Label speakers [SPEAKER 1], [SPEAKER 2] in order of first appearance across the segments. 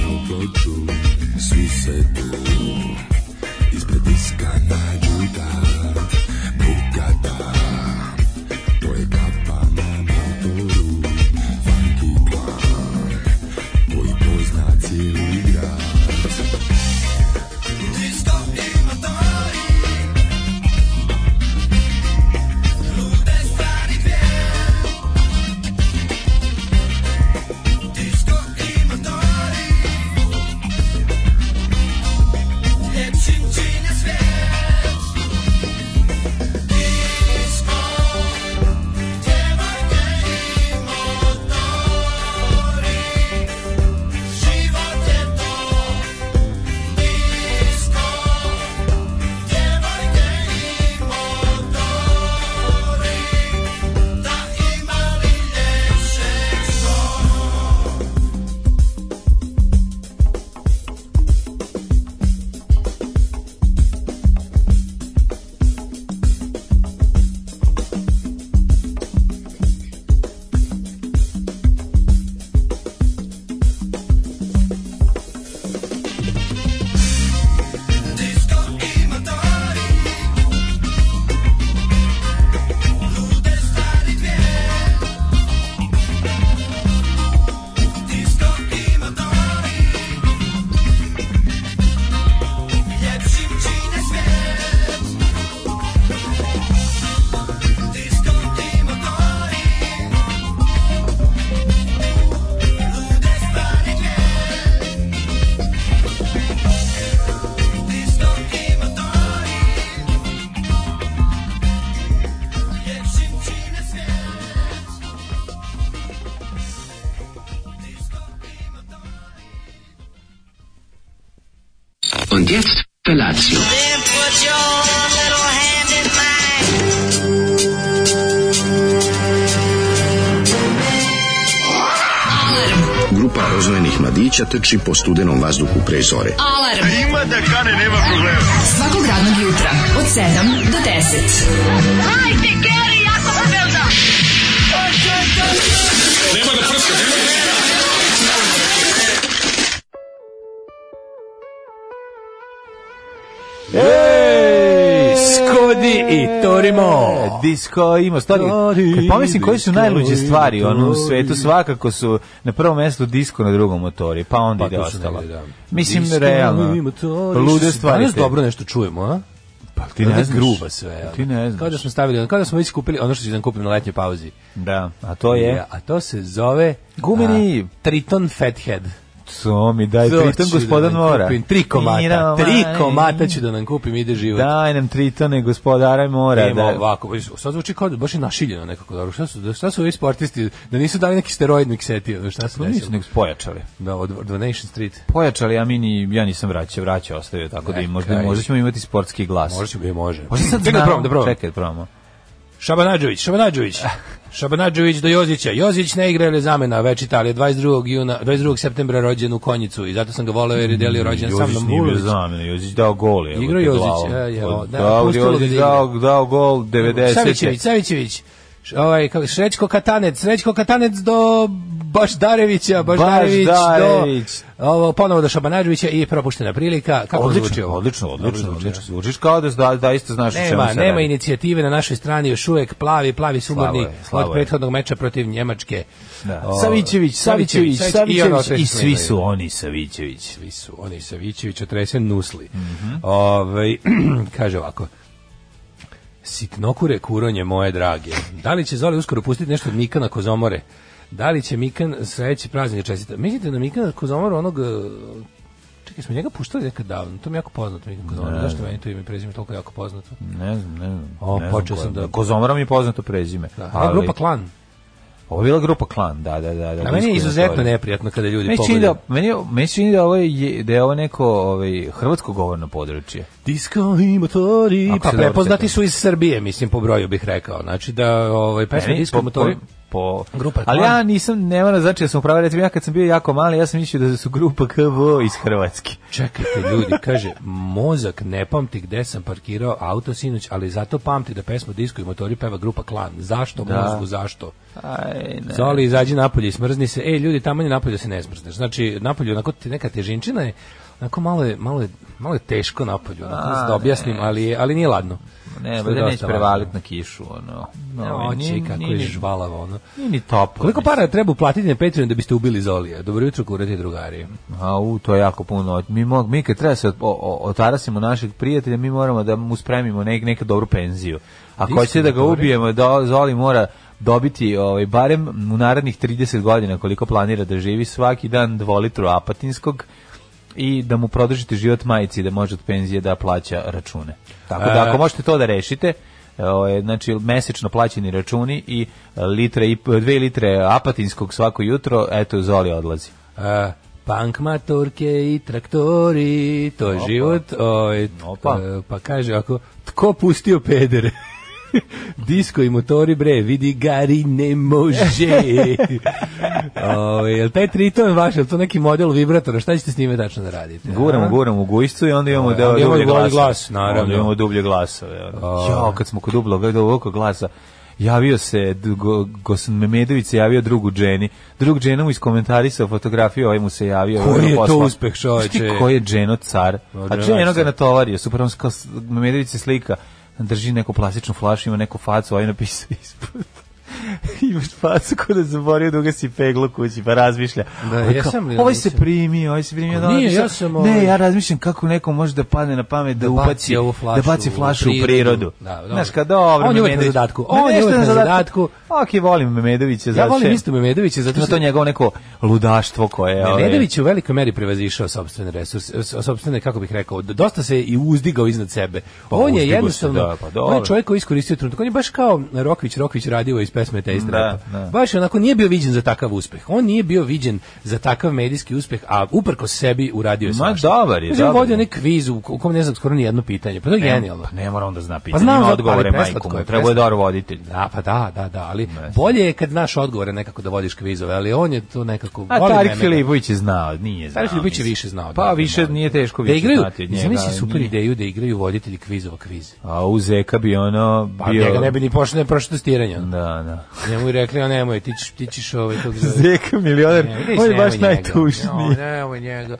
[SPEAKER 1] skoču, svi se tu Ispred diska nađu da bukata To je kapa na motoru, funky klan Koji pozna cijeli grad Disko ima taj Lude stvari dvije Disko ima taj Lepšim čine svet Disko Djevojke i motori Život je to Disko Djevojke i motori Da imali ljepše što Disko i motori Lude stvari dvije Disko i motori Ljepšim čine svijet Disko i motori Lude stvari dvije Disko i motori Ljepšim čine svijet Disko i motori
[SPEAKER 2] Und jetzt Felatio.
[SPEAKER 3] Then put your little hand in mine.
[SPEAKER 4] Grupa rozvojenih mladića trči po studenom vazduhu pre zore.
[SPEAKER 5] Alarm. Ima da kane, nema problema. Svakog radnog jutra, od 7 do 10. Hajde, Geri, jako se velda.
[SPEAKER 6] Skodi i Torimo.
[SPEAKER 7] Disko E, ima stvari. Kad pomislim koje su najluđe stvari ono, u onom svetu, svakako su na prvom mjestu disko, na drugom motori, pa onda
[SPEAKER 6] Pa
[SPEAKER 7] ide
[SPEAKER 6] to su
[SPEAKER 7] ostalo.
[SPEAKER 6] negde, da.
[SPEAKER 7] Mislim,
[SPEAKER 6] Disko
[SPEAKER 7] realno,
[SPEAKER 6] i motori.
[SPEAKER 7] lude
[SPEAKER 6] Danas
[SPEAKER 7] stvari. te.
[SPEAKER 6] dobro nešto čujemo, a?
[SPEAKER 7] Pa ti ne znaš.
[SPEAKER 6] gruba sve. ono.
[SPEAKER 7] Ti ne
[SPEAKER 6] Kao da
[SPEAKER 7] znaš.
[SPEAKER 6] smo stavili, kao da smo već kupili ono što ću da kupim na letnjoj pauzi.
[SPEAKER 7] Da, a to je...
[SPEAKER 6] A to se zove
[SPEAKER 7] Gumeni-
[SPEAKER 6] a, Triton Fathead.
[SPEAKER 7] To mi daj,
[SPEAKER 6] To
[SPEAKER 7] pritom
[SPEAKER 6] ću
[SPEAKER 7] gospodan
[SPEAKER 6] da nam
[SPEAKER 7] mora.
[SPEAKER 6] kupim, Tri komata. Tri komata ću da nam kupim, ide život.
[SPEAKER 7] Daj nam tritone, gospodara mora.
[SPEAKER 6] Ima
[SPEAKER 7] Da,
[SPEAKER 6] ovako, vidiš, sad zvuči kao da baš je našiljeno nekako dobro. Šta su, šta su ovi sportisti, da nisu dali neki steroid mikseti, ono, šta se
[SPEAKER 7] Pa nisu
[SPEAKER 6] desilo?
[SPEAKER 7] nego pojačali.
[SPEAKER 6] Da, od od Donation Street.
[SPEAKER 7] Pojačali, a mi ni, ja nisam vraćao, vraćao ostavio, tako da im, možda,
[SPEAKER 6] Neka,
[SPEAKER 7] možda ćemo imati sportski glas.
[SPEAKER 6] Može, bi, može.
[SPEAKER 7] Možda sad
[SPEAKER 6] Čekaj da
[SPEAKER 7] znamo-
[SPEAKER 6] probam, da probam.
[SPEAKER 7] Čekaj, da probamo.
[SPEAKER 6] Šabanađović, Šabanađović. Šabanađović do Jozića. Jozić ne igra ili zamena, već Italija 22. juna, 22. septembra rođen u Konjicu i zato sam ga voleo jer je delio rođen sa
[SPEAKER 7] Jozić
[SPEAKER 6] mnom.
[SPEAKER 7] nije bio
[SPEAKER 6] Vulović.
[SPEAKER 7] zamena, Jozić dao gol. evo
[SPEAKER 6] Igrao
[SPEAKER 7] te
[SPEAKER 6] Jozić,
[SPEAKER 7] glavom.
[SPEAKER 6] e, evo, da,
[SPEAKER 7] Dao,
[SPEAKER 6] pustilo ga da
[SPEAKER 7] Jozić
[SPEAKER 6] igra.
[SPEAKER 7] dao, dao gol 90.
[SPEAKER 6] Savićević, Savićević. Š- Ovaj kako Srećko Katanec, Srećko Katanec do Bašdarevića, Bašdarević,
[SPEAKER 7] Bašdarević.
[SPEAKER 6] do ovo ponovo do Šabanađovića i propuštena prilika. Kako zvuči
[SPEAKER 7] Odlično,
[SPEAKER 6] ovo?
[SPEAKER 7] odlično, odlično,
[SPEAKER 6] Dobro
[SPEAKER 7] odlično. Zvučiš kao da, da, da isto znaš o čemu se
[SPEAKER 6] Nema,
[SPEAKER 7] radi.
[SPEAKER 6] nema inicijative na našoj strani još uvek plavi, plavi su
[SPEAKER 7] Slabo je,
[SPEAKER 6] umorni
[SPEAKER 7] slabo
[SPEAKER 6] od
[SPEAKER 7] je.
[SPEAKER 6] prethodnog meča protiv Njemačke.
[SPEAKER 7] Da.
[SPEAKER 6] O,
[SPEAKER 7] Savićević, Savićević,
[SPEAKER 6] i ono
[SPEAKER 7] Savićević
[SPEAKER 6] sve
[SPEAKER 7] i
[SPEAKER 6] što
[SPEAKER 7] svi
[SPEAKER 6] imaju.
[SPEAKER 7] su oni Savićević.
[SPEAKER 6] Svi su oni Savićević, otresen nusli. Ovaj, kaže ovako, Sitnokure kuronje moje drage. Da li će Zoli uskoro pustiti nešto od Mikana Kozomore? Da li će Mikan sledeći praznik čestita? Mislite na Mikana Kozomoru onog... eh, Čekaj, smo njega puštali nekad davno. To mi je jako poznato, Mikan Kozomor. Zašto meni to ime i prezime toliko jako poznato?
[SPEAKER 7] Ne znam, ne znam.
[SPEAKER 6] O,
[SPEAKER 7] ne
[SPEAKER 6] počeo
[SPEAKER 7] znam
[SPEAKER 6] sam
[SPEAKER 7] ko je.
[SPEAKER 6] da-
[SPEAKER 7] Kozomara mi je poznato prezime.
[SPEAKER 6] Da. pa
[SPEAKER 7] ali-
[SPEAKER 6] Grupa Klan.
[SPEAKER 7] Pa Ovo je bila grupa Klan, da, da, da. da
[SPEAKER 6] A meni pa je
[SPEAKER 7] iskreno
[SPEAKER 6] izuzetno
[SPEAKER 7] to je.
[SPEAKER 6] neprijatno kada ljudi
[SPEAKER 7] Meni se čini da,
[SPEAKER 6] pogledaju.
[SPEAKER 7] meni, je- meni se čini da, ovo je, da je ovo neko ovaj, hrvatsko govorno područje.
[SPEAKER 6] Disco i motori.
[SPEAKER 7] Ako
[SPEAKER 6] Pa
[SPEAKER 7] se dobro
[SPEAKER 6] prepoznati
[SPEAKER 7] sećam.
[SPEAKER 6] su iz Srbije, mislim, po broju bih rekao. Znači da ovaj, pesme
[SPEAKER 7] Meni,
[SPEAKER 6] Disco i
[SPEAKER 7] po-
[SPEAKER 6] motori...
[SPEAKER 7] po- po...
[SPEAKER 6] Grupa
[SPEAKER 7] Ali
[SPEAKER 6] Klan.
[SPEAKER 7] ja nisam, ne moram znači da sam upravo, recimo ja kad sam bio jako mali, ja sam mislio da su grupa KVO iz Hrvatske.
[SPEAKER 6] Čekajte ljudi, kaže, mozak ne pamti gde sam parkirao auto sinoć, ali zato pamti da pesmu Disko i motori peva grupa Klan. Zašto
[SPEAKER 7] Da.
[SPEAKER 6] mozgu, zašto?
[SPEAKER 7] Aj, ne.
[SPEAKER 6] Zoli, izađi napolje i smrzni se. E, ljudi, tamo je napolje da se ne smrzneš. Znači, napolje, onako, te- neka težinčina je, onako malo je, malo je, malo je teško napolje, onako,
[SPEAKER 7] A,
[SPEAKER 6] da objasnim, ali, je- ali nije ladno.
[SPEAKER 7] Ne,
[SPEAKER 6] Što
[SPEAKER 7] valjda
[SPEAKER 6] je dosta
[SPEAKER 7] neće
[SPEAKER 6] važno.
[SPEAKER 7] prevaliti na kišu, ono.
[SPEAKER 6] No,
[SPEAKER 7] Ovaj,
[SPEAKER 6] oči,
[SPEAKER 7] ni-
[SPEAKER 6] kako
[SPEAKER 7] ni-
[SPEAKER 6] je
[SPEAKER 7] ni-
[SPEAKER 6] žvalavo, ono.
[SPEAKER 7] Ni ni toplo.
[SPEAKER 6] Koliko
[SPEAKER 7] mislim.
[SPEAKER 6] para treba uplatiti na Patreon da biste ubili Zolija? Dobro jutro, kurati drugari.
[SPEAKER 7] A u, to je jako puno. Mi, mog, mi kad treba se od- o- o- otarasimo našeg prijatelja, mi moramo da mu spremimo nek, neku dobru penziju. Ako
[SPEAKER 6] Istina,
[SPEAKER 7] hoćete da ga
[SPEAKER 6] dobro.
[SPEAKER 7] ubijemo, da, Zoli mora dobiti ovaj, barem u narednih 30 godina koliko planira da živi svaki dan dvolitru apatinskog i da mu produžite život majici da može od penzije da plaća račune. Tako da
[SPEAKER 6] E.
[SPEAKER 7] ako možete to da rešite, ovaj, znači mesečno plaćeni računi i litre i dve litre apatinskog svako jutro, eto Zoli odlazi.
[SPEAKER 6] Uh, punk matorke i traktori, to je
[SPEAKER 7] Opa.
[SPEAKER 6] život. Ovaj,
[SPEAKER 7] Opa.
[SPEAKER 6] e, pa kaže ako, tko pustio pedere? Disko i motori, bre, vidi, gari ne može. Ove, jel taj triton vaš, jel to neki model vibratora, šta ćete s njime tačno da radite?
[SPEAKER 7] Guramo,
[SPEAKER 6] a?
[SPEAKER 7] guramo u gujscu i onda imamo
[SPEAKER 6] Onda
[SPEAKER 7] deo
[SPEAKER 6] imamo
[SPEAKER 7] dublje
[SPEAKER 6] dublji
[SPEAKER 7] glasa.
[SPEAKER 6] glas, naravno.
[SPEAKER 7] Onda imamo dublje glasove.
[SPEAKER 6] A.
[SPEAKER 7] Jo, kad smo kod dublog, dubljog glasa, javio se, d- go, Gosan Memedović se javio drugu Dženi. Drug Džena mu iskomentarisao fotografiju, ovaj mu se javio.
[SPEAKER 6] Koji
[SPEAKER 7] ovaj mu
[SPEAKER 6] je to
[SPEAKER 7] poslao.
[SPEAKER 6] uspeh, čoveče? Pa,
[SPEAKER 7] Znaš ti ko je Dženo car? A
[SPEAKER 6] Dženo
[SPEAKER 7] Dženo ga
[SPEAKER 6] car.
[SPEAKER 7] natovario. Supravo, kao s- Memedović se slika, drži neku plastičnu flašu, ima neku facu, ovaj napisao ispod imaš facu kod da zaborio da ugasi peglu kući, pa razmišlja.
[SPEAKER 6] Da,
[SPEAKER 7] Ovaj kao,
[SPEAKER 6] jesam li,
[SPEAKER 7] Ovaj se
[SPEAKER 6] nisam.
[SPEAKER 7] primio, ovaj se primio
[SPEAKER 6] Pa
[SPEAKER 7] da ona
[SPEAKER 6] nije,
[SPEAKER 7] napisala,
[SPEAKER 6] ja sam,
[SPEAKER 7] Ne,
[SPEAKER 6] ovaj-
[SPEAKER 7] ja razmišljam kako nekom može da padne na pamet da,
[SPEAKER 6] Da baci
[SPEAKER 7] ubaci
[SPEAKER 6] ovu flašu
[SPEAKER 7] da baci
[SPEAKER 6] u
[SPEAKER 7] flašu u
[SPEAKER 6] prirodu.
[SPEAKER 7] prirodu.
[SPEAKER 6] Da, dobro.
[SPEAKER 7] Znaš, kad dobro.
[SPEAKER 6] On je uvek na
[SPEAKER 7] Memedović-
[SPEAKER 6] zadatku.
[SPEAKER 7] Ma
[SPEAKER 6] On je
[SPEAKER 7] nešto
[SPEAKER 6] uvek na zadatku.
[SPEAKER 7] Ok, volim Memedovića.
[SPEAKER 6] Ja
[SPEAKER 7] zato što
[SPEAKER 6] volim
[SPEAKER 7] je-
[SPEAKER 6] isto Memedovića, zato
[SPEAKER 7] Ima
[SPEAKER 6] što
[SPEAKER 7] to njegovo neko ludaštvo koje... ovaj,
[SPEAKER 6] Nedević je u velikoj meri prevazišao sopstvene resurse, s- sopstvene, kako bih rekao, d- dosta se i uzdigao iznad sebe.
[SPEAKER 7] Pa
[SPEAKER 6] on je
[SPEAKER 7] uzdigao se,
[SPEAKER 6] jednostavno,
[SPEAKER 7] da, pa dobro.
[SPEAKER 6] on je čovjek koji je iskoristio trenutak, on je baš kao Rokvić, Rokvić radio iz pesme te
[SPEAKER 7] Da,
[SPEAKER 6] istrapa.
[SPEAKER 7] da.
[SPEAKER 6] Baš je onako, nije bio viđen za takav uspeh. On nije bio viđen za takav medijski uspeh, a uprko sebi uradio je
[SPEAKER 7] Ma,
[SPEAKER 6] svašta.
[SPEAKER 7] dobar je,
[SPEAKER 6] Znači, on
[SPEAKER 7] dobar
[SPEAKER 6] vodio
[SPEAKER 7] je.
[SPEAKER 6] neki kviz u u kom ne znam skoro ni jedno pitanje, pa to je
[SPEAKER 7] Ne,
[SPEAKER 6] genijalno.
[SPEAKER 7] pa Ne mora onda zna
[SPEAKER 6] Pa
[SPEAKER 7] pitanje.
[SPEAKER 6] znam,
[SPEAKER 7] ima
[SPEAKER 6] znam,
[SPEAKER 7] odgovore
[SPEAKER 6] ali
[SPEAKER 7] majku
[SPEAKER 6] preslatko
[SPEAKER 7] mu.
[SPEAKER 6] je,
[SPEAKER 7] Treba je
[SPEAKER 6] preslatko.
[SPEAKER 7] dobar voditelj.
[SPEAKER 6] Da, pa da, da, da, ali
[SPEAKER 7] Ne.
[SPEAKER 6] bolje je kad znaš odgovore nekako da vodiš kvizove, ali on je to nekako...
[SPEAKER 7] A
[SPEAKER 6] volim
[SPEAKER 7] Tarik
[SPEAKER 6] Memeda.
[SPEAKER 7] Filipović je znao, nije znao.
[SPEAKER 6] Tarif Ljubić je
[SPEAKER 7] mislim.
[SPEAKER 6] više znao.
[SPEAKER 7] Pa
[SPEAKER 6] da,
[SPEAKER 7] više
[SPEAKER 6] da,
[SPEAKER 7] nije teško
[SPEAKER 6] da
[SPEAKER 7] više
[SPEAKER 6] igraju,
[SPEAKER 7] znati od njega.
[SPEAKER 6] Zamisli super
[SPEAKER 7] nije.
[SPEAKER 6] ideju da igraju voditelji kvizova kvize.
[SPEAKER 7] A u Zeka bi ono
[SPEAKER 6] Pa
[SPEAKER 7] bio...
[SPEAKER 6] njega ne bi ni pošle ne prošlo testiranje. ono.
[SPEAKER 7] Da, da.
[SPEAKER 6] Njemu i rekli, a nemoj, ti ćeš, ti ćeš ovaj tog
[SPEAKER 7] Zeka milioner, on je baš najtužniji.
[SPEAKER 6] nemoj njega.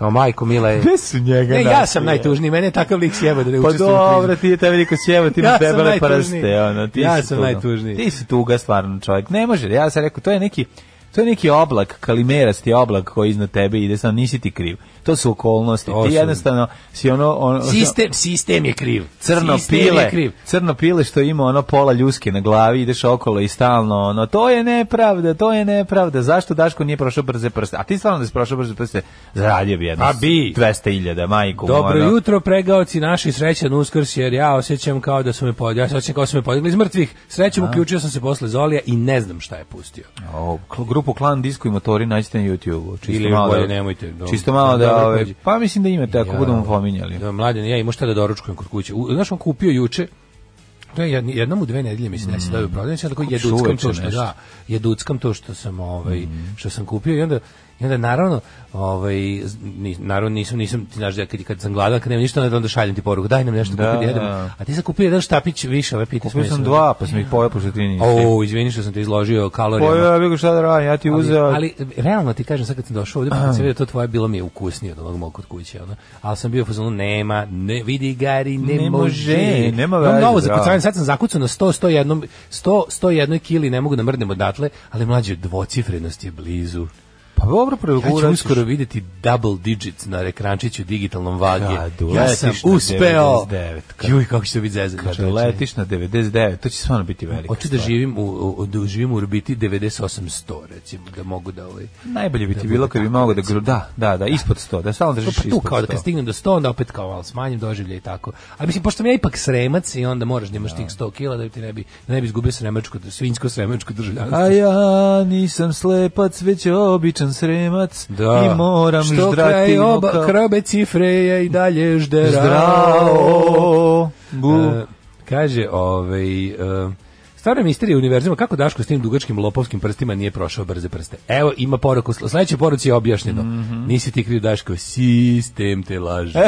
[SPEAKER 6] O, majko, mila je.
[SPEAKER 7] Gde su njega
[SPEAKER 6] Ne, E, ja
[SPEAKER 7] našli,
[SPEAKER 6] sam
[SPEAKER 7] je?
[SPEAKER 6] najtužniji, mene je takav lik sjeba da ne
[SPEAKER 7] Pa
[SPEAKER 6] učestvujem u
[SPEAKER 7] dobro,
[SPEAKER 6] kvizu.
[SPEAKER 7] ti je taj veliko sjema, ti imaš
[SPEAKER 6] Ja sam
[SPEAKER 7] debele
[SPEAKER 6] najtužniji.
[SPEAKER 7] prste. Ono, ti
[SPEAKER 6] Ja
[SPEAKER 7] si
[SPEAKER 6] sam
[SPEAKER 7] tuga.
[SPEAKER 6] najtužniji.
[SPEAKER 7] Ti si tuga stvarno čovjek. Ne može, ja sam rekao, to je neki To je neki oblak, kalimerasti oblak koji iznad tebe ide, sam nisi ti kriv. To su okolnosti.
[SPEAKER 6] To
[SPEAKER 7] ti
[SPEAKER 6] su-
[SPEAKER 7] jednostavno si ono... ono
[SPEAKER 6] Sistem, sistem je kriv.
[SPEAKER 7] crno
[SPEAKER 6] sistem
[SPEAKER 7] pile,
[SPEAKER 6] je kriv.
[SPEAKER 7] crno pile što ima ono pola ljuske na glavi, ideš okolo i stalno ono, to je nepravda, to je nepravda, zašto Daško nije prošao brze prste? A ti stvarno da si prošao brze prste, zaradio bi jedno
[SPEAKER 6] A bi.
[SPEAKER 7] 200.000, majku.
[SPEAKER 6] Dobro
[SPEAKER 7] ono.
[SPEAKER 6] jutro, pregaoci naši, srećan uskrs, jer ja osjećam kao da su me podigli, ja se osjećam kao da su me podigli iz mrtvih. Srećem, uključio sam se posle Zolija i ne znam šta je pustio.
[SPEAKER 7] O, kl- grupu Klan Disko i motori nađite na YouTube-u. Čisto
[SPEAKER 6] Ili
[SPEAKER 7] malo
[SPEAKER 6] bolje
[SPEAKER 7] da,
[SPEAKER 6] nemojte, dobro.
[SPEAKER 7] Čisto malo da,
[SPEAKER 6] Dobro
[SPEAKER 7] ove,
[SPEAKER 6] prođe.
[SPEAKER 7] pa mislim da imate ako budemo pominjali.
[SPEAKER 6] Da, mladen, ja imam šta da doručkujem kod kuće. U, znaš, on kupio juče, to je jedn- jednom u dve nedelje mi se desi da je prodavnici, ja tako
[SPEAKER 7] Kupiš
[SPEAKER 6] jeduckam
[SPEAKER 7] uveče
[SPEAKER 6] to što,
[SPEAKER 7] Mm. nešto. Mm.
[SPEAKER 6] da, jeduckam to što sam, ovaj, što sam kupio i onda I onda naravno, ovaj z- ni, naravno nisam nisam ti znaš da kad kad sam gladan, kad nemam ništa onda onda šaljem ti poruku, daj nam nešto
[SPEAKER 7] Da,
[SPEAKER 6] da, kupiti, jedemo.
[SPEAKER 7] da.
[SPEAKER 6] A ti si kupio jedan štapić više, ove pite
[SPEAKER 7] Kupio sam dva, pa sam ih pojao, pošto ti nisi.
[SPEAKER 6] O, izvini što sam te izložio kalorijama.
[SPEAKER 7] Pojao, ja bih šta da radim, ja ti
[SPEAKER 6] Ali-
[SPEAKER 7] uzeo.
[SPEAKER 6] Ali, realno ti kažem, sad kad sam došao ovdje, pa kad sam vidio to tvoje, bilo mi je ukusnije od onog mog kod kuće, ono. Ali sam bio u fazonu, nema, ne, vidi Gari, ne,
[SPEAKER 7] Ne može,
[SPEAKER 6] može.
[SPEAKER 7] nema
[SPEAKER 6] Imam
[SPEAKER 7] veze,
[SPEAKER 6] Novo
[SPEAKER 7] bravo.
[SPEAKER 6] zakucavanje, sad sam zakucao na 100, 101, 100, 101 kili, ne mogu da mrdnem odatle, ali mlađe, dvocifrenost je blizu.
[SPEAKER 7] pa dobro,
[SPEAKER 6] Ja ću
[SPEAKER 7] pregurat ćeš.
[SPEAKER 6] uskoro vidjeti double digits na ekrančiću digitalnom vagi.
[SPEAKER 7] Kad
[SPEAKER 6] ja
[SPEAKER 7] uletiš
[SPEAKER 6] sam
[SPEAKER 7] na
[SPEAKER 6] uspeo.
[SPEAKER 7] 99, kad-
[SPEAKER 6] Juj, kako će to biti zezan.
[SPEAKER 7] Kad letiš na 99, to će stvarno biti velika
[SPEAKER 6] Hoću da
[SPEAKER 7] stvar.
[SPEAKER 6] živim u, u, da živim u orbiti 98-100, recimo, da mogu da ovaj...
[SPEAKER 7] Najbolje bi ti bilo kad bi mogao da gru, da, da, da, ispod 100, da stalno držiš
[SPEAKER 6] Pa tu
[SPEAKER 7] ispod
[SPEAKER 6] kao da
[SPEAKER 7] 100.
[SPEAKER 6] kad stignem do 100, onda opet kao malo smanjim doživlje i tako. Ali mislim, pošto sam ja ipak sremac i onda moraš da imaš tih 100 kila da ti ne bi, da ne bi izgubio sremačko, svinjsko sremačko državljanstvo.
[SPEAKER 7] A ja nisam slepac, već običan sremac i moram
[SPEAKER 6] Što
[SPEAKER 7] ždrati
[SPEAKER 6] kraj oba,
[SPEAKER 7] kao-
[SPEAKER 6] krobe cifre je i dalje žderao.
[SPEAKER 7] Zdravo, bu.
[SPEAKER 6] E, kaže, ovaj, e, Stvarno je misterija univerzuma kako Daško s tim dugačkim lopovskim prstima nije prošao brze prste. Evo, ima poruku, sl- sledeće poruci je objašnjeno.
[SPEAKER 7] Mhm.
[SPEAKER 6] Nisi ti kriv Daško, sistem te laže.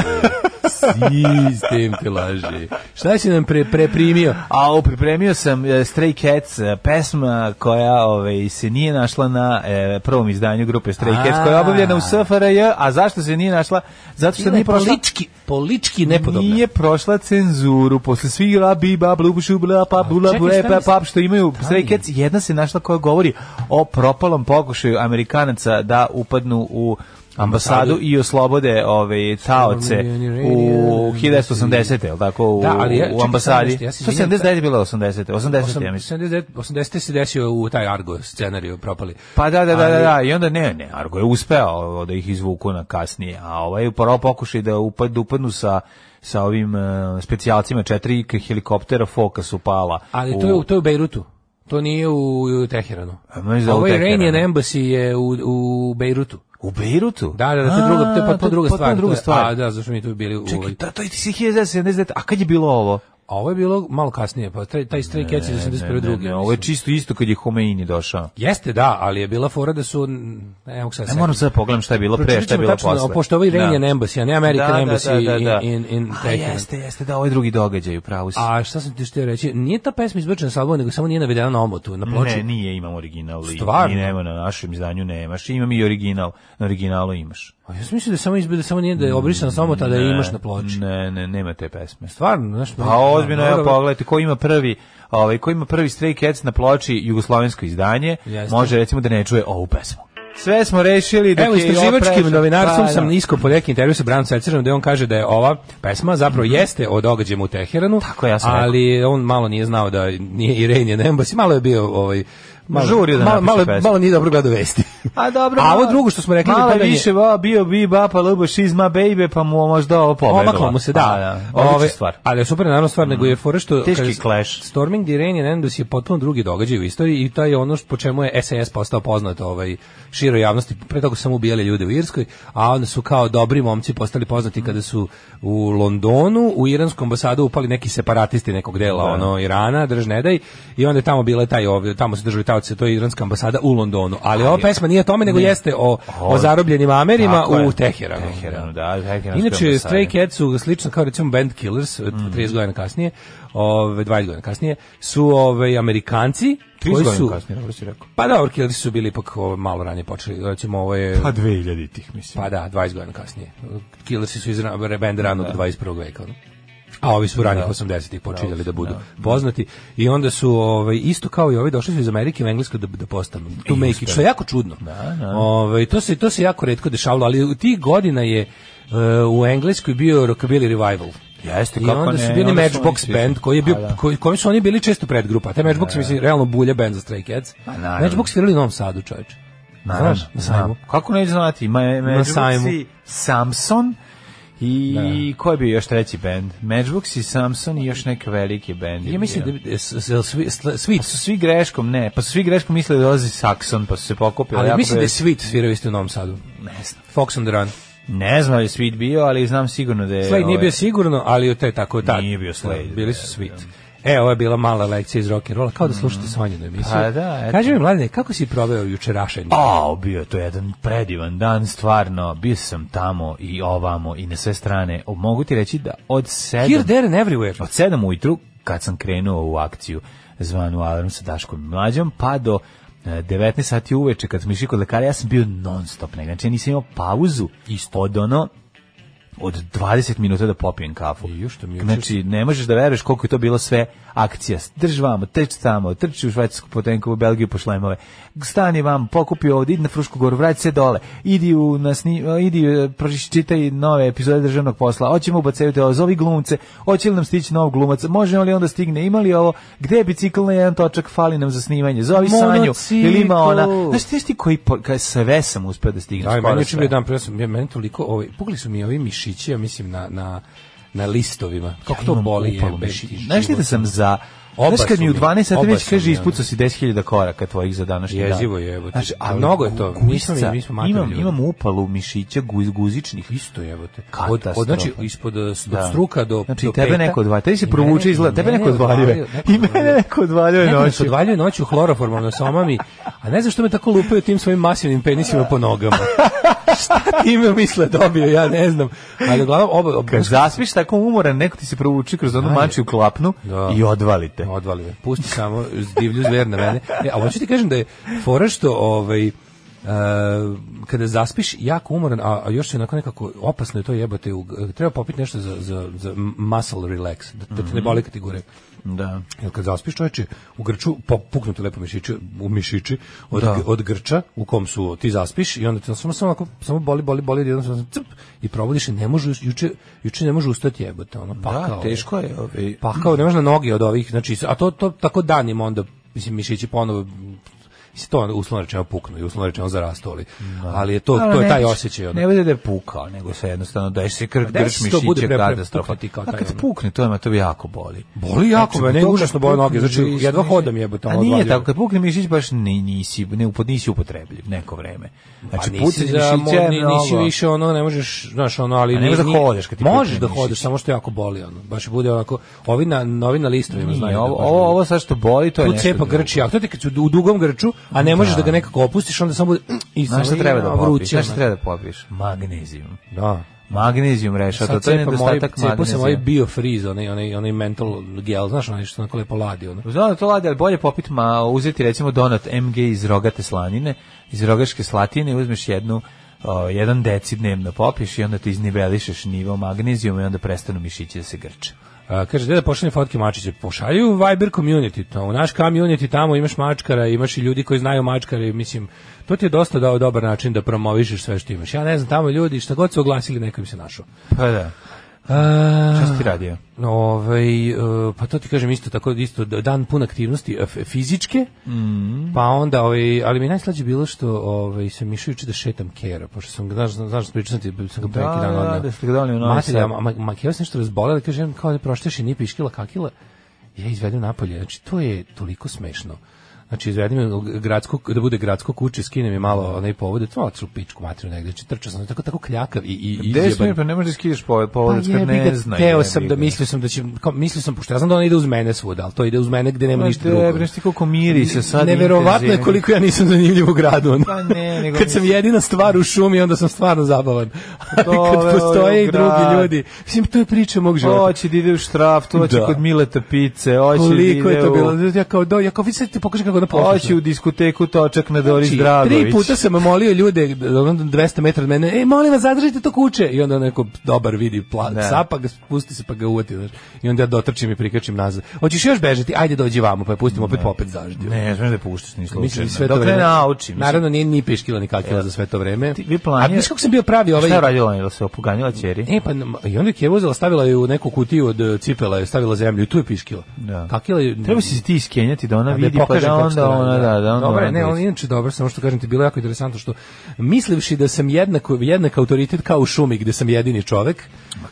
[SPEAKER 6] sistem te laže. Šta si nam pre, preprimio?
[SPEAKER 7] A o, pripremio sam e, Stray Cats e, pesma koja ovaj, se nije našla na e, prvom izdanju grupe Stray Cats koja je obavljena u SFRJ, a zašto se nije našla? Zato što
[SPEAKER 6] Bila je
[SPEAKER 7] nije prošla
[SPEAKER 6] politički, politički nepodobna.
[SPEAKER 7] Nije prošla cenzuru posle svih la biba blu šu, bla pa bula
[SPEAKER 6] čekaj,
[SPEAKER 7] bre
[SPEAKER 6] šta
[SPEAKER 7] pa
[SPEAKER 6] misli-
[SPEAKER 7] pa što imaju
[SPEAKER 6] Da li?
[SPEAKER 7] Stray Cats, jedna se našla koja govori o propalom pokušaju Amerikanaca da upadnu u ambasadu i oslobode ove taoce u 1980. jel tako u,
[SPEAKER 6] Da, ali
[SPEAKER 7] u
[SPEAKER 6] ja- čekaj, samo
[SPEAKER 7] ambasadi.
[SPEAKER 6] nešto, ja se
[SPEAKER 7] To
[SPEAKER 6] izvinjam,
[SPEAKER 7] 79 je bilo 80. 80 ja mislim.
[SPEAKER 6] 80 80 se desio u taj Argo scenariju propali.
[SPEAKER 7] Pa da, da, da, da,
[SPEAKER 6] Ali-
[SPEAKER 7] da, i onda ne, ne, Argo je uspeo ovo, da ih izvuku na kasnije, a ovaj je prvo pokušaj da upad, da upadnu sa, sa ovim uh, specijalcima, četiri k- helikoptera foka su pala.
[SPEAKER 6] Ali to je, u- to je u Bejrutu. To nije u, u Teheranu.
[SPEAKER 7] A možda u
[SPEAKER 6] Ovo je
[SPEAKER 7] Teheranu.
[SPEAKER 6] Iranian Embassy je u, u Bejrutu.
[SPEAKER 7] U Beirutu?
[SPEAKER 6] Da, da, da, to je druga, to je potpuno druga stvar.
[SPEAKER 7] pa druga
[SPEAKER 6] to je-
[SPEAKER 7] stvar.
[SPEAKER 6] A, da, zašto mi tu bili u...
[SPEAKER 7] Čekaj, da, to je 1979, a kad je bilo ovo?
[SPEAKER 6] A ovo je bilo malo kasnije, pa taj, taj Stray Cats je 81.
[SPEAKER 7] Ne,
[SPEAKER 6] drugi.
[SPEAKER 7] ne, ovo je
[SPEAKER 6] mislim.
[SPEAKER 7] čisto isto kad je Homeini došao.
[SPEAKER 6] Jeste, da, ali je bila fora da su... Ne mogu sad
[SPEAKER 7] Ne
[SPEAKER 6] setim.
[SPEAKER 7] moram sad da pogledam šta je bilo pre,
[SPEAKER 6] Pročitat
[SPEAKER 7] šta je
[SPEAKER 6] ćemo
[SPEAKER 7] bilo
[SPEAKER 6] tačno,
[SPEAKER 7] posle.
[SPEAKER 6] Pošto ovo je Iranian Embassy, a ne American
[SPEAKER 7] Da, da,
[SPEAKER 6] Embassy
[SPEAKER 7] da, da, da.
[SPEAKER 6] in, in, in
[SPEAKER 7] A
[SPEAKER 6] Teheranu.
[SPEAKER 7] jeste, jeste, da, ovo je drugi događaj, u pravu si.
[SPEAKER 6] A šta sam ti što reći? Nije ta pesma izbačena sa albuma, nego samo nije navedena na omotu, na ploči.
[SPEAKER 7] Ne, nije, imam original. i-
[SPEAKER 6] Stvarno?
[SPEAKER 7] I nema na našem izdanju nemaš. Imam i original. Na originalu imaš.
[SPEAKER 6] A ja sam mislio da je samo izbede, samo nije da je obrisana samo tada da je imaš na ploči.
[SPEAKER 7] Ne, ne, nema te pesme.
[SPEAKER 6] Stvarno, znaš,
[SPEAKER 7] Pa ozbiljno, evo
[SPEAKER 6] dobro,
[SPEAKER 7] pogledajte, ko ima prvi, ovaj, ko ima prvi Stray Cats na ploči jugoslovensko izdanje,
[SPEAKER 6] Jeste.
[SPEAKER 7] može recimo da ne čuje ovu pesmu. Sve smo rešili da
[SPEAKER 6] Evo, istraživačkim novinarstvom
[SPEAKER 7] Pa,
[SPEAKER 6] sam iskao po neki intervju sa Branom Cercerom da je on kaže da je ova pesma zapravo jeste o događajima u Teheranu,
[SPEAKER 7] Mhm. Tako ja sam
[SPEAKER 6] ali on malo nije znao da nije Iranian Embassy, malo je bio ovaj, malo,
[SPEAKER 7] Žurio da
[SPEAKER 6] malo,
[SPEAKER 7] napiše
[SPEAKER 6] malo,
[SPEAKER 7] pesmu.
[SPEAKER 6] malo nije dobro gledao vesti.
[SPEAKER 7] A dobro.
[SPEAKER 6] A ovo drugo što smo rekli,
[SPEAKER 7] malo
[SPEAKER 6] da
[SPEAKER 7] je
[SPEAKER 6] tada nije-
[SPEAKER 7] više va, bio bi ba pa lubo she's my baby pa mu možda ovo pobeglo.
[SPEAKER 6] Pomaklo mu se, da.
[SPEAKER 7] A, Odlična
[SPEAKER 6] Ove,
[SPEAKER 7] stvar.
[SPEAKER 6] Ali je super naravno stvar, nego je fora što...
[SPEAKER 7] Teški
[SPEAKER 6] kaže,
[SPEAKER 7] clash.
[SPEAKER 6] Storming the Iranian Embassy je potpuno drugi događaj u istoriji i to je ono što- po čemu je SAS postao poznat ovaj, široj javnosti. Pre toga su samo ubijali ljude u Irskoj, a onda su kao dobri momci postali poznati kada su u Londonu, u iranskom ambasadu upali neki separatisti nekog dela ono, Irana, drž ne daj, i onda je tamo bila taj, ovaj, tamo su držali taoci, to je iranska ambasada u Londonu. Ali ova pesma nije o tome, nego jeste o, o zarobljenim Amerima
[SPEAKER 7] Tako je.
[SPEAKER 6] u Teheranu.
[SPEAKER 7] Teheranu, da, Teheranskoj
[SPEAKER 6] Inače,
[SPEAKER 7] ambasadi.
[SPEAKER 6] Stray Cats su slično kao recimo band Killers,
[SPEAKER 7] Mhm.
[SPEAKER 6] 30 godina kasnije, ove, 20 godina kasnije, su ove, Amerikanci,
[SPEAKER 7] 30
[SPEAKER 6] koji
[SPEAKER 7] godina
[SPEAKER 6] su...
[SPEAKER 7] kasnije, dobro si rekao.
[SPEAKER 6] Pa da, Killers su bili ipak ovo, malo ranije počeli, recimo ovo je...
[SPEAKER 7] Pa 2000 tih, mislim.
[SPEAKER 6] Pa da, 20 godina kasnije. Killersi su iz ra- band ranog 21. veka. ono. A ovi su ranih 80-ih počinjali da budu poznati i onda su ovaj isto kao i ovi došli su iz Amerike u Englesku da da postanu tu make it, što je jako čudno. Ovaj to se to se jako retko dešavalo, ali u tih godina je e, u Engleskoj bio rockabilly revival.
[SPEAKER 7] Jeste,
[SPEAKER 6] I
[SPEAKER 7] kako
[SPEAKER 6] onda
[SPEAKER 7] ne,
[SPEAKER 6] su bili
[SPEAKER 7] onda su oni
[SPEAKER 6] Matchbox
[SPEAKER 7] svi-
[SPEAKER 6] band koji je bio
[SPEAKER 7] Pa da.
[SPEAKER 6] koji kojim su oni bili često predgrupa. Taj Matchbox mislim realno bulja band za Stray Cats.
[SPEAKER 7] Pa naravno.
[SPEAKER 6] Matchbox svirali u Novom Sadu, čoveče.
[SPEAKER 7] Naravno,
[SPEAKER 6] Znaš, na sajmu.
[SPEAKER 7] znam. Kako ne znati? Ma,
[SPEAKER 6] sajmu.
[SPEAKER 7] Matchbox i Samson i ko je bio još treći bend? Matchbox i Samson i još neke velike bend.
[SPEAKER 6] Ja mislim da bi- s- s- jel svi- sl-
[SPEAKER 7] Pa
[SPEAKER 6] Sweet
[SPEAKER 7] su svi greškom, ne, pa su svi greškom mislili da dolazi Saxon, pa su se pokupili.
[SPEAKER 6] Ali
[SPEAKER 7] jako
[SPEAKER 6] mislim da je
[SPEAKER 7] već-
[SPEAKER 6] Sweet svirao isto u Novom Sadu.
[SPEAKER 7] Ne znam.
[SPEAKER 6] Fox on the Run.
[SPEAKER 7] Ne znam da je Sweet bio, ali znam sigurno da je...
[SPEAKER 6] Slade nije
[SPEAKER 7] ovaj,
[SPEAKER 6] bio sigurno, ali to je tako tad.
[SPEAKER 7] Nije bio Slade,
[SPEAKER 6] Da, Bili su
[SPEAKER 7] da,
[SPEAKER 6] Sweet. E, ovo je bila mala lekcija iz rock and rolla, kao da slušate Sonjinu emisiju.
[SPEAKER 7] Pa da, eto. Pa,
[SPEAKER 6] Kaži mi, mladine, kako si proveo jučerašenje?
[SPEAKER 7] A, bio je to jedan predivan dan, stvarno. Bio sam tamo i ovamo i na sve strane. O, mogu ti reći da od
[SPEAKER 6] Here,
[SPEAKER 7] sedam...
[SPEAKER 6] there and everywhere.
[SPEAKER 7] Od 7 ujutru, kad sam krenuo u akciju zvanu Alarm sa Daškom i Mlađom, pa do e, 19 sati uveče kad smo išli kod lekara, ja sam bio non stop negdje. Znači, ja nisam imao pauzu Isto. od ono od 20 minuta da popijem kafu.
[SPEAKER 6] I još to mi je
[SPEAKER 7] znači, ne možeš da veruješ koliko je to bilo sve akcija. Drž vamo, trč tamo, trči u Švajcarsku potenku, u Belgiju po šlemove. Stani vam, pokupi ovdje, idi na Frušku goru, vrati se dole. Idi u na sni, idi e, pročiš- čitaj nove epizode državnog posla. Hoćemo ubacaju te ovo, zovi glumce. Hoće li nam stići novog glumaca? Može li onda stigne? Ima li ovo? Gde je bicikl na jedan točak? Fali nam za snimanje. Zovi Sanju.
[SPEAKER 6] Monocikl.
[SPEAKER 7] Ili ima ona. Znaš, ti ti koji, po- kaj sve sam uspeo da stignem.
[SPEAKER 6] Da, i
[SPEAKER 7] skoro
[SPEAKER 6] meni je juče
[SPEAKER 7] sve.
[SPEAKER 6] bio dan pre, ja sam, ja- meni toliko, ovaj, pukli su mi ovi mišići, ja mislim, na, na na listovima. Kako to
[SPEAKER 7] imam
[SPEAKER 6] boli
[SPEAKER 7] upalu
[SPEAKER 6] jebe
[SPEAKER 7] mišić.
[SPEAKER 6] ti
[SPEAKER 7] Znaš li da
[SPEAKER 6] život.
[SPEAKER 7] sam za
[SPEAKER 6] Oba
[SPEAKER 7] Znaš kad
[SPEAKER 6] su
[SPEAKER 7] mi u
[SPEAKER 6] mi,
[SPEAKER 7] 12 sati
[SPEAKER 6] oba
[SPEAKER 7] već
[SPEAKER 6] su
[SPEAKER 7] kaže
[SPEAKER 6] mi,
[SPEAKER 7] ispucao si 10.000 koraka tvojih za današnji dan.
[SPEAKER 6] Jezivo je, evo ti.
[SPEAKER 7] Znači,
[SPEAKER 6] A
[SPEAKER 7] ali
[SPEAKER 6] mnogo je to.
[SPEAKER 7] gu-
[SPEAKER 6] Mi smo-
[SPEAKER 7] guzica,
[SPEAKER 6] mi smo matori
[SPEAKER 7] imam,
[SPEAKER 6] ljudi.
[SPEAKER 7] imam upalu mišića guz, guzičnih.
[SPEAKER 6] Isto jebote. Od,
[SPEAKER 7] Katastrofa.
[SPEAKER 6] od, znači, ispod eh, s- od
[SPEAKER 7] Da.
[SPEAKER 6] struka do
[SPEAKER 7] Znači,
[SPEAKER 6] do
[SPEAKER 7] tebe
[SPEAKER 6] peta.
[SPEAKER 7] neko odvalja. Tebi se
[SPEAKER 6] I mene-
[SPEAKER 7] provuče
[SPEAKER 6] i
[SPEAKER 7] izgleda, tebe
[SPEAKER 6] mene
[SPEAKER 7] neko odvalio.
[SPEAKER 6] odvalio, neko
[SPEAKER 7] I mene
[SPEAKER 6] odvalio.
[SPEAKER 7] neko odvalio je
[SPEAKER 6] Neko nas
[SPEAKER 7] noću.
[SPEAKER 6] odvaljuje noću hloroformom na somami, a ne znam što me tako lupaju tim svojim masivnim penisima po nogama. Šta time misle dobio, ja ne znam. Ali uglavnom oba... oba
[SPEAKER 7] Kad zaspiš tako umoran, neko ti se provuči kroz onu
[SPEAKER 6] Da, je.
[SPEAKER 7] mačiju klapnu
[SPEAKER 6] Da.
[SPEAKER 7] i odvalite.
[SPEAKER 6] Odvali me. Pusti samo divlju zver na mene. E, a hoću ti kažem da je fora što ovaj e, kada zaspiš jako umoran, a, a još se onako nekako opasno je to jebote, u- treba popiti nešto za, za, za muscle relax, da, da te ne boli kad ti gore.
[SPEAKER 7] Da.
[SPEAKER 6] Jer kad zaspiš čoveče, u grču po, puknu ti lepo mišići, u mišići od, gr- od grča u kom su ti zaspiš i onda ti samo samo onako, samo boli, boli, boli, jedan sam crp i probudiš i ne može juče juče ne može ustati jebote, ono pakao.
[SPEAKER 7] Da, teško je. Ovaj,
[SPEAKER 6] Pa kao ne može na noge od ovih, znači, a to, to tako danima onda, mislim, mišići ponovo, mislim, to uslovno rečeno puknu i uslovno rečeno zarastu, ali, ali je to,
[SPEAKER 7] Ali
[SPEAKER 6] to je
[SPEAKER 7] ne
[SPEAKER 6] taj
[SPEAKER 7] bude-
[SPEAKER 6] osjećaj. Ono.
[SPEAKER 7] Pa Ne bude da je pukao, nego se jednostavno daješ se krk,
[SPEAKER 6] A desi
[SPEAKER 7] grč
[SPEAKER 6] se to, bude
[SPEAKER 7] mišiće,
[SPEAKER 6] pre- pre-
[SPEAKER 7] katastrofa.
[SPEAKER 6] pukne ti kao
[SPEAKER 7] A
[SPEAKER 6] taj
[SPEAKER 7] kad
[SPEAKER 6] ono.
[SPEAKER 7] pukne, to me to jako boli.
[SPEAKER 6] Boli jako,
[SPEAKER 7] Znači,
[SPEAKER 6] mene
[SPEAKER 7] to kad
[SPEAKER 6] užasno bole
[SPEAKER 7] pukne,
[SPEAKER 6] noge, znači,
[SPEAKER 7] živiš,
[SPEAKER 6] jedva
[SPEAKER 7] ne.
[SPEAKER 6] hodam jebate.
[SPEAKER 7] A
[SPEAKER 6] ono,
[SPEAKER 7] nije
[SPEAKER 6] odvaljujem.
[SPEAKER 7] tako, kad pukne mišić baš ni, nisi, ne, upod, nisi upotrebljiv neko vreme. Znači,
[SPEAKER 6] Pa
[SPEAKER 7] pa
[SPEAKER 6] nisi
[SPEAKER 7] pucanje
[SPEAKER 6] za
[SPEAKER 7] mišića je
[SPEAKER 6] modni, nisi
[SPEAKER 7] mnogo.
[SPEAKER 6] više ono, ne možeš, znaš, ono, ali...
[SPEAKER 7] A ne
[SPEAKER 6] ni-
[SPEAKER 7] možeš da
[SPEAKER 6] ni-
[SPEAKER 7] hodeš kad ti
[SPEAKER 6] Možeš
[SPEAKER 7] pukne
[SPEAKER 6] da hodeš,
[SPEAKER 7] mišić.
[SPEAKER 6] samo što jako boli, ono. Baš bude onako, ovi na, novi na listovima
[SPEAKER 7] Nije,
[SPEAKER 6] znaju. da
[SPEAKER 7] ovo,
[SPEAKER 6] baš
[SPEAKER 7] ovo,
[SPEAKER 6] boli.
[SPEAKER 7] ovo sad što boli, to je
[SPEAKER 6] tu
[SPEAKER 7] nešto
[SPEAKER 6] cepa
[SPEAKER 7] drugo.
[SPEAKER 6] grči, a to ti kad su u dugom grču, a ne možeš da, ga nekako opustiš, onda samo bude... mm, I
[SPEAKER 7] Znaš šta
[SPEAKER 6] samo-
[SPEAKER 7] treba da
[SPEAKER 6] ja,
[SPEAKER 7] popiješ?
[SPEAKER 6] vruće,
[SPEAKER 7] Znaš šta
[SPEAKER 6] ono.
[SPEAKER 7] treba da popiješ? Magnezijum.
[SPEAKER 6] Da.
[SPEAKER 7] Magnezijum rešava, to,
[SPEAKER 6] Sad
[SPEAKER 7] to je pa
[SPEAKER 6] cepa moj,
[SPEAKER 7] nedostatak
[SPEAKER 6] cepo se moj
[SPEAKER 7] magnezijuma.
[SPEAKER 6] biofreeze, onaj, onaj, onaj mental gel, znaš onaj što onako lepo ladi, ono.
[SPEAKER 7] Znam da to lade, ali bolje popit, ma, uzeti recimo donat MG iz rogate slanine, iz rogaške slatine, i uzmeš jednu, o, jedan deci dnevno popiš i onda ti iznivelišeš nivo magnezijuma i onda prestanu mišići da se grče.
[SPEAKER 6] A, kaže, gde da pošaljem fotke mačića? Pošalju u Viber community, to, u naš community tamo imaš mačkara, imaš i ljudi koji znaju mačkare, i mislim, to ti je dosta dao dobar način da promovišeš sve što imaš. Ja ne znam, tamo ljudi, šta god su oglasili, neko im se našao.
[SPEAKER 7] Pa da.
[SPEAKER 6] A,
[SPEAKER 7] Šta si ti radio?
[SPEAKER 6] Ovaj, e, pa to ti kažem isto tako isto d- dan pun aktivnosti e, f- fizičke.
[SPEAKER 7] Mm.
[SPEAKER 6] Pa onda ovaj ali mi je najslađe bilo što ovaj se mišujući da šetam kera, pošto sam znaš znaš pričao sam ti sam ga pre
[SPEAKER 7] Da,
[SPEAKER 6] neki dan
[SPEAKER 7] da,
[SPEAKER 6] odneo.
[SPEAKER 7] da ste ga doneli u Novi
[SPEAKER 6] Matilja,
[SPEAKER 7] Sad.
[SPEAKER 6] ma, ma, ma, Keva se nešto razbolela, kaže on kao da prošteš i nije piškila kakila. Ja izvedem napolje, znači to je toliko smešno. Znači izvedem je u gradsko da bude gradsko kuće, skinem je malo onaj povode, to otišao u pičku materiju negde, znači trčao sam tako tako kljakav i i
[SPEAKER 7] Gde si
[SPEAKER 6] izjeban.
[SPEAKER 7] mi, pa ne možeš skidaš povod, povodac
[SPEAKER 6] Pa
[SPEAKER 7] kad
[SPEAKER 6] jebi
[SPEAKER 7] ne
[SPEAKER 6] ga,
[SPEAKER 7] zna.
[SPEAKER 6] Teo
[SPEAKER 7] jebi
[SPEAKER 6] sam
[SPEAKER 7] ga.
[SPEAKER 6] da mislio sam da će kao, mislio sam pošto ja znam da ona ide uz mene svuda, ali to ide uz mene gde nema
[SPEAKER 7] Ma
[SPEAKER 6] ništa
[SPEAKER 7] te,
[SPEAKER 6] drugo. Pa
[SPEAKER 7] bre, Pa znaš ti koliko miri se sad
[SPEAKER 6] Neverovatno je
[SPEAKER 7] intenzivno.
[SPEAKER 6] koliko ja nisam zanimljiv u gradu. ono.
[SPEAKER 7] Pa ne, nego
[SPEAKER 6] Kad sam
[SPEAKER 7] mislim-
[SPEAKER 6] jedina stvar u šumi, onda sam stvarno zabavan. Ali
[SPEAKER 7] Doveo
[SPEAKER 6] kad postoje
[SPEAKER 7] je u
[SPEAKER 6] i drugi
[SPEAKER 7] grad.
[SPEAKER 6] ljudi. Mislim, to je priča mog života.
[SPEAKER 7] Hoće da ide u štraf, to hoće
[SPEAKER 6] Da.
[SPEAKER 7] kod Mileta pice, hoće da ide
[SPEAKER 6] Koliko je to
[SPEAKER 7] u-
[SPEAKER 6] bilo? Ja kao, do, ja kao, vidi sad ti pokažem kako da
[SPEAKER 7] Hoće u diskoteku točak na Doris Dragović.
[SPEAKER 6] tri puta sam molio ljude, ono 200 metara od mene, ej, molim vas, zadržite to kuće. I onda neko dobar vidi pla,
[SPEAKER 7] Da.
[SPEAKER 6] psa, pa ga spusti se, pa ga uvati. Znaš. I onda ja dotrčim i prikačim nazad. Hoćeš još bežati? Ajde, dođi vamo, pa je pustimo, opet, pa opet zaždi.
[SPEAKER 7] Ne, smeš da puštaš ni slučajno.
[SPEAKER 6] Mislim, sve to
[SPEAKER 7] Dok ne
[SPEAKER 6] vreme-
[SPEAKER 7] naučim.
[SPEAKER 6] Naravno, nije ni piškila ni kakila za sve to vreme.
[SPEAKER 7] Ti- vi planirate-
[SPEAKER 6] A znaš kako sam bio pravi ovaj...
[SPEAKER 7] Šta je radila ona? Jel se opoganjila ćeri?
[SPEAKER 6] E, pa, n- i onda je je uzela, stavila je u neku kutiju od e, cipela, je stavila zemlju i tu je piškila.
[SPEAKER 7] Da.
[SPEAKER 6] Kakila je...
[SPEAKER 7] Treba si se ti iskenjati da ona
[SPEAKER 6] Da je
[SPEAKER 7] vidi, pa
[SPEAKER 6] pokažem
[SPEAKER 7] da
[SPEAKER 6] kako se
[SPEAKER 7] onda
[SPEAKER 6] to
[SPEAKER 7] ona,
[SPEAKER 6] radi,
[SPEAKER 7] da, da onda
[SPEAKER 6] Dobro, je,
[SPEAKER 7] ona
[SPEAKER 6] ne,
[SPEAKER 7] bude-
[SPEAKER 6] on inače dobro, samo što kažem ti bilo je jako interesantno što mislivši da sam jednako jednak autoritet kao u šumi gde sam jedini čovek,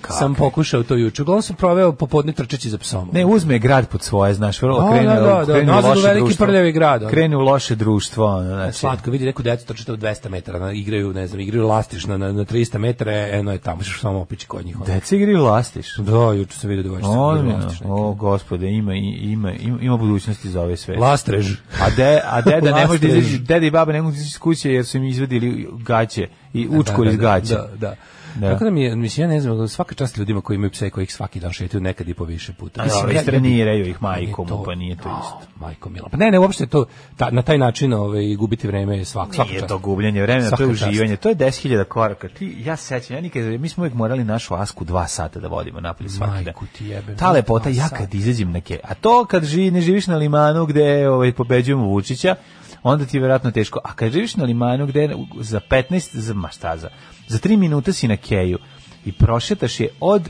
[SPEAKER 6] sam pokušao to juče. Uglavnom sam proveo popodne trčeći za psom.
[SPEAKER 7] Ne, uzme grad pod svoje, znaš, vrlo
[SPEAKER 6] Da,
[SPEAKER 7] krene,
[SPEAKER 6] da, da, da,
[SPEAKER 7] krene u
[SPEAKER 6] nazad u
[SPEAKER 7] loše
[SPEAKER 6] veliki
[SPEAKER 7] društvo.
[SPEAKER 6] prljavi grad, ono.
[SPEAKER 7] Krene u loše društvo, ono, znači.
[SPEAKER 6] slatko vidi neku decu trčite od 200 metara, na, igraju, ne znam, igraju lastiš na, na, na 300 metara, e, eno je tamo, što samo opići kod njih. ono.
[SPEAKER 7] Deci igri lastiš.
[SPEAKER 6] Da, juče sam vidio devojčice. koje igraju
[SPEAKER 7] Ozbiljno.
[SPEAKER 6] lastiš neke.
[SPEAKER 7] O, gospode, ima, i- ima, ima, ima budućnosti za ove sve.
[SPEAKER 6] Lastrež.
[SPEAKER 7] A, de, a deda ne može da
[SPEAKER 6] Lastrež.
[SPEAKER 7] izađe, deda i baba ne mogu izaći iz kuće jer su im izvadili gaće i učko iz gaće.
[SPEAKER 6] Da, da.
[SPEAKER 7] Da.
[SPEAKER 6] Tako da mi je, mislim, ja ne znam, svaka čast ljudima koji imaju pse kojih svaki dan šetaju nekad i po više puta.
[SPEAKER 7] Mislim,
[SPEAKER 6] ja- ja-
[SPEAKER 7] istreniraju ih majkom,
[SPEAKER 6] Nije to-
[SPEAKER 7] pa nije to isto.
[SPEAKER 6] Majko Mila. Pa ne, ne, uopšte to, ta, na taj način ovaj, gubiti vreme je svak, svaka
[SPEAKER 7] Nije
[SPEAKER 6] čast.
[SPEAKER 7] to gubljenje vremena, to je
[SPEAKER 6] Svaka čast.
[SPEAKER 7] uživanje. To je 10.000 koraka. Ti, ja se sećam, ja nikad, mi smo uvijek morali našu asku dva sata da vodimo napolje svaki dan.
[SPEAKER 6] Majku ti jebem.
[SPEAKER 7] Ta lepota, ja kad izađem na ke... A to kad živi, ne živiš na limanu gde ovaj, pobeđujemo Vučića, onda ti je verovatno teško. A kad živiš na limanu gde u- za 15, za, ma šta za, za 3 minuta si na keju i prošetaš je od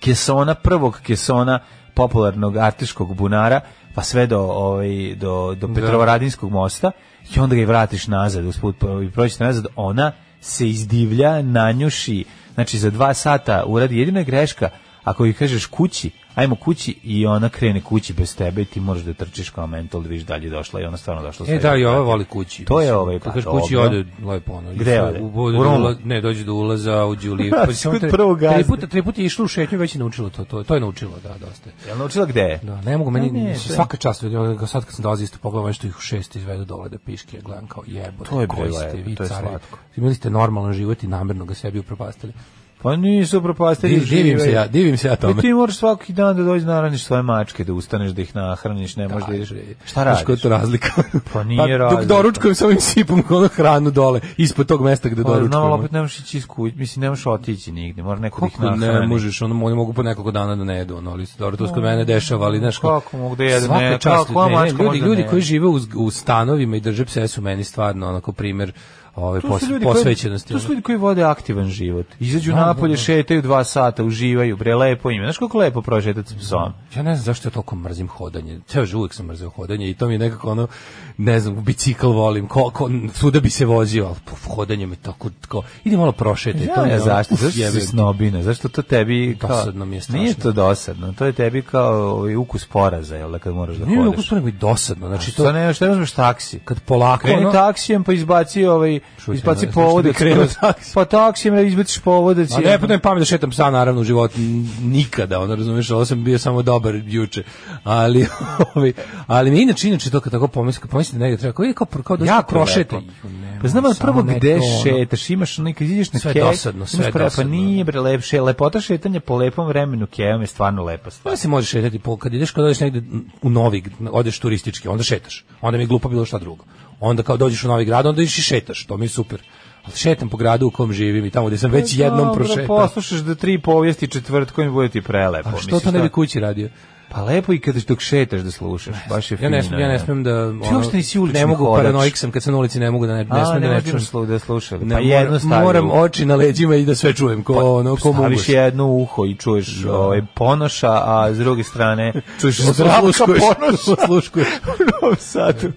[SPEAKER 7] kesona, prvog kesona popularnog artiškog bunara, pa sve do, ovaj, do, do Petrovaradinskog mosta i onda ga i vratiš nazad, usput, pa- i prođete nazad, ona se izdivlja, nanjuši, Znači, za dva sata uradi jedina je greška, ako joj kažeš kući, ajmo kući i ona krene kući bez tebe i ti moraš da trčiš kao mentol da vidiš dalje došla i ona stvarno došla. s
[SPEAKER 6] E
[SPEAKER 7] tebe.
[SPEAKER 6] da, i ova voli kući.
[SPEAKER 7] To je
[SPEAKER 6] Mislim,
[SPEAKER 7] ovaj,
[SPEAKER 6] Kad
[SPEAKER 7] pa
[SPEAKER 6] kaže kući
[SPEAKER 7] dobro.
[SPEAKER 6] ode lepo ono.
[SPEAKER 7] Gde
[SPEAKER 6] išla-
[SPEAKER 7] ode?
[SPEAKER 6] U,
[SPEAKER 7] U
[SPEAKER 6] u, u
[SPEAKER 7] Rumu?
[SPEAKER 6] ne, dođe do ulaza, uđe u lift.
[SPEAKER 7] Da,
[SPEAKER 6] pa će samo
[SPEAKER 7] kod
[SPEAKER 6] tre-
[SPEAKER 7] prvog gazde.
[SPEAKER 6] Tri puta, tri puta je išla u šetnju, već je naučila to. To, to je naučila, da, dosta. je.
[SPEAKER 7] Jel naučila gde je?
[SPEAKER 6] Da, ne mogu meni
[SPEAKER 7] ne,
[SPEAKER 6] mislim,
[SPEAKER 7] sve.
[SPEAKER 6] svaka čast ljudi, ja sad kad sam dolazio isto pogledam nešto ih u šest izvedu dole da piške, ja gledam kao jebote.
[SPEAKER 7] To je
[SPEAKER 6] koji
[SPEAKER 7] bilo,
[SPEAKER 6] ste
[SPEAKER 7] je,
[SPEAKER 6] vi
[SPEAKER 7] to je
[SPEAKER 6] carevi.
[SPEAKER 7] slatko.
[SPEAKER 6] Imali ste normalan život i namerno ga sebi upropastili.
[SPEAKER 7] Pa nisu propastili
[SPEAKER 6] Div- divim se ja, divim se ja tome.
[SPEAKER 7] I ti moraš svaki dan da dođeš nahraniš svoje mačke, da ustaneš da ih nahraniš, ne možeš da ideš. Šta
[SPEAKER 6] Znaš koja je
[SPEAKER 7] radiš?
[SPEAKER 6] to razlika?
[SPEAKER 7] Pa nije
[SPEAKER 6] Dok
[SPEAKER 7] razlika.
[SPEAKER 6] doručkujem sa ovim sipom ono hranu dole, ispod tog mesta gde
[SPEAKER 7] Pa, znam, ali
[SPEAKER 6] doručkujem.
[SPEAKER 7] opet ne možeš ići iz kuće, mislim, ne možeš otići nigde, mora neko da ih
[SPEAKER 6] Kako
[SPEAKER 7] nahrani.
[SPEAKER 6] ne možeš, ono, oni mogu po nekoliko dana da ne jedu, ono, ali dobro, to se kod mene dešava, ali znaš
[SPEAKER 7] Kako mogu da jedu,
[SPEAKER 6] svaka
[SPEAKER 7] ne,
[SPEAKER 6] čast,
[SPEAKER 7] kako, koja
[SPEAKER 6] ne, ne,
[SPEAKER 7] mačka
[SPEAKER 6] ljudi,
[SPEAKER 7] može da
[SPEAKER 6] ljudi
[SPEAKER 7] ne
[SPEAKER 6] koji
[SPEAKER 7] jede?
[SPEAKER 6] žive u, z- u stanovima i drže pse su meni stvarno onako primer ove
[SPEAKER 7] To su
[SPEAKER 6] pos,
[SPEAKER 7] ljudi koji-
[SPEAKER 6] posvećenosti.
[SPEAKER 7] To
[SPEAKER 6] ono.
[SPEAKER 7] su ljudi koji vode aktivan život. Izađu
[SPEAKER 6] Da, da,
[SPEAKER 7] napolje,
[SPEAKER 6] da.
[SPEAKER 7] šetaju dva sata, uživaju, bre, lepo im je. Znaš kako lepo prošetati s psom?
[SPEAKER 6] Ja ne znam zašto ja toliko mrzim hodanje. Ceo život uvijek sam mrzio hodanje i to mi je nekako ono, ne znam, bicikl volim, ko, ko, svuda bi se vozio, ali po- hodanje mi tako, tako, idi malo prošetaj. to
[SPEAKER 7] Ja,
[SPEAKER 6] mi je
[SPEAKER 7] ja
[SPEAKER 6] ono,
[SPEAKER 7] zašto,
[SPEAKER 6] uf,
[SPEAKER 7] zašto si
[SPEAKER 6] jebem.
[SPEAKER 7] snobina, zašto to tebi... kao-
[SPEAKER 6] Dosadno mi je strašno.
[SPEAKER 7] Nije to dosadno, to je tebi kao ovaj, ukus poraza, jel da, kad moraš da
[SPEAKER 6] Nije mi
[SPEAKER 7] hodeš.
[SPEAKER 6] ukusno, nego i dosadno. Znači,
[SPEAKER 7] Šta
[SPEAKER 6] to,
[SPEAKER 7] ne, šta ne uzmeš taksi?
[SPEAKER 6] kad polako,
[SPEAKER 7] Kreni
[SPEAKER 6] ono,
[SPEAKER 7] taksijem pa izbaci ovaj
[SPEAKER 6] Što
[SPEAKER 7] izbaci
[SPEAKER 6] će-
[SPEAKER 7] povodac.
[SPEAKER 6] što bi krenuo
[SPEAKER 7] kroz-
[SPEAKER 6] taksi?
[SPEAKER 7] Pa taksijem ne izbaciš povodac.
[SPEAKER 6] A
[SPEAKER 7] i-
[SPEAKER 6] ne, pa ne pamet da šetam psa, naravno, u životu n- nikada, ono, razumiješ, ovo sam bio samo dobar juče, ali, ovaj, ali mi inače, inače to kad tako pomislim, kad pomislim da negdje treba, kao, ide kao, pro- kao da se
[SPEAKER 7] Jako
[SPEAKER 6] prošete.
[SPEAKER 7] lepo. Pa znam ali prvo gde šetaš, imaš onaj kad ideš na
[SPEAKER 6] ono- Sve
[SPEAKER 7] kej,
[SPEAKER 6] dosadno,
[SPEAKER 7] imaš
[SPEAKER 6] sve
[SPEAKER 7] pre- Pa
[SPEAKER 6] dosadno. ono.
[SPEAKER 7] nije bre lepše, lepota šetanja po lepom vremenu kejom je stvarno lepa stvar.
[SPEAKER 6] Pa se može šetati, po, kad ideš, kad odeš negde u Novi, odeš turistički, onda šetaš, onda mi je glupo bilo šta drugo. Onda kao dođeš u Novi grad, onda ideš i šetaš, to mi je super. Ali šetam po gradu u kom živim i tamo gde sam već jednom
[SPEAKER 7] Dobro,
[SPEAKER 6] prošetao.
[SPEAKER 7] Poslušaš da tri povijesti četvrtkom bude ti prelepo.
[SPEAKER 6] A što
[SPEAKER 7] mislim,
[SPEAKER 6] to ne bi kući radio?
[SPEAKER 7] Pa lepo i kad dok šetaš da slušaš, baš je
[SPEAKER 6] Ja
[SPEAKER 7] fino.
[SPEAKER 6] ne smem, ja ne smem da... ono,
[SPEAKER 7] Ti uopšte nisi ulični
[SPEAKER 6] Ne mogu,
[SPEAKER 7] hodač.
[SPEAKER 6] paranoik sam, kad sam na ulici ne mogu da ne, ne
[SPEAKER 7] A,
[SPEAKER 6] smem
[SPEAKER 7] ne
[SPEAKER 6] da ne
[SPEAKER 7] možeš
[SPEAKER 6] čujem.
[SPEAKER 7] slu- da slušaš.
[SPEAKER 6] Ne,
[SPEAKER 7] Pa jedno
[SPEAKER 6] moram,
[SPEAKER 7] stavi
[SPEAKER 6] moram
[SPEAKER 7] u-
[SPEAKER 6] oči na leđima i da sve čujem, ko ono, ko mogu.
[SPEAKER 7] Staviš jedno u uho i čuješ ovaj, ponoša, a s druge strane čuješ zdravka
[SPEAKER 6] Osluškuješ.
[SPEAKER 7] ponoša.
[SPEAKER 6] Osluškuješ.
[SPEAKER 7] U Novom Sadu.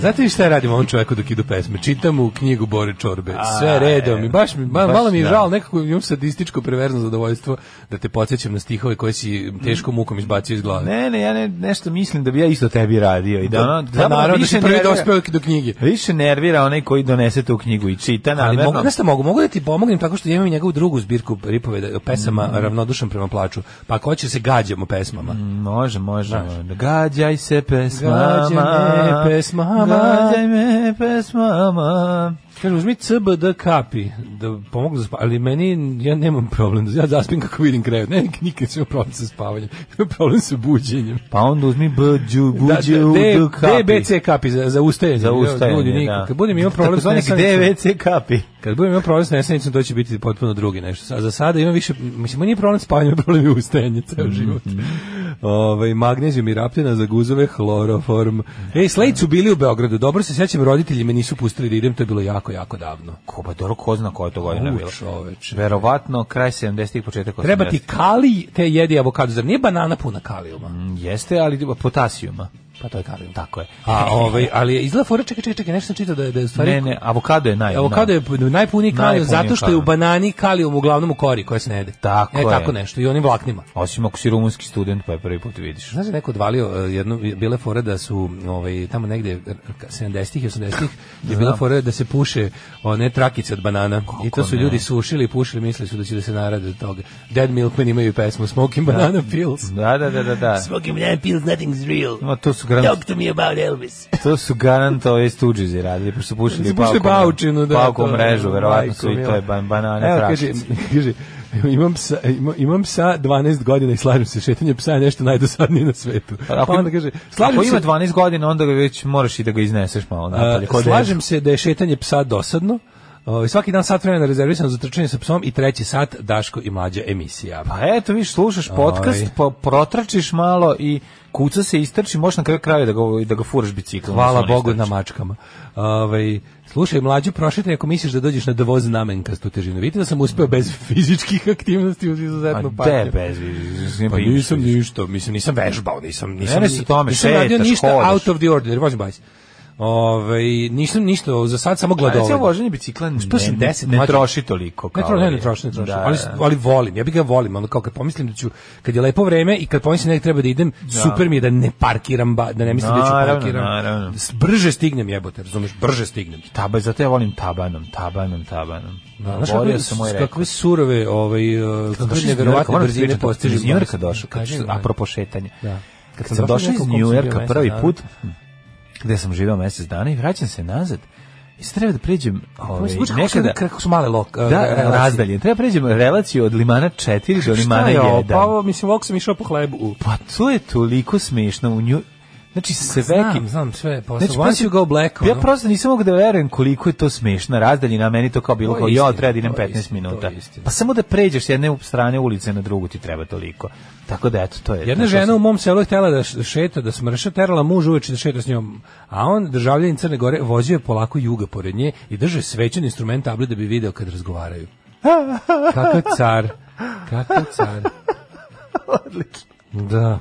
[SPEAKER 6] Znate vi šta ja radim ovom čoveku dok idu pesme? Čitam mu knjigu Bore Čorbe. Sve
[SPEAKER 7] A,
[SPEAKER 6] redom. I baš, mi, ba-
[SPEAKER 7] baš
[SPEAKER 6] malo mi je
[SPEAKER 7] da.
[SPEAKER 6] žal, nekako imam sadističko preverzno zadovoljstvo da te podsjećam na stihove koje si teškom mukom izbacio iz glave.
[SPEAKER 7] Ne, ne, ja ne, nešto mislim da bi ja isto tebi radio. I da, ono,
[SPEAKER 6] Pa
[SPEAKER 7] zapravo
[SPEAKER 6] naravno da
[SPEAKER 7] više
[SPEAKER 6] si prvi
[SPEAKER 7] nervira-
[SPEAKER 6] dospeo do knjige.
[SPEAKER 7] Više nervira onaj koji donese tu knjigu i čita
[SPEAKER 6] Ali
[SPEAKER 7] namerno.
[SPEAKER 6] mogu, znaš šta mogu, mogu da ti pomognem tako što ja imam njegovu drugu zbirku ripoveda, pesama ravnodušan prema plaču. Pa ako hoćeš se gađamo pesmama.
[SPEAKER 7] Mm. Može, može. Gađaj se pesmama.
[SPEAKER 6] Gađaj me pesmama.
[SPEAKER 7] Gađaj me pesmama.
[SPEAKER 6] Kaže, uzmi CBD kapi da pomogu za spavanje, ali meni, ja nemam problem, ja zaspim kako vidim krevet, ne, nikad sam imao problem sa spavanjem, imam problem sa buđenjem.
[SPEAKER 7] Pa onda uzmi buđu, buđu,
[SPEAKER 6] D-
[SPEAKER 7] buđu, kapi.
[SPEAKER 6] DBC kapi za, za ustajanje.
[SPEAKER 7] Za ustajanje,
[SPEAKER 6] Ljudi, nikad.
[SPEAKER 7] da.
[SPEAKER 6] Kad budem imao problem sa
[SPEAKER 7] Takozvani
[SPEAKER 6] nesanicom,
[SPEAKER 7] DVC kapi.
[SPEAKER 6] kad budem imao problem sa nesanicom, to će biti potpuno drugi nešto. A za sada imam više, mislim, nije problem spavanja, problem je ustajanje
[SPEAKER 7] Mhm.
[SPEAKER 6] ceo život. Ovaj magnezijum i raptina za guzove, chloroform. Ej, Slade su bili u Beogradu, dobro se sećam, roditelji me nisu pustili da idem, to je bilo jako, jako davno.
[SPEAKER 7] Ko, pa dobro, ko zna koja je to godina
[SPEAKER 6] U,
[SPEAKER 7] bila.
[SPEAKER 6] čoveče.
[SPEAKER 7] Verovatno, kraj 70-ih, početak 80-ih.
[SPEAKER 6] Treba ti kali, te jedi avokado, zar nije banana puna kalijuma?
[SPEAKER 7] Mhm. Jeste, ali potasijuma.
[SPEAKER 6] Pa to je kalijum.
[SPEAKER 7] Tako je.
[SPEAKER 6] A ovaj, ali je izgleda fora, čekaj, čekaj, čekaj, nešto sam čitao da je, da je u stvari...
[SPEAKER 7] Ne, ne, avokado je naj.
[SPEAKER 6] Avokado je najpuniji kalijum
[SPEAKER 7] Najpuniji
[SPEAKER 6] zato što je u
[SPEAKER 7] kalijum.
[SPEAKER 6] banani kalijum uglavnom u kori koja se ne jede.
[SPEAKER 7] Tako
[SPEAKER 6] e,
[SPEAKER 7] je.
[SPEAKER 6] tako nešto i onim vlaknima.
[SPEAKER 7] Osim ako si rumunski student, pa je prvi put vidiš.
[SPEAKER 6] Znaš da je neko odvalio eh, jednu bile fore da su ovaj tamo negde eh, 70-ih i 80-ih je bila fora da se puše one trakice od banana i to su
[SPEAKER 7] ne?
[SPEAKER 6] ljudi sušili i pušili mislili su da će da se narade od toga. Dead Milkmen imaju pesmu Smoking Banana Pills.
[SPEAKER 7] Da, da, da, da, da.
[SPEAKER 6] Smoking Banana Pills nothing's real.
[SPEAKER 7] Ma, to su garant,
[SPEAKER 6] to me about Elvis.
[SPEAKER 7] to su garant ove stuđizi radili, pošto su pušili
[SPEAKER 6] Su pušili
[SPEAKER 7] paukom,
[SPEAKER 6] baučinu, da,
[SPEAKER 7] paukom
[SPEAKER 6] to je, ono,
[SPEAKER 7] mrežu, verovatno su
[SPEAKER 6] majko
[SPEAKER 7] i to je
[SPEAKER 6] mila.
[SPEAKER 7] ban, banane
[SPEAKER 6] Evo, kaže,
[SPEAKER 7] trašice.
[SPEAKER 6] kaže, imam psa, ima- imam psa 12 godina i slažem se, šetanje psa je nešto najdosadnije na svetu.
[SPEAKER 7] Ako,
[SPEAKER 6] pa onda kaže, slažem
[SPEAKER 7] ako
[SPEAKER 6] se,
[SPEAKER 7] ima pa 12 godina, onda ga već moraš i da ga izneseš malo napolje.
[SPEAKER 6] a,
[SPEAKER 7] kod
[SPEAKER 6] slažem se da je šetanje psa dosadno, Ovaj, svaki dan sat vremena rezervisan za trčanje sa psom i treći sat Daško i mlađa emisija.
[SPEAKER 7] Pa eto, viš, slušaš podcast,
[SPEAKER 6] Aj.
[SPEAKER 7] pa protračiš malo i kuca se istrči, možeš na kraju kraju da ga, da ga furaš biciklom.
[SPEAKER 6] Hvala
[SPEAKER 7] da se on
[SPEAKER 6] Bogu na
[SPEAKER 7] istrči.
[SPEAKER 6] mačkama. Ovaj slušaj mlađu prošetaj ako misliš da dođeš na dovoz znamenkastu težinu. Vidite da sam uspeo bez fizičkih aktivnosti uz izuzetnu
[SPEAKER 7] A
[SPEAKER 6] patnju.
[SPEAKER 7] de, bez, bez,
[SPEAKER 6] Pa nisam ništa, mislim nisam vežbao, nisam nisam
[SPEAKER 7] Ne, ne se tome,
[SPEAKER 6] nisam radio
[SPEAKER 7] šetaš,
[SPEAKER 6] ništa
[SPEAKER 7] hodaš.
[SPEAKER 6] out of the order, vozim bajs. Ove, nisam ništa, za sad samo
[SPEAKER 7] Pa recimo
[SPEAKER 6] gladovanje.
[SPEAKER 7] voženje bicikla ne,
[SPEAKER 6] Uspeo sam
[SPEAKER 7] ne,
[SPEAKER 6] 10
[SPEAKER 7] ne
[SPEAKER 6] mlađe.
[SPEAKER 7] troši toliko.
[SPEAKER 6] Ne trošim, ne, ne trošim, ne trošim. ali, ali volim, ja bih ga volim, ono kao kad pomislim da ću, kad je lepo vreme i kad pomislim da negdje treba da idem, super mi je da ne parkiram, ba, da ne mislim da ću
[SPEAKER 7] Naravno,
[SPEAKER 6] parkiram.
[SPEAKER 7] naravno.
[SPEAKER 6] S- Brže stignem jebote, razumeš, brže stignem.
[SPEAKER 7] Taba, zato ja volim tabanom, tabanom, tabanom. Da,
[SPEAKER 6] Pa, Znaš kakve,
[SPEAKER 7] sam
[SPEAKER 6] s-
[SPEAKER 7] moj rekao.
[SPEAKER 6] kakve surove, ovaj, uh, kakve neverovatne brzine postižu.
[SPEAKER 7] Iz Njujorka došao, kad,
[SPEAKER 6] Kaži,
[SPEAKER 7] apropo šetanja.
[SPEAKER 6] Da.
[SPEAKER 7] Kad
[SPEAKER 6] Sam
[SPEAKER 7] sam
[SPEAKER 6] došao
[SPEAKER 7] došao iz
[SPEAKER 6] nekog kog sam bio
[SPEAKER 7] Njujorka
[SPEAKER 6] mesec
[SPEAKER 7] prvi
[SPEAKER 6] dana.
[SPEAKER 7] put, hm, gde sam živao mesec dana i vraćam se nazad, i sad treba da pređem ovaj,
[SPEAKER 6] Zvuči kako su-
[SPEAKER 7] nekada...
[SPEAKER 6] kako su male lok, uh,
[SPEAKER 7] Da,
[SPEAKER 6] relacije.
[SPEAKER 7] razdalje. Treba pređem relaciju od limana 4 do
[SPEAKER 6] Šta
[SPEAKER 7] limana
[SPEAKER 6] je
[SPEAKER 7] 1.
[SPEAKER 6] ovo? Pa ovo, mislim, ovako sam išao po hlebu. u-
[SPEAKER 7] Pa to je toliko smešno u nju. Znači sve
[SPEAKER 6] Znam, znam sve. Posle, once you go black,
[SPEAKER 7] ja
[SPEAKER 6] ono.
[SPEAKER 7] prosto nisam mogao da verujem koliko je to smešna razdaljina, a meni to kao bilo
[SPEAKER 6] To je
[SPEAKER 7] kao,
[SPEAKER 6] istina,
[SPEAKER 7] ja, treba da idem
[SPEAKER 6] to je
[SPEAKER 7] 15
[SPEAKER 6] istina, to je
[SPEAKER 7] minuta.
[SPEAKER 6] istina.
[SPEAKER 7] Pa samo da pređeš s jedne strane ulice na drugu ti treba toliko. Tako da, eto, to je.
[SPEAKER 6] Jedna
[SPEAKER 7] to
[SPEAKER 6] žena
[SPEAKER 7] sam-
[SPEAKER 6] u mom selu je htjela da š- šeta, da smrša, terala muž uveče da šeta s njom, a on, državljanin Crne Gore, vozio je polako juga pored nje i držao je svećan instrument tabli da bi video kad razgovaraju. Kakav car, kakav car. Odlično. Da.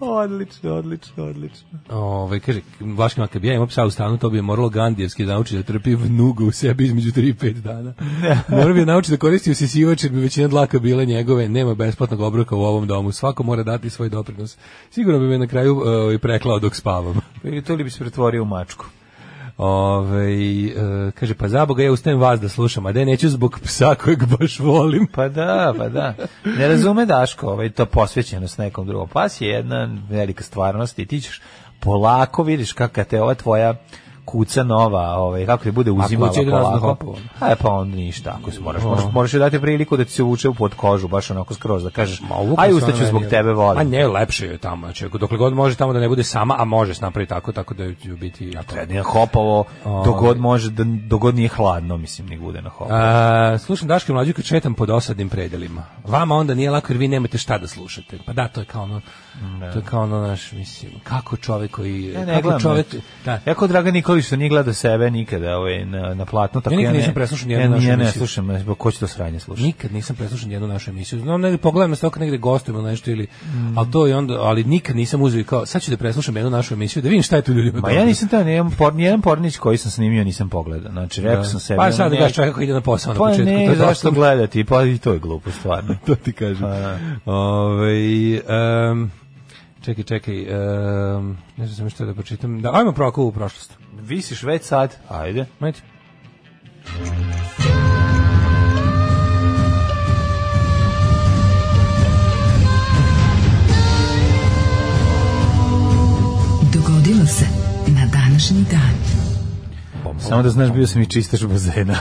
[SPEAKER 7] Odlično, odlično, odlično.
[SPEAKER 6] Ove, Ovaj, kaže, Vlaški makar bi ja imao psa u stanu, to bi je moralo Gandijevski da nauči da trpi vnuga u sebi između 3 i 5 dana. Morao bi da nauči da koristi usisivač, jer bi većina dlaka bila njegove, nema besplatnog obroka u ovom domu, svako mora dati svoj doprinos. Sigurno bi me na kraju e, i preklao dok spavam.
[SPEAKER 7] Ili to li bi se pretvorio u mačku?
[SPEAKER 6] Ove, e, kaže, pa zaboga ja ustajem vas da slušam, a da neću zbog psa kojeg baš volim.
[SPEAKER 7] Pa da, pa da. Ne razume Daško, ovaj, to posvećenost nekom drugom. Pas je jedna velika stvarnost i ti ćeš polako vidiš kakva te ova tvoja kuca nova, ovaj, kako te bude uzimala
[SPEAKER 6] kuca ide nazad na
[SPEAKER 7] polako.
[SPEAKER 6] hopu.
[SPEAKER 7] A pa onda ništa, ako se moraš, moraš, moraš joj dati priliku da ti se uvuče u pod kožu, baš onako skroz, da kažeš, aj ustaću zbog tebe,
[SPEAKER 6] A
[SPEAKER 7] volim.
[SPEAKER 6] ne, lepše je tamo. Znači, ako- dokle god može tamo da ne bude sama, a može se napraviti tako, tako da će biti jako...
[SPEAKER 7] Treba da je hopavo, dogod može, da, dogod nije hladno, mislim, nek bude na hopu.
[SPEAKER 6] ovaj. A, slušam Daške mlađu kad šetam po dosadnim predelima. Vama onda nije lako jer vi nemate šta da slušate. Pa da, to je kao ono, to je kao ono naš, mislim, kako čovek koji...
[SPEAKER 7] Ja ne
[SPEAKER 6] kako
[SPEAKER 7] gledam.
[SPEAKER 6] čovek,
[SPEAKER 7] znači.
[SPEAKER 6] da,
[SPEAKER 7] Ja kao Dragan Nikolić što nije gledao sebe nikada ovaj, na, na platno. Tako ja,
[SPEAKER 6] Ja nikad
[SPEAKER 7] ne,
[SPEAKER 6] nisam preslušao nijednu
[SPEAKER 7] ja,
[SPEAKER 6] našu
[SPEAKER 7] ja ne
[SPEAKER 6] emisiju.
[SPEAKER 7] slušam, ja, ko će to sranje slušati?
[SPEAKER 6] nikad nisam preslušao jednu našu emisiju. Znam, negdje pogledam se kad negdje gostujemo ili nešto ili...
[SPEAKER 7] Mm.
[SPEAKER 6] Ali to je onda, ali nikad nisam uzeo i kao, sad ću da preslušam jednu našu emisiju, da vidim šta je tu ljudima.
[SPEAKER 7] Ma
[SPEAKER 6] dobro.
[SPEAKER 7] Pa ja nisam taj, nijedan, por, nijedan pornić koji sam snimio nisam pogledao. Znači, rekao sam sebi...
[SPEAKER 6] Pa
[SPEAKER 7] ono,
[SPEAKER 6] sad da
[SPEAKER 7] ne,
[SPEAKER 6] gaš čovjeka koji ide na posao na
[SPEAKER 7] Pa
[SPEAKER 6] početku. to
[SPEAKER 7] ne,
[SPEAKER 6] je
[SPEAKER 7] zašto
[SPEAKER 6] dosta-
[SPEAKER 7] gledati? Pa i to je glupo, stvarno.
[SPEAKER 6] to ti kažem.
[SPEAKER 7] Pa
[SPEAKER 6] Ovaj, em, čekaj, čekaj, em, ne znam sam što da pročitam. Da, ajmo proko u prošlost.
[SPEAKER 7] Visiš već sad, ajde.
[SPEAKER 6] Majte.
[SPEAKER 5] Dogodilo se na današnji dan.
[SPEAKER 7] Samo da znaš, bio sam i čistaš bazena.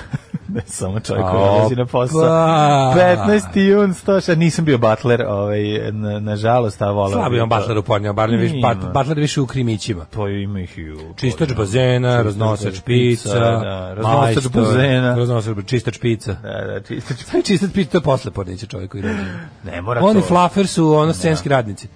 [SPEAKER 7] ne samo čovjek koji
[SPEAKER 6] Opa.
[SPEAKER 7] dolazi na posao. 15. jun, 100, nisam bio butler, ovaj, na, nažalost, a volao.
[SPEAKER 6] Slabi
[SPEAKER 7] bih
[SPEAKER 6] on
[SPEAKER 7] to.
[SPEAKER 6] Butler upornio, bar ne više,
[SPEAKER 7] Ima.
[SPEAKER 6] Butler više u krimićima.
[SPEAKER 7] To ima ih i u...
[SPEAKER 6] Čistač bazena, raznosač pica,
[SPEAKER 7] da, raznosač
[SPEAKER 6] majstor,
[SPEAKER 7] bazena.
[SPEAKER 6] raznosač, čistač pica.
[SPEAKER 7] Da, da, čistač.
[SPEAKER 6] Sve čistač pica, to je posle porniće čovjek koji radi.
[SPEAKER 7] Ne mora
[SPEAKER 6] Oni
[SPEAKER 7] to.
[SPEAKER 6] flafer su ono scenski radnici.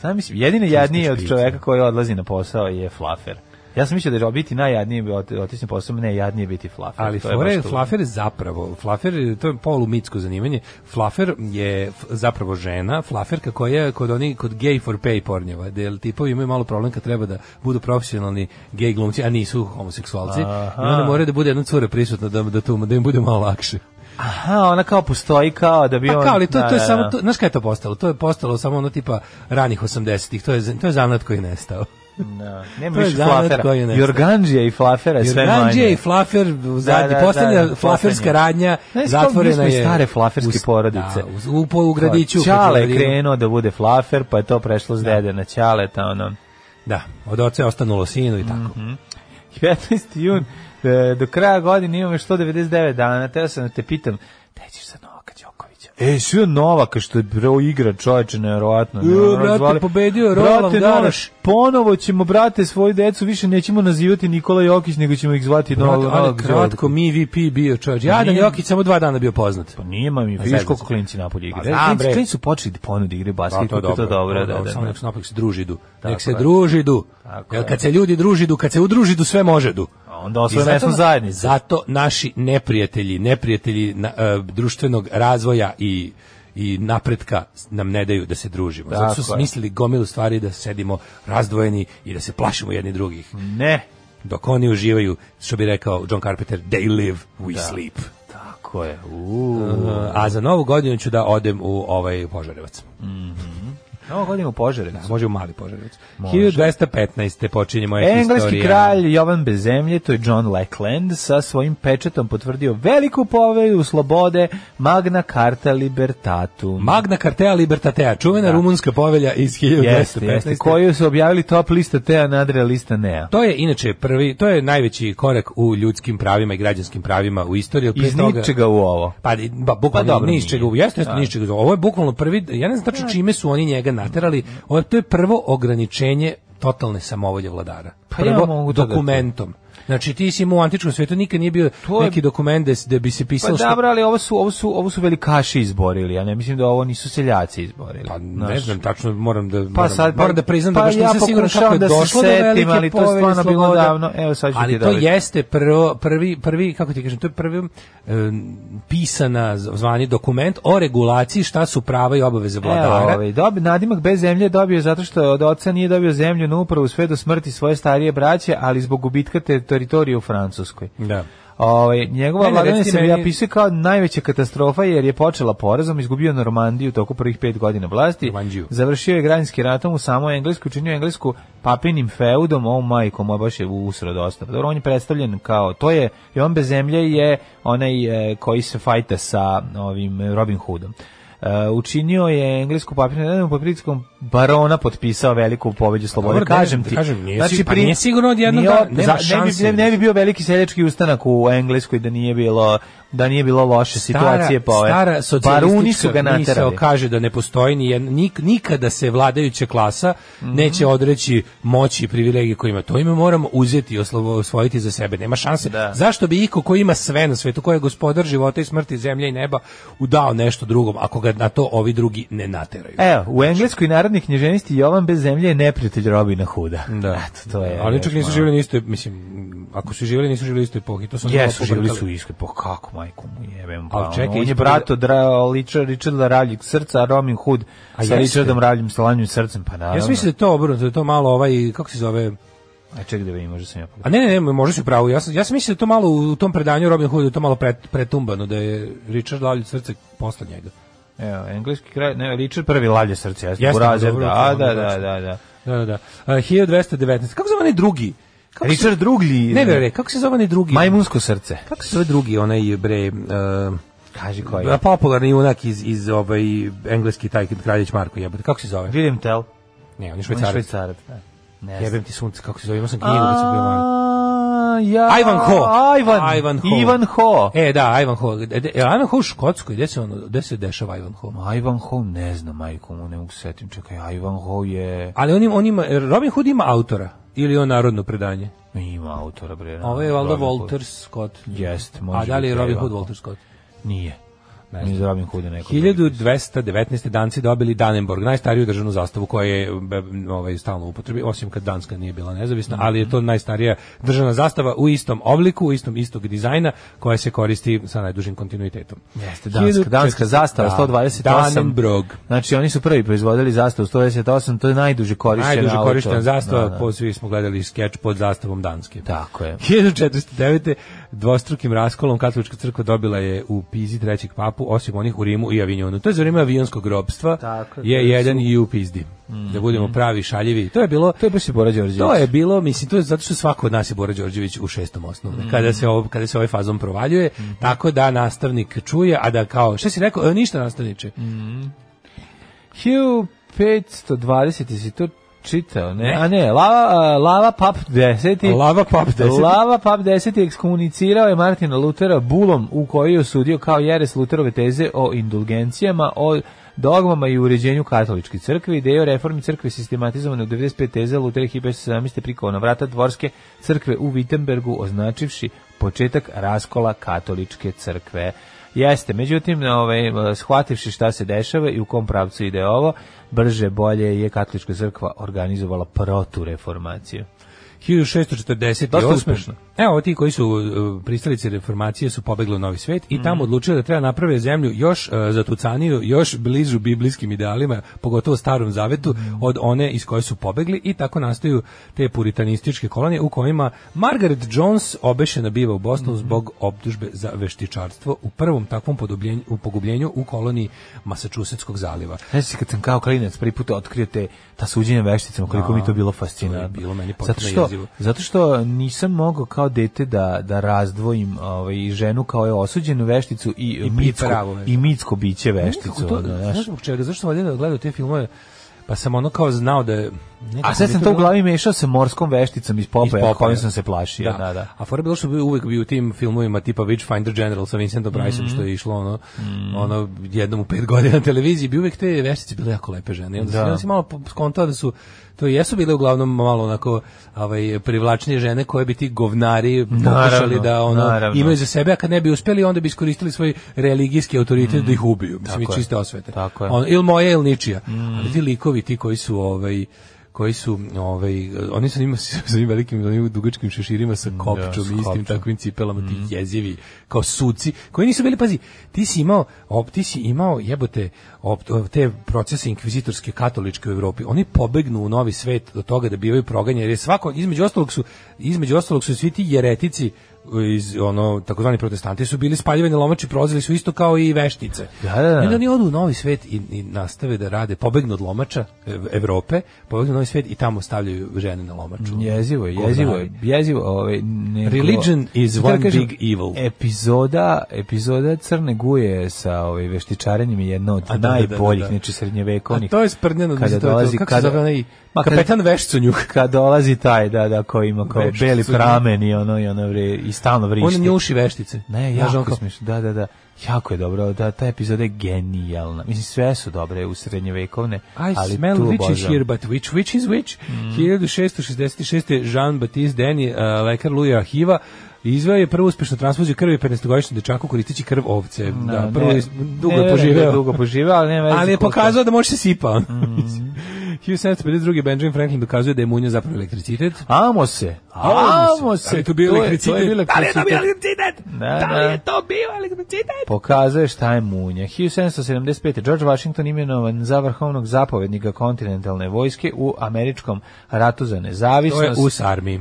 [SPEAKER 7] Sam mislim, jedini jadniji od
[SPEAKER 6] špica.
[SPEAKER 7] čoveka koji odlazi na posao je flafer. Ja sam mislio da je biti najjadnije bi ot- otići na posao, ne, jadnije je biti flafer.
[SPEAKER 6] Ali
[SPEAKER 7] To je
[SPEAKER 6] fora je
[SPEAKER 7] baš to.
[SPEAKER 6] flafer zapravo, flafer to je polumitsko zanimanje. Flafer je f- zapravo žena, flaferka koja je kod oni kod gay for pay pornjeva, del tipovi imaju malo problem kad treba da budu profesionalni gay glumci, a nisu homoseksualci. I onda moraju da bude jedna cura prisutna da da tu da im bude malo lakše.
[SPEAKER 7] Aha, ona kao postoji kao da bi
[SPEAKER 6] Pa
[SPEAKER 7] on...
[SPEAKER 6] kao, ali to,
[SPEAKER 7] da,
[SPEAKER 6] to je
[SPEAKER 7] da,
[SPEAKER 6] samo,
[SPEAKER 7] da.
[SPEAKER 6] to, znaš kaj je to postalo? To je postalo samo ono tipa ranih 80-ih, to je, to je zanat koji je nestao.
[SPEAKER 7] Da. Nema
[SPEAKER 6] to je
[SPEAKER 7] više
[SPEAKER 6] zanat
[SPEAKER 7] flafera.
[SPEAKER 6] koji je nestao.
[SPEAKER 7] Jorganđija i flafera je sve manje.
[SPEAKER 6] Jorganđija i Flafer, u zadnji,
[SPEAKER 7] Da, da,
[SPEAKER 6] posljednja
[SPEAKER 7] da, da,
[SPEAKER 6] flaferska
[SPEAKER 7] poslednja.
[SPEAKER 6] radnja,
[SPEAKER 7] Znaš, kao
[SPEAKER 6] zatvorena
[SPEAKER 7] mi smo
[SPEAKER 6] je.
[SPEAKER 7] iz stare flaferske
[SPEAKER 6] u-
[SPEAKER 7] porodice.
[SPEAKER 6] Da, u, u, u gradiću.
[SPEAKER 7] Ćale je
[SPEAKER 6] Petrovaradinu.
[SPEAKER 7] krenuo da bude flafer, pa je to prešlo s dede na Ćale, ta ono...
[SPEAKER 6] Da, od oca je ostanulo sinu i
[SPEAKER 7] Mhm.
[SPEAKER 6] tako.
[SPEAKER 7] 15. jun, e, do kraja godine imamo još 199 dana, teo sam da te pitam, gde ćeš za Novaka Đokovića? E, sve Novaka što je bro igra čoveče, nevjerojatno. nevjerojatno
[SPEAKER 6] brate,
[SPEAKER 7] zvali.
[SPEAKER 6] pobedio je Roland
[SPEAKER 7] Brate,
[SPEAKER 6] Garros.
[SPEAKER 7] Novaš, ponovo ćemo, brate, svoju decu više nećemo nazivati Nikola Jokić, nego ćemo ih zvati Novak
[SPEAKER 6] Brate, ali
[SPEAKER 7] Novak
[SPEAKER 6] kratko, mi VP bio čovječ. Jadan
[SPEAKER 7] Nije-
[SPEAKER 6] Jokić samo dva dana bio poznat.
[SPEAKER 7] Pa nije, ma mi,
[SPEAKER 6] zajedno
[SPEAKER 7] vidiš koliko
[SPEAKER 6] smo.
[SPEAKER 7] klinci napolje
[SPEAKER 6] Pa
[SPEAKER 7] igra.
[SPEAKER 6] znam,
[SPEAKER 7] Klinci,
[SPEAKER 6] bre.
[SPEAKER 7] klinci su počeli da ponude igre basket, Pa to je dobro, dobro, da, da,
[SPEAKER 6] Samo
[SPEAKER 7] da.
[SPEAKER 6] nek se napak se druži idu. Nek
[SPEAKER 7] Tako
[SPEAKER 6] se
[SPEAKER 7] je.
[SPEAKER 6] druži idu.
[SPEAKER 7] Tako
[SPEAKER 6] Jer
[SPEAKER 7] je.
[SPEAKER 6] kad se ljudi druži idu, kad se udruži idu, sve može idu.
[SPEAKER 7] A onda
[SPEAKER 6] I
[SPEAKER 7] osvoje
[SPEAKER 6] zato
[SPEAKER 7] mesnu
[SPEAKER 6] na-
[SPEAKER 7] zajednicu.
[SPEAKER 6] Zato naši neprijatelji, neprijatelji na, e, društvenog razvoja i i napretka nam ne daju da se družimo. Zato su
[SPEAKER 7] Tako je.
[SPEAKER 6] smislili gomilu stvari da sedimo razdvojeni i da se plašimo jedni drugih.
[SPEAKER 7] Ne,
[SPEAKER 6] Dok oni uživaju, što bi rekao John Carpenter, they live, we sleep.
[SPEAKER 7] Tako je. Uuu.
[SPEAKER 6] Uh, a za novu godinu ću da odem u ovaj Požarevac.
[SPEAKER 7] Novo godinu požare.
[SPEAKER 6] Da, može u mali Požarevac. 1215. počinje moja
[SPEAKER 7] Engleski
[SPEAKER 6] historija.
[SPEAKER 7] kralj Jovan bez zemlje, to je John Lackland, sa svojim pečetom potvrdio veliku povelju slobode Magna Carta Libertatum.
[SPEAKER 6] Magna Cartea Libertatea, čuvena rumunska povelja iz 1215.
[SPEAKER 7] jeste, jeste, koju su objavili top lista Tea, nadre lista Nea.
[SPEAKER 6] To je inače prvi, to je najveći korak u ljudskim pravima i građanskim pravima u istoriji. jer pre
[SPEAKER 7] Iz
[SPEAKER 6] toga-
[SPEAKER 7] ničega u ovo.
[SPEAKER 6] Pa, di- ba, bukvalno
[SPEAKER 7] Pa dobro,
[SPEAKER 6] ni iz čega,
[SPEAKER 7] nije.
[SPEAKER 6] jeste, jeste,
[SPEAKER 7] Da.
[SPEAKER 6] ni iz čega. Ovo je bukvalno prvi, ja ne znam tačno čime su oni njega naterali, ovo je, to je prvo ograničenje totalne samovolje vladara.
[SPEAKER 7] Pa ja
[SPEAKER 6] Prvo
[SPEAKER 7] mogu to da-
[SPEAKER 6] dokumentom. Znači ti si imao u antičkom svetu, nikad nije bio
[SPEAKER 7] To je-
[SPEAKER 6] neki dokument da s- da bi se
[SPEAKER 7] Pa
[SPEAKER 6] pisalo
[SPEAKER 7] dobro, ali ovo su, ovo, su, ovo su velikaši izborili, ja ne mislim da ovo nisu seljaci izborili.
[SPEAKER 6] Pa ne
[SPEAKER 7] Znaš.
[SPEAKER 6] znam, tačno moram da moram,
[SPEAKER 7] Pa sad, pa-
[SPEAKER 6] moram da priznam da
[SPEAKER 7] pa
[SPEAKER 6] baš
[SPEAKER 7] ja
[SPEAKER 6] nisam siguran kako je
[SPEAKER 7] pokušavam da se
[SPEAKER 6] došlo do
[SPEAKER 7] setim,
[SPEAKER 6] velike
[SPEAKER 7] ali to je
[SPEAKER 6] povelje
[SPEAKER 7] stvarno bilo
[SPEAKER 6] slobode.
[SPEAKER 7] davno. Evo, sad ću
[SPEAKER 6] ali
[SPEAKER 7] ti
[SPEAKER 6] to
[SPEAKER 7] dobiti.
[SPEAKER 6] jeste prvo, prvi, prvi, kako ti kažem, to je prvi em, pisana z- zvani dokument o regulaciji šta su prava i obaveze
[SPEAKER 7] Evo,
[SPEAKER 6] vladara.
[SPEAKER 7] ovaj, dobi, nadimak bez zemlje dobio je zato što od oca nije dobio zemlju na upravu sve do smrti svoje starije braće, ali zbog gubitka te teritorije u Francuskoj.
[SPEAKER 6] Da.
[SPEAKER 7] Ovaj njegova
[SPEAKER 6] Ne, ne,
[SPEAKER 7] vladavina
[SPEAKER 6] reci
[SPEAKER 7] se
[SPEAKER 6] meni-
[SPEAKER 7] ja pisao kao najveća katastrofa jer je počela porazom, izgubio Normandiju toku prvih pet godina vlasti,
[SPEAKER 6] Normandiju.
[SPEAKER 7] završio je građanski ratom u samoj Engleskoj, učinio Englesku papinim feudom, oh majko, moj baš je usro dosta. Dobro, on je predstavljen kao, to je, i on bez zemlje je onaj e, koji se fajta sa ovim Robin Hoodom. E, učinio je englesku papirnu jednom pod pritiskom barona potpisao veliku pobeđu slobode.
[SPEAKER 6] Dobro, ne,
[SPEAKER 7] kažem ti. znači,
[SPEAKER 6] da kažem, nije sig- pa nije sigurno od jednog
[SPEAKER 7] nije
[SPEAKER 6] dana,
[SPEAKER 7] op-
[SPEAKER 6] nema
[SPEAKER 7] za- ne, bi, ne,
[SPEAKER 6] šanse.
[SPEAKER 7] ne bi bio veliki seljački ustanak u Engleskoj da nije bilo da nije bilo loše situacije pa ove.
[SPEAKER 6] Stara
[SPEAKER 7] Baruni su ga
[SPEAKER 6] socijalistička misao
[SPEAKER 7] naterali.
[SPEAKER 6] kaže da ne postoji ni jedna, nik, nikada se vladajuća klasa
[SPEAKER 7] Mhm.
[SPEAKER 6] neće odreći moći i privilegije koje ima. To ime moramo uzeti i oslo- osvojiti za sebe. Nema šanse.
[SPEAKER 7] Da.
[SPEAKER 6] Zašto bi iko ko ima sve na svetu, ko je gospodar života i smrti, zemlje i neba, udao nešto drugom, ako ga na to ovi drugi ne nateraju?
[SPEAKER 7] Evo, u engleskoj narodnoj književnosti Jovan bez zemlje je neprijatelj Robina Huda. Eto, to je.
[SPEAKER 6] Ali čak
[SPEAKER 7] recimo,
[SPEAKER 6] nisu živjeli na istoj, mislim, ako su živjeli, nisu živjeli u istoj epohi. To sam
[SPEAKER 7] Jesu,
[SPEAKER 6] malo
[SPEAKER 7] živjeli
[SPEAKER 6] pobrkali.
[SPEAKER 7] su iskri, pa kako majku mu jebem. Pa,
[SPEAKER 6] Ali
[SPEAKER 7] ono,
[SPEAKER 6] čekaj,
[SPEAKER 7] on je
[SPEAKER 6] ispred-
[SPEAKER 7] brat od Ra- Liča- Richarda Ravljeg srca, a Robin Hood
[SPEAKER 6] A
[SPEAKER 7] sa
[SPEAKER 6] jeste.
[SPEAKER 7] Richardom Ravljim slanjim srcem, pa naravno.
[SPEAKER 6] Ja sam mislio da je to obrnuto, da je to malo ovaj, kako se zove,
[SPEAKER 7] A E, čekaj da vidim, možda sam ja pogledao.
[SPEAKER 6] A ne, ne, ne, možda si u pravu. Ja sam, ja sam mislio da to malo u tom predanju Robin Hooda je to malo pret- pretumbano, da je Richard Lavlje srce posle njega.
[SPEAKER 7] Evo, engleski kraj, ne, Richard prvi lavlje srce, jeste,
[SPEAKER 6] Jeste,
[SPEAKER 7] Burazer,
[SPEAKER 6] dobro,
[SPEAKER 7] da,
[SPEAKER 6] dobro,
[SPEAKER 7] da, da,
[SPEAKER 6] tačno.
[SPEAKER 7] da, da.
[SPEAKER 6] Da, da, da. A, 1219. Kako se zove onaj drugi? Kako se,
[SPEAKER 7] Richard drugi.
[SPEAKER 6] ne, ne, ne, kako se zove onaj drugi?
[SPEAKER 7] Majmunsko srce.
[SPEAKER 6] Kako se zove drugi onaj bre... e,
[SPEAKER 7] Kaži
[SPEAKER 6] Uh,
[SPEAKER 7] koji.
[SPEAKER 6] popularni junak iz, iz ovaj, engleski taj kraljić Marko jebote. Kako se zove?
[SPEAKER 7] William Tell.
[SPEAKER 6] Ne, on je
[SPEAKER 7] On je
[SPEAKER 6] švajcarac.
[SPEAKER 7] Švajcarac. da. Ne znam.
[SPEAKER 6] Jebem ti sunce, kako se zove? Imao sam knjigu kad sam bio mali.
[SPEAKER 7] A, ja,
[SPEAKER 6] Ivan Ho.
[SPEAKER 7] Ivan.
[SPEAKER 6] Ivan Ho.
[SPEAKER 7] Ivan Ho.
[SPEAKER 6] E, da, Ivan Ho. E, de- e, Ivan Ho u Škotskoj, gde se, on, gde se dešava Ivan Ho?
[SPEAKER 7] Ivan Ho, ne znam, majko mu, ne mogu se setim, čekaj, Ivan Ho je,
[SPEAKER 6] Ali on ima, on ima, Robin Hood ima autora ili on narodno predanje?
[SPEAKER 7] ima autora, bre.
[SPEAKER 6] Ovo je valjda
[SPEAKER 7] Robin Hood.
[SPEAKER 6] Walter Scott.
[SPEAKER 7] Jest, može
[SPEAKER 6] A da li je
[SPEAKER 7] biti,
[SPEAKER 6] Robin
[SPEAKER 7] evo.
[SPEAKER 6] Hood Walter Scott?
[SPEAKER 7] Nije. Ne znam. Robin Hood je neko. drugi.
[SPEAKER 6] 1219. danci dobili Danenborg, najstariju državnu zastavu koja je be, ovaj, stalno u upotrebi, osim kad Danska nije bila nezavisna, ali je to najstarija državna zastava u istom obliku, u istom istog dizajna, koja se koristi sa najdužim kontinuitetom.
[SPEAKER 7] Jeste, danska,
[SPEAKER 6] 1400
[SPEAKER 7] danska zastava,
[SPEAKER 6] da,
[SPEAKER 7] 128.
[SPEAKER 6] Danenbrog.
[SPEAKER 7] Znači, oni su prvi proizvodili zastavu 128, to je najduže korišćena
[SPEAKER 6] Najduže
[SPEAKER 7] auto.
[SPEAKER 6] korištena zastava,
[SPEAKER 7] Da, da.
[SPEAKER 6] po svi smo gledali skeč pod zastavom Danske.
[SPEAKER 7] Tako je.
[SPEAKER 6] 1409. dvostrukim raskolom katolička crkva dobila je u Pizi trećeg papu, osim onih u Rimu i Avignonu. To je za vrijeme avionskog robstva,
[SPEAKER 7] Tako je,
[SPEAKER 6] je,
[SPEAKER 7] to je
[SPEAKER 6] jedan i u Pizdi. Da budemo pravi šaljivi. To je bilo...
[SPEAKER 7] To je baš i Bora Đorđević.
[SPEAKER 6] To je bilo, mislim, to je zato što svako od nas je Bora Đorđević u šestom osnovne,
[SPEAKER 7] Mhm.
[SPEAKER 6] kada, se ov, kada se ovaj fazom provaljuje, tako da nastavnik čuje, a da kao, šta si rekao, e, ništa nastavniče,
[SPEAKER 7] 1520 si to čitao, ne? A ne, Lava, Lava Pap 10.
[SPEAKER 6] lava pap 10.
[SPEAKER 7] Lava Pap 10. ekskomunicirao je Martina Lutera bulom u kojoj je osudio kao jeres Luterove teze o indulgencijama, o dogmama i uređenju katoličke crkve. Ideje o reformi crkve sistematizovane u 95 teze Lutera je 1517. prikovao na vrata dvorske crkve u Wittenbergu označivši početak raskola katoličke crkve. Jeste, međutim, ovaj, shvativši šta se dešava i u kom pravcu ide ovo, brže bolje je katolička crkva organizovala protu reformaciju. Dosta
[SPEAKER 6] 1648.
[SPEAKER 7] uspešno.
[SPEAKER 6] Evo ti koji su uh, pristalice reformacije su pobegli u Novi svet i tamo odlučili da treba naprave zemlju još uh, zatucaniju, još bližu biblijskim idealima, pogotovo starom zavetu od one iz koje su pobegli i tako nastaju te puritanističke kolonije u kojima Margaret Jones obešena biva u Bostonu zbog optužbe za veštičarstvo u prvom takvom podobljenju- u pogubljenju u koloniji Masačusetskog zaliva.
[SPEAKER 7] Znaš si kad sam kao klinec prvi put otkrio te ta suđenja vešticama, koliko mi je to bilo
[SPEAKER 6] to je
[SPEAKER 7] fascinantno.
[SPEAKER 6] bilo meni
[SPEAKER 7] zato
[SPEAKER 6] potpuno
[SPEAKER 7] što,
[SPEAKER 6] jezivo.
[SPEAKER 7] zato što nisam mogao kao dete da, da razdvojim ovaj, ženu kao je osuđenu vešticu i,
[SPEAKER 6] i
[SPEAKER 7] mitsko,
[SPEAKER 6] pravu vešticu.
[SPEAKER 7] i mitsko biće
[SPEAKER 6] Kako
[SPEAKER 7] vešticu.
[SPEAKER 6] to,
[SPEAKER 7] ono, znaš.
[SPEAKER 6] znaš zbog čega, zašto sam valjda gledao te filmove, pa sam ono kao znao da je... nekako
[SPEAKER 7] A sad
[SPEAKER 6] mi je
[SPEAKER 7] sam to u
[SPEAKER 6] bilo-
[SPEAKER 7] glavi mešao sa morskom vešticom iz
[SPEAKER 6] Iz
[SPEAKER 7] Popaja,
[SPEAKER 6] Popaja.
[SPEAKER 7] kojim sam se plašio. Da. Da,
[SPEAKER 6] A fora je bilo što bi uvek bio u tim filmovima tipa Witchfinder General sa Vincentom
[SPEAKER 7] Mhm.
[SPEAKER 6] Priceom što je išlo ono, ono jednom u pet godina na televiziji, bi uvek te veštice bile jako lepe žene. I Onda, da.
[SPEAKER 7] Da.
[SPEAKER 6] onda si malo po- skontao da su to jesu bile uglavnom malo onako ovaj, privlačnije žene koje bi ti govnari pokušali
[SPEAKER 7] Naravno,
[SPEAKER 6] da ono,
[SPEAKER 7] naravno.
[SPEAKER 6] imaju za sebe, a kad ne bi uspeli onda bi iskoristili svoj religijski autoritet da ih ubiju, mislim, i
[SPEAKER 7] Mhm. Tako je.
[SPEAKER 6] čiste osvete.
[SPEAKER 7] Tako je. Mm.
[SPEAKER 6] On- ili Ono, moja ili ničija. Ali ti likovi, ti koji su ovaj koji su ovaj oni su njima sa onim velikim onim dugačkim šeširima sa kopčom
[SPEAKER 7] s
[SPEAKER 6] i istim
[SPEAKER 7] Mm, kopčom. Mm.
[SPEAKER 6] takvim cipelama ti jezivi kao suci koji nisu bili pazi ti si imao op, ti si imao jebote op, te procese inkvizitorske katoličke u Evropi oni pobegnu u novi svet do toga da bivaju proganjeni jer je svako između ostalog su između ostalog su svi ti jeretici iz ono takozvani protestanti su bili spaljivani lomači prozili su isto kao i veštice
[SPEAKER 7] Da, da, da.
[SPEAKER 6] I onda oni odu u Novi svet i, i nastave da rade, pobegnu od lomača Ev- Evrope, pobegnu u Novi svet i tamo stavljaju žene na lomaču.
[SPEAKER 7] Mm, Jezivo je, jezivo je, jezivo. Ovaj, nego,
[SPEAKER 6] Religion is
[SPEAKER 7] Kako da
[SPEAKER 6] one big evil.
[SPEAKER 7] Epizoda, epizoda Crne guje sa ovaj, veštičarenjem je jedna od
[SPEAKER 6] A da, da, da, da,
[SPEAKER 7] najboljih,
[SPEAKER 6] da.
[SPEAKER 7] znači
[SPEAKER 6] A
[SPEAKER 7] srednjevekovnih.
[SPEAKER 6] to je sprdnjeno,
[SPEAKER 7] Kada
[SPEAKER 6] mislim, to je to,
[SPEAKER 7] dolazi-
[SPEAKER 6] kako se
[SPEAKER 7] kada-
[SPEAKER 6] zove onaj
[SPEAKER 7] Ma, kad-
[SPEAKER 6] kapetan vešcunjuk.
[SPEAKER 7] Kad dolazi taj, da, da, koji ima kao
[SPEAKER 6] Veštica.
[SPEAKER 7] beli pramen i ono, i ono, vre, i stalno
[SPEAKER 6] On
[SPEAKER 7] vrišti.
[SPEAKER 6] njuši veštice.
[SPEAKER 7] Ne,
[SPEAKER 6] Znaš, on
[SPEAKER 7] jako
[SPEAKER 6] kao-
[SPEAKER 7] smiješno. Da, da, da. Jako je dobro. Da, ta epizoda je genijalna. Mislim, sve su dobre u srednjevekovne,
[SPEAKER 6] I
[SPEAKER 7] ali
[SPEAKER 6] smell
[SPEAKER 7] tu Mm.
[SPEAKER 6] witches
[SPEAKER 7] obožavam.
[SPEAKER 6] here, but which witch is which? 1666. Jean-Baptiste Deni, uh, lekar Luja Hiva, izveo je prvu uspešnu transfuziju krvi 15-godišnjem dečaku koristeći krv ovce. Da,
[SPEAKER 7] Da,
[SPEAKER 6] prvo
[SPEAKER 7] ne-
[SPEAKER 6] je, dugo
[SPEAKER 7] ne
[SPEAKER 6] je
[SPEAKER 7] verujem da
[SPEAKER 6] poživeo.
[SPEAKER 7] Dugo poživeo, ali nema veze
[SPEAKER 6] Ali je
[SPEAKER 7] koliko.
[SPEAKER 6] pokazao da može se sipa.
[SPEAKER 7] Mhm.
[SPEAKER 6] Mm. 1752. Benjamin Franklin dokazuje da je munja zapravo elektricitet.
[SPEAKER 7] Amo se.
[SPEAKER 6] Amo se.
[SPEAKER 7] Ali
[SPEAKER 6] to bio
[SPEAKER 7] Da
[SPEAKER 6] elektricitet?
[SPEAKER 7] li je to bio elektricitet?
[SPEAKER 6] elektricitet?
[SPEAKER 7] Da,
[SPEAKER 6] Da li je
[SPEAKER 7] da.
[SPEAKER 6] to bio elektricitet?
[SPEAKER 7] Pokazuje šta je munja. 1775. George Washington imenovan za vrhovnog zapovednika kontinentalne vojske u američkom ratu za
[SPEAKER 6] To je
[SPEAKER 7] nezavisnost.
[SPEAKER 6] US Army.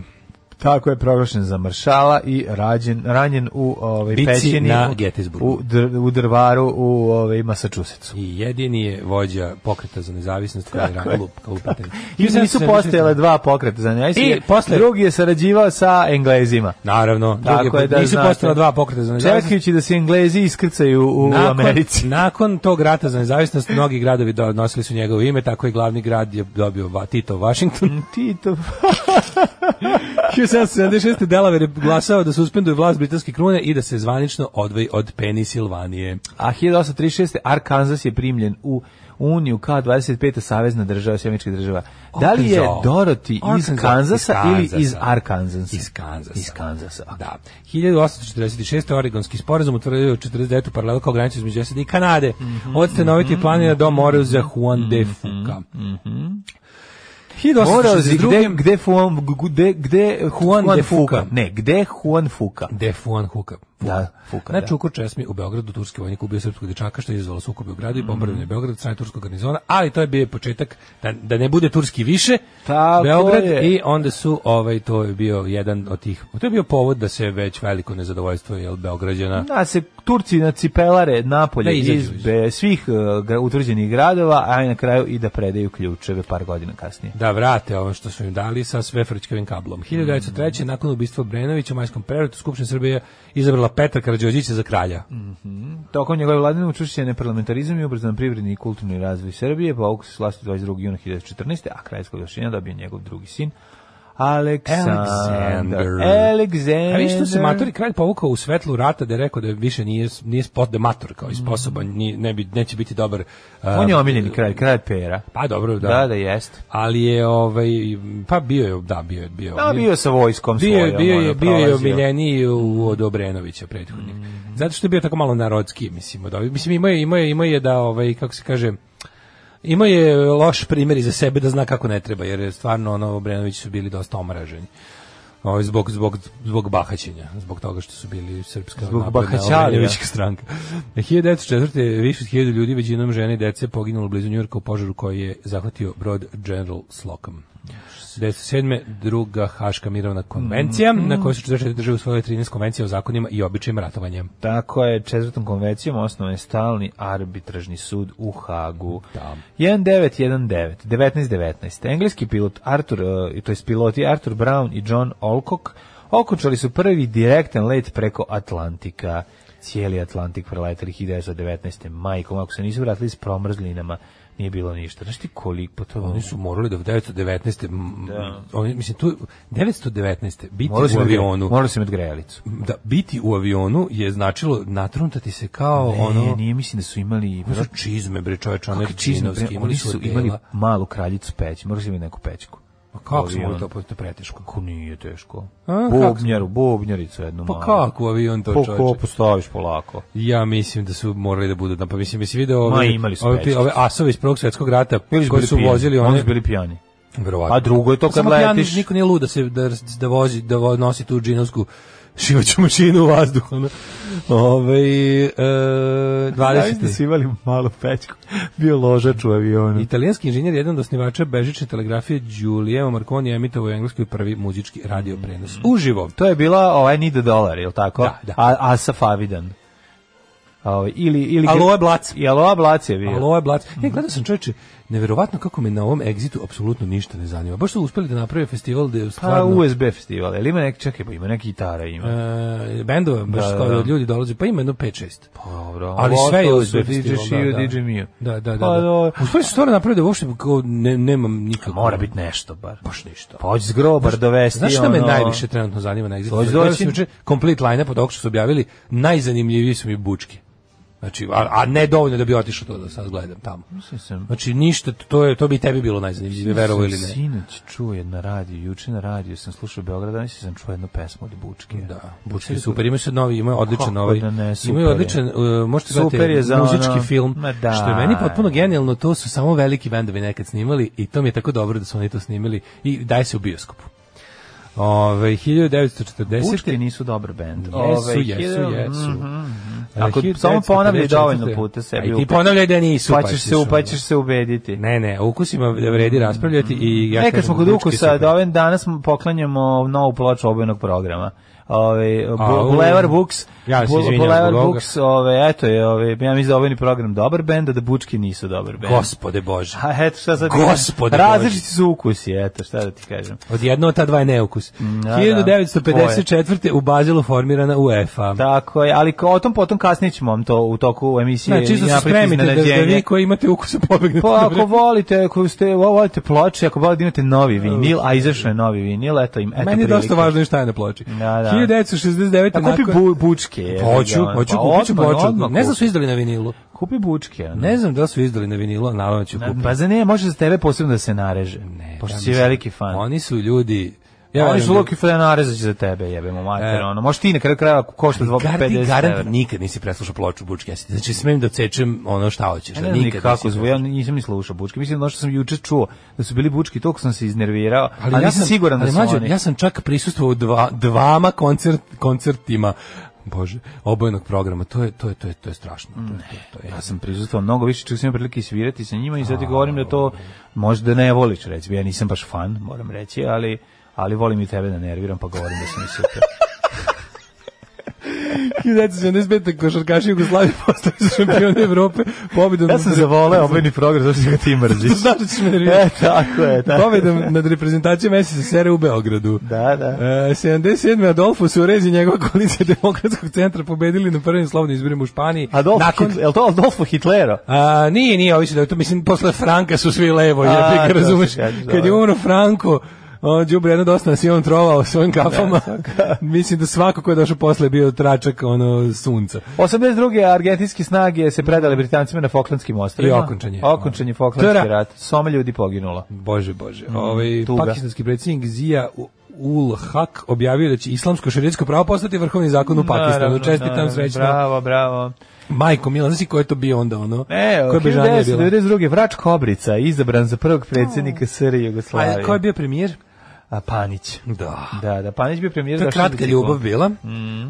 [SPEAKER 7] Tako je proglašen za maršala i rađen, ranjen u ovaj,
[SPEAKER 6] Bici
[SPEAKER 7] pećini
[SPEAKER 6] na
[SPEAKER 7] u-
[SPEAKER 6] Gettysburgu.
[SPEAKER 7] u, dr- u drvaru u ovaj, Massachusettsu.
[SPEAKER 6] I jedini je vođa pokreta za nezavisnost koji je ranilo kao pitanje.
[SPEAKER 7] I nisu postojale dva pokreta za njega.
[SPEAKER 6] I posle-
[SPEAKER 7] Drugi je sarađivao sa Englezima.
[SPEAKER 6] Naravno,
[SPEAKER 7] Tako
[SPEAKER 6] drugi,
[SPEAKER 7] je da
[SPEAKER 6] nisu
[SPEAKER 7] znate.
[SPEAKER 6] postojala dva pokreta za nezavisnost.
[SPEAKER 7] Čekajući da se Englezi iskrcaju u Americi.
[SPEAKER 6] nakon tog rata za nezavisnost mnogi gradovi donosili su njegovo ime, tako i glavni grad je dobio Va- Tito Washington.
[SPEAKER 7] Tito.
[SPEAKER 6] 1776. Delaware je glasao da suspenduje vlast britanske krune i da se zvanično odvoji od Penisilvanije.
[SPEAKER 7] A 1836. Arkansas je primljen u Uniju kao 25. savezna država, sjemička država. Da li je
[SPEAKER 6] Arkansas.
[SPEAKER 7] Dorothy iz
[SPEAKER 6] Arkansas.
[SPEAKER 7] Kanzasa
[SPEAKER 6] Iz
[SPEAKER 7] ili iz
[SPEAKER 6] Kanzasa.
[SPEAKER 7] Arkansasa?
[SPEAKER 6] Iz Kanzasa.
[SPEAKER 7] Iz Kanzasa.
[SPEAKER 6] Da. 1846. Oregonski sporazum utvrdio 49. paralelu kao granicu između SAD i Kanade. Od stanovitih planina do Moreuza Juan de Fuca. Mhm.
[SPEAKER 7] Morao si, gde,
[SPEAKER 6] 1862.
[SPEAKER 7] gde, Juan, gde, gde
[SPEAKER 6] Juan de Fuca.
[SPEAKER 7] Ne, gde Juan Fuca?
[SPEAKER 6] De Fuan Huka.
[SPEAKER 7] Da, Fuka,
[SPEAKER 6] Na
[SPEAKER 7] da.
[SPEAKER 6] Čukur Česmi u Beogradu turski vojnik ubio srpskog dečaka što je izazvalo sukobe u
[SPEAKER 7] Mm.
[SPEAKER 6] gradu i bombardovanje Beograda od strane turskog garnizona, ali to je bio početak da, da ne bude turski više.
[SPEAKER 7] Tako
[SPEAKER 6] Beograd
[SPEAKER 7] je.
[SPEAKER 6] i onda su ovaj to je bio jedan od tih. To je bio povod da se već veliko nezadovoljstvo je Beograđana.
[SPEAKER 7] Da se Turci na cipelare napolje
[SPEAKER 6] Da izađu
[SPEAKER 7] iz
[SPEAKER 6] iz-
[SPEAKER 7] be, svih uh, gra- utvrđenih gradova, a i na kraju i da predaju ključeve par godina kasnije.
[SPEAKER 6] da vrate ovo što su im dali sa sve frčkavim
[SPEAKER 7] Mm.
[SPEAKER 6] kablom. 1903. nakon ubistva Brenovića u Majskom prevratu Skupština Srbije izabrala Petra Karađorđića za kralja.
[SPEAKER 7] Mm. Tokom njegove vladine učešće je parlamentarizam i ubrzan privredni i kulturni razvoj Srbije, povuk se s vlasti 22. juna 2014. a krajskog rješenja dobio njegov drugi sin, Aleksandar.
[SPEAKER 6] Aleksandar.
[SPEAKER 7] Aleksandar.
[SPEAKER 6] A vi što se matori kralj povukao u svetlu rata da je rekao da više nije, nije spot, da je mator kao i sposoban, nije, ne bi, neće biti dobar. a,
[SPEAKER 7] Mm. On je omiljeni kralj, kralj pera.
[SPEAKER 6] Pa dobro, da.
[SPEAKER 7] Da, da, jeste.
[SPEAKER 6] Ali je, ovaj, pa bio je, da, bio je. Bio, je
[SPEAKER 7] Da,
[SPEAKER 6] omiljen.
[SPEAKER 7] bio je sa vojskom
[SPEAKER 6] bio, je-
[SPEAKER 7] svojom.
[SPEAKER 6] bio
[SPEAKER 7] ono,
[SPEAKER 6] je, bio je
[SPEAKER 7] prolazio. Mm.
[SPEAKER 6] omiljeniji u- od Obrenovića prethodnik. Zato što je bio tako malo narodski, mislim, od ovih. Mislim, imao je, imao je, imao je da, ovaj, kako se kaže, Imao je loš primjer iza sebe da zna kako ne treba, jer je stvarno ono Obrenovići su bili dosta omraženi. Ovaj zbog zbog zbog bahaćenja, zbog toga što su bili srpska
[SPEAKER 7] Zbog
[SPEAKER 6] napredna ovaj,
[SPEAKER 7] bahaćalija.
[SPEAKER 6] Obrenovićka stranka. 1904. je više od 1000 ljudi, većinom žene i dece, poginulo blizu Njujorka u požaru koji je zahvatio brod General Slocum. 1907. druga Haška mirovna konvencija, na kojoj su 44 države usvojile 13 konvencija o zakonima i običajima ratovanja.
[SPEAKER 7] Tako je, četvrtom konvencijom osnovan je stalni arbitražni sud u Hagu.
[SPEAKER 6] Da.
[SPEAKER 7] 1919, 1919. Engleski pilot Arthur, eh, to je piloti Arthur Brown i John Alcock okončali su prvi direktan let preko Atlantika. Cijeli Atlantik preleteli 1919. Majkom, ako se nisu vratili s promrzlinama, nije bilo ništa. Znaš ti koliko to...
[SPEAKER 6] Oni su morali da u 919. m,
[SPEAKER 7] Da.
[SPEAKER 6] Oni, mislim, tu, 919. biti
[SPEAKER 7] Morali su
[SPEAKER 6] u
[SPEAKER 7] imati-
[SPEAKER 6] avionu.
[SPEAKER 7] Morali su imati grejalicu.
[SPEAKER 6] Da, biti u avionu je značilo natruntati se kao
[SPEAKER 7] Ne,
[SPEAKER 6] ono...
[SPEAKER 7] E, nije, mislim da su imali...
[SPEAKER 6] Oni su čizme, bre, čoveče, one
[SPEAKER 7] Kakve čizme, bre,
[SPEAKER 6] džinovske, imali
[SPEAKER 7] oni
[SPEAKER 6] su
[SPEAKER 7] su
[SPEAKER 6] odela.
[SPEAKER 7] imali malu kraljicu peći, morali su imati neku pećku.
[SPEAKER 6] A kako smo
[SPEAKER 7] Avion.
[SPEAKER 6] mogli to, pa to je preteško.
[SPEAKER 7] Kako nije teško?
[SPEAKER 6] A,
[SPEAKER 7] Bobnjaru, bobnjaricu jednu
[SPEAKER 6] Pa
[SPEAKER 7] malu.
[SPEAKER 6] kako avion to,
[SPEAKER 7] Po
[SPEAKER 6] čoveče?
[SPEAKER 7] kopu staviš polako.
[SPEAKER 6] Ja mislim da su morali da budu tam, pa mislim, jesi video
[SPEAKER 7] Ma,
[SPEAKER 6] ove,
[SPEAKER 7] imali su
[SPEAKER 6] ove,
[SPEAKER 7] pećke.
[SPEAKER 6] ove asove iz prvog svjetskog rata
[SPEAKER 7] Ili
[SPEAKER 6] koji su
[SPEAKER 7] pijani.
[SPEAKER 6] vozili
[SPEAKER 7] Oni
[SPEAKER 6] one...
[SPEAKER 7] su bili pijani.
[SPEAKER 6] Verovatno.
[SPEAKER 7] A drugo je to kad
[SPEAKER 6] Samo pijan,
[SPEAKER 7] letiš-
[SPEAKER 6] Niko nije lud da se da, da vozi da vo- nosi tu džinovsku šivaću mašinu u vazduhu. Ono. Ove, e, 20.
[SPEAKER 7] imali malu pećku. Bio ložač u avionu.
[SPEAKER 6] Italijanski inženjer jedan od osnivača bežične telegrafije Giuliano Marconi je emitovao u Engleskoj prvi muzički radio
[SPEAKER 7] Mm.
[SPEAKER 6] prenos. Uživo.
[SPEAKER 7] To je bila ovaj Nida Dolar, je li tako?
[SPEAKER 6] Da, da.
[SPEAKER 7] A, Asaf Avidan. Ovaj, ili, ili...
[SPEAKER 6] Aloe Blac.
[SPEAKER 7] I Aloe Blac je bio.
[SPEAKER 6] Aloe Blac.
[SPEAKER 7] Mhm.
[SPEAKER 6] E, gledao sam čoveče, neverovatno kako me na ovom egzitu apsolutno ništa ne zanima. Baš su uspeli da naprave festival da je
[SPEAKER 7] Pa
[SPEAKER 6] stvarno...
[SPEAKER 7] USB festival, ali ima neki, čekaj, pa ima neki gitara, ima.
[SPEAKER 6] e, bendova, baš
[SPEAKER 7] Da, da,
[SPEAKER 6] kao
[SPEAKER 7] da.
[SPEAKER 6] od ljudi dolaze, pa ima jedno 5-6.
[SPEAKER 7] Pa dobro,
[SPEAKER 6] ali
[SPEAKER 7] ovo
[SPEAKER 6] sve je
[SPEAKER 7] ostalo
[SPEAKER 6] USB
[SPEAKER 7] su DJ
[SPEAKER 6] festival,
[SPEAKER 7] Shio,
[SPEAKER 6] da, da.
[SPEAKER 7] DJ Mio.
[SPEAKER 6] Da, da, da.
[SPEAKER 7] Pa
[SPEAKER 6] da.
[SPEAKER 7] dobro.
[SPEAKER 6] U stvari su stvarno napravili da uopšte kao ne, nemam nikakvo.
[SPEAKER 7] Mora biti nešto bar.
[SPEAKER 6] baš ništa.
[SPEAKER 7] Pođi s grobar dovesti.
[SPEAKER 6] Znaš šta me
[SPEAKER 7] ono- Pa,
[SPEAKER 6] najviše trenutno zanima na Exitu?
[SPEAKER 7] Hoćeš
[SPEAKER 6] Gledao
[SPEAKER 7] doći?
[SPEAKER 6] sam juče Complete line-up od ovog što su objavili, najzanimljiviji su mi bučki. Znači, a, a ne dovoljno da bi otišao to da sad gledam tamo.
[SPEAKER 7] Mislim sam-
[SPEAKER 6] Znači, ništa, to, je, to bi i tebi bilo najzanimljivije, verovo ili ne.
[SPEAKER 7] Sinoć čuje na radiju, juče na radiju sam slušao Beograd, danas sam čuo jednu pesmu od Bučke.
[SPEAKER 6] Da, Bučki je super, imaju sad novi, imaju odličan
[SPEAKER 7] Kako
[SPEAKER 6] ovaj,
[SPEAKER 7] da ne, super
[SPEAKER 6] imaju
[SPEAKER 7] je.
[SPEAKER 6] odličan, uh, možete
[SPEAKER 7] Super
[SPEAKER 6] gledati
[SPEAKER 7] je za
[SPEAKER 6] muzički
[SPEAKER 7] ono-
[SPEAKER 6] film,
[SPEAKER 7] Ma da.
[SPEAKER 6] što je meni potpuno genijalno, to su samo veliki bendovi nekad snimali i to mi je tako dobro da su oni to snimili i daj se u bioskopu. Ove, 1940.
[SPEAKER 7] Bučke nisu dobar bend.
[SPEAKER 6] Jesu, jesu, jesu.
[SPEAKER 7] Ako samo ponavljaj dovoljno puta sebi.
[SPEAKER 6] I ti ponavljaj da nisu,
[SPEAKER 7] Pa ćeš se,
[SPEAKER 6] ono.
[SPEAKER 7] pa ćeš se ubediti.
[SPEAKER 6] Ne, ne, o ukusima vredi raspravljati i ja
[SPEAKER 7] Ne, E,
[SPEAKER 6] kažem
[SPEAKER 7] kad smo kod
[SPEAKER 6] bučki
[SPEAKER 7] ukusa,
[SPEAKER 6] super.
[SPEAKER 7] da ovim danas poklanjamo novu ploču obojenog programa. Ove,
[SPEAKER 6] Au.
[SPEAKER 7] Bu- Bulevar Books,
[SPEAKER 6] Ja se
[SPEAKER 7] Bu-
[SPEAKER 6] izvinjam
[SPEAKER 7] Bulevar
[SPEAKER 6] zbog ovoga.
[SPEAKER 7] Books, ove, eto je, ove, ja mislim da ovaj program dobar bend, a da Bučki nisu dobar bend.
[SPEAKER 6] Gospode Bože.
[SPEAKER 7] A eto šta sad...
[SPEAKER 6] Gospode
[SPEAKER 7] Različiti su ukusi, eto šta da ti kažem.
[SPEAKER 6] Odjedno ta dva je neukus.
[SPEAKER 7] Mm, da.
[SPEAKER 6] 1954. u Bazilu formirana UEFA.
[SPEAKER 7] Tako je, ali ko- o tom potom kasnije ćemo vam to u toku emisije.
[SPEAKER 6] Znači, čisto se
[SPEAKER 7] napraviti
[SPEAKER 6] spremite da, da
[SPEAKER 7] iznenađenje.
[SPEAKER 6] vi koji imate ukusa pobegnete.
[SPEAKER 7] Pa ako
[SPEAKER 6] Dobre.
[SPEAKER 7] volite, ako ste vo- volite ploče, ako volite imate novi vinil, a izašao je novi vinil, eto im, eto
[SPEAKER 6] Meni je dosta
[SPEAKER 7] prilike.
[SPEAKER 6] važno i šta je na ploči.
[SPEAKER 7] Da, da.
[SPEAKER 6] 1969.
[SPEAKER 7] A kupi
[SPEAKER 6] nakon-
[SPEAKER 7] bu, bučke. je,
[SPEAKER 6] Hoću,
[SPEAKER 7] ono,
[SPEAKER 6] hoću,
[SPEAKER 7] pa
[SPEAKER 6] kupit ću
[SPEAKER 7] odmah,
[SPEAKER 6] ploču.
[SPEAKER 7] odmah
[SPEAKER 6] Ne znam da
[SPEAKER 7] kupi.
[SPEAKER 6] su izdali na vinilu.
[SPEAKER 7] Kupi bučke. ono.
[SPEAKER 6] Ne znam da li su izdali na vinilu, a naravno ću
[SPEAKER 7] Na-
[SPEAKER 6] kupiti.
[SPEAKER 7] Pa za ne, može za tebe posebno da se nareže. Ne, pošto
[SPEAKER 6] Ja
[SPEAKER 7] si
[SPEAKER 6] mislim,
[SPEAKER 7] veliki fan.
[SPEAKER 6] Oni su ljudi...
[SPEAKER 7] Ja, oni
[SPEAKER 6] verujem
[SPEAKER 7] su
[SPEAKER 6] da-
[SPEAKER 7] Luki Fred narezat će za tebe, jebemo mater,
[SPEAKER 6] E.
[SPEAKER 7] ono. Možeš ti na kraju kraja ako košta
[SPEAKER 6] Gar- ti
[SPEAKER 7] 250
[SPEAKER 6] garant
[SPEAKER 7] evra.
[SPEAKER 6] nikad nisi preslušao ploču Bučke. Jesi- Znači, smem da cečem ono šta hoćeš.
[SPEAKER 7] Ja
[SPEAKER 6] da
[SPEAKER 7] Ne znam ni
[SPEAKER 6] nikad
[SPEAKER 7] kako
[SPEAKER 6] nisi-
[SPEAKER 7] zvu, ja nisam ni slušao bučke. Mislim da ono što sam juče čuo, da su bili bučki, toliko sam se iznervirao, ali, nisam siguran da
[SPEAKER 6] ali
[SPEAKER 7] su
[SPEAKER 6] mlađo,
[SPEAKER 7] oni.
[SPEAKER 6] Ja sam čak prisustvovao dva, dvama koncert, koncertima Bože, obojenog programa. To je to je to je to je strašno. To je, to je, to je.
[SPEAKER 7] Ja sam prisustvovao mnogo više, čak sam imao prilike i svirati sa njima i sad ti govorim da to možda ne voliš, recimo. Ja nisam baš fan, moram reći, ali, ali volim i tebe da nerviram, pa govorim da sam i super.
[SPEAKER 6] 1975. košarkaši Jugoslavije postali su šampioni Evrope pobedom
[SPEAKER 7] Ja sam
[SPEAKER 6] nad-
[SPEAKER 7] zavoleo obojni program, zašto ga ti mrziš.
[SPEAKER 6] Znaš da ćeš me
[SPEAKER 7] E,
[SPEAKER 6] nervirati.
[SPEAKER 7] tako je, tako je.
[SPEAKER 6] Pobedom nad reprezentacijom SSSR u Beogradu.
[SPEAKER 7] Da, da.
[SPEAKER 6] E, 77. Adolfo Suarez i njegova koalicija Demokratskog centra pobedili na prvim slobodnim izborima u Španiji.
[SPEAKER 7] Adolf
[SPEAKER 6] nakon,
[SPEAKER 7] Hitler, je li to Adolfo Hitlero?
[SPEAKER 6] A, nije, nije, ovi su da, to mislim, posle Franka su svi levo,
[SPEAKER 7] A,
[SPEAKER 6] jebi
[SPEAKER 7] to
[SPEAKER 6] ga,
[SPEAKER 7] se
[SPEAKER 6] razumeš,
[SPEAKER 7] kaže,
[SPEAKER 6] kad je
[SPEAKER 7] dobro.
[SPEAKER 6] umro Franko, on Đubre jedno dosta nas je on trovao svojim kafama. mislim da svako ko je došao posle je bio tračak ono sunca.
[SPEAKER 7] 82. argentinske snage se predale Britancima na Falklandskim ostrovima.
[SPEAKER 6] I okončan je.
[SPEAKER 7] Okončan je Falklandski
[SPEAKER 6] Tera.
[SPEAKER 7] rat. Soma ljudi poginulo.
[SPEAKER 6] Bože, bože. Ovaj
[SPEAKER 7] tuga.
[SPEAKER 6] pakistanski predsjednik Zia U- ul Haq objavio da će islamsko šerijatsko pravo postati vrhovni zakon u Pakistanu.
[SPEAKER 7] Naravno,
[SPEAKER 6] Čestitam
[SPEAKER 7] naravno,
[SPEAKER 6] srećno.
[SPEAKER 7] Bravo, bravo.
[SPEAKER 6] Majko Mila, znaš li ko je to bio onda ono?
[SPEAKER 7] E,
[SPEAKER 6] Koja bežanija je bila?
[SPEAKER 7] 1992. Vrač Kobrica, izabran za prvog predsjednika SR Jugoslavije.
[SPEAKER 6] A ko je bio premijer?
[SPEAKER 7] A Panić.
[SPEAKER 6] Da.
[SPEAKER 7] Da, da, Panić bio premijer.
[SPEAKER 6] To je
[SPEAKER 7] Zašto bi Mm.
[SPEAKER 6] kratka
[SPEAKER 7] ti
[SPEAKER 6] ljubav
[SPEAKER 7] ko-
[SPEAKER 6] bila.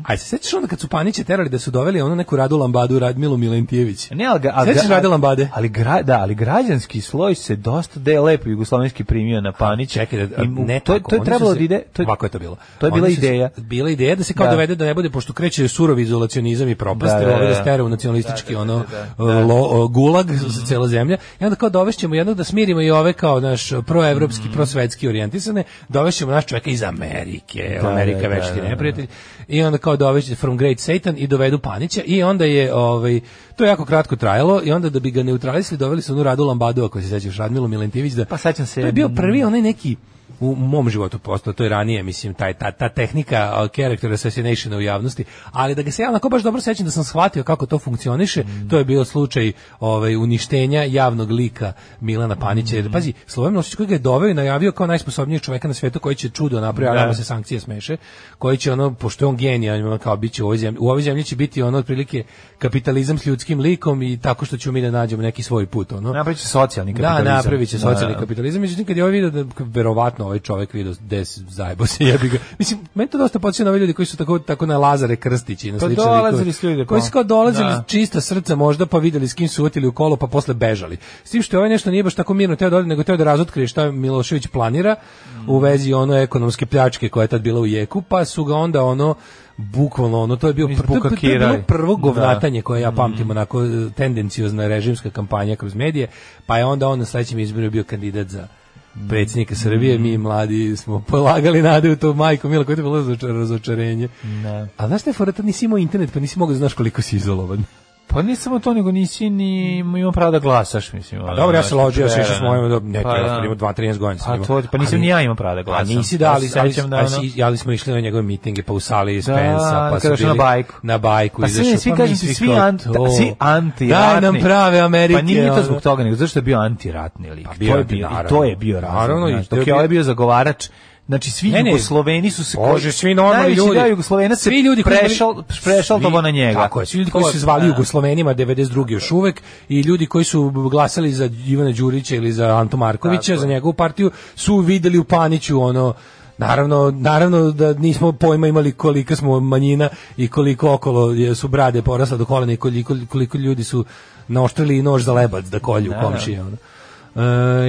[SPEAKER 6] A se sećaš onda kad su Paniće terali da su doveli onu neku Radu Lambadu, Radmilu Milentijević?
[SPEAKER 7] Ne, ali, ga- ali,
[SPEAKER 6] Sećaš
[SPEAKER 7] ga-
[SPEAKER 6] Rade Lambade?
[SPEAKER 7] Ali, gra, da, ali građanski sloj se dosta da je lepo jugoslovenski primio na Panić.
[SPEAKER 6] Čekaj, da,
[SPEAKER 7] I mu-
[SPEAKER 6] ne
[SPEAKER 7] to, je-
[SPEAKER 6] tako,
[SPEAKER 7] to je
[SPEAKER 6] oni su
[SPEAKER 7] trebalo
[SPEAKER 6] se-
[SPEAKER 7] da ide... To, je-
[SPEAKER 6] ovako je to bilo.
[SPEAKER 7] To je bila
[SPEAKER 6] Oni su se-
[SPEAKER 7] ideja.
[SPEAKER 6] bila ideja da se kao
[SPEAKER 7] Da.
[SPEAKER 6] dovede da ne bude, pošto kreće surovi izolacionizam i propast,
[SPEAKER 7] Da,
[SPEAKER 6] da,
[SPEAKER 7] da,
[SPEAKER 6] da, da,
[SPEAKER 7] da.
[SPEAKER 6] stere u nacionalistički ono lo- o, gulag za cela zemlja. I onda kao dovešćemo jednog da smirimo i ove kao naš
[SPEAKER 7] Mm.
[SPEAKER 6] proevropski, prosvetski orijentisane, dovešćemo naš čoveka iz Amerike,
[SPEAKER 7] Da,
[SPEAKER 6] Amerika
[SPEAKER 7] da, da,
[SPEAKER 6] večiti
[SPEAKER 7] da, da.
[SPEAKER 6] neprijatelj. I onda kao doveće From Great Satan i dovedu Panića i onda je ovaj to je jako kratko trajalo i onda da bi ga neutralisali doveli su onu Radu Lambadu ako se sećaš Radmilu Milentijević da
[SPEAKER 7] Pa sećam se.
[SPEAKER 6] To je bio prvi onaj neki u mom životu postao, to je ranije, mislim, taj, ta, ta tehnika a, character assassination u javnosti, ali da ga se ja onako baš dobro sećam da sam shvatio kako to funkcioniše, to je bio slučaj ovaj, uništenja javnog lika Milana Panića, jer pazi, Slobodan Milošić koji ga je doveo i najavio kao najsposobnijeg čoveka na svetu koji će čudo napraviti, a
[SPEAKER 7] Da.
[SPEAKER 6] nama se sankcije smeše, koji će ono, pošto je on genijan, ono kao biće u ovoj zemlji, u ovoj zemlji će biti ono otprilike kapitalizam s ljudskim likom i tako što ćemo mi da nađemo neki svoj put, ono.
[SPEAKER 7] Napravit će socijalni kapitalizam.
[SPEAKER 6] Da, napravit će socijalni
[SPEAKER 7] Da.
[SPEAKER 6] kapitalizam. Međutim, kad je ovaj video, da, verovatno ovaj čovjek video des zajebo se jebi ga. Mislim, meni to dosta podsjeća na ove ljudi koji su tako, tako na Lazare Krstići i na
[SPEAKER 7] Pa
[SPEAKER 6] slične
[SPEAKER 7] dolazili
[SPEAKER 6] likove.
[SPEAKER 7] su ljudi, pa.
[SPEAKER 6] Koji su kao dolazili
[SPEAKER 7] Da.
[SPEAKER 6] čista srca možda, pa videli s kim su utili u kolo, pa posle bežali. S tim što je ovaj nešto nije baš tako mirno teo da ode, nego teo da razotkrije šta Milošević planira
[SPEAKER 7] Mm.
[SPEAKER 6] u vezi ono ekonomske pljačke koja je tad bila u jeku, pa su ga onda ono bukvalno ono to je bio pr- to je- to je bilo
[SPEAKER 7] Izbukakirali.
[SPEAKER 6] prvo
[SPEAKER 7] Da.
[SPEAKER 6] govnatanje koje ja pamtim onako e, tendenciozna režimska kampanja kroz medije, pa je onda on na sledećem izboru bio kandidat za predsjednika Srbije, mi mladi smo polagali nade u to majko Mila, koje je to bilo razočar- razočarenje.
[SPEAKER 7] Da.
[SPEAKER 6] A znaš te fora, tad nisi imao internet, pa nisi mogao da znaš koliko si izolovan.
[SPEAKER 7] Pa ne samo to, nego nisi ni imao pravo da glasaš, mislim. Pa
[SPEAKER 6] Dobro, ja se ložio, ja se išao s mojim, do- ne, pa, ja, imao 2-13 godina. sam
[SPEAKER 7] Pa
[SPEAKER 6] imao.
[SPEAKER 7] to, pa nisam
[SPEAKER 6] Ali-
[SPEAKER 7] ni ja imao pravo da
[SPEAKER 6] Pa
[SPEAKER 7] glasam.
[SPEAKER 6] nisi da, ali,
[SPEAKER 7] se
[SPEAKER 6] ali,
[SPEAKER 7] sećam da,
[SPEAKER 6] ali,
[SPEAKER 7] ono-
[SPEAKER 6] si- ali smo išli na njegove mitinge, pa u sali Spensa, pa
[SPEAKER 7] kad
[SPEAKER 6] su
[SPEAKER 7] došao na
[SPEAKER 6] bili-
[SPEAKER 7] bajku.
[SPEAKER 6] Na bajku
[SPEAKER 7] Pa svi,
[SPEAKER 6] izašao,
[SPEAKER 7] svi
[SPEAKER 6] pa
[SPEAKER 7] kažem
[SPEAKER 6] mi
[SPEAKER 7] ti, svi,
[SPEAKER 6] kao
[SPEAKER 7] anti,
[SPEAKER 6] to.
[SPEAKER 7] svi antiratni.
[SPEAKER 6] Daj nam prave Amerike.
[SPEAKER 7] Pa nije to
[SPEAKER 6] ono.
[SPEAKER 7] zbog toga, nego zašto je bio antiratni lik.
[SPEAKER 6] Pa
[SPEAKER 7] To
[SPEAKER 6] bio
[SPEAKER 7] je
[SPEAKER 6] je,
[SPEAKER 7] bio, I to
[SPEAKER 6] naravno.
[SPEAKER 7] je bio razlog.
[SPEAKER 6] Naravno, i
[SPEAKER 7] znaš,
[SPEAKER 6] to je
[SPEAKER 7] dok je
[SPEAKER 6] bio-
[SPEAKER 7] ovaj bio zagovarač, Znači svi
[SPEAKER 6] Ne, ne.
[SPEAKER 7] Jugosloveni su se
[SPEAKER 6] Bože, svi normalni
[SPEAKER 7] Najveći
[SPEAKER 6] ljudi.
[SPEAKER 7] deo Jugoslovena se
[SPEAKER 6] Svi ljudi koji
[SPEAKER 7] prešao prešao to na njega.
[SPEAKER 6] Tako je, svi ljudi koji su se zvali Jugoslovenima 92 još uvek i ljudi koji su glasali za Ivana Đurića ili za Anto Markovića, za njegovu partiju, su videli u Paniću ono Naravno, naravno da nismo pojma imali kolika smo manjina i koliko okolo je- su brade porasle do kolena i koliko, koliko ljudi su naoštrili nož za lebac da kolju komšije. Ono. E,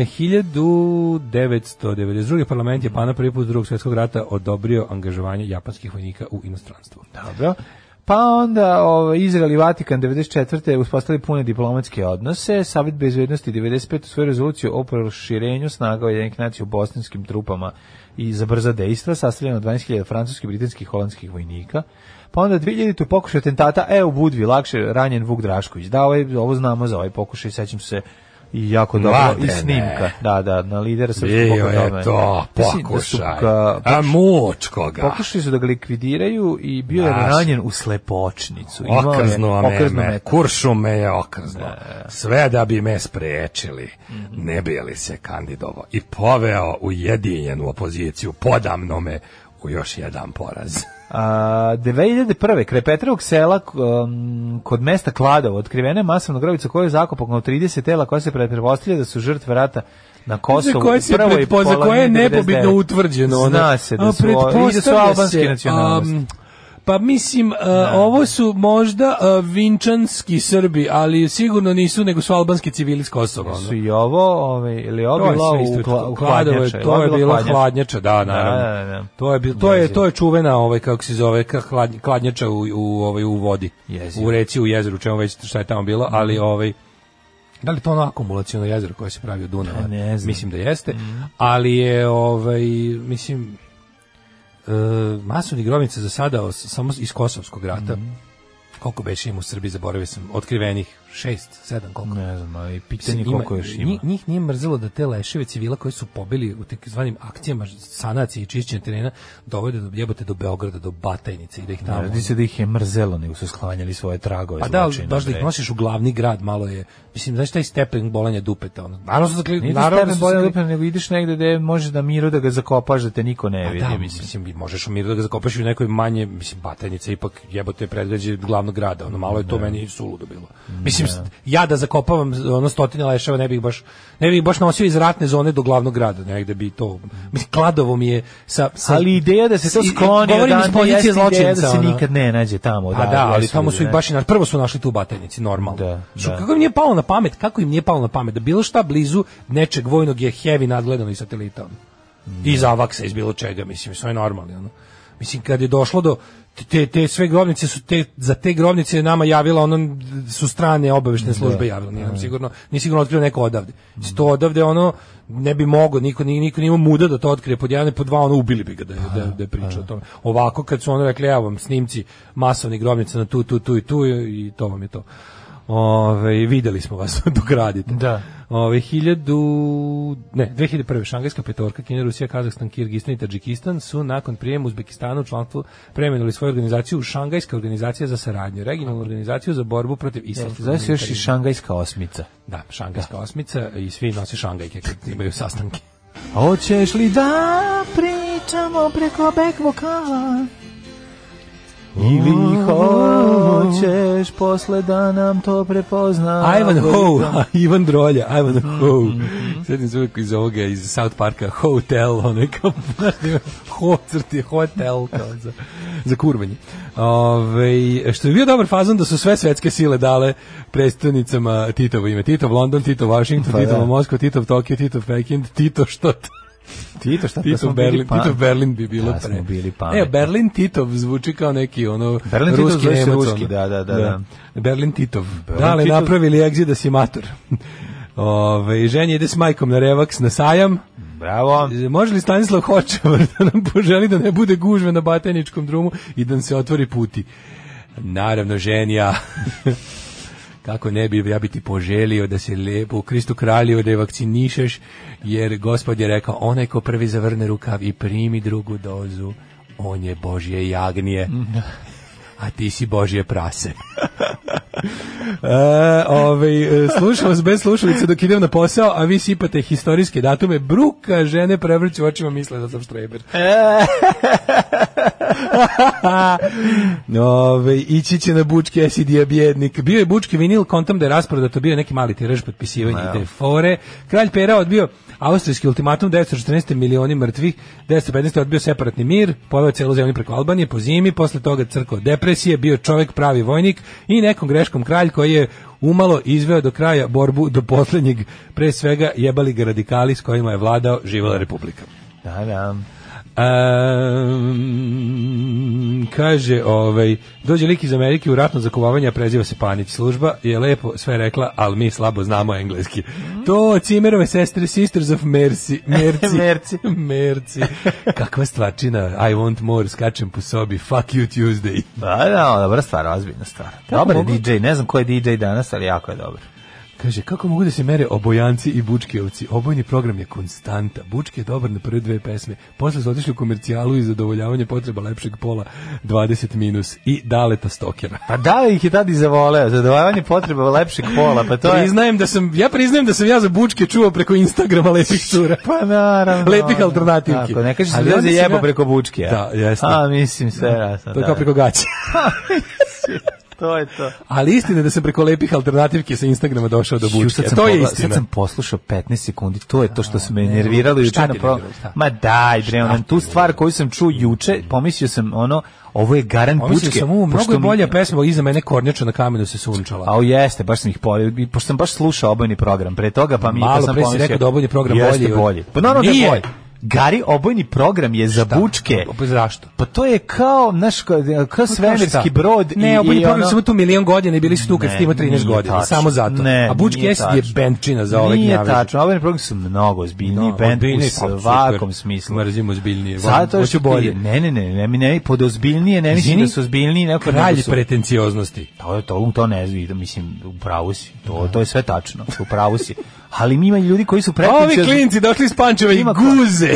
[SPEAKER 6] 1992. parlament je pana prvi put iz drugog svjetskog rata odobrio angažovanje japanskih vojnika u inostranstvu.
[SPEAKER 7] Dobro. Pa onda ovaj, Izrael i Vatikan 94. uspostavili pune diplomatske odnose. Savjet bezvednosti 95. u svoju rezoluciju o proširenju snaga Ujedinjenih nacija u bosanskim trupama i za brza dejstva sastavljeno od 12.000 francuskih, britanskih i holandskih vojnika. Pa onda 2000. u pokušaju atentata, e u Budvi, lakše ranjen Vuk Drašković. Da, ovaj, ovo znamo za ovaj pokušaj, sećam se i jako dobro i
[SPEAKER 6] Mladene.
[SPEAKER 7] snimka. Da, da, na lidera srpskog
[SPEAKER 6] Bio
[SPEAKER 7] pokreta.
[SPEAKER 6] je to
[SPEAKER 7] Mislim da su
[SPEAKER 6] pokušaj.
[SPEAKER 7] ga-
[SPEAKER 6] A muč koga.
[SPEAKER 7] Pokušali su da ga likvidiraju i bio je
[SPEAKER 6] Znaš.
[SPEAKER 7] ranjen u slepočnicu. Imao je
[SPEAKER 6] Okrznuo me,
[SPEAKER 7] okrzno
[SPEAKER 6] me,
[SPEAKER 7] me.
[SPEAKER 6] kuršu me je okrznuo. Sve da bi me sprečili,
[SPEAKER 7] Mhm.
[SPEAKER 6] ne bi li se kandidovo i poveo ujedinjenu opoziciju podamno me u još jedan poraz.
[SPEAKER 7] A, 2001. kraj Petrovog sela k- um, kod mesta Kladovo otkrivena je masovna grobica koju je zakopano 30 tela koja se pre- pretpostavlja da su žrtve rata na Kosovu.
[SPEAKER 6] koje se
[SPEAKER 7] u prvoj
[SPEAKER 6] pretpo- za koje je
[SPEAKER 7] polovini 99..
[SPEAKER 6] nepobitno utvrđeno. ono.
[SPEAKER 7] Zna se da
[SPEAKER 6] A,
[SPEAKER 7] su, i da su
[SPEAKER 6] pretpostavlja
[SPEAKER 7] albanski
[SPEAKER 6] se,
[SPEAKER 7] nacionalisti.
[SPEAKER 6] am, pa mislim, a, ovo su možda a, vinčanski Srbi, ali sigurno nisu, nego su albanski civili s Kosova. ono.
[SPEAKER 7] su i ovo, ovaj, ili ovo
[SPEAKER 6] To je
[SPEAKER 7] bilo
[SPEAKER 6] sve
[SPEAKER 7] u,
[SPEAKER 6] isto.
[SPEAKER 7] kla, u
[SPEAKER 6] Kladovo je-
[SPEAKER 7] hladnjače.
[SPEAKER 6] to
[SPEAKER 7] Ovo
[SPEAKER 6] je
[SPEAKER 7] bilo
[SPEAKER 6] bila
[SPEAKER 7] hladnjače.
[SPEAKER 6] hladnjača, da, naravno.
[SPEAKER 7] Da, da, da.
[SPEAKER 6] To je bil- to je
[SPEAKER 7] Jezivo.
[SPEAKER 6] to je čuvena ovaj kako se zove ka- hladnj- hladnjača u u ovaj u vodi.
[SPEAKER 7] Jezivo.
[SPEAKER 6] U reci, u jezeru, čemu već šta je tamo bilo, ali ovaj Da li to ono akumulaciono jezero koje se pravi od Dunava?
[SPEAKER 7] Pa ne znam.
[SPEAKER 6] Mislim da jeste, ali je ovaj mislim e, masovni grobnice za sada os- samo iz Kosovskog rata. Koliko beše ima u Srbiji, zaboravio sam, otkrivenih šest, sedam, koliko?
[SPEAKER 7] Ne znam, ali
[SPEAKER 6] Mislim,
[SPEAKER 7] pitanje koliko
[SPEAKER 6] ima-
[SPEAKER 7] još ima.
[SPEAKER 6] Njih, njih nije mrzelo da te leševe civila koji su pobili u takozvanim akcijama sanacije i čišćenja terena dovode do jebote do Beograda, do Batajnice i da ih tamo...
[SPEAKER 7] Radi se da ih je mrzelo, nego su sklanjali svoje tragove.
[SPEAKER 6] Pa da, ali
[SPEAKER 7] zločina,
[SPEAKER 6] baš da
[SPEAKER 7] bre.
[SPEAKER 6] ih nosiš u glavni grad, malo je... Mislim, znaš taj stepen bolanja dupeta? Ono, naravno su zakli...
[SPEAKER 7] Nije to
[SPEAKER 6] naravno
[SPEAKER 7] stepen
[SPEAKER 6] su
[SPEAKER 7] bolja
[SPEAKER 6] zakli-
[SPEAKER 7] lupina, nego ideš negde gde možeš da miru da ga zakopaš, da te niko ne
[SPEAKER 6] Pa
[SPEAKER 7] vidi.
[SPEAKER 6] da,
[SPEAKER 7] mislim.
[SPEAKER 6] mislim, mislim, možeš u miru da ga zakopaš i u nekoj manje, mislim, batajnice, ipak jebote predgrađe glavnog glavnog grada. Ono malo je to meni suludo bilo. Mislim ja da zakopavam ono stotine leševa ne bih baš ne bih baš nosio iz ratne zone do glavnog grada, negde bi to mislim kladovo mi je sa, sa
[SPEAKER 7] Ali ideja da se to
[SPEAKER 6] i-
[SPEAKER 7] skloni
[SPEAKER 6] govorim iz
[SPEAKER 7] odande
[SPEAKER 6] pozicije
[SPEAKER 7] jeste ideja da
[SPEAKER 6] zločinca.
[SPEAKER 7] se
[SPEAKER 6] ono.
[SPEAKER 7] nikad ne nađe tamo.
[SPEAKER 6] Pa da, ali
[SPEAKER 7] jesu
[SPEAKER 6] tamo
[SPEAKER 7] ljudi,
[SPEAKER 6] su ih
[SPEAKER 7] ne.
[SPEAKER 6] baš i na prvo su našli tu u Batajnici, normalno.
[SPEAKER 7] Da,
[SPEAKER 6] Što,
[SPEAKER 7] da.
[SPEAKER 6] Kako im nije palo na pamet, kako im nije palo na pamet da bilo šta blizu nečeg vojnog je heavy nadgledano iz satelita. ono. Iz avaksa, iz bilo čega, mislim, sve je normalno. Ono. Mislim, kad je došlo do te, te sve grobnice su te, za te grobnice je nama javila ono su strane obaveštene službe javile nije nam sigurno nije sigurno otkrio neko odavde mm. to odavde ono ne bi mogao niko ni niko nije imao muda da to otkrije pod jedan i pod dva ono ubili bi ga da je, da, je- da je pričao o tome ovako kad su ono rekli evo vam snimci masovnih grobnica na tu tu tu i tu i to vam je to Ove, videli smo vas dok radite.
[SPEAKER 7] Da.
[SPEAKER 6] Ove, 1000, ne, 2001. Šangajska petorka, Kina, Rusija, Kazahstan, Kirgistan i Tadžikistan su nakon prijema Uzbekistana u članstvu premenuli svoju organizaciju u Šangajska organizacija za saradnju, regionalnu organizaciju za borbu protiv islamskog
[SPEAKER 7] Zove se još i
[SPEAKER 6] militarizma.
[SPEAKER 7] šangajska osmica.
[SPEAKER 6] Da, Šangajska osmica i svi nose Šangajke kad imaju sastanke.
[SPEAKER 7] Hoćeš li da pričamo preko back vokala? Ili hoćeš posle da nam to prepozna?
[SPEAKER 6] Ivan Ho, Ivan Drolja, Ivan
[SPEAKER 7] Mm,
[SPEAKER 6] Ho. Sjetim se uvijek iz ovoga, iz South Parka, hotel, ono je kao, znaš, ima ho, crti, hotel, kao za, za kurvanje. Ove, što je bio dobar fazon da su sve svetske sile dale predstavnicama Titovo ime. Titov London, Titov Washington,
[SPEAKER 7] Pa da.
[SPEAKER 6] Titov Moskva, Titov Tokio, Titov Pekin, Tito što t-
[SPEAKER 7] Tito, šta
[SPEAKER 6] Titov Berlin, Titov Berlin bi bilo
[SPEAKER 7] Da
[SPEAKER 6] pre.
[SPEAKER 7] smo bili
[SPEAKER 6] E,
[SPEAKER 7] pametni.
[SPEAKER 6] Berlin Titov zvuči kao neki ono
[SPEAKER 7] Berlin Titov
[SPEAKER 6] ruski
[SPEAKER 7] zove se
[SPEAKER 6] Nemac,
[SPEAKER 7] ruski,
[SPEAKER 6] ono.
[SPEAKER 7] da, da, da, da.
[SPEAKER 6] Berlin Titov.
[SPEAKER 7] Berlin
[SPEAKER 6] da li
[SPEAKER 7] Titov-
[SPEAKER 6] napravili exit asimator? Ove, ženje ide s majkom na revaks, na sajam.
[SPEAKER 7] Bravo.
[SPEAKER 6] Može li Stanislav Hočevar da nam poželi da ne bude gužve na bateničkom drumu i da nam se otvori puti? Naravno, ženja. Kako ne bi ja biti poželio da se lepo u Kristu kralju da je vakcinišeš, jer gospod je rekao, onaj ko prvi zavrne rukav i primi drugu dozu, on je Božje jagnije. A ti si Božje prase. E, ovaj, e, slušam vas bez slušalice dok idem na posao, a vi sipate historijske datume. Bruka žene prevrću očima misle da sam štreber. Ove, ići će na bučki SID je bjednik. Bio je bučki vinil, kontom da je rasprodato, bio je neki mali tiraž potpisivanja i te fore. Kralj Pera odbio austrijski ultimatum, 914 milioni mrtvih, 915 odbio separatni mir, poveo celu zemlju preko Albanije po zimi, posle toga crko depresije, bio čovek pravi vojnik i nekom greškom kralj koji je umalo izveo do kraja borbu do poslednjeg, pre svega jebali ga radikali s kojima je vladao živala republika.
[SPEAKER 7] Da, da.
[SPEAKER 6] Um, kaže, ovaj, dođe lik iz Amerike u ratno zakovavanje, a preziva se Panić. Služba je lepo sve rekla, ali mi slabo znamo engleski. To Cimerove sestre, Sisters of Mercy. Merci.
[SPEAKER 7] Merci.
[SPEAKER 6] Merci. Kakva stvarčina, I want more, skačem po sobi, fuck you Tuesday.
[SPEAKER 7] Da, da, dobra stvar, ozbiljna stvar. Dobar je DJ, ne znam ko je DJ danas, ali jako je dobar.
[SPEAKER 6] Kaže, kako mogu da se mere obojanci i bučkevci? Obojni program je konstanta. Bučki je dobar na prve dve pesme. Posle su otišli u komercijalu i zadovoljavanje potreba lepšeg pola 20 minus i daleta stokera.
[SPEAKER 7] Pa da, ih je tada i zavoleo, zadovajanje potreba lepšeg pola, pa to je...
[SPEAKER 6] priznajem da sam, ja priznajem da sam ja za bučke čuo preko Instagrama lepih cura.
[SPEAKER 7] Pa naravno.
[SPEAKER 6] Lepih alternativki.
[SPEAKER 7] Tako, ne kažeš
[SPEAKER 6] Ali
[SPEAKER 7] da
[SPEAKER 6] onda
[SPEAKER 7] se
[SPEAKER 6] sam
[SPEAKER 7] jebo
[SPEAKER 6] ja-
[SPEAKER 7] preko bučke. a?
[SPEAKER 6] Da, jeste.
[SPEAKER 7] A, mislim, sve jasno.
[SPEAKER 6] To je
[SPEAKER 7] da,
[SPEAKER 6] kao
[SPEAKER 7] da.
[SPEAKER 6] preko gaće.
[SPEAKER 7] To je to.
[SPEAKER 6] Ali istina je da sam preko lepih alternativki sa Instagrama došao do
[SPEAKER 7] Ju,
[SPEAKER 6] bučke.
[SPEAKER 7] sad sam
[SPEAKER 6] To je
[SPEAKER 7] pogledao-
[SPEAKER 6] istina.
[SPEAKER 7] Sad sam poslušao 15 sekundi, to je to što se me nerviralo
[SPEAKER 6] Šta
[SPEAKER 7] juče
[SPEAKER 6] ti
[SPEAKER 7] na pro...
[SPEAKER 6] nerviralo, šta?
[SPEAKER 7] Ma daj, bre, onam, tu stvar koju sam čuo juče, pomislio sam, ono, ovo je garant
[SPEAKER 6] Pomislio
[SPEAKER 7] bučke.
[SPEAKER 6] sam, u, mnogo
[SPEAKER 7] pošto
[SPEAKER 6] je
[SPEAKER 7] mi-
[SPEAKER 6] bolja pesma, iza mene kornjača na kamenu se sunčala.
[SPEAKER 7] A o jeste, baš sam ih polio, i pošto sam baš slušao obojni program pre toga, pa mi
[SPEAKER 6] Malo
[SPEAKER 7] pa sam
[SPEAKER 6] pre si
[SPEAKER 7] pomislio-
[SPEAKER 6] rekao da obojni program
[SPEAKER 7] jeste
[SPEAKER 6] bolji od-
[SPEAKER 7] bolji. Pa naravno da je
[SPEAKER 6] Nije.
[SPEAKER 7] bolji. Gari, obojni program je za bučke.
[SPEAKER 6] Pa Zašto?
[SPEAKER 7] Pa to je kao, znaš, kao, kao svemirski brod i,
[SPEAKER 6] Pa Ne, obojni
[SPEAKER 7] i
[SPEAKER 6] program
[SPEAKER 7] ono-
[SPEAKER 6] samo tu milion godina i bili su tu kad
[SPEAKER 7] Ne,
[SPEAKER 6] ste imali 13
[SPEAKER 7] nije
[SPEAKER 6] godina.
[SPEAKER 7] tačno.
[SPEAKER 6] Samo zato.
[SPEAKER 7] Ne,
[SPEAKER 6] A Bučki
[SPEAKER 7] nije
[SPEAKER 6] Acid je
[SPEAKER 7] tačno.
[SPEAKER 6] benčina za ove
[SPEAKER 7] Nije
[SPEAKER 6] gnjave.
[SPEAKER 7] tačno, obojni program su mnogo ozbiljniji
[SPEAKER 6] Da,
[SPEAKER 7] bend
[SPEAKER 6] ozbiljniji,
[SPEAKER 7] u
[SPEAKER 6] pa, super.
[SPEAKER 7] svakom smislu.
[SPEAKER 6] Mrzim ozbiljnije.
[SPEAKER 7] Zato
[SPEAKER 6] Hoću
[SPEAKER 7] što
[SPEAKER 6] bolje.
[SPEAKER 7] bolje. Ne, ne, ne, ne, ne, ne, pod ozbiljnije, ne mislim
[SPEAKER 6] Izvini,
[SPEAKER 7] da su ozbiljniji, neko
[SPEAKER 6] Kralj
[SPEAKER 7] nego su-
[SPEAKER 6] pretencioznosti.
[SPEAKER 7] To, to, to ne znam, mislim, u pravu si, to, to je sve tačno, u pravu si. Ali mi ima ljudi koji su
[SPEAKER 6] Ovi
[SPEAKER 7] pretenciozni,
[SPEAKER 6] klinci došli iz Pančeva i
[SPEAKER 7] Ima ko-
[SPEAKER 6] guze.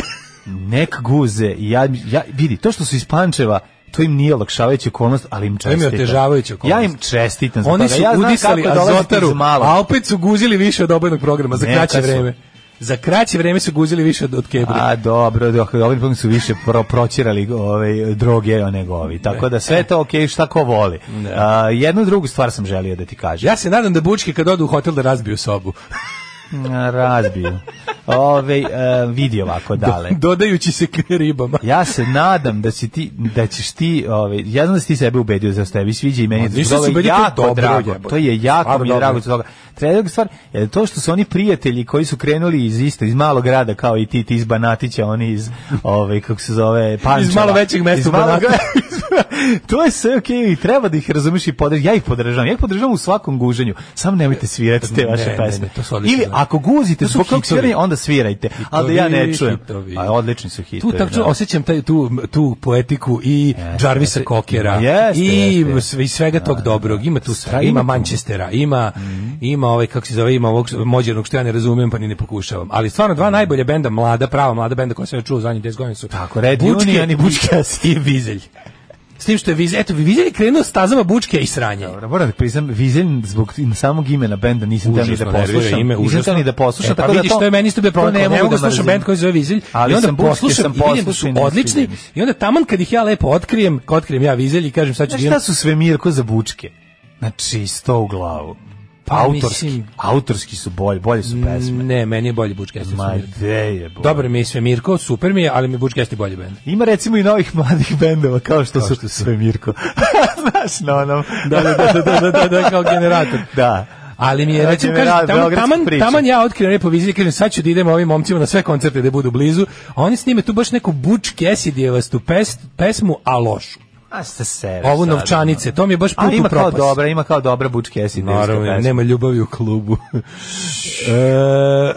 [SPEAKER 7] nek guze, i ja, ja, vidi, to što su iz Pančeva, to im nije olakšavajuća okolnost, ali im
[SPEAKER 6] im je
[SPEAKER 7] čestitam.
[SPEAKER 6] otežavajuća okolnost.
[SPEAKER 7] Ja im čestitam za
[SPEAKER 6] Oni
[SPEAKER 7] toga.
[SPEAKER 6] su
[SPEAKER 7] Pa ja znam
[SPEAKER 6] udisali
[SPEAKER 7] kako dolazi iz
[SPEAKER 6] azotaru,
[SPEAKER 7] malog.
[SPEAKER 6] a opet su guzili više od obojnog programa za
[SPEAKER 7] Neka
[SPEAKER 6] kraće
[SPEAKER 7] su.
[SPEAKER 6] vreme. Za kraće vreme su guzili više od, od kebre.
[SPEAKER 7] A dobro, dok ovi pun su više pro, proćerali ove droge nego ovi. Tako da sve je to okej, šta ko voli. A, jednu drugu stvar sam želio da ti kažem.
[SPEAKER 6] Ja se nadam da bučke kad odu u hotel da razbiju sobu.
[SPEAKER 7] Ja. Razbiju. Ove, e, vidi ovako dale.
[SPEAKER 6] Dodajući se k ribama.
[SPEAKER 7] Ja se nadam da si ti da ćeš ti, ovaj, ja znam da si ti sebe ubedio za tebi sviđa i meni
[SPEAKER 6] Ma,
[SPEAKER 7] to
[SPEAKER 6] nisam
[SPEAKER 7] je
[SPEAKER 6] se ubedio, to je
[SPEAKER 7] jako
[SPEAKER 6] dobro,
[SPEAKER 7] drago.
[SPEAKER 6] jebote.
[SPEAKER 7] To je jako
[SPEAKER 6] Stvarno
[SPEAKER 7] mi je
[SPEAKER 6] dobro.
[SPEAKER 7] drago zbog toga. Treba stvar, je to što su oni prijatelji koji su krenuli iz iste iz malog grada kao i ti, ti iz Banatića, oni iz ovaj kako se zove Pančeva.
[SPEAKER 6] Iz malo većeg mesta
[SPEAKER 7] Iz
[SPEAKER 6] u
[SPEAKER 7] malog
[SPEAKER 6] Banatu.
[SPEAKER 7] grada. to je sve okej i treba da ih razumeš i podržiš. Ja ih podržavam. Ja ih podržavam u svakom guženju. Samo nemojte svirati te
[SPEAKER 6] Ne,
[SPEAKER 7] vaše
[SPEAKER 6] ne, ne,
[SPEAKER 7] pesme.
[SPEAKER 6] to su odlične
[SPEAKER 7] Ili
[SPEAKER 6] pesme.
[SPEAKER 7] ako guzite
[SPEAKER 6] To su
[SPEAKER 7] zbog tog
[SPEAKER 6] hitovi.
[SPEAKER 7] sviranja, onda svirajte. Ali da ja ne
[SPEAKER 6] Hitovi,
[SPEAKER 7] čujem.
[SPEAKER 6] hitovi.
[SPEAKER 7] A odlični su hitovi.
[SPEAKER 6] Tu tačno
[SPEAKER 7] da.
[SPEAKER 6] osjećam taj, tu, tu poetiku i
[SPEAKER 7] Jeste,
[SPEAKER 6] Jarvisa
[SPEAKER 7] jeste.
[SPEAKER 6] Kokera
[SPEAKER 7] Jeste,
[SPEAKER 6] i
[SPEAKER 7] jeste.
[SPEAKER 6] sve- i svega tog dobrog. Ima tu svega,
[SPEAKER 7] Ima
[SPEAKER 6] ima
[SPEAKER 7] tu. Mhm.
[SPEAKER 6] Manchestera, ima ima ovaj kako se zove, ima ovog mođernog što ja ne razumem pa ni ne pokušavam. Ali stvarno
[SPEAKER 7] Mhm.
[SPEAKER 6] dva najbolja benda, mlada, prava mlada benda koja sam ja čuo u zadnjih 10 godina su.
[SPEAKER 7] Tako, Red
[SPEAKER 6] Bučke
[SPEAKER 7] Union i Bučke.
[SPEAKER 6] i Vizelj. S tim što je Vizelj, eto Vizelj je krenuo stazama Bučke i sranje.
[SPEAKER 7] Dobro, moram da priznam, Vizelj zbog samog imena benda nisam teo ni da
[SPEAKER 6] Užasno nervira
[SPEAKER 7] poslušam.
[SPEAKER 6] ime,
[SPEAKER 7] nisam
[SPEAKER 6] užasno.
[SPEAKER 7] teo ni da poslušam,
[SPEAKER 6] E, pa
[SPEAKER 7] tako da
[SPEAKER 6] vidiš,
[SPEAKER 7] to...
[SPEAKER 6] to je meni isto bio problem,
[SPEAKER 7] to
[SPEAKER 6] ne mogu da
[SPEAKER 7] mrzim.
[SPEAKER 6] slušam band koji se zove Vizelj
[SPEAKER 7] Ali
[SPEAKER 6] i onda
[SPEAKER 7] sam bučke,
[SPEAKER 6] poslušam
[SPEAKER 7] sam
[SPEAKER 6] i vidim da su
[SPEAKER 7] poslušao i ne
[SPEAKER 6] odlični
[SPEAKER 7] sviđa mi se.
[SPEAKER 6] i onda taman kad ih ja lepo otkrijem, kad otkrijem ja Vizelj i kažem sad ću
[SPEAKER 7] Znaš
[SPEAKER 6] da imam
[SPEAKER 7] šta su sve Mirko za bučke? Znači, sto u glavu.
[SPEAKER 6] Pa,
[SPEAKER 7] autorski,
[SPEAKER 6] mislim- Mm,
[SPEAKER 7] autorski su bolji, bolje su pesme.
[SPEAKER 6] Ne, meni je bolji Bučke Jesti.
[SPEAKER 7] Ma, gde je bolje?
[SPEAKER 6] Dobar mi je sve Mirko, super mi je, ali mi je Bučke Jesti bolji bend.
[SPEAKER 7] Ima recimo i novih mladih bendova, kao što su
[SPEAKER 6] što su.
[SPEAKER 7] sve Mirko. Znaš, na onom...
[SPEAKER 6] Da, da, da, da, da, da, da, kao generator.
[SPEAKER 7] da.
[SPEAKER 6] Ali mi je,
[SPEAKER 7] Evo
[SPEAKER 6] recimo,
[SPEAKER 7] ti
[SPEAKER 6] kažem,
[SPEAKER 7] Beograd-
[SPEAKER 6] taman,
[SPEAKER 7] beogradska
[SPEAKER 6] taman,
[SPEAKER 7] priča.
[SPEAKER 6] taman ja otkrijem lepo viziju, kažem, sad ću da idem ovim momcima na sve koncerte da budu blizu, a oni snime tu baš neku Buč Kesidijevastu pes, pesmu, a lošu.
[SPEAKER 7] A ste sebe
[SPEAKER 6] Ovu
[SPEAKER 7] E, sad,
[SPEAKER 6] novčanice, to mi je baš put
[SPEAKER 7] Ali
[SPEAKER 6] u
[SPEAKER 7] ima kao
[SPEAKER 6] propast.
[SPEAKER 7] dobra, ima kao dobra bučke esidevska
[SPEAKER 6] Naravno,
[SPEAKER 7] pesma.
[SPEAKER 6] nema ljubavi u klubu. e,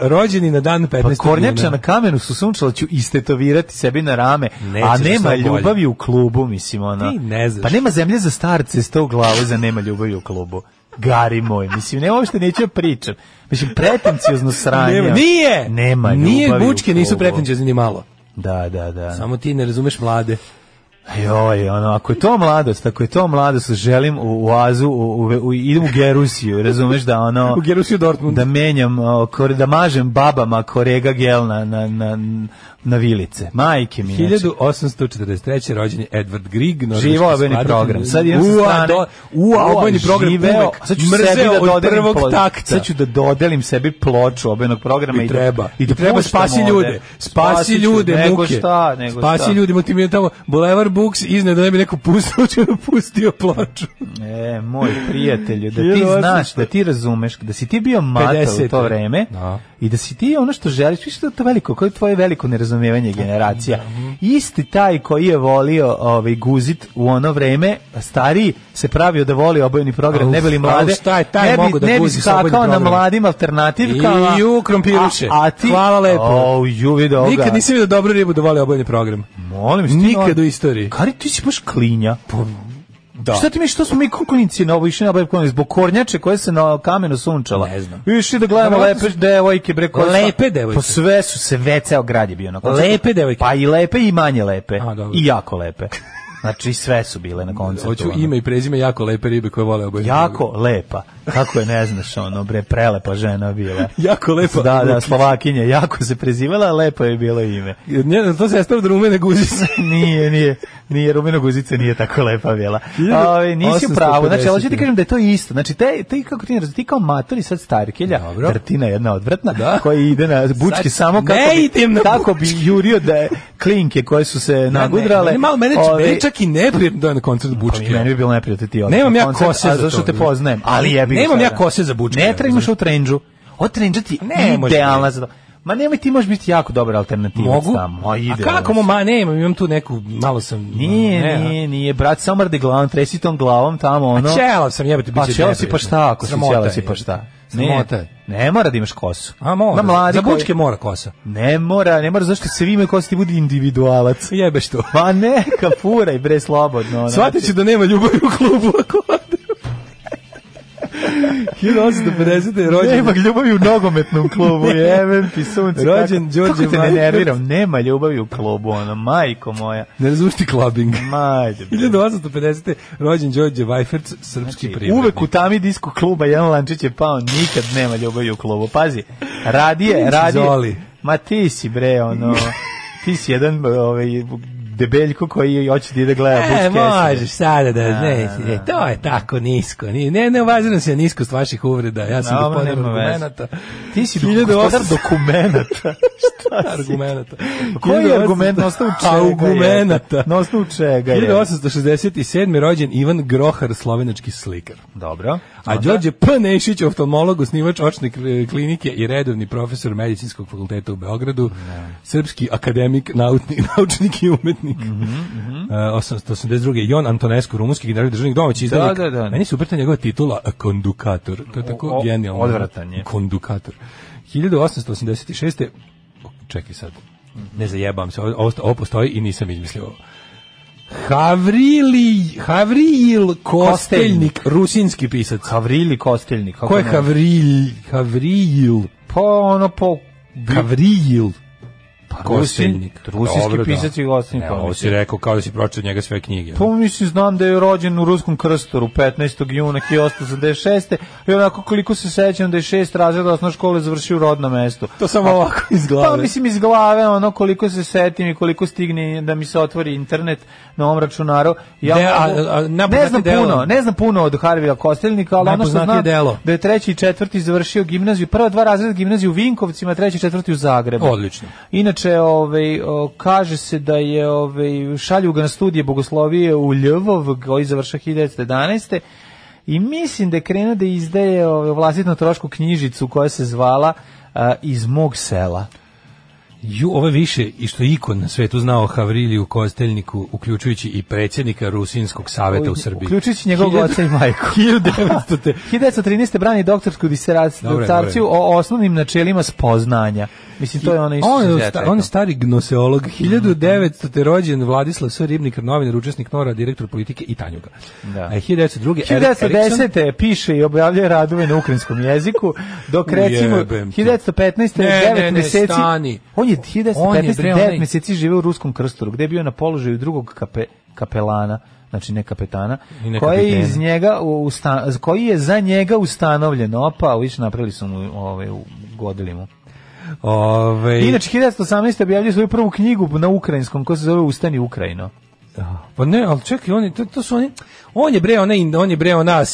[SPEAKER 6] rođeni na dan 15.
[SPEAKER 7] Pa kornjača
[SPEAKER 6] juna.
[SPEAKER 7] na kamenu su sunčala ću istetovirati sebi na rame,
[SPEAKER 6] Nećeš
[SPEAKER 7] a
[SPEAKER 6] da
[SPEAKER 7] nema
[SPEAKER 6] sam bolji.
[SPEAKER 7] ljubavi u klubu, mislim, ono.
[SPEAKER 6] Ti ne znaš.
[SPEAKER 7] Pa nema zemlje za starce, sto u glavu za nema ljubavi u klubu. Gari moj, mislim, nema uopšte neću da pričam. Mislim, pretencijozno sranje.
[SPEAKER 6] Nema, nije!
[SPEAKER 7] Nema ljubavi
[SPEAKER 6] Nije,
[SPEAKER 7] u
[SPEAKER 6] bučke nisu
[SPEAKER 7] klubu.
[SPEAKER 6] pretinđeni ni malo.
[SPEAKER 7] Da, da, da.
[SPEAKER 6] Samo ti ne razumeš mlade.
[SPEAKER 7] Joj, ono, ako je to mladost, ako je to mladost, želim u, u Azu, u, u, u, idem u Gerusiju, razumeš da ono...
[SPEAKER 6] U Gerusiju Dortmund.
[SPEAKER 7] da menjam, o, kore- da mažem babama korega gel na, na, na, na vilice. Majke mi. znači.
[SPEAKER 6] 1843. rođen je Edward Grieg. norveški
[SPEAKER 7] Živao obojni
[SPEAKER 6] skladatelj.
[SPEAKER 7] program. Sad idem sa
[SPEAKER 6] Ua,
[SPEAKER 7] strane.
[SPEAKER 6] do- Ua, obojni program
[SPEAKER 7] živeo.
[SPEAKER 6] uvek.
[SPEAKER 7] Sad ću sebi
[SPEAKER 6] Mrzeo
[SPEAKER 7] da
[SPEAKER 6] od
[SPEAKER 7] dodelim
[SPEAKER 6] prvog
[SPEAKER 7] plo-
[SPEAKER 6] takta.
[SPEAKER 7] Sad ću da dodelim sebi ploču obojnog programa
[SPEAKER 6] I
[SPEAKER 7] i da-
[SPEAKER 6] treba.
[SPEAKER 7] I da
[SPEAKER 6] treba
[SPEAKER 7] puštam
[SPEAKER 6] spasi
[SPEAKER 7] ovde.
[SPEAKER 6] ljude. Spasi
[SPEAKER 7] Spasit ću,
[SPEAKER 6] ljude,
[SPEAKER 7] nego
[SPEAKER 6] muke.
[SPEAKER 7] šta, nego
[SPEAKER 6] spasi
[SPEAKER 7] šta.
[SPEAKER 6] ljude, mu ti mi je tamo Boulevard Books iznad da ne bi neko pustio, učeno pustio ploču.
[SPEAKER 7] E, moj prijatelju, da ti
[SPEAKER 6] 1800.
[SPEAKER 7] znaš, da ti razumeš, da si ti bio mater u
[SPEAKER 6] 50-te.
[SPEAKER 7] to vreme
[SPEAKER 6] Da.
[SPEAKER 7] i da si ti ono što želiš, više da je to veliko, koje je tvoje veliko nerazumevanje generacija. Isti taj koji je volio ovaj, guzit u ono vreme, stariji se pravio da voli obojeni program,
[SPEAKER 6] Au,
[SPEAKER 7] ne bili
[SPEAKER 6] au,
[SPEAKER 7] mlade,
[SPEAKER 6] šta je taj
[SPEAKER 7] ne bi,
[SPEAKER 6] mogao da
[SPEAKER 7] ne bi
[SPEAKER 6] guzi sa obojeni
[SPEAKER 7] skakao na
[SPEAKER 6] programom?
[SPEAKER 7] mladim alternativkama.
[SPEAKER 6] I u krompiruše.
[SPEAKER 7] A, a ti,
[SPEAKER 6] Hvala lepo.
[SPEAKER 7] Au, ju, vidi ovoga.
[SPEAKER 6] Nikad nisam vidio dobru ribu da voli obojni program.
[SPEAKER 7] Molim, što ti
[SPEAKER 6] nikad
[SPEAKER 7] ono-
[SPEAKER 6] u istoriji. Pa
[SPEAKER 7] Kari, ti si baš klinja.
[SPEAKER 6] Da.
[SPEAKER 7] Šta ti misliš, što smo mi kuklinici na ovo išli na Bajb Konec, zbog kornjače koje se na kamenu sunčala?
[SPEAKER 6] Ne znam.
[SPEAKER 7] Išli da gledamo
[SPEAKER 6] Verovatno
[SPEAKER 7] lepe devojke, bre. koje su-
[SPEAKER 6] Lepe devojke.
[SPEAKER 7] Pa sve su se, ve, ceo grad je bio na koncertu.
[SPEAKER 6] Lepe devojke.
[SPEAKER 7] Pa i lepe i manje lepe.
[SPEAKER 6] A, dobro.
[SPEAKER 7] I jako lepe. Znači, sve su bile na koncertu.
[SPEAKER 6] Hoću
[SPEAKER 7] ono.
[SPEAKER 6] ime i prezime jako lepe ribe koje vole obojni
[SPEAKER 7] Jako lepa. Kako je, ne znaš, ono, bre, prelepa žena bila.
[SPEAKER 6] Jako lepa.
[SPEAKER 7] Da, da, Slovakinja, jako se prezivala, a lepo je bilo ime.
[SPEAKER 6] Ne, to se ja stavio da rumene guzice.
[SPEAKER 7] nije, nije, nije, rumena guzica nije tako lepa bila. Ove, nisi u pravu, znači, ali hoću ti kažem da je to isto. Znači, te, te kako ti ne razumiješ, ti kao matori sad starkelja,
[SPEAKER 6] Dobro.
[SPEAKER 7] drtina jedna odvratna,
[SPEAKER 6] Da.
[SPEAKER 7] koja ide na bučke
[SPEAKER 6] Sad
[SPEAKER 7] samo
[SPEAKER 6] ne
[SPEAKER 7] kako bi,
[SPEAKER 6] idem na
[SPEAKER 7] kako bi jurio da je klinke koje su se nagudrale.
[SPEAKER 6] Ne, ne, malo mene
[SPEAKER 7] ove,
[SPEAKER 6] meni čak i neprijatno da je na koncert
[SPEAKER 7] Pa mi, meni
[SPEAKER 6] Bučke.
[SPEAKER 7] bi bilo neprijatno ti odeš
[SPEAKER 6] Nemam
[SPEAKER 7] na
[SPEAKER 6] ja
[SPEAKER 7] koncert,
[SPEAKER 6] kose
[SPEAKER 7] a
[SPEAKER 6] za
[SPEAKER 7] zašto
[SPEAKER 6] to.
[SPEAKER 7] te poznajem, ali jebi ga
[SPEAKER 6] Nemam
[SPEAKER 7] sada.
[SPEAKER 6] ja kose za bučke,
[SPEAKER 7] Ne treba imaš u
[SPEAKER 6] razumeš?
[SPEAKER 7] trendžu. Od trendža ti
[SPEAKER 6] Ne, može
[SPEAKER 7] idealna za to. Ma nemoj ti možeš biti jako dobar alternativac
[SPEAKER 6] Mogu?
[SPEAKER 7] tamo. Ma,
[SPEAKER 6] A
[SPEAKER 7] ide,
[SPEAKER 6] kako
[SPEAKER 7] ono,
[SPEAKER 6] mu, ma ne, imam, imam tu neku, malo sam...
[SPEAKER 7] Nije,
[SPEAKER 6] ne, a-
[SPEAKER 7] nije, nije, brat, samo radi glavom, tresi tom glavom tamo, ono.
[SPEAKER 6] A ćelav sam, jebate, bit
[SPEAKER 7] Pa
[SPEAKER 6] će
[SPEAKER 7] ćelav si
[SPEAKER 6] neprijatno.
[SPEAKER 7] pa šta, ako si
[SPEAKER 6] Sramota
[SPEAKER 7] ćelav
[SPEAKER 6] je,
[SPEAKER 7] si pa šta.
[SPEAKER 6] jebote. Sramota
[SPEAKER 7] Ne,
[SPEAKER 6] je.
[SPEAKER 7] ne mora da imaš kosu.
[SPEAKER 6] A mora,
[SPEAKER 7] Na mladi
[SPEAKER 6] za
[SPEAKER 7] koji-
[SPEAKER 6] bučke mora kosa.
[SPEAKER 7] Ne mora, ne mora, zašto svi imaju kosu ti budi individualac.
[SPEAKER 6] Jebeš to.
[SPEAKER 7] Pa neka, furaj bre, slobodno. ono.
[SPEAKER 6] Shvatit ću da nema ljubavi u klubu ako ode. 1850. rođen.
[SPEAKER 7] Znači, Nema ljubavi u nogometnom klubu, jevem ti sunce.
[SPEAKER 6] Rođen
[SPEAKER 7] kako,
[SPEAKER 6] Đorđe
[SPEAKER 7] kako te ne
[SPEAKER 6] Marković.
[SPEAKER 7] nerviram, nema ljubavi u klubu, ono, majko moja.
[SPEAKER 6] Ne razumiješ ti klabing.
[SPEAKER 7] Majde, bre.
[SPEAKER 6] 1850. rođen Đorđe Vajferc, srpski znači, privrednik.
[SPEAKER 7] Uvek u tami disko kluba jedan lančić je pao, nikad nema ljubavi u klubu. Pazi, radije, radije.
[SPEAKER 6] Zoli.
[SPEAKER 7] Ma ti si bre, ono, ti si jedan ovaj, debeljko koji hoće da ide gleda Butch
[SPEAKER 6] E,
[SPEAKER 7] Cassidy.
[SPEAKER 6] možeš sada da, ne, ne, to je tako nisko. Ni- Ne, ne obaziram se nisko s vaših uvreda. Ja sam
[SPEAKER 7] Dobro,
[SPEAKER 6] gospodar
[SPEAKER 7] nema veze.
[SPEAKER 6] argumenata.
[SPEAKER 7] Ti si
[SPEAKER 6] 1800
[SPEAKER 7] gospodar dokumenata. Šta si?
[SPEAKER 6] Argumenata.
[SPEAKER 7] Koji je argument? Na osnovu čega? je?
[SPEAKER 6] Argumenata.
[SPEAKER 7] Na osnovu čega? je?
[SPEAKER 6] 1867. rođen Ivan Grohar, slovenački slikar.
[SPEAKER 7] Dobro.
[SPEAKER 6] A Đorđe P. Nešić, oftalmolog, osnivač očne kl- klinike i redovni profesor medicinskog fakulteta u Beogradu, srpski akademik, nautni, naučnik i umetnik.
[SPEAKER 7] Mhm,
[SPEAKER 6] E, 882. Jon Antonescu, rumunski generalni državnik domaći izdavnik.
[SPEAKER 7] da, da.
[SPEAKER 6] Meni se uprta njegova titula a, kondukator. To je tako
[SPEAKER 7] O- o-
[SPEAKER 6] genijalno.
[SPEAKER 7] odvratan je.
[SPEAKER 6] Kondukator. 1886. O, Čekaj sad.
[SPEAKER 7] Mhm.
[SPEAKER 6] Ne zajebam se, ovo, ovo postoji i nisam izmislio ovo. Havrili, Havrijil Kosteljnik, rusinski pisac.
[SPEAKER 7] Havrili Kosteljnik. kako
[SPEAKER 6] Ko je
[SPEAKER 7] ne?
[SPEAKER 6] Havrilj? Havrijil.
[SPEAKER 7] Pa ono po...
[SPEAKER 6] Havrijil.
[SPEAKER 7] Kosteljnik. Rusinski
[SPEAKER 6] Pa Dobro, da.
[SPEAKER 7] pisac i Kosteljnik.
[SPEAKER 6] Ne, ovo si rekao kao da si pročitao njega sve knjige. ono.
[SPEAKER 7] Pa mislim, znam da je rođen u Ruskom krstoru 15. juna 1886. I onako koliko se sećam da je šest razreda osnovne škole završio u rodnom mestu.
[SPEAKER 6] To samo ovako iz
[SPEAKER 7] Pa mislim iz glave, ono koliko se setim i koliko stigne da mi se otvori internet na ovom računaru. Ja
[SPEAKER 6] Ne, a-
[SPEAKER 7] mogu-
[SPEAKER 6] a- najpoznatije
[SPEAKER 7] ne znam
[SPEAKER 6] delo.
[SPEAKER 7] puno, ne znam puno od Harvija Kosteljnika, ali ono što
[SPEAKER 6] Najpoznatije
[SPEAKER 7] znam
[SPEAKER 6] delo.
[SPEAKER 7] da je treći i četvrti završio gimnaziju, prva dva razreda gimnazije u Vinkovcima, treći i četvrti u Zagrebu.
[SPEAKER 6] Odlično.
[SPEAKER 7] Inače, ovaj, o, kaže se da je ovaj, šalju ga na studije bogoslovije u Ljvov, koji završa 1911. I mislim da je krenuo da izdaje ovaj, vlastitno trošku knjižicu koja se zvala a, Iz mog sela.
[SPEAKER 6] Ju, ovo je više i što je ikon na svetu znao o Havrilju Kosteljniku, uključujući i predsjednika Rusinskog saveta u Srbiji.
[SPEAKER 7] Uključujući njegovog oca i majku.
[SPEAKER 6] 1900 te.
[SPEAKER 7] 1913. brani doktorsku diserac-
[SPEAKER 6] Dobre,
[SPEAKER 7] disertaciju o osnovnim načelima spoznanja. Mislim, to je ono isto
[SPEAKER 6] On
[SPEAKER 7] što
[SPEAKER 6] je,
[SPEAKER 7] sam ja
[SPEAKER 6] sta-
[SPEAKER 7] rekao.
[SPEAKER 6] on je stari gnoseolog. 1900. te rođen Vladislav S. Ribnikar, novinar, učesnik Nora, direktor politike i Tanjuga.
[SPEAKER 7] Da.
[SPEAKER 6] A 1902. Erik Erikson-
[SPEAKER 7] 1910. piše i objavljuje radove na ukrajinskom jeziku, dok recimo
[SPEAKER 6] Ujebem ti.
[SPEAKER 7] 1915.
[SPEAKER 6] Ne,
[SPEAKER 7] je 9
[SPEAKER 6] ne, ne,
[SPEAKER 7] meseci...
[SPEAKER 6] stani.
[SPEAKER 7] On je
[SPEAKER 6] On je
[SPEAKER 7] 1915.
[SPEAKER 6] bre
[SPEAKER 7] 9
[SPEAKER 6] onaj-
[SPEAKER 7] meseci žive u ruskom krstoru, gde je bio na položaju drugog kape, kapelana, znači ne kapetana,
[SPEAKER 6] I ne
[SPEAKER 7] koji je
[SPEAKER 6] kapitena.
[SPEAKER 7] iz njega u- usta- koji je za njega ustanovljen opa, više napravili su mu ovaj ugodili mu.
[SPEAKER 6] Ove,
[SPEAKER 7] Inače 1918 objavljuje svoju prvu knjigu na ukrajinskom koja se zove Ustani Ukrajino.
[SPEAKER 6] Pa ne, ali čekaj, oni, to, to su oni, on je bre, ona, ind- on je bre, ona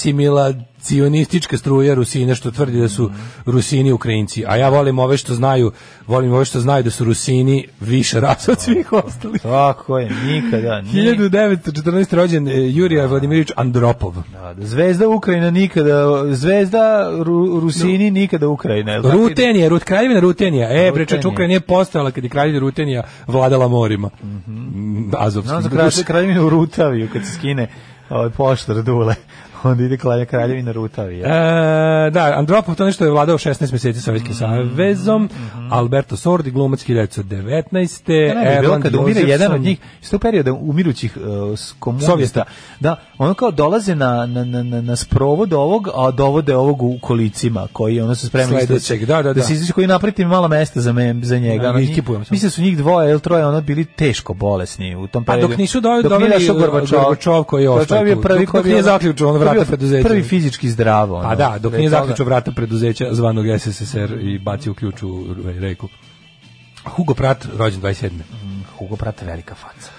[SPEAKER 6] asimilacionistička struja Rusina što tvrdi da su Rusini Ukrajinci, a ja volim ove što znaju, volim ove što znaju da su Rusini više rasa od svih ostalih.
[SPEAKER 7] Tako je, nikada. nikada.
[SPEAKER 6] 1914. rođen e, Jurija Vladimirović Andropov.
[SPEAKER 7] Da, da, Zvezda Ukrajina nikada, Zvezda Ru, Rusini nikada Ukrajina. jel tako?
[SPEAKER 6] Rutenija, Rut, kraljevina Rutenija. E, prečač
[SPEAKER 7] Rutenija.
[SPEAKER 6] Ukrajina nije postojala kad je kraljevina Rutenija vladala morima. Mm, Azovskim.
[SPEAKER 7] Mhm. Znam za kralje- kraljevinu Rutaviju kad se skine ovaj poštar dule. Onda ide kralje- kraljevina Rutavija.
[SPEAKER 6] E, da, Andropov to nešto je vladao 16 meseci Sovjetskim
[SPEAKER 7] Mhm.
[SPEAKER 6] savezom, Alberto Sordi, glumac 1919.
[SPEAKER 7] Ne, ne, bi Pa bilo
[SPEAKER 6] E, Erland
[SPEAKER 7] E, kad umire
[SPEAKER 6] Josephson.
[SPEAKER 7] jedan od njih, isto u periodu umirućih uh, s- komunista,
[SPEAKER 6] Sovjeta.
[SPEAKER 7] da, ono kao dolaze na, na, na, na, na sprovod ovog, a dovode ovog u kolicima, koji ono su spremni
[SPEAKER 6] Sledećeg,
[SPEAKER 7] istraći-
[SPEAKER 6] da, da, da.
[SPEAKER 7] se izliči, koji napreti malo mesta za, me, za njega.
[SPEAKER 6] Da,
[SPEAKER 7] ono, njih-
[SPEAKER 6] iskipujem samo.
[SPEAKER 7] mislim da su njih dvoje ili troje ono bili teško bolesni u tom
[SPEAKER 6] A
[SPEAKER 7] periodu.
[SPEAKER 6] dok nisu do,
[SPEAKER 7] Dok
[SPEAKER 6] doveli
[SPEAKER 7] nije došao
[SPEAKER 6] Gorbačov, Gorbačov koji je ostao
[SPEAKER 7] Gorbačov je
[SPEAKER 6] tu.
[SPEAKER 7] prvi
[SPEAKER 6] dok, dok
[SPEAKER 7] koji je
[SPEAKER 6] nije
[SPEAKER 7] ono-
[SPEAKER 6] zaključio on
[SPEAKER 7] koji je
[SPEAKER 6] vrata
[SPEAKER 7] bio
[SPEAKER 6] preduzeća.
[SPEAKER 7] Prvi fizički zdravo. ono.
[SPEAKER 6] A Pa da, dok
[SPEAKER 7] Pre
[SPEAKER 6] nije
[SPEAKER 7] toga-
[SPEAKER 6] zaključio vrata preduzeća zvanog SSSR i bacio ključ u reku. Hugo Pratt, rođen 27.
[SPEAKER 7] Mhm, Hugo Prata velika faca.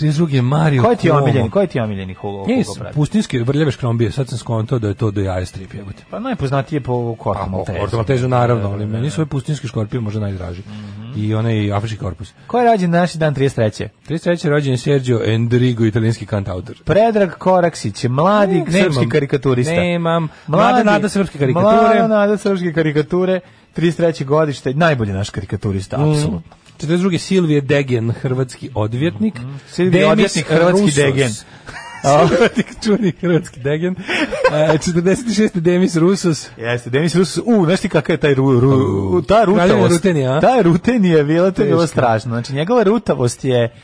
[SPEAKER 6] 32. Mario
[SPEAKER 7] Ko je ti
[SPEAKER 6] Cuomo.
[SPEAKER 7] omiljeni? Ko je ti omiljeni Hugo,
[SPEAKER 6] Nije,
[SPEAKER 7] Hugo Prata?
[SPEAKER 6] pustinski vrljave škrombije, sad sam skontao da je to do jaja strip, jebote.
[SPEAKER 7] Pa najpoznatiji je po Korku Maltezu.
[SPEAKER 6] Orta Maltezu, naravno, ali meni su ovaj pustinski škorpion možda najdraži.
[SPEAKER 7] Mhm.
[SPEAKER 6] I onaj afrički korpus.
[SPEAKER 7] Ko je rađen naši dan 33.
[SPEAKER 6] 33. rođen je Sergio Endrigo, italijanski kantautor.
[SPEAKER 7] Predrag Koraksić, mladi
[SPEAKER 6] Mm, nemam.
[SPEAKER 7] srpski karikaturista.
[SPEAKER 6] Nemam. Mlada nada srpske karikature.
[SPEAKER 7] Mlada nada srpske karikature, 33. godište, najbolji naš karikaturista,
[SPEAKER 6] Mm.
[SPEAKER 7] apsolutno.
[SPEAKER 6] 42. Silvije Degen, hrvatski odvjetnik. Mm
[SPEAKER 7] Mhm. Silvije odvjetnik, hrvatski Degen.
[SPEAKER 6] čuveni hrvatski Degen. E, 46. Demis Rusos.
[SPEAKER 7] Jeste, Demis Rus, u, znaš ti kakav je taj ru, ru,
[SPEAKER 6] U.
[SPEAKER 7] ta
[SPEAKER 6] Kraljevina
[SPEAKER 7] rutavost.
[SPEAKER 6] Rutenija, a?
[SPEAKER 7] Ta rutenija je bila, to je bilo
[SPEAKER 6] Teška.
[SPEAKER 7] strašno. Znači, njegova rutavost je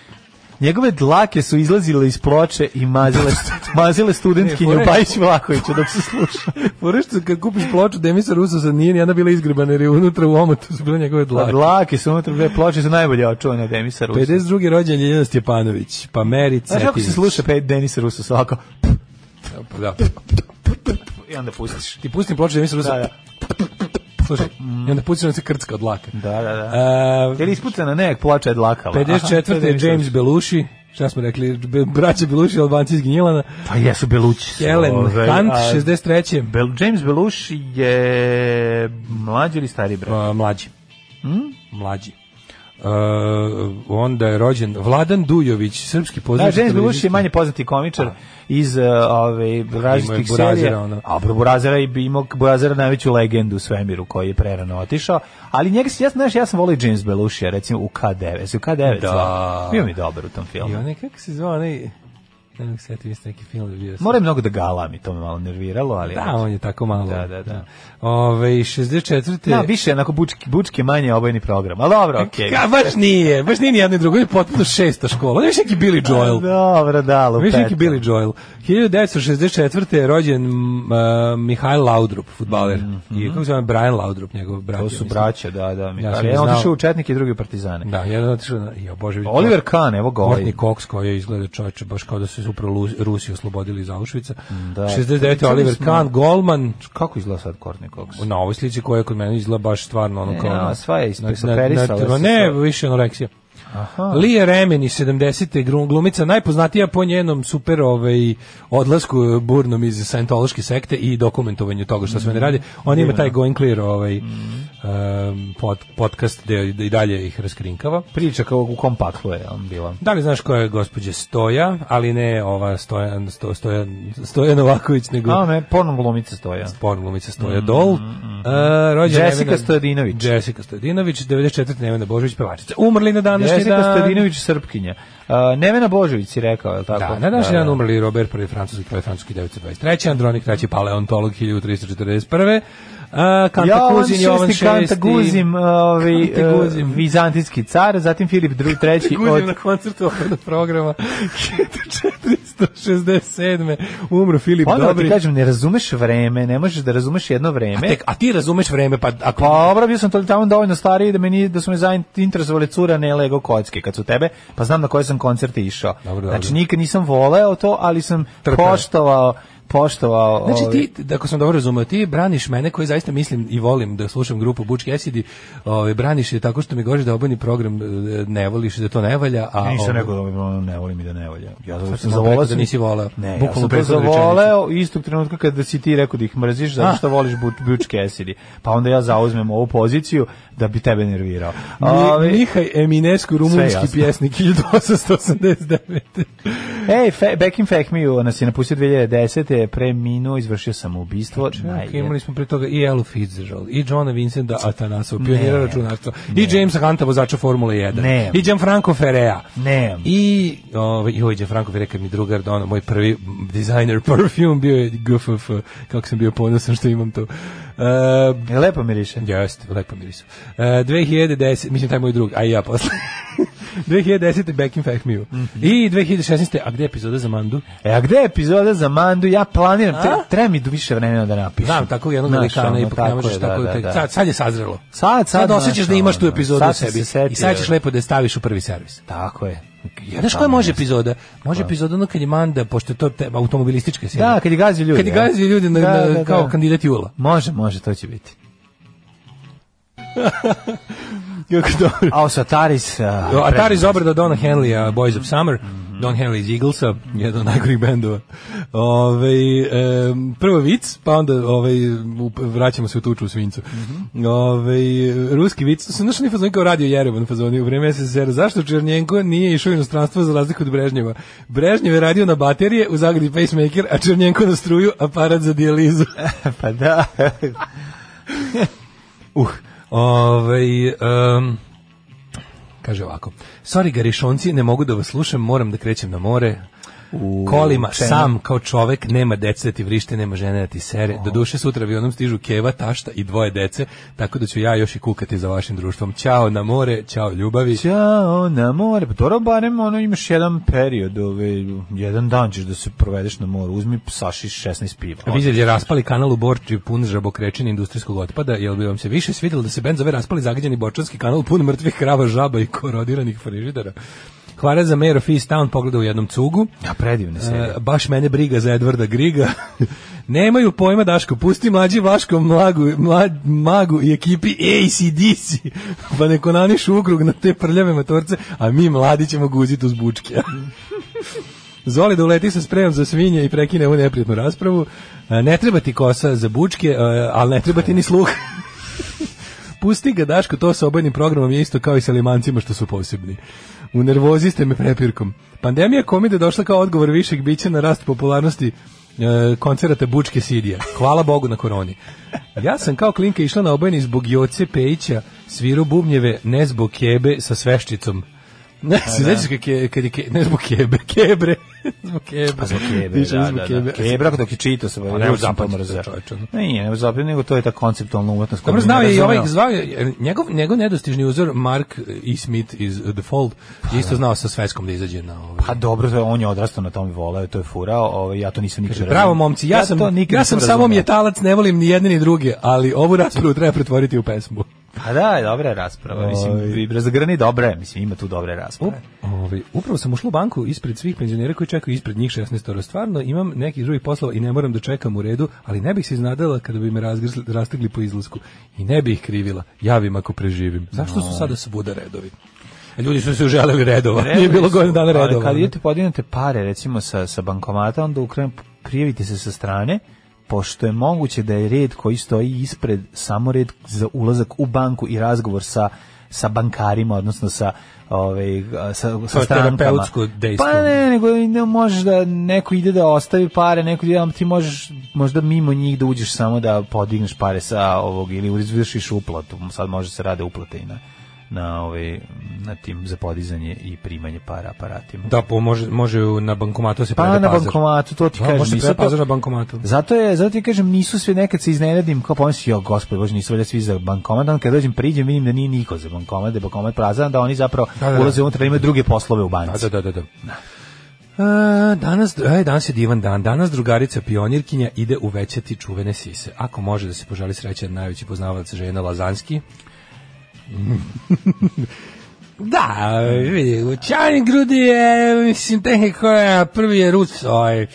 [SPEAKER 7] Njegove dlake su izlazile iz ploče i mazile, mazile studentkinje
[SPEAKER 6] Ne,
[SPEAKER 7] u
[SPEAKER 6] fore-
[SPEAKER 7] Bajić Vlahoviću dok se sluša.
[SPEAKER 6] Fore što kad kupiš ploču Demisa Rusosa nije nijedna bila izgrebana jer je unutra u omotu su bile njegove
[SPEAKER 7] Pa
[SPEAKER 6] dlake.
[SPEAKER 7] dlake su unutra, dve ploče su najbolje očuvane od Denisa Rusa.
[SPEAKER 6] 52. rođen je Ljeljana Stjepanović, pa Meri Cetić.
[SPEAKER 7] Znaš kako se sluša pe Denisa Rusa svako?
[SPEAKER 6] Pa Da.
[SPEAKER 7] I onda pustiš.
[SPEAKER 6] Ti pustim ploču Demisa Rusosa.
[SPEAKER 7] Da, da.
[SPEAKER 6] Slušaj, i onda pustiš on se krcka od dlaka. E,
[SPEAKER 7] Da, da, da.
[SPEAKER 6] A,
[SPEAKER 7] Je li ispucana nek ploča je dlakala? Aha, to
[SPEAKER 6] 54. je
[SPEAKER 7] Denis
[SPEAKER 6] James
[SPEAKER 7] Russo.
[SPEAKER 6] Belushi, šta smo rekli, be- braća Belushi, Albanci iz Gnjilana.
[SPEAKER 7] Pa jesu Belući. su,
[SPEAKER 6] Helen
[SPEAKER 7] ovaj,
[SPEAKER 6] Hunt,
[SPEAKER 7] a
[SPEAKER 6] 63.
[SPEAKER 7] Bel, James Beluš je mlađi ili stari brat?
[SPEAKER 6] Pa, mlađi. Hmm? Mlađi. Uh,
[SPEAKER 7] E,
[SPEAKER 6] onda je rođen Vladan Dujović, srpski
[SPEAKER 7] Da,
[SPEAKER 6] pozdrav.
[SPEAKER 7] James Beluš je manje poznati
[SPEAKER 6] Pa.
[SPEAKER 7] komičar iz uh, ove različitih
[SPEAKER 6] Burazera,
[SPEAKER 7] serija.
[SPEAKER 6] ono.
[SPEAKER 7] A bro, Burazera je bi imao Burazera najveću legendu u svemiru koji je prerano otišao, ali njega se ja znaš ja sam volio James Belušija recimo u K9, jesi u K9.
[SPEAKER 6] Da.
[SPEAKER 7] zvao? Bio mi dobar u tom
[SPEAKER 6] I
[SPEAKER 7] filmu.
[SPEAKER 6] onaj, kako se zvao, onaj... Ne mogu se setiti, vi ste neki film da bio sam.
[SPEAKER 7] Moram mnogo da galam i to me malo nerviralo, ali
[SPEAKER 6] Da, on je tako malo.
[SPEAKER 7] Da, da, da.
[SPEAKER 6] Ove, 64.
[SPEAKER 7] Da, više onako bučki, bučki manje obojni program. Ali dobro, okej.
[SPEAKER 6] Ka, baš nije, baš nije ni jedno i drugo, on je potpuno šesta škola. On je više neki Billy Joel.
[SPEAKER 7] Dobro, da, lupeta.
[SPEAKER 6] Više neki Billy Joel. 1964. je rođen m, a, Mihajl Laudrup, futbaler. I kako se zove Brian Laudrup, njegov brat.
[SPEAKER 7] Mhm. To
[SPEAKER 6] ja
[SPEAKER 7] su
[SPEAKER 6] mislim.
[SPEAKER 7] braća, da, da. Mi
[SPEAKER 6] Ja sam
[SPEAKER 7] ja
[SPEAKER 6] znao.
[SPEAKER 7] on otišao u Četnike i drugi u Partizane. Pa
[SPEAKER 6] Da, jedan otišao na... Jo, bože, vidi,
[SPEAKER 7] Oliver Kahn, evo ga ovaj.
[SPEAKER 6] Courtney Cox koja izgleda čovječe baš kao da su se upravo Lu- Rusi oslobodili iz Auschwitza.
[SPEAKER 7] Da.
[SPEAKER 6] 69. Oliver
[SPEAKER 7] Pričali smo-
[SPEAKER 6] Kahn, Golman,
[SPEAKER 7] Kako izgleda sad Courtney Cox?
[SPEAKER 6] na ovoj slici koja je kod mene izgleda baš stvarno ono
[SPEAKER 7] Ne,
[SPEAKER 6] kao...
[SPEAKER 7] ona
[SPEAKER 6] ono,
[SPEAKER 7] sva je
[SPEAKER 6] na- na-
[SPEAKER 7] isoperisala
[SPEAKER 6] na-
[SPEAKER 7] se
[SPEAKER 6] Ne,
[SPEAKER 7] sva.
[SPEAKER 6] više anoreksija.
[SPEAKER 7] Aha.
[SPEAKER 6] Lije Remini, 70. gru- glumica, najpoznatija po njenom super ovaj, odlasku eh, burnom iz sajentološke sekte i dokumentovanju toga što
[SPEAKER 7] Mm.
[SPEAKER 6] sve ne radi. On ima taj Going Clear ovaj, em, pod, podcast gde i dalje ih raskrinkava.
[SPEAKER 7] Priča kao u kompaklu je on bila.
[SPEAKER 6] Da li znaš ko je gospođa Stoja, ali ne ova Stojan, sto, Stojan, Stojan Novaković, nego
[SPEAKER 7] A ne, porno glumice stoja.
[SPEAKER 6] porno glumica Stoja Dol. E, rođena
[SPEAKER 7] Jessica
[SPEAKER 6] Nevena-
[SPEAKER 7] Stojadinović.
[SPEAKER 6] Jessica Stojadinović, 94. Nevena Božović, pevačica. Umrli na današnji
[SPEAKER 7] Jessica
[SPEAKER 6] dan.
[SPEAKER 7] Stadinović Srpkinja. A, Nevena Božović si rekao, je li tako?
[SPEAKER 6] Da, na današnji dan umrli Robert I francuski, kralj francuski 923, Andronik III paleontolog 1341. A, E, Kanta
[SPEAKER 7] Jovan
[SPEAKER 6] Kuzin, Jovan VI.
[SPEAKER 7] Kanta Guzim, ovi,
[SPEAKER 6] Kanta Guzim.
[SPEAKER 7] e, vizantijski car, zatim Filip II, treći
[SPEAKER 6] Guzim na
[SPEAKER 7] od...
[SPEAKER 6] koncertu ovog programa 467. Umro Filip
[SPEAKER 7] Ono ti
[SPEAKER 6] Dobri.
[SPEAKER 7] kažem, ne razumeš vreme, ne možeš da razumeš jedno vreme.
[SPEAKER 6] Tek, a ti razumeš vreme, pa ako...
[SPEAKER 7] Pa dobro, bio sam to tamo dovoljno stariji da me nije, da su me zainteresovali cura ne Lego kocke kad su tebe, pa znam na koje sam koncerte išao.
[SPEAKER 6] Dobro, dobro.
[SPEAKER 7] Znači nikad nisam voleo to, ali sam
[SPEAKER 6] Trpeo.
[SPEAKER 7] poštovao poštovao.
[SPEAKER 6] Znači
[SPEAKER 7] ovaj,
[SPEAKER 6] ti, da, ako sam dobro razumeo, ti braniš mene koji zaista mislim i volim da slušam grupu Bučki Esidi, ovaj, braniš je tako što mi govoriš da obojni program e, ne voliš i da to ne valja, a...
[SPEAKER 7] Ja nisam
[SPEAKER 6] ovaj,
[SPEAKER 7] rekao da ono ne volim i da ne voljam. Ja
[SPEAKER 6] Sad
[SPEAKER 7] sam
[SPEAKER 6] sam rekao
[SPEAKER 7] zavoleo
[SPEAKER 6] da nisi voleo.
[SPEAKER 7] Ne, ja
[SPEAKER 6] Bukvalno
[SPEAKER 7] sam to
[SPEAKER 6] prethodnu
[SPEAKER 7] zavoleo istog trenutka kada si ti rekao da ih mrziš zato što voliš but, bučke esidi. Pa onda ja zauzmem ovu poziciju da bi tebe nervirao.
[SPEAKER 6] Mi,
[SPEAKER 7] Ovaj,
[SPEAKER 6] Mihaj Eminescu, rumunski
[SPEAKER 7] jasno.
[SPEAKER 6] pjesnik 1889.
[SPEAKER 7] Ej, Fe, Bekim Fehmiju nas je napustio 2010. Preminuo, izvršio samoubistvo.
[SPEAKER 6] Čak,
[SPEAKER 7] Najjedno.
[SPEAKER 6] imali smo prije toga i Elu Fitzgerald, i Johna Vincenta Atanasova, pionira
[SPEAKER 7] Ne.
[SPEAKER 6] računarstva, i Jamesa Hunta, vozača Formule 1,
[SPEAKER 7] Ne.
[SPEAKER 6] i Gianfranco Ferrea,
[SPEAKER 7] Ne.
[SPEAKER 6] i ovaj, i ovaj Gianfranco Ferrea, kad mi drugar dono, moj prvi designer perfume bio je GFF, kako sam bio ponosan što imam to. E,
[SPEAKER 7] Je Lepo miriše.
[SPEAKER 6] Jeste, lepo miris. E, 2010, mislim taj moj drug, a i ja posle. 2010. Back in Fact Mew.
[SPEAKER 7] Mhm.
[SPEAKER 6] I 2016. A gde je epizoda za Mandu?
[SPEAKER 7] E, a gde je epizoda za Mandu? Ja planiram, tre, treba mi više vremena da napišem.
[SPEAKER 6] Znam, tako jednog
[SPEAKER 7] Znaš,
[SPEAKER 6] velikana
[SPEAKER 7] ono,
[SPEAKER 6] ipak ne možeš
[SPEAKER 7] je,
[SPEAKER 6] tako...
[SPEAKER 7] da,
[SPEAKER 6] tek-
[SPEAKER 7] da, da.
[SPEAKER 6] Sad, sad je sazrelo.
[SPEAKER 7] Sad, sad,
[SPEAKER 6] Sad osjećaš
[SPEAKER 7] znaš,
[SPEAKER 6] da imaš tu
[SPEAKER 7] ono,
[SPEAKER 6] epizodu
[SPEAKER 7] sad
[SPEAKER 6] u
[SPEAKER 7] sam se
[SPEAKER 6] sebi.
[SPEAKER 7] setio.
[SPEAKER 6] I sad ćeš lepo da je staviš u prvi servis.
[SPEAKER 7] Tako je.
[SPEAKER 6] Ja, znaš koja može epizoda? Može epizoda ono kad je Manda, pošto je to te, automobilistička serija.
[SPEAKER 7] Da, kad je gazio ljudi.
[SPEAKER 6] Kad je
[SPEAKER 7] a?
[SPEAKER 6] gazi ljudi na,
[SPEAKER 7] Da,
[SPEAKER 6] na-
[SPEAKER 7] da, da.
[SPEAKER 6] kao kandidat Jula.
[SPEAKER 7] Može, može, to će biti. Kako dobro. A Sataris...
[SPEAKER 6] Do- Atari iz obrada Dona Henleya, Boys of Summer,
[SPEAKER 7] Mhm.
[SPEAKER 6] Don Henley iz Eaglesa, jedan od najgorih bendova. Ove, prvo vic, pa onda ovaj, u- vraćamo se u tuču u svincu.
[SPEAKER 7] Mhm.
[SPEAKER 6] Ovaj, ruski vic, su našli fazon kao radio Jerevan fazoni u vreme SSR. Zašto Černjenko nije išao u inostranstvo za razliku od Brežnjeva? Brežnjev je radio na baterije, u zagradi pacemaker, a Černjenko na struju, aparat za dijalizu.
[SPEAKER 7] Pa da.
[SPEAKER 6] Uh, ovaj, em, kaže ovako. Sorry, garišonci, ne mogu da vas slušam, moram da krećem na more.
[SPEAKER 7] u
[SPEAKER 6] kolima,
[SPEAKER 7] čemu.
[SPEAKER 6] sam kao čovek, nema dece da ti vrište, nema žene da ti sere. Do duše sutra avionom stižu keva, tašta i dvoje dece, tako da ću ja još i kukati za vašim društvom. Ćao na more, ćao ljubavi.
[SPEAKER 7] Ćao na more, pa dobro barem ono imaš jedan period, ove, jedan dan ćeš da se provedeš na moru, uzmi saši 16 piva.
[SPEAKER 6] Vizel je raspali kanal u Borči pun žabokrečine industrijskog otpada, jel bi vam se više svidjelo da se bend zove raspali zagađeni bočanski kanal pun mrtvih krava, žaba i korodiranih frižidara? Hvara za Mayor of East Town pogleda u jednom cugu.
[SPEAKER 7] Ja, predivne serije.
[SPEAKER 6] E, baš mene briga za Edvarda Griga. Nemaju pojma Daško, pusti mlađi Vaško mlagu, mlad, magu i ekipi ACDC, pa neko naniš ukrug na te prljave motorce, a mi mladi ćemo guziti uz bučke. Zoli da uleti sa spremom za svinje i prekine ovu neprijatnu raspravu. E, Ne treba ti kosa za bučke, e, ali ne treba ti ni sluh. Pusti ga, Daško, to sa obojnim programom je isto kao i sa limancima što su posebni. U nervozi ste me prepirkom. Pandemija komide došla kao odgovor višeg bića na rast popularnosti e, koncerata Bučke Sidija. Hvala Bogu na koroni. Ja sam kao klinka išla na obojni zbog Joce Pejića, sviru bubnjeve, ne zbog kebe sa sveščicom. Ne, se znači kad je, kad je, ke- ne zbog kebe, kebre, zbog kebe.
[SPEAKER 7] Pa zbog kebe,
[SPEAKER 6] Išla
[SPEAKER 7] da,
[SPEAKER 6] zbog
[SPEAKER 7] da, da.
[SPEAKER 6] kebe. Pa
[SPEAKER 7] Kebra, dok je čitao pa sam,
[SPEAKER 6] ne
[SPEAKER 7] ja sam
[SPEAKER 6] zapamtite,
[SPEAKER 7] pomrzeo.
[SPEAKER 6] čoveče, ono.
[SPEAKER 7] Nije, ne zapamtite, nego to je ta konceptualna umetnost. koju
[SPEAKER 6] Dobro
[SPEAKER 7] bi
[SPEAKER 6] znao
[SPEAKER 7] ne
[SPEAKER 6] je i ovaj
[SPEAKER 7] razumeo.
[SPEAKER 6] zvao je, njegov, njegov nedostižni uzor Mark E. Smith iz The Fold je isto znao sa svetskom da izađe na ovaj.
[SPEAKER 7] Pa dobro, to je- on je odrastao na tom i voleo, to je furao, ovaj, ja to nisam nikad razumeo.
[SPEAKER 6] Bravo momci, ja, sam,
[SPEAKER 7] to nikad
[SPEAKER 6] ja sam
[SPEAKER 7] nisam
[SPEAKER 6] samo
[SPEAKER 7] razumeo.
[SPEAKER 6] mjetalac, ne volim ni jedne ni druge, ali ovu raspravu treba pretvoriti u pesmu.
[SPEAKER 7] Pa da, dobra je rasprava, mislim,
[SPEAKER 6] Ovaj.
[SPEAKER 7] i Brzagrani dobra je, mislim, ima tu dobre
[SPEAKER 6] U,
[SPEAKER 7] rasprave.
[SPEAKER 6] ovaj, upravo sam ušla u banku ispred svih penzionera koji čekaju ispred njih 16 Stvarno imam nekih drugih poslova i ne moram da čekam u redu, ali ne bih se iznadala kada bi me razgrsli, rastegli po izlasku. I ne bih ih krivila. Javim ako preživim. Zašto su sada svuda redovi? E, Ljudi su se uželeli redova. Nije bilo godinu dana
[SPEAKER 7] Ali
[SPEAKER 6] redova.
[SPEAKER 7] Kad idete podinete pare, recimo, sa, sa bankomata, onda ukren, prijavite se sa strane, pošto je moguće da je red koji stoji ispred samo red za ulazak u banku i razgovor sa sa bankarima, odnosno sa ovaj sa sa strankama.
[SPEAKER 6] terapeutsko dejstvo.
[SPEAKER 7] Pa ne, nego i ne možeš da neko ide da ostavi pare, neko ide, ali ti možeš možda mimo njih da uđeš samo da podigneš pare sa ovog ili izvršiš uplatu. Sad može se rade uplate i na na ovaj na tim za podizanje i primanje para aparatima.
[SPEAKER 6] Da, po, može, može u- na bankomatu se
[SPEAKER 7] Pa
[SPEAKER 6] preda
[SPEAKER 7] na
[SPEAKER 6] pazar.
[SPEAKER 7] bankomatu, to ti
[SPEAKER 6] Da,
[SPEAKER 7] kažem. pa-
[SPEAKER 6] može se
[SPEAKER 7] nisu
[SPEAKER 6] preda
[SPEAKER 7] to-
[SPEAKER 6] pazar na bankomatu.
[SPEAKER 7] Zato je, zato ti kažem, nisu sve nekad se iznenadim, kao pomislim, jo, gospod, bože, nisu valjda svi za bankomat, onda kad dođem, priđem, vidim da nije niko za bankomat, da je bankomat prazan, da oni zapravo
[SPEAKER 6] Da, da, da.
[SPEAKER 7] ulaze unutra, imaju druge poslove u banci.
[SPEAKER 6] Da, da, da, da. E, danas, e, danas je divan dan. Danas drugarica pionirkinja ide uvećati čuvene sise. Ako može da se požali sreća najveći poznavalac žena Lazanski. Mm. da, vidi, u Čanin grudi je, mislim, tehnika koja prvi je Rus, ovaj,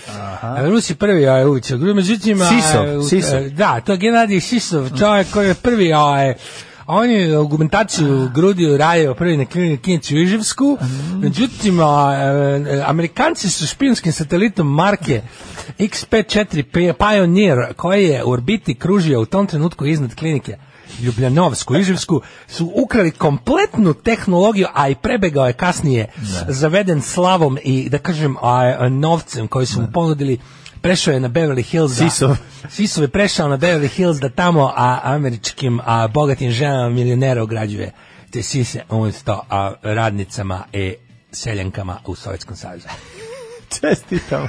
[SPEAKER 6] Rus je prvi ovaj uvica grudi, međutim, a,
[SPEAKER 7] Sisov,
[SPEAKER 6] u-
[SPEAKER 7] Sisov.
[SPEAKER 6] da, to je Gennadij Sisov, čovjek koji je prvi, ovaj, on je argumentaciju grudi radio prvi na klinici klinici u Iževsku, međutim, a, e, Amerikanci su špijunskim satelitom marke XP4 P- Pioneer, koji je u orbiti kružio u tom trenutku iznad klinike Ljubljanovsku, Iževsku, su ukrali kompletnu tehnologiju, a i prebegao je kasnije zaveden slavom i, da kažem, a, a, novcem koji su mu ponudili prešao je na Beverly Hills. da-
[SPEAKER 7] Sisov.
[SPEAKER 6] Sisov je prešao na Beverly Hills da tamo a, američkim a, bogatim ženama milionera ograđuje te sise umjesto a, radnicama i seljankama u Sovjetskom savezu.
[SPEAKER 7] Čestitamo.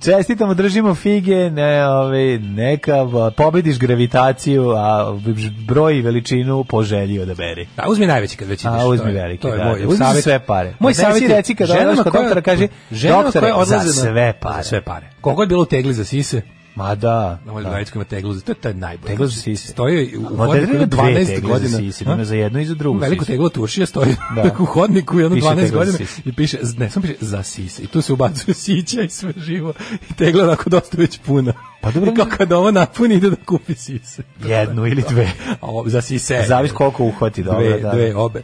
[SPEAKER 7] Čestitamo, držimo fige, ne, ove, neka a, pobediš gravitaciju, a broj i veličinu poželji odaberi.
[SPEAKER 6] Da, uzmi najveći kad već ideš.
[SPEAKER 7] A, uzmi
[SPEAKER 6] to je-
[SPEAKER 7] veliki,
[SPEAKER 6] to je
[SPEAKER 7] da,
[SPEAKER 6] moj
[SPEAKER 7] da, uzmi
[SPEAKER 6] savjet.
[SPEAKER 7] sve pare.
[SPEAKER 6] Moj
[SPEAKER 7] Znaš,
[SPEAKER 6] savjet
[SPEAKER 7] ti reci kad
[SPEAKER 6] ženama
[SPEAKER 7] odlaziš kod
[SPEAKER 6] koje-
[SPEAKER 7] doktora, kaži,
[SPEAKER 6] ženama
[SPEAKER 7] "Doktore,
[SPEAKER 6] koje odlaze
[SPEAKER 7] za
[SPEAKER 6] na-
[SPEAKER 7] sve pare."
[SPEAKER 6] Za sve pare. Koliko je bilo u tegli za sise,
[SPEAKER 7] Ma da.
[SPEAKER 6] na moj
[SPEAKER 7] da.
[SPEAKER 6] drugaricu ima teglu za, to je taj najbolje.
[SPEAKER 7] Tegla za sise.
[SPEAKER 6] Stoji u
[SPEAKER 7] Ma, da, da,
[SPEAKER 6] hodniku
[SPEAKER 7] da,
[SPEAKER 6] ima
[SPEAKER 7] dve
[SPEAKER 6] 12
[SPEAKER 7] tegle za
[SPEAKER 6] godina.
[SPEAKER 7] sise,
[SPEAKER 6] A?
[SPEAKER 7] ima za jednu i za drugu
[SPEAKER 6] Veliko
[SPEAKER 7] sisu.
[SPEAKER 6] teglo tušija stoji
[SPEAKER 7] Da.
[SPEAKER 6] u hodniku i ono
[SPEAKER 7] Piše
[SPEAKER 6] 12
[SPEAKER 7] tegla za
[SPEAKER 6] godina
[SPEAKER 7] sise.
[SPEAKER 6] i piše, ne, samo piše za sise. I tu se ubacuje sića i sve živo. I tegla je onako dosta već puna.
[SPEAKER 7] Pa dobro,
[SPEAKER 6] I kao kad ovo napuni ide da kupi sise.
[SPEAKER 7] Jednu ili dve.
[SPEAKER 6] A ovo, za sise.
[SPEAKER 7] Zavis koliko uhvati, dobro,
[SPEAKER 6] dve,
[SPEAKER 7] da.
[SPEAKER 6] dve obe.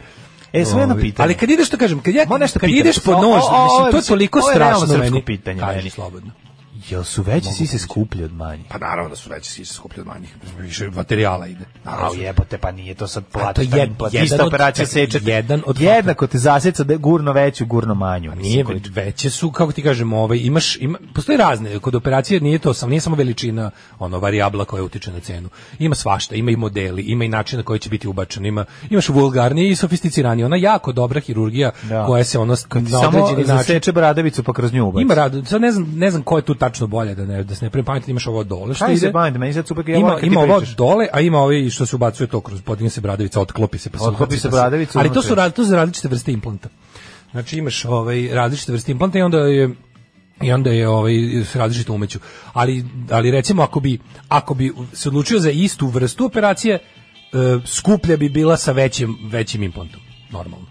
[SPEAKER 7] E, sve jedno
[SPEAKER 6] Ovi,
[SPEAKER 7] pitanje.
[SPEAKER 6] Ali kad ideš, to kažem, kad, ja,
[SPEAKER 7] Moram nešto
[SPEAKER 6] kad
[SPEAKER 7] pitati.
[SPEAKER 6] ideš po
[SPEAKER 7] O,
[SPEAKER 6] nož,
[SPEAKER 7] o, o,
[SPEAKER 6] mislim,
[SPEAKER 7] ovo je-
[SPEAKER 6] to je toliko
[SPEAKER 7] ovo je realno
[SPEAKER 6] strašno
[SPEAKER 7] srpsko
[SPEAKER 6] meni.
[SPEAKER 7] pitanje
[SPEAKER 6] Kaži,
[SPEAKER 7] meni.
[SPEAKER 6] slobodno.
[SPEAKER 7] Jel su veće sise skuplje od manjih?
[SPEAKER 6] Pa naravno da su veće sise skuplje od manjih, više materijala ide.
[SPEAKER 7] A
[SPEAKER 6] Naravno,
[SPEAKER 7] jebote, pa nije to sad
[SPEAKER 6] A to
[SPEAKER 7] plati.
[SPEAKER 6] je
[SPEAKER 7] To je
[SPEAKER 6] jed-
[SPEAKER 7] plati
[SPEAKER 6] jedan
[SPEAKER 7] ista
[SPEAKER 6] od-
[SPEAKER 7] operacija
[SPEAKER 6] čekaj,
[SPEAKER 7] seče.
[SPEAKER 6] jedan od
[SPEAKER 7] jednako te zaseca da je gurno veću, gurno manju.
[SPEAKER 6] Pa
[SPEAKER 7] mislim,
[SPEAKER 6] nije
[SPEAKER 7] koliko-
[SPEAKER 6] veće su kako ti kažem ovaj imaš ima postoje razne kod operacije nije to samo nije samo veličina ono varijabla koja utiče na cenu ima svašta ima i modeli ima i način na koji će biti ubačen ima imaš vulgarni i sofisticirani ona jako dobra hirurgija
[SPEAKER 7] Da.
[SPEAKER 6] koja se ono
[SPEAKER 7] Kad ti
[SPEAKER 6] na
[SPEAKER 7] samo
[SPEAKER 6] određeni način
[SPEAKER 7] zaseče bradavicu pa kroz nju ubaci.
[SPEAKER 6] ima rad sad ne znam ne znam ko je tu tačno bolje da ne da se ne prepametiti imaš ovo dole što
[SPEAKER 7] Kaj se
[SPEAKER 6] ide
[SPEAKER 7] bavim, meni sad super, ja
[SPEAKER 6] ima
[SPEAKER 7] volim kad
[SPEAKER 6] ima
[SPEAKER 7] ti
[SPEAKER 6] ovo
[SPEAKER 7] pričaš.
[SPEAKER 6] dole, a ima ovaj što se ubacuje to kroz podigne se bradavica, otklopi se pa se
[SPEAKER 7] Otklopi
[SPEAKER 6] ubaci,
[SPEAKER 7] se
[SPEAKER 6] pa
[SPEAKER 7] bradavica
[SPEAKER 6] Ali to su
[SPEAKER 7] unutra.
[SPEAKER 6] raz- to su različite vrste implanta. Znači imaš ovaj različite vrste implanta i onda je i onda je ovaj s različito umeću. Ali ali recimo ako bi ako bi se odlučio za istu vrstu operacije e, skuplja bi bila sa većim većim implantom normalno.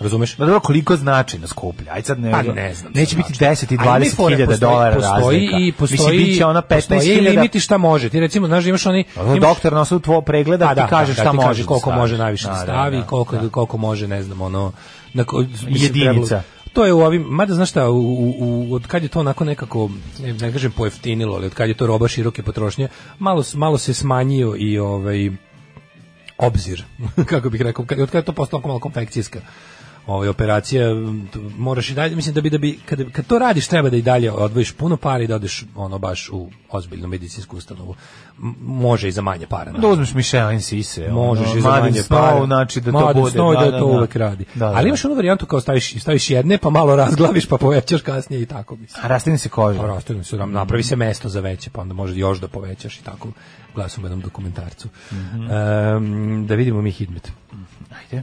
[SPEAKER 6] Razumeš?
[SPEAKER 7] Ma dobro, koliko značajno skuplja? Aj sad ne,
[SPEAKER 6] Pa ne znam.
[SPEAKER 7] Neće
[SPEAKER 6] sad,
[SPEAKER 7] biti
[SPEAKER 6] znači.
[SPEAKER 7] 10 i
[SPEAKER 6] Ali ne
[SPEAKER 7] 20
[SPEAKER 6] fore,
[SPEAKER 7] hiljada
[SPEAKER 6] postoji-
[SPEAKER 7] dolara
[SPEAKER 6] postoji
[SPEAKER 7] razlika.
[SPEAKER 6] I postoji,
[SPEAKER 7] Mislim, bit će ona 15
[SPEAKER 6] postoji
[SPEAKER 7] hiljada.
[SPEAKER 6] limit i šta može. Ti recimo, znaš, da imaš oni...
[SPEAKER 7] Ono,
[SPEAKER 6] imaš-
[SPEAKER 7] Doktor na osnovu tvoj pregleda
[SPEAKER 6] Pa da,
[SPEAKER 7] ti kaže šta
[SPEAKER 6] ti
[SPEAKER 7] može.
[SPEAKER 6] kaže
[SPEAKER 7] da
[SPEAKER 6] koliko
[SPEAKER 7] stavi.
[SPEAKER 6] može najviše da
[SPEAKER 7] Da, da,
[SPEAKER 6] stavi,
[SPEAKER 7] da.
[SPEAKER 6] koliko koliko može, ne znam, ono na ko, mislim,
[SPEAKER 7] Jedinica.
[SPEAKER 6] trebalo- To je u ovim, mada znaš šta, u, u, u, od kad je to onako nekako, ne, ne kažem pojeftinilo, ali od kad je to roba široke potrošnje, malo, s- malo se smanjio i ovaj obzir, kako bih rekao, kad, od kada je to postalo onako malo konfekcijska ovaj, operacija, m, t- moraš i dalje, mislim da bi, da bi kad, kad to radiš treba da i dalje odvojiš puno para i da odeš ono baš u ozbiljnu medicinsku ustanovu. M- može i za manje para.
[SPEAKER 7] Da
[SPEAKER 6] naravno.
[SPEAKER 7] uzmeš Michelin sise. ono,
[SPEAKER 6] Možeš i za
[SPEAKER 7] Madden
[SPEAKER 6] manje
[SPEAKER 7] Snow,
[SPEAKER 6] para.
[SPEAKER 7] znači da to
[SPEAKER 6] Madden
[SPEAKER 7] bude.
[SPEAKER 6] Snow da, to uvek radi.
[SPEAKER 7] Da, da,
[SPEAKER 6] Ali
[SPEAKER 7] da.
[SPEAKER 6] imaš onu varijantu kao staviš, staviš jedne, pa malo razglaviš, pa povećaš kasnije i tako mislim.
[SPEAKER 7] A rastini se koža.
[SPEAKER 6] Pa rastavim se, nam- napravi se mesto za veće, pa onda može još da povećaš i tako. Glasom u jednom dokumentarcu.
[SPEAKER 7] Mhm.
[SPEAKER 6] Em, da vidimo mi Hidmet.
[SPEAKER 7] Ajde.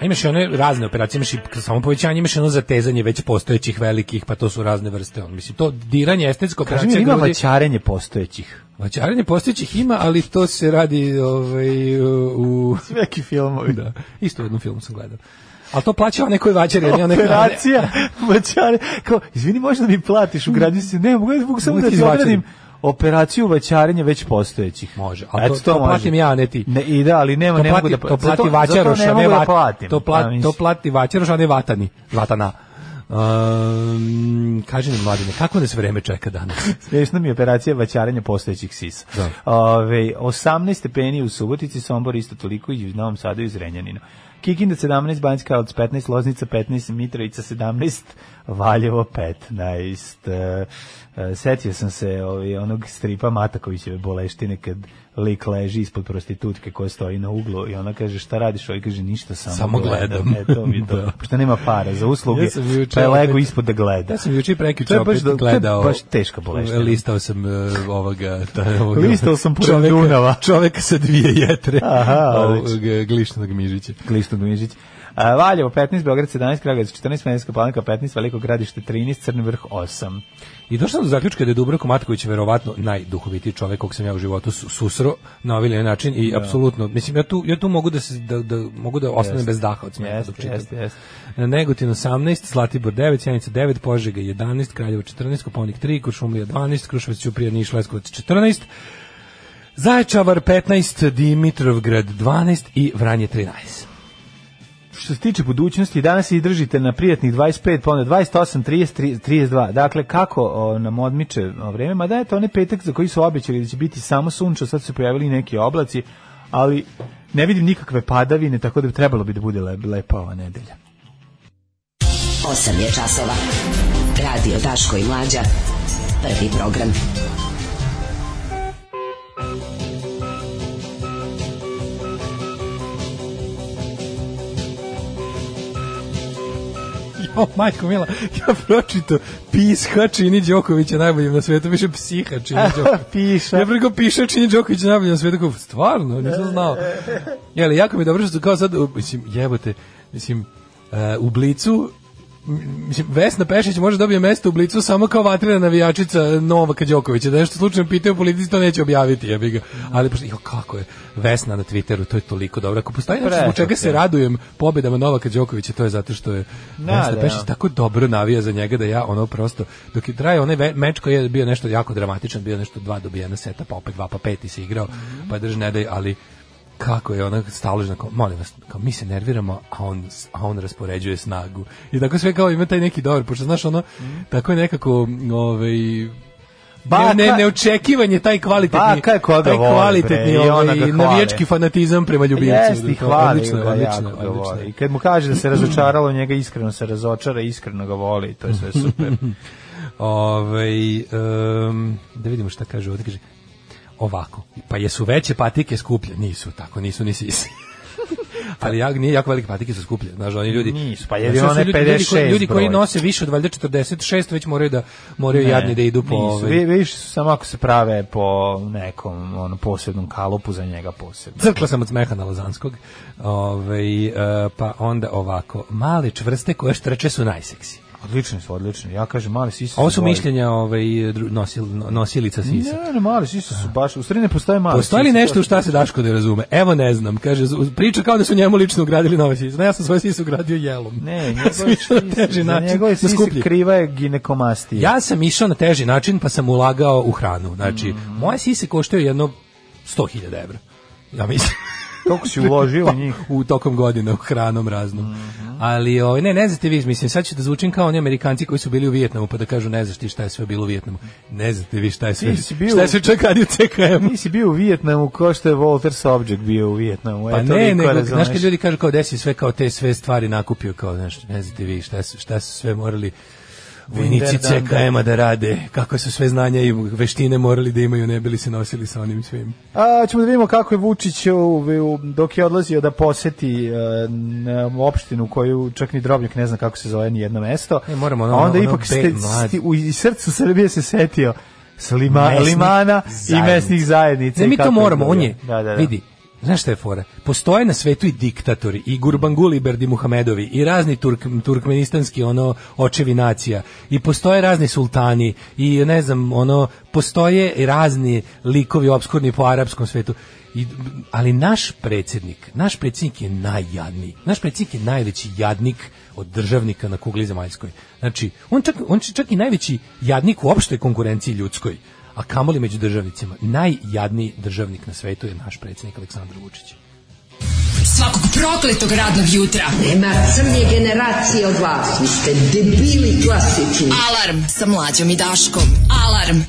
[SPEAKER 6] A imaš i one razne operacije, imaš i k- samo povećanje, imaš i ono zatezanje već postojećih velikih, pa to su razne vrste. On, mislim, to diranje estetsko
[SPEAKER 7] Kaži
[SPEAKER 6] operacija
[SPEAKER 7] mi, ima
[SPEAKER 6] grudi-
[SPEAKER 7] vaćarenje postojećih.
[SPEAKER 6] Vaćarenje postojećih ima, ali to se radi ovaj, u...
[SPEAKER 7] Neki filmovi.
[SPEAKER 6] Da, isto u jednom filmu sam gledao. Ali to plaća onaj koji vaćar, jer ja ne
[SPEAKER 7] Operacija, vaćare. Kao, izvini, možda mi platiš u gradu se. Ne, mogu, mogu samo
[SPEAKER 6] Mogu
[SPEAKER 7] da
[SPEAKER 6] ti
[SPEAKER 7] ti
[SPEAKER 6] izvaćarim.
[SPEAKER 7] odradim operanju vaćarenja već postojećih.
[SPEAKER 6] Može, ali
[SPEAKER 7] Eto,
[SPEAKER 6] to- to
[SPEAKER 7] može.
[SPEAKER 6] platim ja, a ne ti.
[SPEAKER 7] Ne, i da, ali nema,
[SPEAKER 6] To
[SPEAKER 7] ne mogu
[SPEAKER 6] plati,
[SPEAKER 7] da
[SPEAKER 6] to
[SPEAKER 7] zato-
[SPEAKER 6] plati vaćaroš,
[SPEAKER 7] zato
[SPEAKER 6] a
[SPEAKER 7] ne
[SPEAKER 6] ne
[SPEAKER 7] mogu da
[SPEAKER 6] vat-
[SPEAKER 7] platim.
[SPEAKER 6] To, pla-
[SPEAKER 7] A, mislim.
[SPEAKER 6] to plati vaćaroš, a ne vatani. Vatana. Um, kaži mi, mladine, kako nas vreme čeka danas?
[SPEAKER 7] Smiješna mi je operacija vaćarenja postojećih sisa.
[SPEAKER 6] Da.
[SPEAKER 7] Ove, 18 stepeni u Subotici, Sombor isto toliko i u Novom Sadu i u Zrenjaninu. Kikinda 17, Banjska Karlovac 15, Loznica 15, Mitrovica 17, Valjevo 15. E, e, Setio sam se ovaj, onog stripa Matakovićeve boleštine kad lik leži ispod prostitutke koja stoji na uglu i ona kaže šta radiš? Ovi kaže ništa, samo,
[SPEAKER 6] Samo gledam.
[SPEAKER 7] E, to mi je to.
[SPEAKER 6] Da.
[SPEAKER 7] Pošto nema para za usluge,
[SPEAKER 6] Ja sam juče
[SPEAKER 7] pa je lego
[SPEAKER 6] opet-
[SPEAKER 7] ispod da gleda.
[SPEAKER 6] Ja sam juče i
[SPEAKER 7] To
[SPEAKER 6] prekjuče
[SPEAKER 7] je baš
[SPEAKER 6] opet
[SPEAKER 7] do- to je
[SPEAKER 6] gledao.
[SPEAKER 7] baš teška boleština.
[SPEAKER 6] Listao sam e, ovoga, ta- ovoga-
[SPEAKER 7] Listao sam pored
[SPEAKER 6] čoveka-
[SPEAKER 7] Dunava.
[SPEAKER 6] Čoveka sa dvije jetre.
[SPEAKER 7] Aha, odlično.
[SPEAKER 6] Ovoga Glišnog Mižića.
[SPEAKER 7] Klisto Gmižić. A, Valjevo 15, Beograd 17, Kragovic 14, Smenska Palanka 15, Veliko gradište 13, Crni vrh 8.
[SPEAKER 6] I došao sam do zaključka da je Dubravko Matković verovatno najduhovitiji čovjek kog sam ja u životu su- susreo na ovaj ili onaj način i apsolutno mislim ja tu ja tu mogu da se da, da mogu da ostanem
[SPEAKER 7] Jeste.
[SPEAKER 6] bez daha od smeha
[SPEAKER 7] Jeste,
[SPEAKER 6] dok čitam.
[SPEAKER 7] jeste, jeste.
[SPEAKER 6] Negotin 18, Zlatibor 9, Sjenica 9, Požega 11, Kraljevo 14, Koponik 3, Kuršumlija 12, Kruševac Ćuprija Niš Leskovac 14. Zaječavar 15, Dimitrovgrad 12 i Vranje 13.
[SPEAKER 7] Što se tiče budućnosti, danas se i držite na prijatnih 25, pa onda 28, 30, 30, 32. Dakle, kako o, nam odmiče o, vreme? Ma da je to onaj petak za koji su obećali da će biti samo sunčo, sad su se pojavili i neki oblaci, ali ne vidim nikakve padavine, tako da bi trebalo bi da bude le- lepa ova nedelja.
[SPEAKER 5] 8 je časova. Radio Daško i Mlađa. Prvi program.
[SPEAKER 6] Jo, majko mila, ja pročito pisha čini Đokovića najboljim na svetu, više psiha čini Đokovića.
[SPEAKER 7] Piša.
[SPEAKER 6] Ja preko piše čini Đoković najbolje na svetu, kao, stvarno, nisam znao. Jeli, jako mi je dobro što su kao sad, u, mislim, jebote, mislim, e, u Blicu mislim, Vesna Pešić može dobije mesto u Blicu samo kao vatrena navijačica Novaka Đokovića. Da nešto slučajno pitaju politici, to neće objaviti. Ja ga. Ali, pošto, jo, kako je Vesna na Twitteru, to je toliko dobro. Ako postoji nešto zbog čega se
[SPEAKER 7] Prekrasno.
[SPEAKER 6] radujem pobedama Novaka Đokovića, to je zato što je
[SPEAKER 7] Da,
[SPEAKER 6] Vesna
[SPEAKER 7] da.
[SPEAKER 6] Pešić tako dobro navija za njega da ja ono prosto, dok je trajao onaj ve- meč koji je bio nešto jako dramatičan, bio nešto dva dobijena seta, pa opet dva, pa peti se igrao, pa drž ne daj, ali kako je ono ona staložna, kao, molim vas, kao, mi se nerviramo, a on, a on raspoređuje snagu. I tako sve kao ima taj neki dobar, pošto znaš ono, tako je nekako, ovaj,
[SPEAKER 7] Baka-
[SPEAKER 6] ne, ne, neočekivanje taj kvalitetni
[SPEAKER 7] Baka je koja ga
[SPEAKER 6] taj
[SPEAKER 7] voli,
[SPEAKER 6] kvalitetni
[SPEAKER 7] bre, i ona
[SPEAKER 6] ovaj,
[SPEAKER 7] ga hvali.
[SPEAKER 6] navijački fanatizam prema ljubimcu
[SPEAKER 7] Jeste, i
[SPEAKER 6] To-
[SPEAKER 7] hvali
[SPEAKER 6] Pa odlično je,
[SPEAKER 7] ga
[SPEAKER 6] odlično
[SPEAKER 7] jako
[SPEAKER 6] je,
[SPEAKER 7] ga
[SPEAKER 6] odlično je.
[SPEAKER 7] voli. I kad mu kaže da se razočaralo, njega iskreno se razočara, iskreno ga voli, to je sve super.
[SPEAKER 6] Ovaj em, da vidimo šta kaže ovde, kaže ovako, pa jesu veće patike skuplje? Nisu, tako nisu ni sisi. Ali ja, nije jako velike patike su skuplje, znaš, oni ljudi...
[SPEAKER 7] Nisu, pa
[SPEAKER 6] Znaš,
[SPEAKER 7] jedino
[SPEAKER 6] to su
[SPEAKER 7] one
[SPEAKER 6] ljudi- ljudi koji-
[SPEAKER 7] 56
[SPEAKER 6] Ljudi koji
[SPEAKER 7] broj.
[SPEAKER 6] nose više od valjda 46 već moraju da moraju
[SPEAKER 7] Ne,
[SPEAKER 6] jadni da idu po...
[SPEAKER 7] nisu.
[SPEAKER 6] ovaj-
[SPEAKER 7] Vi, viš su samo ako se prave po nekom ono, posebnom kalupu za njega posebno.
[SPEAKER 6] Crkla sam od smeha na Lozanskog. Ovaj, e, pa onda ovako, male čvrste koje štrče su najseksi.
[SPEAKER 7] Odlični su, odlični. Ja kažem, mali sisi
[SPEAKER 6] Ovo su
[SPEAKER 7] bolji.
[SPEAKER 6] mišljenja ovaj, dru- nosil, nosilica sisa.
[SPEAKER 7] Ne, ne, mali sisi su baš, u stvari ne postoje mali
[SPEAKER 6] Postoji li
[SPEAKER 7] sisi,
[SPEAKER 6] nešto
[SPEAKER 7] to
[SPEAKER 6] u šta se Daško ne razume? Evo ne znam, kaže, z- priča kao da su njemu lično ugradili nove sise. Ne, ja sam svoje sise ugradio jelom.
[SPEAKER 7] Ne,
[SPEAKER 6] Sam išao na teži
[SPEAKER 7] za
[SPEAKER 6] način,
[SPEAKER 7] njegove
[SPEAKER 6] na
[SPEAKER 7] sisi
[SPEAKER 6] skuplji.
[SPEAKER 7] kriva je ginekomastija.
[SPEAKER 6] Ja sam išao na teži način pa sam ulagao u hranu. Znači,
[SPEAKER 7] Mhm.
[SPEAKER 6] moje sise koštaju jedno 100.000 evra. Ja mislim.
[SPEAKER 7] Koliko si uložio u njih?
[SPEAKER 6] u tokom godina u hranom raznom.
[SPEAKER 7] Mhm.
[SPEAKER 6] Ali ovaj ne, ne znate vi, mislim sad ću da zvučim kao oni Amerikanci koji su bili u Vijetnamu pa da kažu ne znaš ti šta je sve bilo u Vijetnamu. Ne znate vi šta je sve.
[SPEAKER 7] Ti si bio-
[SPEAKER 6] Šta je sve čak radio CKM.
[SPEAKER 7] Nisi bio u Vijetnamu kao što je Walter Sobčak bio u Vijetnamu.
[SPEAKER 6] Pa
[SPEAKER 7] Eto,
[SPEAKER 6] ne,
[SPEAKER 7] liko
[SPEAKER 6] nego,
[SPEAKER 7] razumeš.
[SPEAKER 6] znaš kad ljudi kažu kao desi sve kao te sve stvari nakupio kao, znaš, ne znate vi šta su, šta su sve morali vojnici
[SPEAKER 7] Winder dan, da.
[SPEAKER 6] CKM-a da rade, kako su sve znanja i veštine morali da imaju, ne bili se nosili sa onim svim.
[SPEAKER 7] A, ćemo da vidimo kako je Vučić u, u, dok je odlazio da poseti e, n- opštinu koju čak ni Drobnjak ne zna kako se zove ni jedno mesto.
[SPEAKER 6] E, moramo ono-
[SPEAKER 7] A onda
[SPEAKER 6] ono
[SPEAKER 7] ipak
[SPEAKER 6] be-
[SPEAKER 7] ste,
[SPEAKER 6] mlad.
[SPEAKER 7] sti, u iz srcu Srbije se setio slima,
[SPEAKER 6] Mesnih
[SPEAKER 7] limana i
[SPEAKER 6] zajednica.
[SPEAKER 7] mesnih zajednica.
[SPEAKER 6] Ne,
[SPEAKER 7] i
[SPEAKER 6] mi to
[SPEAKER 7] kako
[SPEAKER 6] moramo,
[SPEAKER 7] izgleda.
[SPEAKER 6] on je,
[SPEAKER 7] Da, da, da.
[SPEAKER 6] vidi, znaš šta je fora? Postoje na svetu i diktatori, i Gurbanguli i Berdi Muhamedovi, i razni turk, turkmenistanski ono očevi nacija, i postoje razni sultani, i ne znam, ono, postoje i razni likovi obskurni po arapskom svetu. I, ali naš predsjednik, naš predsjednik je najjadniji. Naš predsjednik je najveći jadnik od državnika na kugli zemaljskoj. Znači, on čak, on je čak i najveći jadnik u opštoj konkurenciji ljudskoj a kamoli među državnicima. Najjadniji državnik na svetu je naš predsjednik Aleksandar Vučić.
[SPEAKER 8] Svakog prokletog radnog jutra.
[SPEAKER 9] Nema crnje generacije od vas, vi ste debili klasični.
[SPEAKER 8] Alarm sa mlađom i Daškom. Alarm.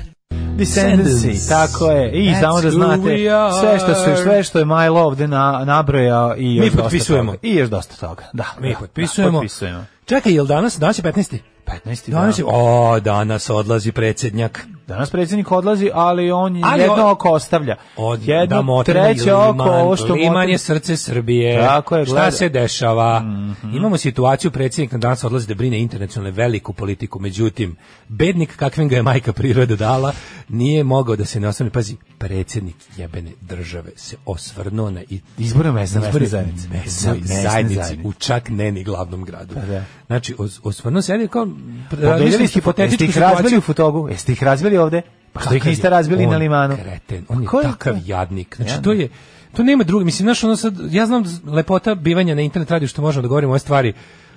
[SPEAKER 7] Descendancy, tako je. I
[SPEAKER 6] That's
[SPEAKER 7] samo da
[SPEAKER 6] who
[SPEAKER 7] znate
[SPEAKER 6] we are.
[SPEAKER 7] sve što su sve što je Milo ovde na nabrojao i još dosta
[SPEAKER 6] potpisujemo.
[SPEAKER 7] toga. I još dosta toga. Da,
[SPEAKER 6] Mi
[SPEAKER 7] da,
[SPEAKER 6] potpisujemo.
[SPEAKER 7] Da, potpisujemo.
[SPEAKER 6] Čekaj, jel danas? Danas je 15.
[SPEAKER 7] 15.
[SPEAKER 6] Danas je,
[SPEAKER 7] dan.
[SPEAKER 6] o, danas odlazi predsjednjak.
[SPEAKER 7] Danas predsjednik odlazi, ali on
[SPEAKER 6] Ali
[SPEAKER 7] jedno
[SPEAKER 6] on-
[SPEAKER 7] oko ostavlja.
[SPEAKER 6] Od, da
[SPEAKER 7] jedno
[SPEAKER 6] motrimo
[SPEAKER 7] treće
[SPEAKER 6] Liman.
[SPEAKER 7] oko, ovo što
[SPEAKER 6] Liman
[SPEAKER 7] motrimo-
[SPEAKER 6] je srce Srbije.
[SPEAKER 7] Tako je, Mhm. gleda.
[SPEAKER 6] Šta se dešava? Imamo situaciju, predsjednik na danas odlazi da brine internacionalne veliku politiku, međutim, bednik kakvim ga je majka priroda dala, nije mogao da se ne osvrne. Pazi, predsjednik jebene države se osvrnuo na i
[SPEAKER 7] Izbore mesne
[SPEAKER 6] Izbori
[SPEAKER 7] zajednice.
[SPEAKER 6] mesnoj
[SPEAKER 7] Mesne
[SPEAKER 6] zajednici
[SPEAKER 7] zajednice.
[SPEAKER 6] u čak ne ni glavnom gradu.
[SPEAKER 7] da.
[SPEAKER 6] Znači, os- osvrnuo se, ali kao,
[SPEAKER 7] Podelili
[SPEAKER 6] razmišljam
[SPEAKER 7] ste
[SPEAKER 6] hipotetičku
[SPEAKER 7] hipotetičku ih
[SPEAKER 6] situaciju.
[SPEAKER 7] razbili u futogu? Jeste ih razbili ovde? Pa što ih
[SPEAKER 6] Kakav
[SPEAKER 7] niste
[SPEAKER 6] je
[SPEAKER 7] razbili
[SPEAKER 6] on
[SPEAKER 7] na limanu?
[SPEAKER 6] Kreten, on je
[SPEAKER 7] Ko je
[SPEAKER 6] takav
[SPEAKER 7] to?
[SPEAKER 6] jadnik. Znači
[SPEAKER 7] Jadnik.
[SPEAKER 6] to je to nema drugi, mislim znaš ono sad ja znam da z- lepota bivanja na internet radiju što možemo da govorimo o ove stvari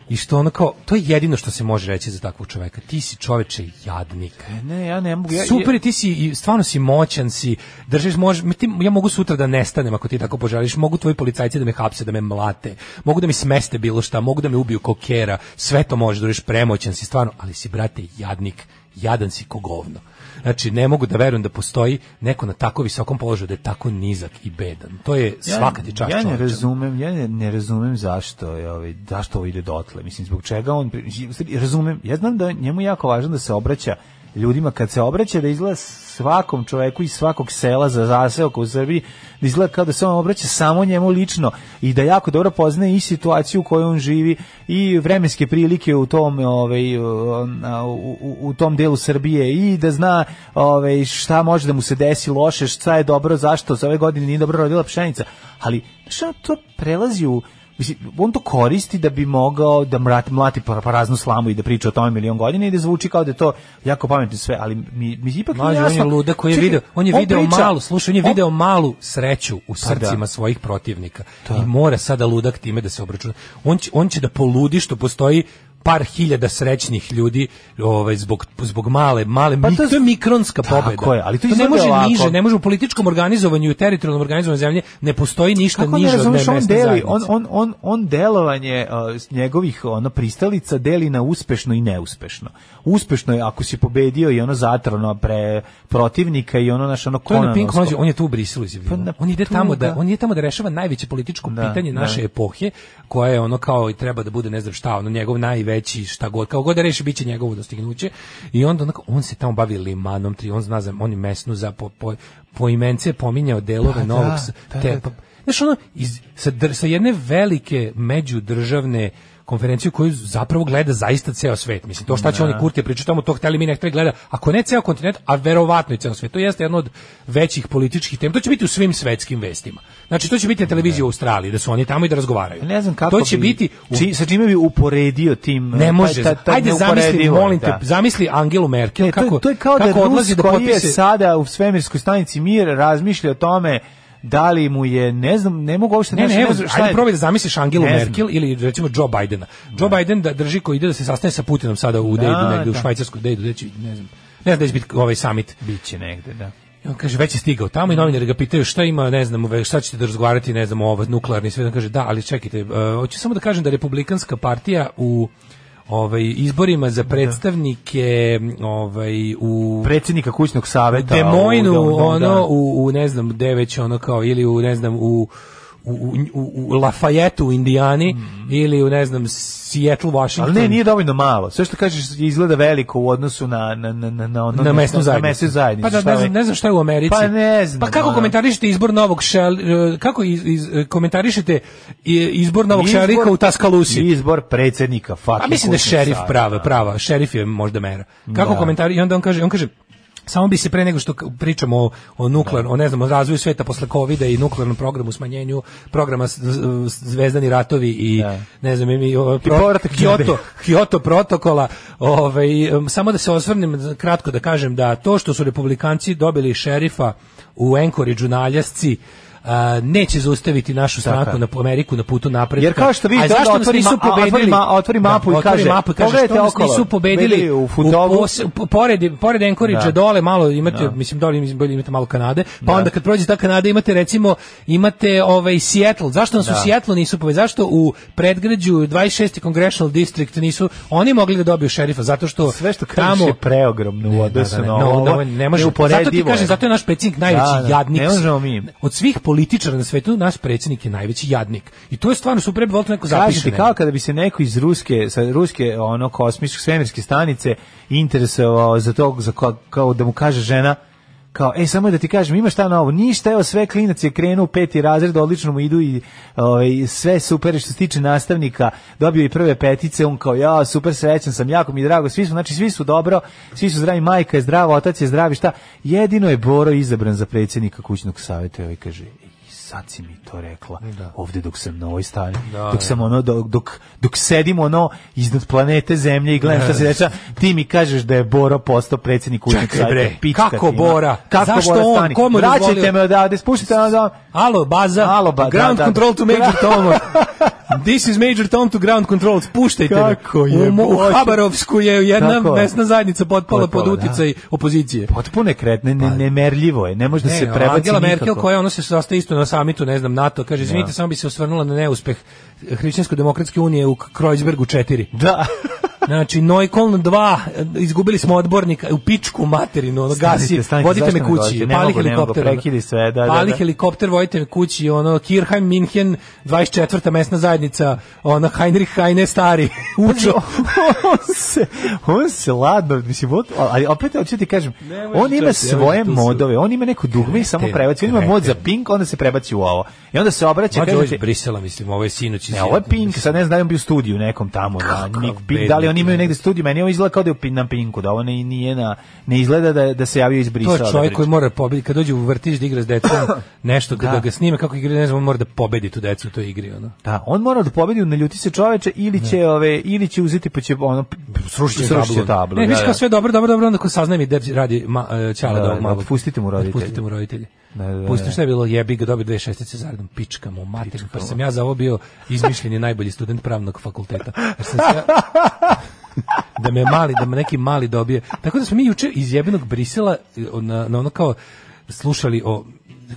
[SPEAKER 6] i što ono kao to je jedino što se može reći za takvog čoveka. Ti si čoveče jadnik.
[SPEAKER 7] Ne, ja ne mogu. Ja,
[SPEAKER 6] Super, je, ti si i stvarno si moćan si. Držiš može ti, ja mogu sutra da nestanem ako ti tako poželiš. Mogu tvoji policajci da me hapse, da me mlate. Mogu da mi smeste bilo šta, mogu da me ubiju kokera. Sve to možeš, držiš premoćan si stvarno, ali si brate jadnik, jadan si ko govno. Znači, ne mogu da verujem da postoji neko na tako visokom položaju da je tako nizak i bedan. To je
[SPEAKER 7] Ja-
[SPEAKER 6] svaka ti čast
[SPEAKER 7] Ja ne
[SPEAKER 6] čoveče.
[SPEAKER 7] razumem, ja ne, ne razumem zašto je ovaj zašto ovo ide dotle. Mislim zbog čega on pri- u stvari, razumem. Ja znam da je njemu jako važno da se obraća ljudima kad se obraća da izgleda svakom čoveku iz svakog sela za zaseoka u Srbiji da izgleda kao da se on obraća samo njemu lično i da jako dobro poznaje i situaciju u kojoj on živi i vremenske prilike u tom ovaj u, u, u tom delu Srbije i da zna ovaj šta može da mu se desi loše, šta je dobro, zašto za ove godine nije dobro rodila pšenica, ali znaš, ono, to prelazi u Mislim, on to koristi da bi mogao da mrati, mlati par- paraznu slamu i da priča o tome milion godina i da zvuči kao da je to jako pametno sve, ali mi, mi ipak
[SPEAKER 6] Mlađe,
[SPEAKER 7] nije
[SPEAKER 6] on
[SPEAKER 7] jasno.
[SPEAKER 6] je luda koji je
[SPEAKER 7] Čekaj,
[SPEAKER 6] video, on je video
[SPEAKER 7] priča-
[SPEAKER 6] malu, slušaj, on je
[SPEAKER 7] on- Pa
[SPEAKER 6] video malu sreću u srcima
[SPEAKER 7] da.
[SPEAKER 6] svojih protivnika. I mora sada ludak time da se obračuna. On će, on će da poludi što postoji par hiljada srećnih ljudi ovaj zbog zbog male male
[SPEAKER 7] Pa
[SPEAKER 6] pa
[SPEAKER 7] to
[SPEAKER 6] to,
[SPEAKER 7] je-
[SPEAKER 6] je mikronska
[SPEAKER 7] Tako
[SPEAKER 6] pobeda.
[SPEAKER 7] je, ali to
[SPEAKER 6] ne
[SPEAKER 7] izgleda
[SPEAKER 6] može
[SPEAKER 7] ovako.
[SPEAKER 6] niže, ne može u političkom organizovanju i u teritorijalnom organizovanju zemlje ne postoji ništa
[SPEAKER 7] Kako ne
[SPEAKER 6] niže od
[SPEAKER 7] razumeš,
[SPEAKER 6] mesne
[SPEAKER 7] on deli,
[SPEAKER 6] zajednice.
[SPEAKER 7] on, on, on, on delovanje uh, s njegovih ono, pristalica deli na uspešno i neuspešno. Uspešno je ako si pobedio i ono zatrano pre protivnika i ono naš ono
[SPEAKER 6] To je na Pink
[SPEAKER 7] konanovsko.
[SPEAKER 6] mlađe, on je tu u Briselu izjavio.
[SPEAKER 7] Pa na-
[SPEAKER 6] on ide
[SPEAKER 7] tu
[SPEAKER 6] tamo
[SPEAKER 7] ga-
[SPEAKER 6] da on je tamo da rešava najveće političko
[SPEAKER 7] Da,
[SPEAKER 6] pitanje
[SPEAKER 7] da.
[SPEAKER 6] naše epohe, koje je ono kao i treba da bude ne znam šta, ono njegov najveći šta god, kao god da reši biće njegovo dostignuće. I onda onako, on se tamo bavi limanom, tri, on zna za on je mesnu za po, po, po imence je pominjao delove
[SPEAKER 7] Pa
[SPEAKER 6] novog
[SPEAKER 7] da,
[SPEAKER 6] S-
[SPEAKER 7] da,
[SPEAKER 6] te,
[SPEAKER 7] da, da.
[SPEAKER 6] pa- Znaš, ono, iz, sa, dr- sa jedne velike međudržavne konferencije koju zapravo gleda zaista ceo svet. Mislim, to šta će oni Kurti pričati, tamo to hteli mi ne hteli gleda. Ako ne ceo kontinent, a verovatno i ceo svet. To jeste jedno od većih političkih tema. To će biti u svim svetskim vestima. Znači, to će biti na televiziji u Australiji, da su oni tamo i da razgovaraju.
[SPEAKER 7] Ne znam kako
[SPEAKER 6] to će
[SPEAKER 7] bi-
[SPEAKER 6] biti u
[SPEAKER 7] či- sa čime bi uporedio tim e,
[SPEAKER 6] ne može.
[SPEAKER 7] taj- taj
[SPEAKER 6] Ajde zamisli,
[SPEAKER 7] neuporedivo je,
[SPEAKER 6] molim te,
[SPEAKER 7] da.
[SPEAKER 6] zamisli Angelu Merkel
[SPEAKER 7] E, to, je-
[SPEAKER 6] kako
[SPEAKER 7] to je kao
[SPEAKER 6] kako
[SPEAKER 7] da
[SPEAKER 6] odlazi
[SPEAKER 7] Rus
[SPEAKER 6] da
[SPEAKER 7] koji je
[SPEAKER 6] potpise
[SPEAKER 7] sada u svemirskoj stanici Mir razmišlja o tome da li mu je, ne znam, ne mogu uopšte
[SPEAKER 6] Ne,
[SPEAKER 7] znaš,
[SPEAKER 6] ne, evo,
[SPEAKER 7] znam šta
[SPEAKER 6] ajde
[SPEAKER 7] je-
[SPEAKER 6] probaj da zamisliš Angelu
[SPEAKER 7] Ne znam.
[SPEAKER 6] Merkel ili recimo Joe Bidena. Joe Biden da drži koji ide da se sastane sa Putinom sada u Dejdu, negde u
[SPEAKER 7] da.
[SPEAKER 6] Švajcarskoj Dejdu, gde će, ne znam, ne znam gde će biti ovaj summit.
[SPEAKER 7] Biće negde, da.
[SPEAKER 6] I on kaže, već je stigao tamo
[SPEAKER 7] Mm.
[SPEAKER 6] i novinari ga pitaju šta ima, ne znam, ve- šta ćete da razgovarati, ne znam, ovo, nuklearni sve. On kaže, da, ali čekajte, e, hoću samo da kažem da republikanska partija u ovaj, izborima za predstavnike ovaj, u
[SPEAKER 7] Predsjednika kućnog saveta.
[SPEAKER 6] Des Moines,
[SPEAKER 7] u-
[SPEAKER 6] u,
[SPEAKER 7] da,
[SPEAKER 6] ono,
[SPEAKER 7] da.
[SPEAKER 6] U, u, ne znam, gde već ono kao, ili u, ne znam, u, u, u, u- u Lafayette u Indijani, ili u, ne znam, Seattle, Washington.
[SPEAKER 7] Mhm. Ali ne, nije dovoljno malo. Sve što kažeš izgleda veliko u odnosu na na na na na ono-
[SPEAKER 6] na mesnu
[SPEAKER 7] na-
[SPEAKER 6] zajednicu.
[SPEAKER 7] Na mesnu zajednicu.
[SPEAKER 6] Pa da,
[SPEAKER 7] šta
[SPEAKER 6] ne,
[SPEAKER 7] je?
[SPEAKER 6] znam, ne znam šta je u Americi.
[SPEAKER 7] Pa ne znam,
[SPEAKER 6] Pa kako
[SPEAKER 7] ono.
[SPEAKER 6] komentarišete izbor novog šel, e, kako iz, iz, e, komentarišete i- izbor novog
[SPEAKER 7] Izbor-
[SPEAKER 6] šerika u Taskalusi?
[SPEAKER 7] Izbor predsjednika fucking
[SPEAKER 6] A mislim da je
[SPEAKER 7] kućnog
[SPEAKER 6] šerif
[SPEAKER 7] saveta.
[SPEAKER 6] prava, prava, šerif je možda mera. Kako
[SPEAKER 7] Da.
[SPEAKER 6] komentari i onda on kaže, on kaže Samo bi se pre nego što k- pričamo o, o nuklearnom, o ne znam, o razvoju sveta posle covida i nuklearnom programu, smanjenju programa s- z- Zvezdani ratovi i
[SPEAKER 7] Da.
[SPEAKER 6] ne znam, i, o,
[SPEAKER 7] I povratak džabe.
[SPEAKER 6] Kyoto, Kyoto protokola, ovaj, em, samo da se osvrnem za- kratko da kažem da to što su republikanci dobili šerifa u Anchorageu na Aljasci, a, neće zaustaviti našu stranku
[SPEAKER 7] je.
[SPEAKER 6] na Ameriku na putu napred.
[SPEAKER 7] Jer kao što vidite,
[SPEAKER 6] zašto
[SPEAKER 7] onda
[SPEAKER 6] nas
[SPEAKER 7] otvori
[SPEAKER 6] nisu
[SPEAKER 7] ma- otvori
[SPEAKER 6] pobedili?
[SPEAKER 7] ma- otvori mapu i
[SPEAKER 6] otvori
[SPEAKER 7] kaže,
[SPEAKER 6] mapu i kaže,
[SPEAKER 7] "Pogledajte
[SPEAKER 6] što nas
[SPEAKER 7] okolo,
[SPEAKER 6] nisu pobedili
[SPEAKER 7] pobedili u fudbalu."
[SPEAKER 6] pos- po- pored, pored Anchorage
[SPEAKER 7] Da.
[SPEAKER 6] dole malo imate, mislim dole mislim, bolje imate malo Kanade, pa onda kad prođe ta Kanada imate recimo, imate ovaj Seattle, zašto nas u Seattle nisu pobedili? Zašto u predgrađu 26. Congressional District nisu oni mogli da dobiju šerifa? Zato što
[SPEAKER 7] Sve što kažeš
[SPEAKER 6] tamo...
[SPEAKER 7] je preogromno u
[SPEAKER 6] Pa Da, da,
[SPEAKER 7] odnosu
[SPEAKER 6] ne,
[SPEAKER 7] na
[SPEAKER 6] no,
[SPEAKER 7] ovo.
[SPEAKER 6] no, ne može,
[SPEAKER 7] neuporedivo
[SPEAKER 6] zato ti
[SPEAKER 7] je.
[SPEAKER 6] kažem, zato je naš predsjednik najveći
[SPEAKER 7] Da, da,
[SPEAKER 6] jadnik.
[SPEAKER 7] ne možemo mi.
[SPEAKER 6] Od svih političara na svetu, naš predsjednik je najveći jadnik. I to je stvarno super, bi volio to neko
[SPEAKER 7] Kažete,
[SPEAKER 6] zapiše.
[SPEAKER 7] kao kada bi se neko iz ruske sa ruske ono kosmičke svemirske stanice interesovao za tog za ko- kao da mu kaže žena kao ej samo da ti kažem ima šta novo ništa evo sve klinac je krenuo u peti razred odlično mu idu i ovaj, sve super što se tiče nastavnika dobio i prve petice on kao ja super srećan sam jako mi je drago svi su znači svi su dobro svi su zdravi majka je zdrava otac je zdravi šta jedino je Boro izabran za predsjednika kućnog savjeta i ovaj kaže "I sad si mi to rekla ovdje dok sam na ovoj strani dok sam ono dok, dok, dok sedim ono iznad planete zemlje i gledam šta se dešava ti mi kažeš da je Boro postao predsjednik kućnog
[SPEAKER 6] Čekaj, bre,
[SPEAKER 7] savjeta pička
[SPEAKER 6] kako
[SPEAKER 7] ti, ono.
[SPEAKER 6] Bora?
[SPEAKER 7] kako
[SPEAKER 6] Zašto
[SPEAKER 7] Bora
[SPEAKER 6] on?
[SPEAKER 7] stani
[SPEAKER 6] Komu je
[SPEAKER 7] vraćajte
[SPEAKER 6] dozvolio?
[SPEAKER 7] me odavde ono spuštite me odavde
[SPEAKER 6] Alo, baza.
[SPEAKER 7] Alo, ba- da,
[SPEAKER 6] ground
[SPEAKER 7] da.
[SPEAKER 6] control to Major Tom. This is Major Tom to ground control. Spuštajte me.
[SPEAKER 7] Kako je
[SPEAKER 6] u, mo- u
[SPEAKER 7] Bože.
[SPEAKER 6] Habarovsku je jedna
[SPEAKER 7] Tako je.
[SPEAKER 6] mesna zajednica potpala pod
[SPEAKER 7] Potpala, da.
[SPEAKER 6] uticaj opozicije. E,
[SPEAKER 7] potpuno je kretne ne, nemerljivo je ne može da se
[SPEAKER 6] a
[SPEAKER 7] prebaci
[SPEAKER 6] Pa- Angela Merkel
[SPEAKER 7] nikako.
[SPEAKER 6] koja ono se sastaje isto na samitu, ne znam, NATO, kaže, izvinite, samo bi se osvrnula na neuspeh Hrišćansko-demokratske unije u Kreuzbergu 4.
[SPEAKER 7] da
[SPEAKER 6] Znači, Neukoln 2, izgubili smo odbornika u pičku materinu, ono,
[SPEAKER 7] Stanite,
[SPEAKER 6] gasi,
[SPEAKER 7] stanite,
[SPEAKER 6] vodite
[SPEAKER 7] zašto
[SPEAKER 6] me
[SPEAKER 7] me
[SPEAKER 6] kući,
[SPEAKER 7] vodite? Ne
[SPEAKER 6] pali
[SPEAKER 7] mogu, ne mogu,
[SPEAKER 6] helikopter. ono.
[SPEAKER 7] prekidi sve, da, da,
[SPEAKER 6] Pali
[SPEAKER 7] da.
[SPEAKER 6] helikopter, vodite me kući, ono, Kirheim, Minhen, 24. mesna zajednica, ono, Heinrich Heine stari, učo.
[SPEAKER 7] on se on se ladno mislim od, ali opet hoću ti kažem
[SPEAKER 6] Nemoj
[SPEAKER 7] on ima
[SPEAKER 6] čas, nemoj,
[SPEAKER 7] svoje
[SPEAKER 6] tu su.
[SPEAKER 7] modove on ima neku dugme i samo
[SPEAKER 6] Kreten,
[SPEAKER 7] prebaci on ima mod za
[SPEAKER 6] kreten.
[SPEAKER 7] pink onda se prebaci u ovo i onda se obraća
[SPEAKER 6] Mađo, ovo
[SPEAKER 7] kaže
[SPEAKER 6] je iz
[SPEAKER 7] ti,
[SPEAKER 6] Brisela, mislim, ovo je sinoć. iz
[SPEAKER 7] ne ovo je
[SPEAKER 6] Sjetla,
[SPEAKER 7] pink sad ne znam da li on bio u studiju nekom tamo na
[SPEAKER 6] Kakav
[SPEAKER 7] Nick Pink da li oni imaju negde studiju, meni ovo izgleda kao da je u pin- na pinku, da ovo ne, nije na, ne izgleda da, je- da se javio iz
[SPEAKER 6] To
[SPEAKER 7] Brisa.
[SPEAKER 6] je čovjek koji mora pobedi kad dođe u vrtić da igra s decom, nešto kada
[SPEAKER 7] Da.
[SPEAKER 6] da. ga snime kako igra, ne znam, on mora da pobedi tu decu u toj igri, ono.
[SPEAKER 7] Da, on mora da pobedi, ne ljuti se čoveče ili će ove ili će uzeti pa će ono p- srušit će tablu. tablu.
[SPEAKER 6] Ne,
[SPEAKER 7] da,
[SPEAKER 6] viš kao
[SPEAKER 7] da.
[SPEAKER 6] sve dobro, dobro, dobro, onda ko saznajem i derđi radi ma, e, ćala
[SPEAKER 7] Da,
[SPEAKER 6] da,
[SPEAKER 7] da,
[SPEAKER 6] ovog malog.
[SPEAKER 7] pustite mu roditelje.
[SPEAKER 6] Pustite mu roditelje.
[SPEAKER 7] Da, da, da.
[SPEAKER 6] Pustite šta je bilo, jebi ga, dobio dve šestice zaredom, pička mu, mater, pa sam ja za ovo bio izmišljeni najbolji student pravnog fakulteta. Jer sam se ja- da me mali, da me neki mali dobije. Tako da smo mi juče iz jebenog Brisela e, na, na ono kao slušali o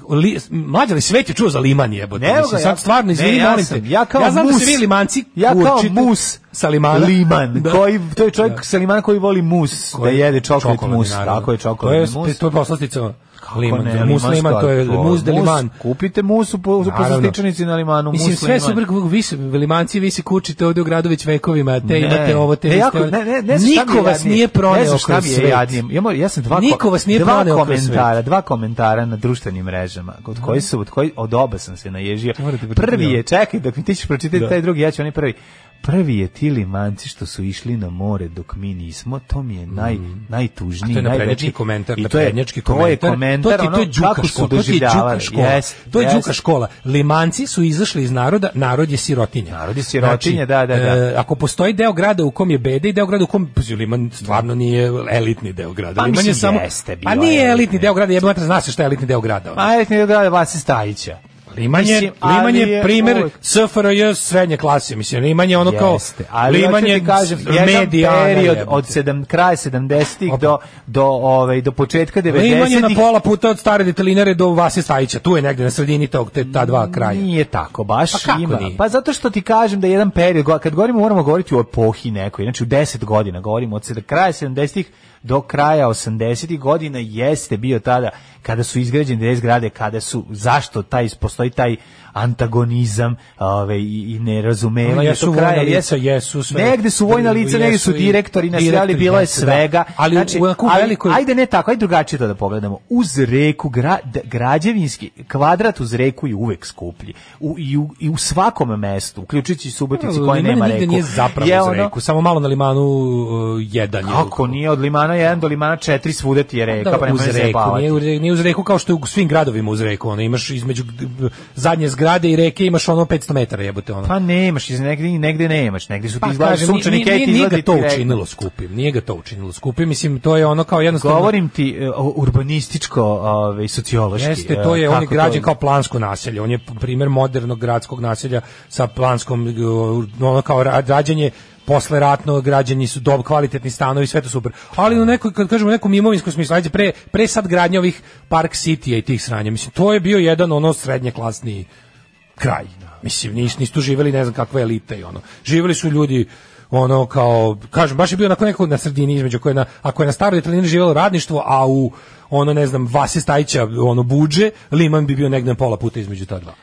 [SPEAKER 6] o Li, mlađa li svet je čuo za liman jebote?
[SPEAKER 7] Ne, evo
[SPEAKER 6] Mislim,
[SPEAKER 7] ga,
[SPEAKER 6] sad
[SPEAKER 7] ja-
[SPEAKER 6] stvarno,
[SPEAKER 7] ne,
[SPEAKER 6] izvini,
[SPEAKER 7] ja
[SPEAKER 6] molim
[SPEAKER 7] sam-
[SPEAKER 6] te.
[SPEAKER 7] ja kao
[SPEAKER 6] znam da
[SPEAKER 7] mus-
[SPEAKER 6] se vi limanci
[SPEAKER 7] ja kao
[SPEAKER 6] kurčite
[SPEAKER 7] mus
[SPEAKER 6] sa limana.
[SPEAKER 7] Liman,
[SPEAKER 6] Da.
[SPEAKER 7] koji, to je čovjek
[SPEAKER 6] Da.
[SPEAKER 7] sa limana koji voli mus, da jede čokolad
[SPEAKER 6] Čokoladni,
[SPEAKER 7] mus,
[SPEAKER 6] naravno.
[SPEAKER 7] tako je
[SPEAKER 6] To je,
[SPEAKER 7] čokoladni mus.
[SPEAKER 6] to je poslastica liman,
[SPEAKER 7] Kako ne,
[SPEAKER 6] mus
[SPEAKER 7] limanska,
[SPEAKER 6] liman, to je mus de liman.
[SPEAKER 7] Kupite mus u, po- u
[SPEAKER 6] Naravno.
[SPEAKER 7] poslastičanici na limanu,
[SPEAKER 6] Mislim,
[SPEAKER 7] mus
[SPEAKER 6] sve
[SPEAKER 7] liman.
[SPEAKER 6] su brk, vi se, limanci, vi se kučite ovde u gradu već vekovima, te imate ovo, te
[SPEAKER 7] ne,
[SPEAKER 6] vi
[SPEAKER 7] jako,
[SPEAKER 6] ste...
[SPEAKER 7] ne, ne, ne znam šta mi je
[SPEAKER 6] Niko vas
[SPEAKER 7] jadnije.
[SPEAKER 6] nije
[SPEAKER 7] Ne
[SPEAKER 6] proneo
[SPEAKER 7] znam šta
[SPEAKER 6] kroz
[SPEAKER 7] mi je
[SPEAKER 6] svet.
[SPEAKER 7] jadnije. Ja, mor- ja sam dva, ko-
[SPEAKER 6] Niko vas nije
[SPEAKER 7] dva
[SPEAKER 6] proneo kroz
[SPEAKER 7] komentara, dva komentara na društvenim mrežama, od koji su, od koji od oba sam se naježio.
[SPEAKER 6] Morate pročitati
[SPEAKER 7] Prvi
[SPEAKER 6] ovo.
[SPEAKER 7] je, čekaj, dok mi ti ćeš pročitati
[SPEAKER 6] Da.
[SPEAKER 7] taj drugi, ja ću onaj prvi. Prvi je ti limanci što su išli na more dok mi nismo, to mi je naj, najtužniji,
[SPEAKER 6] Mm. A to je
[SPEAKER 7] najveći-
[SPEAKER 6] naprednjački komentar,
[SPEAKER 7] I to je-
[SPEAKER 6] naprednjački
[SPEAKER 7] to je
[SPEAKER 6] komentar.
[SPEAKER 7] komentar,
[SPEAKER 6] to ti to je
[SPEAKER 7] ono,
[SPEAKER 6] đuka
[SPEAKER 7] kako su
[SPEAKER 6] škola, to ti je đuka
[SPEAKER 7] doživljavali.
[SPEAKER 6] škola.
[SPEAKER 7] Jest,
[SPEAKER 6] to je
[SPEAKER 7] jest.
[SPEAKER 6] đuka škola. Limanci su izašli iz naroda, narod je sirotinja.
[SPEAKER 7] Narod je sirotinja, da, da, da.
[SPEAKER 6] e, ako postoji deo grada u kom je beda i deo grada u kom pazi, Liman stvarno nije elitni deo grada.
[SPEAKER 7] Pa
[SPEAKER 6] Liman je
[SPEAKER 7] mislim,
[SPEAKER 6] samo
[SPEAKER 7] jeste bio
[SPEAKER 6] Pa nije elitni
[SPEAKER 7] elitni.
[SPEAKER 6] deo grada, jebe mater, zna se šta je elitni deo grada. ono.
[SPEAKER 7] Ma, ajde, ne da Vasi Stajića.
[SPEAKER 6] Liman je,
[SPEAKER 7] Mislim, ali
[SPEAKER 6] Liman je
[SPEAKER 7] je
[SPEAKER 6] primer
[SPEAKER 7] uvek-
[SPEAKER 6] SFRJ srednje klase, mislim, Liman je ono kao
[SPEAKER 7] Jeste, ali
[SPEAKER 6] Liman
[SPEAKER 7] hoću
[SPEAKER 6] je
[SPEAKER 7] ti kažem, jedan
[SPEAKER 6] medijana,
[SPEAKER 7] period
[SPEAKER 6] jebote.
[SPEAKER 7] od sedam, kraja 70-ih
[SPEAKER 6] Opa.
[SPEAKER 7] do, do, ovaj, do početka
[SPEAKER 6] Liman je na
[SPEAKER 7] 90-ih.
[SPEAKER 6] pola puta od stare detelinare do Vase Stajića, tu je negde na sredini tog, te, ta dva kraja.
[SPEAKER 7] Nije tako baš
[SPEAKER 6] Pa kako
[SPEAKER 7] ima.
[SPEAKER 6] nije?
[SPEAKER 7] Pa zato što ti kažem da jedan period, go- kad govorimo moramo govoriti o epohi nekoj, znači u 10 godina govorimo od sed- kraja 70-ih do kraja 80-ih godina jeste bio tada kada su izgrađene te zgrade, kada su zašto taj postoji taj antagonizam, ovaj i, i
[SPEAKER 6] Ono,
[SPEAKER 7] nerazumevanje
[SPEAKER 6] jesu
[SPEAKER 7] tog kraja,
[SPEAKER 6] vojna
[SPEAKER 7] jesu-
[SPEAKER 6] lica, jesu sve.
[SPEAKER 7] Negde su vojna lica,
[SPEAKER 6] Jesu
[SPEAKER 7] negde su
[SPEAKER 6] i-
[SPEAKER 7] direktori, na sve, ali
[SPEAKER 6] direktori,
[SPEAKER 7] bilo je
[SPEAKER 6] jesu, da.
[SPEAKER 7] svega. Znači,
[SPEAKER 6] Ali u- u onako
[SPEAKER 7] ali
[SPEAKER 6] velikoj-
[SPEAKER 7] ajde ne tako, ajde drugačije to da pogledamo. Uz reku gra, d- građevinski kvadrat uz reku je uvek skuplji. U, i, u, i u svakom mestu, uključujući Subotici koja
[SPEAKER 6] Liman
[SPEAKER 7] nema
[SPEAKER 6] nigde
[SPEAKER 7] reku.
[SPEAKER 6] nije zapravo
[SPEAKER 7] je
[SPEAKER 6] uz
[SPEAKER 7] ono-
[SPEAKER 6] reku, samo malo na Limanu uh, jedan. je.
[SPEAKER 7] Kako nije od limana 1 do limana 4 svuda ti je reka,
[SPEAKER 6] Da,
[SPEAKER 7] pa nemoj
[SPEAKER 6] uz reku,
[SPEAKER 7] zajebavati.
[SPEAKER 6] nije, uz reku, nije uz reku kao što je u svim gradovima uz reku, ono, imaš između g- zadnje zgrade i reke imaš ono 500 metara jebote, ono.
[SPEAKER 7] Pa nemaš, iz negde, negde nemaš, negde su ti izgledali
[SPEAKER 6] pa, kažem,
[SPEAKER 7] sunčani
[SPEAKER 6] nije- nije-
[SPEAKER 7] keti
[SPEAKER 6] nije
[SPEAKER 7] izgleda
[SPEAKER 6] ga
[SPEAKER 7] ti
[SPEAKER 6] to
[SPEAKER 7] reka.
[SPEAKER 6] učinilo skupim, nije ga to učinilo skupim, mislim, to je ono kao jednostavno...
[SPEAKER 7] Govorim ti e, o urbanističko, ovaj sociološki.
[SPEAKER 6] Jeste,
[SPEAKER 7] e,
[SPEAKER 6] to je, on je
[SPEAKER 7] kako to-
[SPEAKER 6] građen kao plansko naselje. On je primjer modernog gradskog naselja sa planskom, uh, ono kao ra- rađenje posle ratno građani su dob kvalitetni stanovi sve to super. Ali u nekoj kad kažemo u nekom imovinskom smislu, ajde pre pre sad gradnje ovih Park City i tih sranja. Mislim to je bio jedan ono srednje klasni kraj. Mislim, nis, nisu tu živeli ne znam kakve elite i ono. Živeli su ljudi ono kao, kažem, baš je bio onako neko na sredini između, ako je na, ako je na staroj detaljini živjelo radništvo, a u ono, ne znam, Vase Stajića, ono, buđe, Liman bi bio negde na pola puta između ta dva.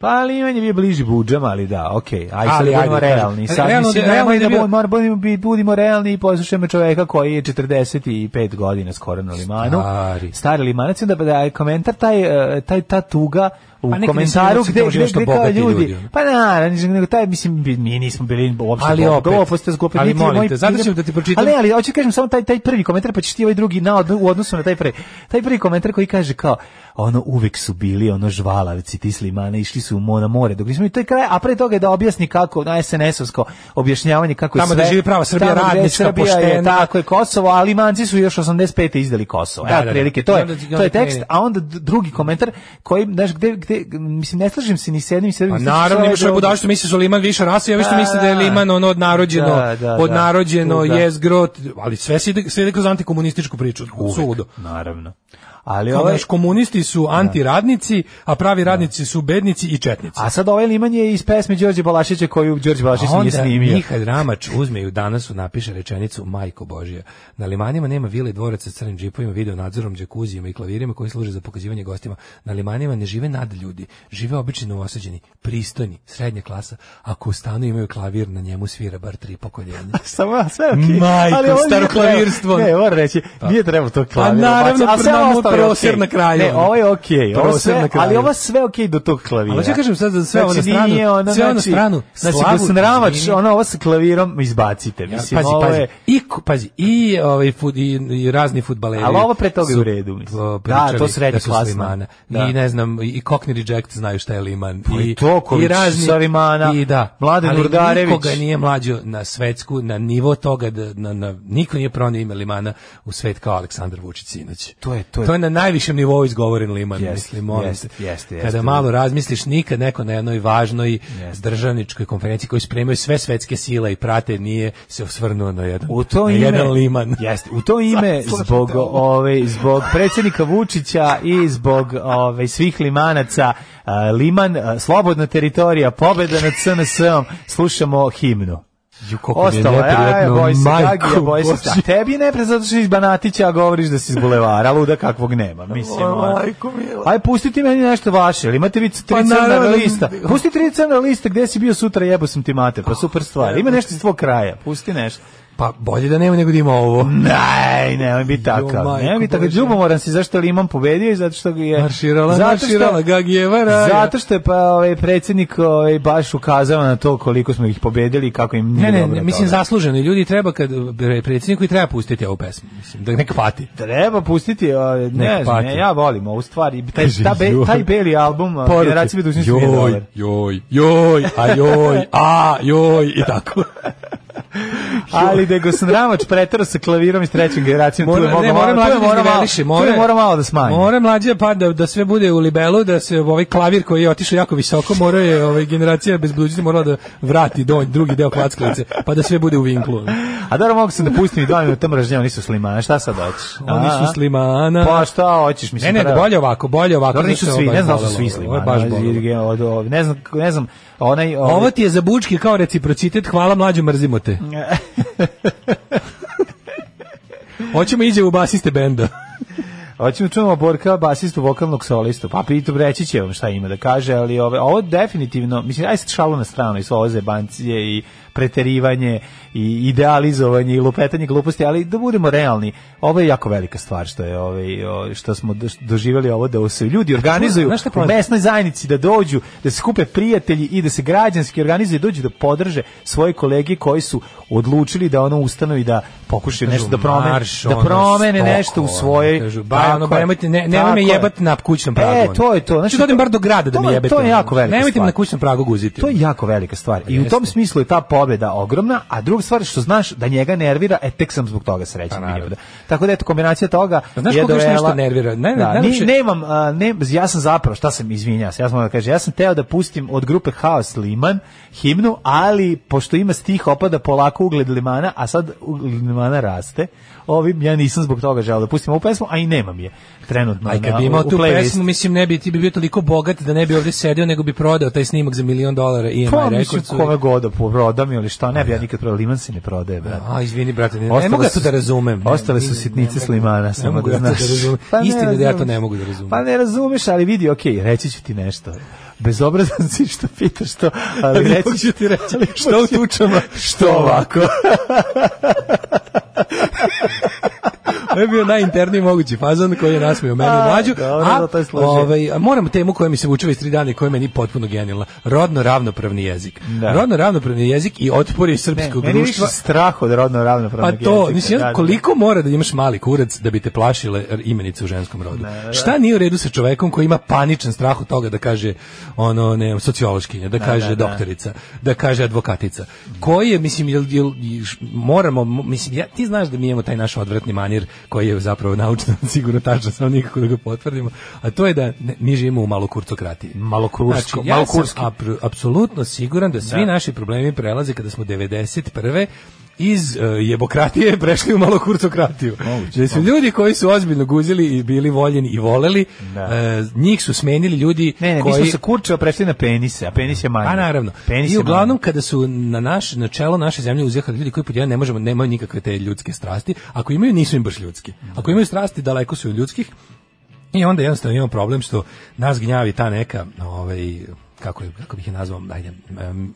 [SPEAKER 7] Pa Liman je bio bliži budžama, ali da, okej. Aj sad
[SPEAKER 6] Ali,
[SPEAKER 7] budemo
[SPEAKER 6] ajde,
[SPEAKER 7] realni.
[SPEAKER 6] kažem.
[SPEAKER 7] Sad
[SPEAKER 6] Realno-
[SPEAKER 7] mislim,
[SPEAKER 6] realno
[SPEAKER 7] nemoj
[SPEAKER 6] je
[SPEAKER 7] da
[SPEAKER 6] bio-
[SPEAKER 7] budemo, mora- budemo, bi- budimo realni i poslušajmo čoveka koji je 45 godina skoro na Limanu.
[SPEAKER 6] Stari.
[SPEAKER 7] Stari Limanac, onda pa da je komentar taj, e, taj, ta tuga u
[SPEAKER 6] Pa nekad
[SPEAKER 7] komentaru
[SPEAKER 6] nisu
[SPEAKER 7] gde,
[SPEAKER 6] to
[SPEAKER 7] gde,
[SPEAKER 6] nešto
[SPEAKER 7] gde kao
[SPEAKER 6] bogati
[SPEAKER 7] ljudi.
[SPEAKER 6] ljudi, ono.
[SPEAKER 7] Pa na, nego taj, mislim, bi- mi nismo bili uopšte
[SPEAKER 6] Ali
[SPEAKER 7] glupi.
[SPEAKER 6] opet,
[SPEAKER 7] Glupo ste zglupili,
[SPEAKER 6] ali
[SPEAKER 7] niti
[SPEAKER 6] molim
[SPEAKER 7] moji-
[SPEAKER 6] te, zato ću da ti pročitam-
[SPEAKER 7] Ali, ali hoću kažem samo taj taj prvi komentar pa ćeš ti ovaj drugi na odno- u odnosu na taj prvi. Taj prvi komentar koji kaže kao ono uvek su bili ono žvalavci ti slimane išli su u mo- na more dok nismo i to je kraj a pre toga je da objasni kako na SNS-ovsko objašnjavanje kako je
[SPEAKER 6] Tamo
[SPEAKER 7] sve
[SPEAKER 6] gde živi prava Srbija,
[SPEAKER 7] tamo gde je
[SPEAKER 6] radnička,
[SPEAKER 7] Srbija je,
[SPEAKER 6] poštena.
[SPEAKER 7] tako je Kosovo ali Limanci su još 85 izdali Kosovo
[SPEAKER 6] Da, da,
[SPEAKER 7] da,
[SPEAKER 6] da.
[SPEAKER 7] prilike to je
[SPEAKER 6] I onda ti-
[SPEAKER 7] to je
[SPEAKER 6] onda
[SPEAKER 7] tekst
[SPEAKER 6] krene.
[SPEAKER 7] a onda d- drugi komentar koji znaš gde gde mislim ne slažem se ni s jednim ni s drugim
[SPEAKER 6] Pa
[SPEAKER 7] mislim,
[SPEAKER 6] naravno,
[SPEAKER 7] sve
[SPEAKER 6] imaš ove
[SPEAKER 7] drugo.
[SPEAKER 6] budače što misle da su Liman više rasa, ja što
[SPEAKER 7] Da,
[SPEAKER 6] misle da je
[SPEAKER 7] da.
[SPEAKER 6] Liman ono odnarođeno,
[SPEAKER 7] Da, da, da.
[SPEAKER 6] odnarođeno,
[SPEAKER 7] Tuga.
[SPEAKER 6] jezgro, ali sve se ide, sve ide kroz antikomunističku priču,
[SPEAKER 7] Uvek,
[SPEAKER 6] suludo.
[SPEAKER 7] naravno ali
[SPEAKER 6] Kao,
[SPEAKER 7] ovaj
[SPEAKER 6] znaš, komunisti su antiradnici, a pravi radnici su bednici i četnici.
[SPEAKER 7] A sad ovaj liman je iz pesme Đorđe Balašića koju Đorđe Balašić
[SPEAKER 6] A
[SPEAKER 7] nije snimio.
[SPEAKER 6] Mihad Ramač uzme i u danasu napiše rečenicu Majko Božja. Na limanima nema vile i dvoraca s crnim džipovima, video nadzorom, džakuzijima i klavirima koji služe za pokazivanje gostima. Na limanima ne žive nad ljudi, žive obični novosađeni, pristojni, srednja klasa. Ako u stanu imaju klavir, na njemu svira bar tri pokoljenja.
[SPEAKER 7] Samo sve okej.
[SPEAKER 6] Majko,
[SPEAKER 7] Ali ovo nije Pa.
[SPEAKER 6] staroklavirstvo.
[SPEAKER 7] trebao- Ne, moram reći, nije trebao to klavir.
[SPEAKER 6] naravno,
[SPEAKER 7] a sve
[SPEAKER 6] Prnamo
[SPEAKER 7] ostalo je
[SPEAKER 6] Prosir
[SPEAKER 7] okej.
[SPEAKER 6] na kraju,
[SPEAKER 7] Ne,
[SPEAKER 6] ono.
[SPEAKER 7] ovo je okej. Ovo
[SPEAKER 6] Prosir
[SPEAKER 7] sve-
[SPEAKER 6] na kraju.
[SPEAKER 7] Ali ovo sve okej do tog klavira.
[SPEAKER 6] Ali ću kažem sad za sve
[SPEAKER 7] Znači,
[SPEAKER 6] ovo na stranu,
[SPEAKER 7] nije ono,
[SPEAKER 6] sve ovo na
[SPEAKER 7] znači-
[SPEAKER 6] stranu,
[SPEAKER 7] Znači,
[SPEAKER 6] slavu,
[SPEAKER 7] Gusnravač,
[SPEAKER 6] izvini.
[SPEAKER 7] ono, ovo sa klavirom izbacite. Mislim,
[SPEAKER 6] pazi,
[SPEAKER 7] ovo
[SPEAKER 6] pazi.
[SPEAKER 7] je...
[SPEAKER 6] I, ku- pazi, i, ovaj, fut, i, i razni futbaleri.
[SPEAKER 7] Ali ovo pre toga je
[SPEAKER 6] su,
[SPEAKER 7] u redu, mislim.
[SPEAKER 6] o,
[SPEAKER 7] Da,
[SPEAKER 6] pričali
[SPEAKER 7] to srednje
[SPEAKER 6] su
[SPEAKER 7] klasno.
[SPEAKER 6] Limana.
[SPEAKER 7] Da.
[SPEAKER 6] I ne znam, i Cockney Reject znaju šta je Liman.
[SPEAKER 7] Pa i Toković sa Limana,
[SPEAKER 6] I da.
[SPEAKER 7] Mladen
[SPEAKER 6] ali
[SPEAKER 7] Urdarević.
[SPEAKER 6] nikoga nije mlađo na svetsku, na nivo toga, da, na, na, niko nije pronio ime Limana u svet kao Aleksandar Vučić sinoć.
[SPEAKER 7] To je- to je-
[SPEAKER 6] to je na najvišem nivou izgovoren Liman,
[SPEAKER 7] Jeste,
[SPEAKER 6] mislim. molim
[SPEAKER 7] jeste,
[SPEAKER 6] te.
[SPEAKER 7] jeste, jeste.
[SPEAKER 6] Kada malo ono, razmisliš, nikad neko na jednoj važnoj državničkoj konferenciji koju spremaju sve svetske sile i prate, nije se osvrnuo na jedan,
[SPEAKER 7] U to
[SPEAKER 6] na
[SPEAKER 7] ime,
[SPEAKER 6] jedan liman.
[SPEAKER 7] Jeste, u to ime zbog ove zbog predsjednika Vučića i zbog ove svih limanaca a, Liman a, slobodna teritorija pobeda nad SNS-om slušamo himnu.
[SPEAKER 6] Ju, koliko mi je
[SPEAKER 7] Ostalo, aj,
[SPEAKER 6] neprijatno,
[SPEAKER 7] boj se,
[SPEAKER 6] majko
[SPEAKER 7] Gagi, boj se.
[SPEAKER 6] Božja.
[SPEAKER 7] A Tebi je neprijatno zato što si iz Banatića, a govoriš da si iz Bulevara, luda kakvog nema, mislim.
[SPEAKER 6] O,
[SPEAKER 7] ono.
[SPEAKER 6] majko mila.
[SPEAKER 7] Aj, pustite meni nešto vaše, ili imate vi tri
[SPEAKER 6] Pa,
[SPEAKER 7] crna
[SPEAKER 6] naravno.
[SPEAKER 7] lista. Pusti tri crna lista, gde si bio sutra, jebo sam ti mate, pa super stvar. Ima nešto iz tvog kraja, pusti nešto.
[SPEAKER 6] Pa bolje da nema nego da ima ovo.
[SPEAKER 7] Ne, ne, on bi
[SPEAKER 6] Jo,
[SPEAKER 7] takav.
[SPEAKER 6] majko
[SPEAKER 7] Ne, bi takav.
[SPEAKER 6] Božja.
[SPEAKER 7] Ljubomoran si zašto li imam pobedio i zato što ga je...
[SPEAKER 6] Marširala,
[SPEAKER 7] zato što-
[SPEAKER 6] marširala, Gagijeva raja.
[SPEAKER 7] Zato što je pa ovaj predsjednik ovaj baš ukazao na to koliko smo ih pobedili i kako im nije
[SPEAKER 6] Ne, ne,
[SPEAKER 7] dobro
[SPEAKER 6] ne, mislim
[SPEAKER 7] od toga.
[SPEAKER 6] zasluženo. i Ljudi treba kad pre- predsjedniku i treba pustiti ovu pesmu, mislim, da ne kvati.
[SPEAKER 7] Treba pustiti, a, ne,
[SPEAKER 6] Nek
[SPEAKER 7] znam,
[SPEAKER 6] pati.
[SPEAKER 7] ne, ja volim ovu stvar. i Taj,
[SPEAKER 6] Kaže,
[SPEAKER 7] ta be-
[SPEAKER 6] joj.
[SPEAKER 7] taj beli album, ovaj, a,
[SPEAKER 6] Poruke.
[SPEAKER 7] generacija budućnosti mi je dobar.
[SPEAKER 6] Joj, joj, joj, a joj, a joj i tako.
[SPEAKER 7] Ali da je Gosandramač preterao sa klavirom iz trećeg generacijom, tu je
[SPEAKER 6] Mora,
[SPEAKER 7] mogao
[SPEAKER 6] ne,
[SPEAKER 7] malo, tu
[SPEAKER 6] mora
[SPEAKER 7] je
[SPEAKER 6] mlađe da
[SPEAKER 7] morao malo,
[SPEAKER 6] izveliše,
[SPEAKER 7] tu je
[SPEAKER 6] mora,
[SPEAKER 7] morao malo da smanji.
[SPEAKER 6] Mora mlađe pa da, da sve bude u libelu, da se ovaj klavir koji je otišao jako visoko, mora je ovaj, generacija bez budućnosti morala da vrati donj, drugi deo klackalice, pa da sve bude u vinklu.
[SPEAKER 7] A dobro, mogu sam da pustim i dva minuta mržnja, oni su slimana, šta sad hoćeš?
[SPEAKER 6] Oni
[SPEAKER 7] A, a?
[SPEAKER 6] su slimana.
[SPEAKER 7] Pa šta hoćeš, mislim.
[SPEAKER 6] Ne, ne,
[SPEAKER 7] treba-
[SPEAKER 6] bolje ovako, bolje ovako.
[SPEAKER 7] Dobro,
[SPEAKER 6] zato
[SPEAKER 7] nisu
[SPEAKER 6] što je
[SPEAKER 7] svi,
[SPEAKER 6] ovo baš
[SPEAKER 7] ne znam da su
[SPEAKER 6] bolelo,
[SPEAKER 7] svi
[SPEAKER 6] Ovo je
[SPEAKER 7] slimani.
[SPEAKER 6] baš
[SPEAKER 7] ali
[SPEAKER 6] bolelo.
[SPEAKER 7] je od- od- Ne znam, ne znam, onaj... ovaj-
[SPEAKER 6] Ovo ti je za bučke kao reciprocite, hvala mlađo, mrzimo te. Hoćemo iđe u basiste benda.
[SPEAKER 7] Hoćemo čujemo Borka, basistu, vokalnog solistu. Pa pitu, reći će vam šta ima da kaže, ali ove, ovo definitivno, mislim, aj sad šalu na stranu i svo ovo zebancije i preterivanje i idealizovanje i lupetanje gluposti, ali da budemo realni, ovo je jako velika stvar što je ovaj o, što smo do- doživjeli ovo da se ljudi organizuju
[SPEAKER 6] Znaš šta je
[SPEAKER 7] u
[SPEAKER 6] problem?
[SPEAKER 7] mesnoj zajednici da dođu, da se kupe prijatelji i da se građanski organizuju, dođu da podrže svoje kolege koji su odlučili da ono ustanu i da pokušaju nešto da promene,
[SPEAKER 6] marš,
[SPEAKER 7] da
[SPEAKER 6] ono,
[SPEAKER 7] promene
[SPEAKER 6] stoko,
[SPEAKER 7] nešto u
[SPEAKER 6] ono,
[SPEAKER 7] svojoj
[SPEAKER 6] kažu, ba, ono,
[SPEAKER 7] Tako
[SPEAKER 6] ba,
[SPEAKER 7] je.
[SPEAKER 6] nemojte, ne, nemoj
[SPEAKER 7] Tako
[SPEAKER 6] me
[SPEAKER 7] je.
[SPEAKER 6] jebati na kućnom pragu.
[SPEAKER 7] E,
[SPEAKER 6] ono.
[SPEAKER 7] to je to.
[SPEAKER 6] Znači, dodim bar do grada da
[SPEAKER 7] to
[SPEAKER 6] me
[SPEAKER 7] je- To
[SPEAKER 6] jebete.
[SPEAKER 7] je
[SPEAKER 6] ono.
[SPEAKER 7] jako velika
[SPEAKER 6] Nemojte me
[SPEAKER 7] stvar.
[SPEAKER 6] na kućnom pragu guziti.
[SPEAKER 7] To
[SPEAKER 6] ono.
[SPEAKER 7] je jako velika stvar. I u
[SPEAKER 6] Jeste.
[SPEAKER 7] tom smislu je ta pobeda ogromna, a druga stvar je što znaš da njega nervira, e tek sam zbog toga srećan.
[SPEAKER 6] Pa, naravno.
[SPEAKER 7] bio. Tako da eto kombinacija toga
[SPEAKER 6] A znaš
[SPEAKER 7] je
[SPEAKER 6] koga još
[SPEAKER 7] dovela-
[SPEAKER 6] nešto nervira? Ne, ne,
[SPEAKER 7] da, ni,
[SPEAKER 6] najviše-
[SPEAKER 7] nemam, a, ne, ja sam zapravo, šta sam izvinja se, ja sam da kažem, ja sam teo da pustim od grupe Haos Liman himnu, ali pošto ima stih opada polako ugled Limana, a sad ugled Limana raste, ovim ja nisam zbog toga želeo da pustim ovu pesmu, a i nemam je trenutno.
[SPEAKER 6] Aj, kad
[SPEAKER 7] na-
[SPEAKER 6] bi
[SPEAKER 7] u-
[SPEAKER 6] imao
[SPEAKER 7] u
[SPEAKER 6] tu
[SPEAKER 7] playlistu.
[SPEAKER 6] pesmu, mislim, ne bi, ti bi bio toliko bogat da ne bi ovdje sedeo, nego bi prodao taj snimak za milion dolara E i
[SPEAKER 7] Pa
[SPEAKER 6] EMI
[SPEAKER 7] mislim
[SPEAKER 6] Records.
[SPEAKER 7] kome god da prodam ili šta, ne bi ja nikad prodao, liman se ne prodaje, brate.
[SPEAKER 6] A, izvini, brate, ne, ne mogu ja to da razumem. Ne,
[SPEAKER 7] Ostale
[SPEAKER 6] ne,
[SPEAKER 7] su
[SPEAKER 6] ne,
[SPEAKER 7] sitnice
[SPEAKER 6] ne
[SPEAKER 7] s
[SPEAKER 6] mogu-
[SPEAKER 7] limana,
[SPEAKER 6] ne
[SPEAKER 7] samo
[SPEAKER 6] mogu
[SPEAKER 7] da
[SPEAKER 6] ja to da
[SPEAKER 7] znaš.
[SPEAKER 6] razumem.
[SPEAKER 7] Pa ne
[SPEAKER 6] Istina da ja to
[SPEAKER 7] razumeš.
[SPEAKER 6] ne mogu da razumem.
[SPEAKER 7] Pa ne razumeš, ali vidi, okej, reći ću ti nešto. Bezobrazan si što pitaš to, ali
[SPEAKER 6] Ali
[SPEAKER 7] reći
[SPEAKER 6] hoću ti reći, što u tučama,
[SPEAKER 7] što ovako.
[SPEAKER 6] E, To je bio najinterniji mogući fazon koji je nasmio mene
[SPEAKER 7] A,
[SPEAKER 6] i mlađu.
[SPEAKER 7] dobro, da, to je složio.
[SPEAKER 6] ovaj, a moram temu koja mi se vuče već tri dana i koja je meni potpuno genijalna. Rodno ravnopravni jezik.
[SPEAKER 7] Da.
[SPEAKER 6] Rodno ravnopravni jezik i otpori srpskog
[SPEAKER 7] Meni je više
[SPEAKER 6] društva.
[SPEAKER 7] strah od rodno
[SPEAKER 6] Pa
[SPEAKER 7] ravnopravnog
[SPEAKER 6] to,
[SPEAKER 7] jezika,
[SPEAKER 6] mislim,
[SPEAKER 7] da, da.
[SPEAKER 6] koliko mora da imaš mali kurac da bi te plašile imenice u ženskom rodu? Šta nije u redu sa čovekom koji ima paničan strah od toga da kaže ono, ne, znam, sociološkinja, da kaže
[SPEAKER 7] da, da.
[SPEAKER 6] doktorica, da kaže advokatica. Koji je, mislim, jel, jel, iš- moramo, mo- mislim, ja, ti znaš da mi imamo taj naš odvratni manir koji je zapravo naučno sigurno tačan, samo nikako da ga potvrdimo, a to je da ne, mi živimo u malokurcokratiji.
[SPEAKER 7] Malokursko-
[SPEAKER 6] Znači, ja sam
[SPEAKER 7] malokurski.
[SPEAKER 6] apr- apsolutno siguran da svi naši problemi prelaze kada smo 91 iz e, jebokratije prešli u malo kurcokratiju.
[SPEAKER 7] Moguće,
[SPEAKER 6] da su ljudi koji su ozbiljno guzili i bili voljeni i voleli,
[SPEAKER 7] Da.
[SPEAKER 6] e, njih su smenili ljudi
[SPEAKER 7] Ne, ne, mi smo
[SPEAKER 6] koji
[SPEAKER 7] se kurčeva prešli na penise, a penis je manji.
[SPEAKER 6] A Pa, naravno.
[SPEAKER 7] Penis
[SPEAKER 6] I
[SPEAKER 7] je
[SPEAKER 6] uglavnom kada su na naš na čelo naše zemlje uzjehali ljudi koji pod jedan ne možemo nemaju nikakve te ljudske strasti, ako imaju nisu im baš ljudski. Ako imaju strasti daleko su od ljudskih. I onda jednostavno imamo problem što nas gnjavi ta neka, ovaj kako, je, kako bih je nazvao, ajde, m,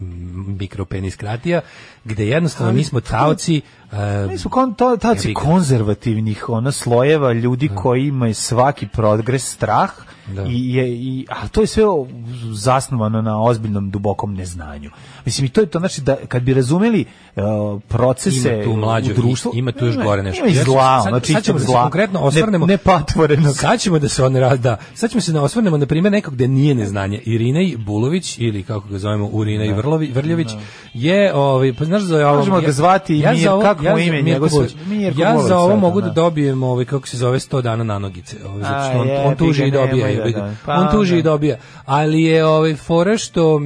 [SPEAKER 6] mikropenistratija, gde jednostavno mi smo taoci... e,
[SPEAKER 7] Mi smo kon, to, taoci
[SPEAKER 6] Jebi ga.
[SPEAKER 7] konzervativnih ona slojeva ljudi kojima je svaki progres strah
[SPEAKER 6] Da.
[SPEAKER 7] i, je, i, a to je sve o- zasnovano na ozbiljnom dubokom neznanju. Mislim i to je to znači da kad bi razumeli e, procese
[SPEAKER 6] Ima tu mlađo,
[SPEAKER 7] u društvu,
[SPEAKER 6] ima tu još
[SPEAKER 7] ima-
[SPEAKER 6] gore nešto.
[SPEAKER 7] Ima i
[SPEAKER 6] Ja ću-
[SPEAKER 7] zla,
[SPEAKER 6] sad-
[SPEAKER 7] ono,
[SPEAKER 6] sad
[SPEAKER 7] čistog
[SPEAKER 6] ćemo da se
[SPEAKER 7] zla.
[SPEAKER 6] konkretno osvrnemo-
[SPEAKER 7] Ne, ne patvoreno.
[SPEAKER 6] Sad ćemo da se on razda. Sad ćemo se da osvrnemo na primjer nekog gde nije neznanje. Irinej Bulović ili kako ga zovemo Urinej Vrlovi, Vrljević je ovaj pa znaš za ovo
[SPEAKER 7] Možemo ga zvati
[SPEAKER 6] za
[SPEAKER 7] Mir-
[SPEAKER 6] ovo-
[SPEAKER 7] kako mu
[SPEAKER 6] za-
[SPEAKER 7] ime
[SPEAKER 6] Mirko
[SPEAKER 7] njegov sve-
[SPEAKER 6] Bulović.
[SPEAKER 7] Mirko
[SPEAKER 6] Ja
[SPEAKER 7] Bulović,
[SPEAKER 6] za ovo
[SPEAKER 7] sad,
[SPEAKER 6] mogu da
[SPEAKER 7] da.
[SPEAKER 6] dobijem ovaj kako se zove 100 dana na nogice, ovaj zato
[SPEAKER 7] A,
[SPEAKER 6] što on, on
[SPEAKER 7] jebi
[SPEAKER 6] tuži
[SPEAKER 7] ga,
[SPEAKER 6] i dobija.
[SPEAKER 7] nemoj da
[SPEAKER 6] jebi ga.
[SPEAKER 7] da. Pa
[SPEAKER 6] on tuži
[SPEAKER 7] onda.
[SPEAKER 6] i dobija. Ali je ovaj fora što uh,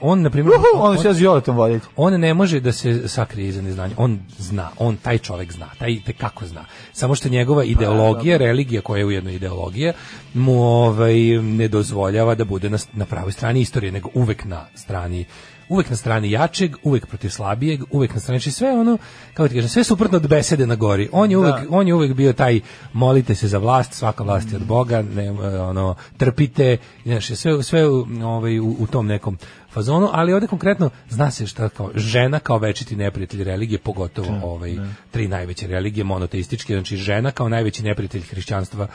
[SPEAKER 6] on na primjer
[SPEAKER 7] Uhu, ono će ja s Violetom voditi.
[SPEAKER 6] on ne može da se sakrije iza neznanja. On zna, on taj čovek zna, taj te kako zna. Samo što njegova ideologija, religija koja je ujedno ideologija, mu ovaj ne dozvoljava da bude na, na pravoj strani istorije, nego uvek na strani uvek na strani jačeg, uvek protiv slabijeg, uvek na strani znači sve ono, kako ti kažem, sve suprotno od besede na gori. On je uvek, on je uvek bio taj molite se za vlast, svaka vlast je od Boga, ne, ono trpite, znači sve sve u, ovaj, u, u tom nekom fazonu, ali ovde konkretno zna se šta kao žena kao večiti neprijatelj religije, pogotovo ovaj tri najveće religije monoteističke, znači žena kao najveći neprijatelj hrišćanstva,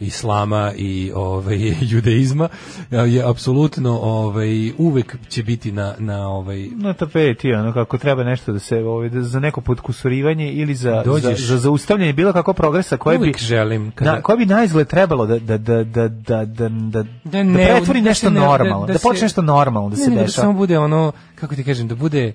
[SPEAKER 6] islama i ovaj judaizma je apsolutno ovaj uvek će biti na na ovaj
[SPEAKER 7] na tapeti, ono, kako treba nešto da se, ovaj, da za neko podkusurivanje ili za, za,
[SPEAKER 6] Dođeš-
[SPEAKER 7] za zaustavljanje bilo kako progresa koje bi,
[SPEAKER 6] uvek želim kada-
[SPEAKER 7] na, koje bi na izgled trebalo da, da, da, da, da, da, da, da,
[SPEAKER 6] ne-
[SPEAKER 7] pretvori
[SPEAKER 6] da
[SPEAKER 7] nešto
[SPEAKER 6] se ne- da-
[SPEAKER 7] normalno, da,
[SPEAKER 6] da se-
[SPEAKER 7] počne nešto normalno da
[SPEAKER 6] Ne,
[SPEAKER 7] se
[SPEAKER 6] ne, nego da
[SPEAKER 7] dešava.
[SPEAKER 6] samo bude ono, kako ti kažem, da bude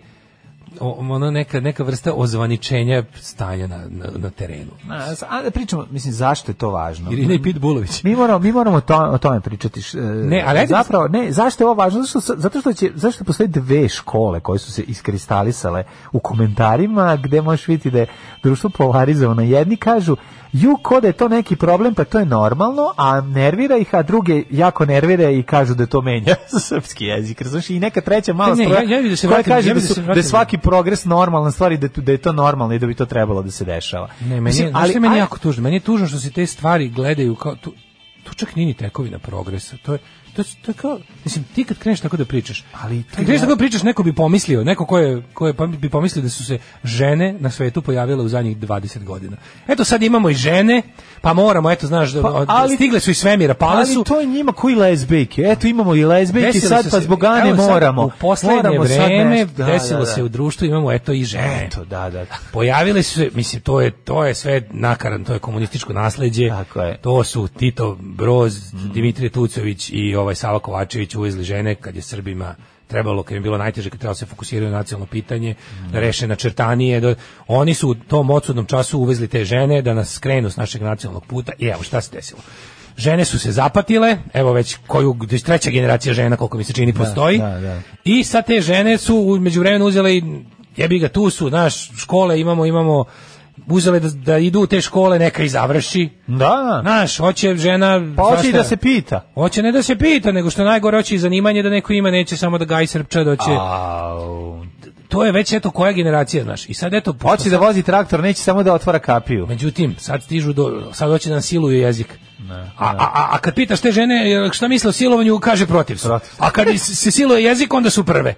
[SPEAKER 6] o- ono neka, neka vrsta ozvaničenja stanja na, na, na terenu.
[SPEAKER 7] A, a da pričamo, mislim, zašto je to važno?
[SPEAKER 6] Irina i Pitbulović.
[SPEAKER 7] Mi moramo mi moramo to, o tome pričati. š- e,
[SPEAKER 6] ali ajde-
[SPEAKER 7] zapravo ne, zašto je ovo važno? Zato što, zato što će zašto postoje dve škole koje su se iskristalisale u komentarima gde možeš vidjeti da je društvo polarizovano. Jedni kažu ju ko da je to neki problem, pa to je normalno, a nervira ih, a druge jako nervira i kažu da to menja srpski jezik. Razumiješ? I neka treća mala
[SPEAKER 6] Ne, ne,
[SPEAKER 7] stroja
[SPEAKER 6] ja- ja bih da se
[SPEAKER 7] koja
[SPEAKER 6] vratim-
[SPEAKER 7] kaže
[SPEAKER 6] ja
[SPEAKER 7] da,
[SPEAKER 6] bih da
[SPEAKER 7] su,
[SPEAKER 6] se
[SPEAKER 7] da, je
[SPEAKER 6] vratim.
[SPEAKER 7] svaki progres normalna stvar i da, tu- da je to normalno i da bi to trebalo da se dešava.
[SPEAKER 6] Ne, meni,
[SPEAKER 7] Mislim,
[SPEAKER 6] je- znaš šta je meni
[SPEAKER 7] aj-
[SPEAKER 6] jako tužno. Meni je tužno što se te stvari gledaju kao tu, tu čak nije ni tekovina progresa. To je to, je- to je kao, mislim, ti kad kreneš tako da pričaš,
[SPEAKER 7] Ali ti
[SPEAKER 6] kad kreneš
[SPEAKER 7] ja-
[SPEAKER 6] tako da pričaš, neko bi pomislio, neko ko je, ko je pom- bi pomislio da su se žene na svetu pojavile u zadnjih 20 godina. Eto sad imamo i žene, pa moramo, eto, znaš, da-
[SPEAKER 7] Pa,
[SPEAKER 6] od-
[SPEAKER 7] ali-
[SPEAKER 6] stigle su iz svemira, pale su,
[SPEAKER 7] Ali to je njima koji lezbejke. Eto imamo i lezbejke
[SPEAKER 6] Desilo
[SPEAKER 7] sad
[SPEAKER 6] se
[SPEAKER 7] pa
[SPEAKER 6] se-
[SPEAKER 7] zbog Ane
[SPEAKER 6] evo sad,
[SPEAKER 7] moramo.
[SPEAKER 6] U poslednje
[SPEAKER 7] moramo sad
[SPEAKER 6] vreme
[SPEAKER 7] nešto. Da,
[SPEAKER 6] desilo
[SPEAKER 7] da, da.
[SPEAKER 6] se u društvu imamo eto i žene.
[SPEAKER 7] Eto, da, da. da.
[SPEAKER 6] Pojavile su se, mislim, to je, to je sve nakaran, to je komunističko nasleđe,
[SPEAKER 7] Tako je.
[SPEAKER 6] to su Tito Broz, Dimitrije Tucović i ovaj Sava Kovačević uvezli žene kad je Srbima trebalo, kad im je bilo najteže, kad trebalo da se fokusiraju na nacionalno pitanje, da reše načrtanije. Da, oni su u tom odsudnom času uvezli te žene da nas skrenu s našeg nacionalnog puta i evo šta se desilo. Žene su se zapatile, evo već koju, već treća generacija žena, koliko mi se čini, postoji.
[SPEAKER 7] da, da.
[SPEAKER 6] I sad te žene su u međuvremenu uzele i jebi ga tu su, znaš, škole imamo, imamo uzele da, da idu u te škole, neka i završi.
[SPEAKER 7] Da, da.
[SPEAKER 6] Znaš, hoće žena...
[SPEAKER 7] Pa hoće
[SPEAKER 6] znaš
[SPEAKER 7] i
[SPEAKER 6] šta?
[SPEAKER 7] da se pita.
[SPEAKER 6] Hoće ne da se pita, nego što najgore hoće i zanimanje da neko ima, neće samo da gaji srpča, da hoće...
[SPEAKER 7] Au.
[SPEAKER 6] To je već eto koja generacija, znaš. I sad eto... pošto
[SPEAKER 7] Pa Hoće da vozi traktor, neće samo da otvara kapiju.
[SPEAKER 6] Međutim, sad stižu do, sad hoće da nam siluju jezik. a, a, a, a kad pitaš te žene jel, šta misle o silovanju, kaže protiv su.
[SPEAKER 7] Protiv su.
[SPEAKER 6] A kad se se siluje jezik, onda su prve.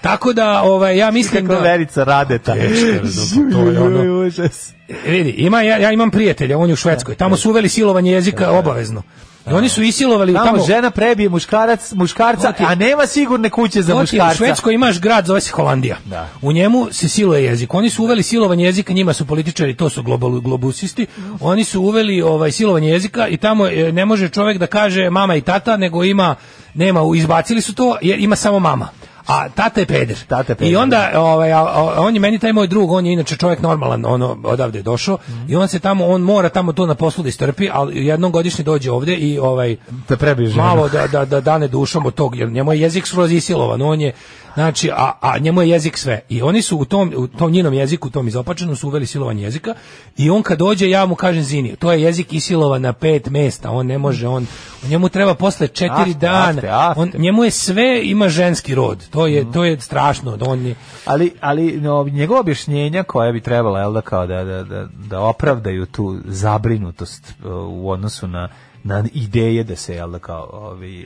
[SPEAKER 6] Tako da, ovaj, ja mislim
[SPEAKER 7] Kako
[SPEAKER 6] da...
[SPEAKER 7] Verica Radeta.
[SPEAKER 6] Teško, razumem, to je ono-
[SPEAKER 7] Joj, užas.
[SPEAKER 6] E, vidi, ima, ja, ja imam prijatelja, on je u Švedskoj, tamo su uveli silovanje jezika obavezno. I oni su isilovali
[SPEAKER 7] Tamo,
[SPEAKER 6] tamo...
[SPEAKER 7] žena prebije muškarac, muškarca,
[SPEAKER 6] To ti-
[SPEAKER 7] a nema sigurne kuće za
[SPEAKER 6] To ti je, U
[SPEAKER 7] muškarca.
[SPEAKER 6] Švedskoj imaš grad, zove se Holandija.
[SPEAKER 7] Da.
[SPEAKER 6] U njemu se siluje jezik. Oni su uveli silovanje jezika, njima su političari, to su global, globusisti. Oni su uveli ovaj silovanje jezika i tamo e, ne može čovek da kaže mama i tata, nego ima, nema, izbacili su to, jer ima samo mama. A tata je peder.
[SPEAKER 7] Tata je peder,
[SPEAKER 6] I onda ovaj a- a- on je meni taj moj drug, on je inače čovjek normalan, ono odavde je došao
[SPEAKER 7] Mhm.
[SPEAKER 6] i on se tamo on mora tamo to na poslu da istrpi, ali jednom godišnje dođe ovde i ovaj
[SPEAKER 7] Da prebije ženu.
[SPEAKER 6] malo da, da, da dane dušom od tog, jer njemu je jezik skroz isilovan, on je, znači, a, a njemu je jezik sve. I oni su u tom, u tom njenom jeziku, u tom izopačenom, su uveli silovan jezika i on kad dođe, ja mu kažem Zini, to je jezik isilovan na pet mesta, on ne može, on, njemu treba posle četiri
[SPEAKER 7] Afte,
[SPEAKER 6] dana,
[SPEAKER 7] afte, afte.
[SPEAKER 6] On, njemu je sve, ima ženski rod, to je, to je strašno, da on je, e,
[SPEAKER 7] Ali, ali no, njegova objašnjenja koja bi trebala jel da, kao da, da, da, da opravdaju tu zabrinutost e, u odnosu na, na ideje da se jel da kao ovi,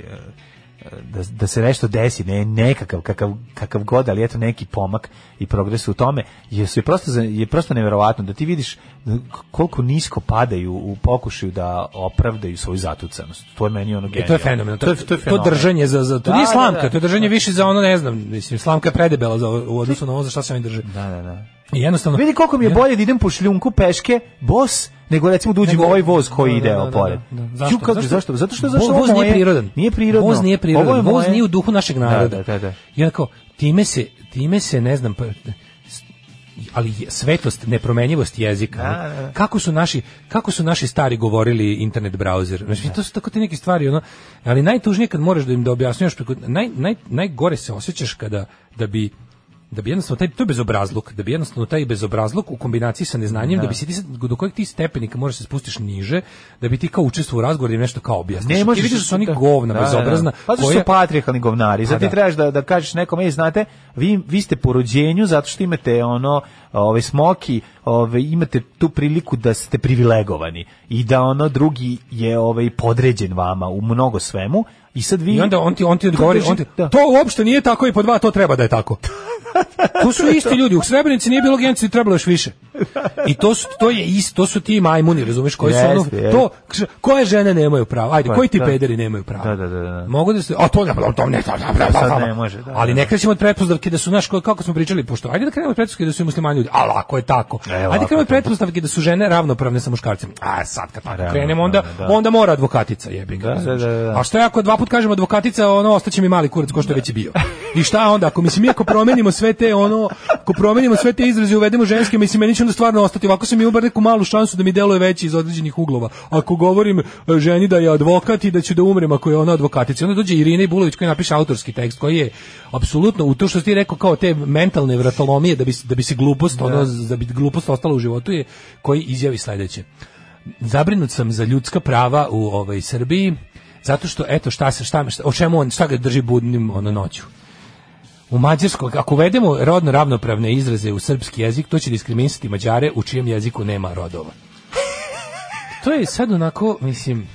[SPEAKER 7] e, da, da se nešto desi, ne nekakav, kakav, kakav god, ali eto neki pomak i progres u tome, je, je, prosto, za- je prosto neverovatno da ti vidiš koliko nisko padaju u pokušaju da opravdaju svoju zatucanost. To je meni ono genijalno.
[SPEAKER 6] E, to je fenomen. To, to, to,
[SPEAKER 7] fenomen.
[SPEAKER 6] držanje za, za to nije
[SPEAKER 7] Da, da,
[SPEAKER 6] slamka,
[SPEAKER 7] da.
[SPEAKER 6] to je držanje više za ono, ne znam, mislim, slamka je predebela za, u odnosu na ovo za šta se oni drže.
[SPEAKER 7] Da, da, da.
[SPEAKER 6] I jednostavno...
[SPEAKER 7] Vidi koliko mi je bolje da idem po šljunku peške, bos, nego recimo da uđem u
[SPEAKER 6] Nego-
[SPEAKER 7] ovaj voz koji
[SPEAKER 6] Da,
[SPEAKER 7] ide
[SPEAKER 6] da, da,
[SPEAKER 7] pored.
[SPEAKER 6] da, da.
[SPEAKER 7] Ju, kako- zašto? Zato što zašto
[SPEAKER 6] Vo- voz
[SPEAKER 7] ovo
[SPEAKER 6] nije
[SPEAKER 7] moje-
[SPEAKER 6] prirodan.
[SPEAKER 7] e, Nije prirodno.
[SPEAKER 6] Voz nije prirodan.
[SPEAKER 7] Ovo je
[SPEAKER 6] Voz
[SPEAKER 7] moje-
[SPEAKER 6] nije u duhu našeg naroda.
[SPEAKER 7] Da, da, da. da.
[SPEAKER 6] I onako, time se, time se, ne znam, pa, s- ali je- svetost, nepromenjivost jezika.
[SPEAKER 7] Da,
[SPEAKER 6] ono.
[SPEAKER 7] da, da.
[SPEAKER 6] Kako su naši kako su naši stari govorili internet browser. Znači to su tako te neke stvari ono, ali najtužnije kad moraš da im da objašnjavaš preko naj, naj, najgore se osjećaš kada da bi da bi jednostavno taj to je bezobrazluk, da bi jednostavno taj bezobrazluk u kombinaciji sa neznanjem da, bi se ti sad- do kojeg ti stepenika možeš se spustiš niže, da bi ti kao učestvovao u razgovoru i nešto kao objasniš.
[SPEAKER 7] Ne
[SPEAKER 6] ti
[SPEAKER 7] možeš
[SPEAKER 6] vidiš da su oni
[SPEAKER 7] da-
[SPEAKER 6] govna,
[SPEAKER 7] da, da, da.
[SPEAKER 6] bezobrazna,
[SPEAKER 7] Pa zato što
[SPEAKER 6] koja-
[SPEAKER 7] su patrijarhalni govnari. Zato
[SPEAKER 6] Pa
[SPEAKER 7] ti
[SPEAKER 6] da.
[SPEAKER 7] trebaš da da kažeš nekom, ej, znate, vi vi ste po rođenju zato što imate ono ovaj smoki, ovaj imate tu priliku da ste privilegovani i da ono drugi je ovaj podređen vama u mnogo svemu. I sad vi
[SPEAKER 6] I onda on ti on ti odgovori, on ti,
[SPEAKER 7] Da.
[SPEAKER 6] to uopšte nije tako i po dva to treba da je tako. To su isti ljudi, u Srebrenici nije bilo genocida, trebalo je još više. I to su to je isto, to su ti majmuni, razumeš, koji su ono,
[SPEAKER 7] Jeste, jeste.
[SPEAKER 6] to kš- koje žene nemaju pravo. Ajde,
[SPEAKER 7] Pa,
[SPEAKER 6] koji ti
[SPEAKER 7] da.
[SPEAKER 6] pederi nemaju pravo?
[SPEAKER 7] Da, da, da, da.
[SPEAKER 6] Mogu da se a to ne, to ne, to ne, pa,
[SPEAKER 7] sad ne može, da,
[SPEAKER 6] ali
[SPEAKER 7] da,
[SPEAKER 6] ne
[SPEAKER 7] da.
[SPEAKER 6] krećemo od pretpostavke da su naš kako smo pričali pošto. Ajde da krenemo od pretpostavke da su i muslimani ljudi. Al ako je tako.
[SPEAKER 7] E,
[SPEAKER 6] Ajde
[SPEAKER 7] lako
[SPEAKER 6] da krenemo
[SPEAKER 7] je
[SPEAKER 6] od pretpostavke da su žene ravnopravne sa muškarcima. A sad kad tako
[SPEAKER 7] Realno,
[SPEAKER 6] krenemo onda
[SPEAKER 7] da, da.
[SPEAKER 6] onda mora advokatica jebi ga.
[SPEAKER 7] Da, da,
[SPEAKER 6] razumeš?
[SPEAKER 7] da, da.
[SPEAKER 6] A što ja ako dva put kažem advokatica, ono ostaće mi mali kurac ko što je već i bio. I šta onda ako mislim mi ako promenimo sve te ono, ako promenimo sve te izraze i uvedemo ženske, mislim meni će onda stvarno ostati ovako sam mi ubar neku malu šansu da mi deluje veći iz određenih uglova. Ako govorim e, ženi da je advokat i da ću da umrem ako je ona advokatica, onda dođe Irina Ibulović koja napiše autorski tekst koji je apsolutno u to što ti rekao kao te mentalne vratolomije da bi se- da bi se glupost ono da bi glupost ostala u životu je koji izjavi sledeće zabrinut sam za ljudska prava u ovaj Srbiji zato što eto šta se šta, šta o čemu on šta ga drži budnim ono noću. U mađarskoj ako uvedemo rodno ravnopravne izraze u srpski jezik to će diskriminisati Mađare u čijem jeziku nema rodova. To je sad onako mislim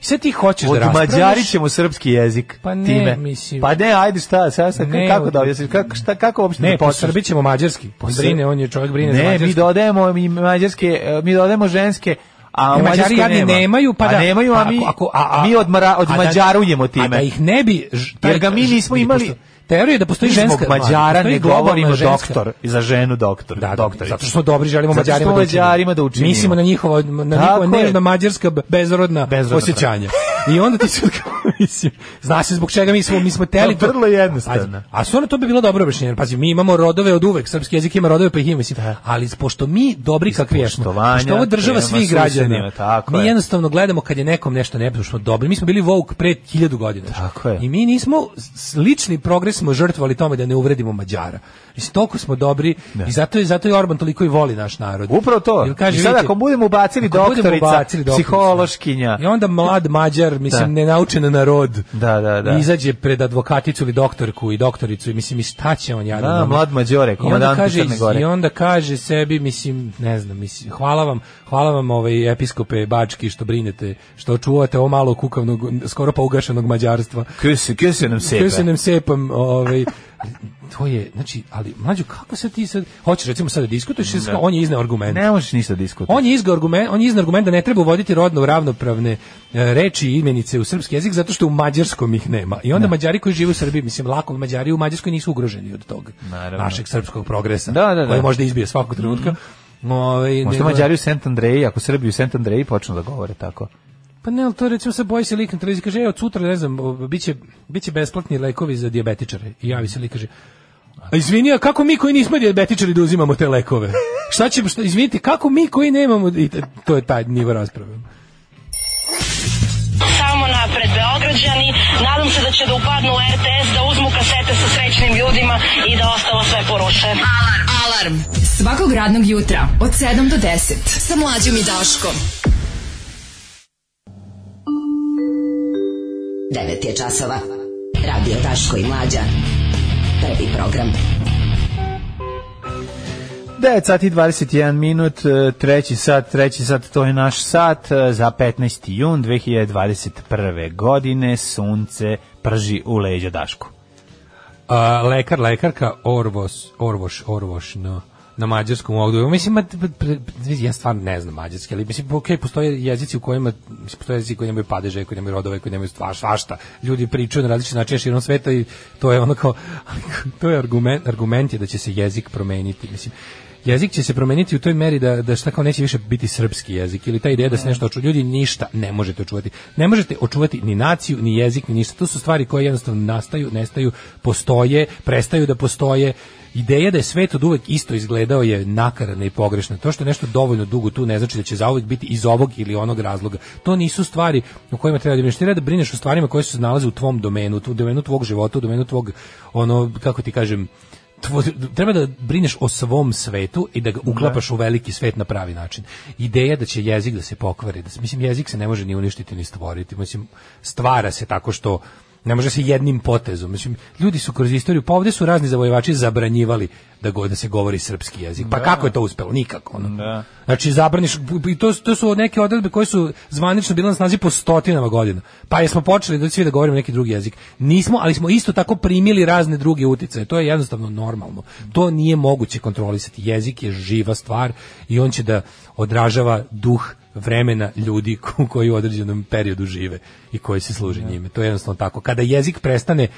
[SPEAKER 6] i sad ti hoćeš da
[SPEAKER 7] Od
[SPEAKER 6] raspravljaš.
[SPEAKER 7] Mađari ćemo srpski jezik.
[SPEAKER 6] Pa ne,
[SPEAKER 7] time.
[SPEAKER 6] mislim.
[SPEAKER 7] Pa ne, ajde šta, sad, sad,
[SPEAKER 6] Ne,
[SPEAKER 7] kako
[SPEAKER 6] od-
[SPEAKER 7] da objasniš, kako, šta, kako uopšte
[SPEAKER 6] Ne,
[SPEAKER 7] da
[SPEAKER 6] po
[SPEAKER 7] počneš?
[SPEAKER 6] Srbi ćemo mađarski. Po
[SPEAKER 7] Sr-
[SPEAKER 6] brine, on je čovjek brine za
[SPEAKER 7] Ne,
[SPEAKER 6] mađarski.
[SPEAKER 7] mi dodajemo i mađarske, e, mi dodajemo ženske, a
[SPEAKER 6] E,
[SPEAKER 7] u
[SPEAKER 6] Mađari
[SPEAKER 7] Mađarskoj
[SPEAKER 6] jadni
[SPEAKER 7] nema.
[SPEAKER 6] nemaju, pa da.
[SPEAKER 7] A nemaju, a mi, mi od, mara, od
[SPEAKER 6] a da-
[SPEAKER 7] Mađarujemo time.
[SPEAKER 6] A da ih ne bi... ž- taj-
[SPEAKER 7] Jer ga mi
[SPEAKER 6] ž-
[SPEAKER 7] nismo
[SPEAKER 6] vidi,
[SPEAKER 7] imali-
[SPEAKER 6] pošto Teorija je da postoji
[SPEAKER 7] Mi
[SPEAKER 6] ženska...
[SPEAKER 7] zbog Mađara
[SPEAKER 6] postoji
[SPEAKER 7] ne
[SPEAKER 6] globalna
[SPEAKER 7] govorimo
[SPEAKER 6] ženska-
[SPEAKER 7] doktor, i za ženu doktor,
[SPEAKER 6] Da, da,
[SPEAKER 7] doktorica.
[SPEAKER 6] zato što smo dobri, želimo
[SPEAKER 7] Zato što
[SPEAKER 6] Mađarima,
[SPEAKER 7] Mađarima da učinimo.
[SPEAKER 6] Mislimo na njihovo, na njihova
[SPEAKER 7] Tako je.
[SPEAKER 6] nežna mađarska b- bezrodna,
[SPEAKER 7] Bezrodna
[SPEAKER 6] osjećanja. I onda ti se mislim, zna se zbog čega mi smo, mi smo teli...
[SPEAKER 7] Pa, vrlo jednostavno.
[SPEAKER 6] A, a stvarno to bi bilo dobro objašnjenje, jer pazi, mi imamo rodove od uvek, srpski jezik ima rodove, pa ih ima, mislim, ali pošto mi dobri kakvi jesmo,
[SPEAKER 7] poštovanja
[SPEAKER 6] pošto ovo država
[SPEAKER 7] prema
[SPEAKER 6] svih građana,
[SPEAKER 7] susedima, tako
[SPEAKER 6] mi
[SPEAKER 7] je.
[SPEAKER 6] jednostavno gledamo kad je nekom nešto nepošto smo dobri, mi smo bili vouk pre hiljadu godina.
[SPEAKER 7] Tako je.
[SPEAKER 6] I mi nismo s- lični progres smo žrtvovali tome da ne uvredimo Mađara. Mislim toliko smo dobri i zato je zato i Orban toliko i voli naš narod.
[SPEAKER 7] Upravo to.
[SPEAKER 6] Jer kaže,
[SPEAKER 7] I sad
[SPEAKER 6] vidite,
[SPEAKER 7] ako budemo ubacili
[SPEAKER 6] ako budemo
[SPEAKER 7] doktorica,
[SPEAKER 6] ubacili doktoricu,
[SPEAKER 7] psihološkinja.
[SPEAKER 6] I onda mlad Mađar, mislim,
[SPEAKER 7] Da.
[SPEAKER 6] nenaučen narod.
[SPEAKER 7] Da, da, da.
[SPEAKER 6] Izađe pred advokaticu ili doktorku i doktoricu i mislim, i šta će on jadan?
[SPEAKER 7] Da,
[SPEAKER 6] ono?
[SPEAKER 7] mlad Mađore,
[SPEAKER 6] I onda
[SPEAKER 7] komandant
[SPEAKER 6] kaže-
[SPEAKER 7] Crne Gore.
[SPEAKER 6] I onda kaže sebi, mislim, ne znam, mislim, hvala vam, hvala vam ovaj episkope Bački što brinete, što čuvate ovo malo kukavnog, skoro pa ugašenog mađarstva.
[SPEAKER 7] Kjus- kjus je nam sepe.
[SPEAKER 6] Sve se nem sepam, ovaj to je, znači, ali mlađo kako se ti sad hoćeš recimo sad da diskutuješ, sad on je izneo argument.
[SPEAKER 7] Ne možeš ništa diskutovati.
[SPEAKER 6] On je izgo argument, on je izneo argument da ne treba uvoditi rodno ravnopravne e, reči i imenice u srpski jezik zato što u mađarskom ih nema. I onda mađari koji žive u Srbiji, mislim lako mađari u mađarskoj nisu ugroženi od tog
[SPEAKER 7] Naravno.
[SPEAKER 6] našeg srpskog progresa,
[SPEAKER 7] Da, da, da.
[SPEAKER 6] koji možda izbije svakog trenutka. Ovaj,
[SPEAKER 7] Možda
[SPEAKER 6] nego-
[SPEAKER 7] Mađari u St. Andreji, ako Srbi u St. Andreji počnu da govore tako.
[SPEAKER 6] Pa ne, ali to recimo se boji se lik na televiziji, kaže, evo od sutra, ne znam, o, biće, biće besplatni lekovi za dijabetičare. I javi se lik, kaže, a izvini, a kako mi koji nismo dijabetičari da uzimamo te lekove? Šta ćemo, šta, izvinite, kako mi koji nemamo, i t- to je taj nivo rasprave.
[SPEAKER 3] Samo napred Beograđani, nadam se da će da upadnu u RTS, da uzmu kasete sa srećnim ljudima i da ostalo sve poruše.
[SPEAKER 8] Alarm. Alarm. Svakog radnog jutra od 7 do 10 sa mlađom i Daškom.
[SPEAKER 9] 9 je časova. Radio Daško i Mlađa. Prvi program.
[SPEAKER 7] 9 sati i 21 minut, e, treći sat, treći sat, to je naš sat e, za 15. jun 2021. godine, sunce prži u leđa Dašku.
[SPEAKER 6] A, lekar, lekarka, orvos, orvoš, orvoš, no na mađarskom ovdje. Mislim, ma, pre- pre- ja stvarno ne znam mađarski, ali mislim, ok, postoje jezici u kojima, mislim, postoje jezici koji nemaju padeže, koji nemaju rodove, koji nemaju stvar, svašta. Ljudi pričaju na različite načine širom sveta i to je ono kao, to je argument, argument je da će se jezik promeniti. Mislim, jezik će se promeniti u toj meri da, da šta kao neće više biti srpski jezik ili ta ideja da se nešto očuva. Ljudi ništa ne možete očuvati. Ne možete očuvati ni naciju, ni jezik, ni ništa. To su stvari koje jednostavno nastaju, nestaju, postoje, prestaju da postoje. Ideja da je svet od uvek isto izgledao je nakarana i pogrešna. To što je nešto dovoljno dugo tu ne znači da će zauvek biti iz ovog ili onog razloga. To nisu stvari o kojima treba da brineš. Ti treba da brineš o stvarima koje su se nalaze u tvom domenu, u domenu tvog života, u domenu tvog, ono, kako ti kažem, tvo, treba da brineš o svom svetu i da ga uklapaš u veliki svet na pravi način. Ideja da će jezik da se pokvari, da se, mislim jezik se ne može ni uništiti ni stvoriti, mislim stvara se tako što ne može se jednim potezom. Mislim, ljudi su kroz istoriju, pa ovde su razni zavojevači zabranjivali da, go, da se govori srpski jezik. Pa kako je to uspelo? Nikako. Ono.
[SPEAKER 7] Da.
[SPEAKER 6] Znači, zabraniš, i to, su- to su neke odredbe koje su zvanično bile na snazi po stotinama godina. Pa jesmo počeli da svi da govorimo neki drugi jezik. Nismo, ali smo isto tako primili razne druge uticaje. To je jednostavno normalno. To nije moguće kontrolisati. Jezik je živa stvar i on će da odražava duh vremena ljudi ko- koji u određenom periodu žive i koji se služe njime. To je jednostavno tako. Kada jezik prestane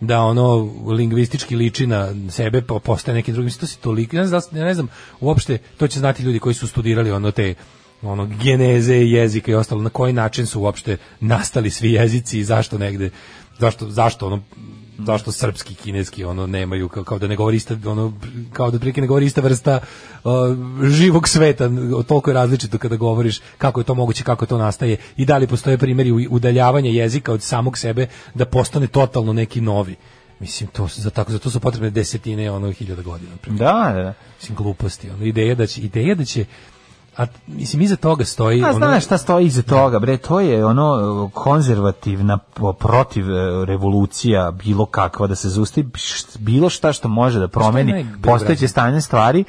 [SPEAKER 6] da ono lingvistički liči na sebe pa postaje neki drugi mislim to se toliko ja ne znam, da li- ja ne znam uopšte to će znati ljudi koji su studirali ono te ono geneze jezika i ostalo na koji način su uopšte nastali svi jezici i zašto negde zašto zašto ono zašto srpski kineski ono nemaju kao, kao da ne govori ista ono kao da prilike ne govori ista vrsta uh, živog sveta toliko je različito kada govoriš kako je to moguće kako to nastaje i da li postoje primjeri u- udaljavanja jezika od samog sebe da postane totalno neki novi mislim to su- za tako za to su potrebne desetine ono hiljada godina na primjer.
[SPEAKER 7] Da, da.
[SPEAKER 6] mislim gluposti ono ideja da će ideja da će a mislim iza toga stoji
[SPEAKER 7] A
[SPEAKER 6] ono-
[SPEAKER 7] znaš šta stoji iza toga, bre, to je ono konzervativna po- protiv e, revolucija bilo kakva da se zusti bilo šta što može da
[SPEAKER 6] Šta je
[SPEAKER 7] promeni
[SPEAKER 6] najbezobrazno?
[SPEAKER 7] postojeće stanje stvari,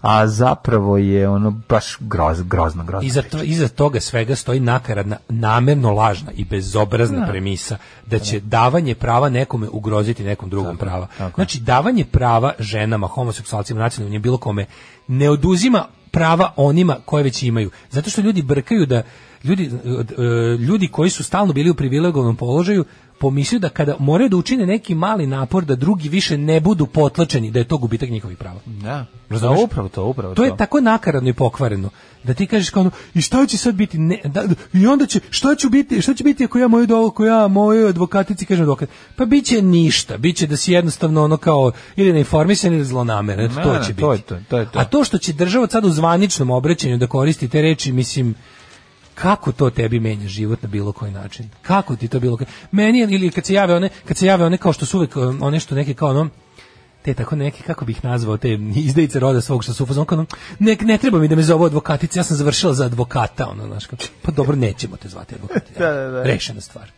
[SPEAKER 7] a zapravo je ono baš groz, grozno, grozno.
[SPEAKER 6] Iza, to, iza toga svega stoji nakaradna, namerno lažna i bezobrazna premisa da će davanje prava nekome ugroziti nekom drugom prava. Znači, davanje prava ženama, homoseksualcima, nacionalnim, bilo kome, ne oduzima prava onima koje već imaju. Zato što ljudi brkaju da ljudi, e, e, ljudi koji su stalno bili u privilegovanom položaju pomislio da kada moraju da učine neki mali napor da drugi više ne budu potlačeni, da je to gubitak njihovih prava.
[SPEAKER 7] Da,
[SPEAKER 6] Razumeš?
[SPEAKER 7] Da, upravo to, upravo
[SPEAKER 6] To je tako nakaradno i pokvareno da ti kažeš kao ono, i šta će sad biti ne, da, i onda će šta će biti šta će biti ako ja moju do ako ja mojoj advokatici kažem advokat pa biće ništa biće da si jednostavno ono kao ili neinformisan ili zlonameran eto,
[SPEAKER 7] Ne,
[SPEAKER 6] to
[SPEAKER 7] ne,
[SPEAKER 6] će biti
[SPEAKER 7] to je to, to je to.
[SPEAKER 6] a to što će država sad u zvaničnom obraćanju da koristi te reči mislim kako to tebi menja život na bilo koji način? Kako ti to bilo? koji- Meni je- ili kad se jave one, kad se jave one kao što su uvek um, one što neke kao ono te tako neke, kako bih nazvao, te izdajice roda svog što su u fazonu, kao ono, ne, ne treba mi da me zove advokatice, ja sam završila za advokata, ono, znaš, kao, pa dobro, nećemo te zvati advokatice.
[SPEAKER 7] Da, da, da.
[SPEAKER 6] Rešena stvar.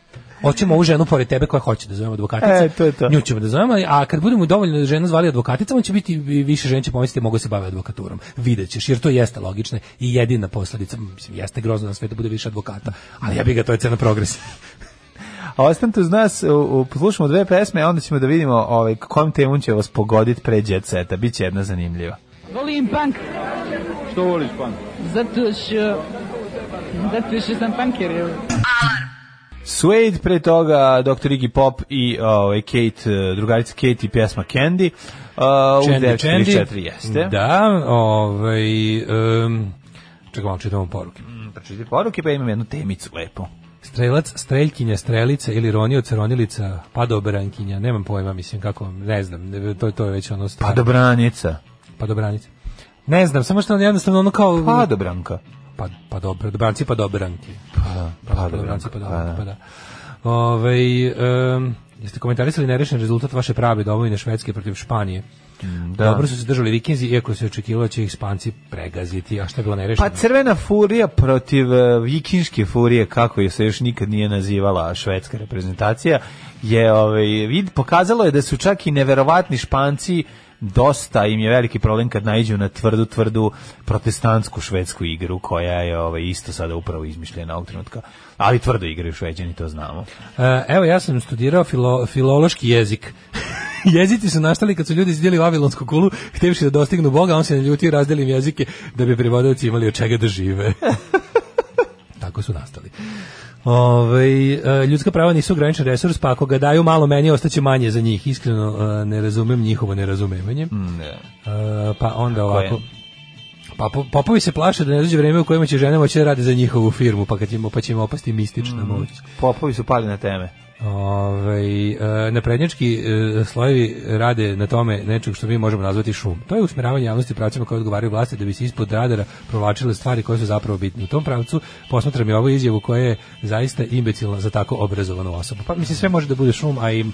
[SPEAKER 6] Hoćemo ovu ženu pored tebe koja hoće da zovemo advokatica.
[SPEAKER 7] E, to je to.
[SPEAKER 6] Nju ćemo da zovemo, a kad budemo dovoljno žena zvali advokatica, on će biti više žena će pomisliti mogu se bave advokaturom. Videćeš, jer to jeste logično i jedina posledica, mislim, jeste grozno na sve da bude više advokata, ali ja bih ga to je cena progresa.
[SPEAKER 7] A ostanite uz nas, u, u, poslušamo dve pesme, a onda ćemo da vidimo ovaj, kojom temom će vas pogoditi pre jet seta. Biće jedna zanimljiva.
[SPEAKER 10] Volim punk. Što voliš punk? Zato što... Zato što sam punker, evo.
[SPEAKER 7] Suede, pre toga Dr. Iggy Pop i ovaj, Kate, eh, drugarica Kate i pjesma Candy. Uh, u 944 jeste.
[SPEAKER 6] Da, ovaj... Um, čekaj, malo čitamo poruke.
[SPEAKER 7] Pročite poruke, pa imam jednu temicu lepo.
[SPEAKER 6] Strelac, streljkinja, strelica ili ronioc, ronilica, padobrankinja, nemam pojma, mislim kako, ne znam, ne, to, to je već ono stvar.
[SPEAKER 7] Pa dobranica.
[SPEAKER 6] padobranica. Ne znam, samo što jednostavno ono kao...
[SPEAKER 7] Pa dobranka.
[SPEAKER 6] pa, pa dobro, dobranci pa dobranki. Pa da,
[SPEAKER 7] pa
[SPEAKER 6] pa
[SPEAKER 7] dobranci,
[SPEAKER 6] dobranci pa
[SPEAKER 7] pa
[SPEAKER 6] dobranki, pa da. Ove, um, jeste komentarisali nerešen rezultat vaše prave domovine Švedske protiv Španije?
[SPEAKER 7] da.
[SPEAKER 6] Dobro su se držali vikinzi, iako se očekivalo da će ih Španci pregaziti. A šta je bilo nerešeno?
[SPEAKER 7] Pa crvena furija protiv eh, vikinške furije, kako je se još nikad nije nazivala švedska reprezentacija, je ovaj, vid, pokazalo je da su čak i neverovatni španci dosta im je veliki problem kad naiđu na tvrdu, tvrdu protestantsku švedsku igru koja je ovaj, isto sada upravo izmišljena ovog trenutka. Ali tvrdo igraju šveđani, to znamo.
[SPEAKER 6] E, Evo, ja sam studirao filo, filološki jezik. Jezici su nastali kad su ljudi izdjeli Vavilonsku kulu, htevši da dostignu Boga, on se naljutio i razdeli im jezike da bi prevodioci imali od čega da žive. Tako su nastali. Ove, eh, ljudska prava nisu ograničen resurs, pa ako ga daju malo meni, ostaće manje za njih. Iskreno e, ne razumem njihovo nerazumevanje.
[SPEAKER 7] Ne.
[SPEAKER 6] E, pa onda ovako... Pa po- popovi se plaše da ne dođe vreme u kojima će žene moći da rade za njihovu firmu, pa, kad će, im- pa će im opasti mistična moć.
[SPEAKER 7] Popovi su pali na teme.
[SPEAKER 6] Ovaj e, naprednjački e, slojevi rade na tome nečeg što mi možemo nazvati šum. To je usmeravanje javnosti pravcima koje odgovaraju vlasti da bi se ispod radara provlačile stvari koje su zapravo bitne. U tom pravcu posmatram i ovu izjavu koja je zaista imbecilna za tako obrazovanu osobu. Pa mislim sve može da bude šum, a i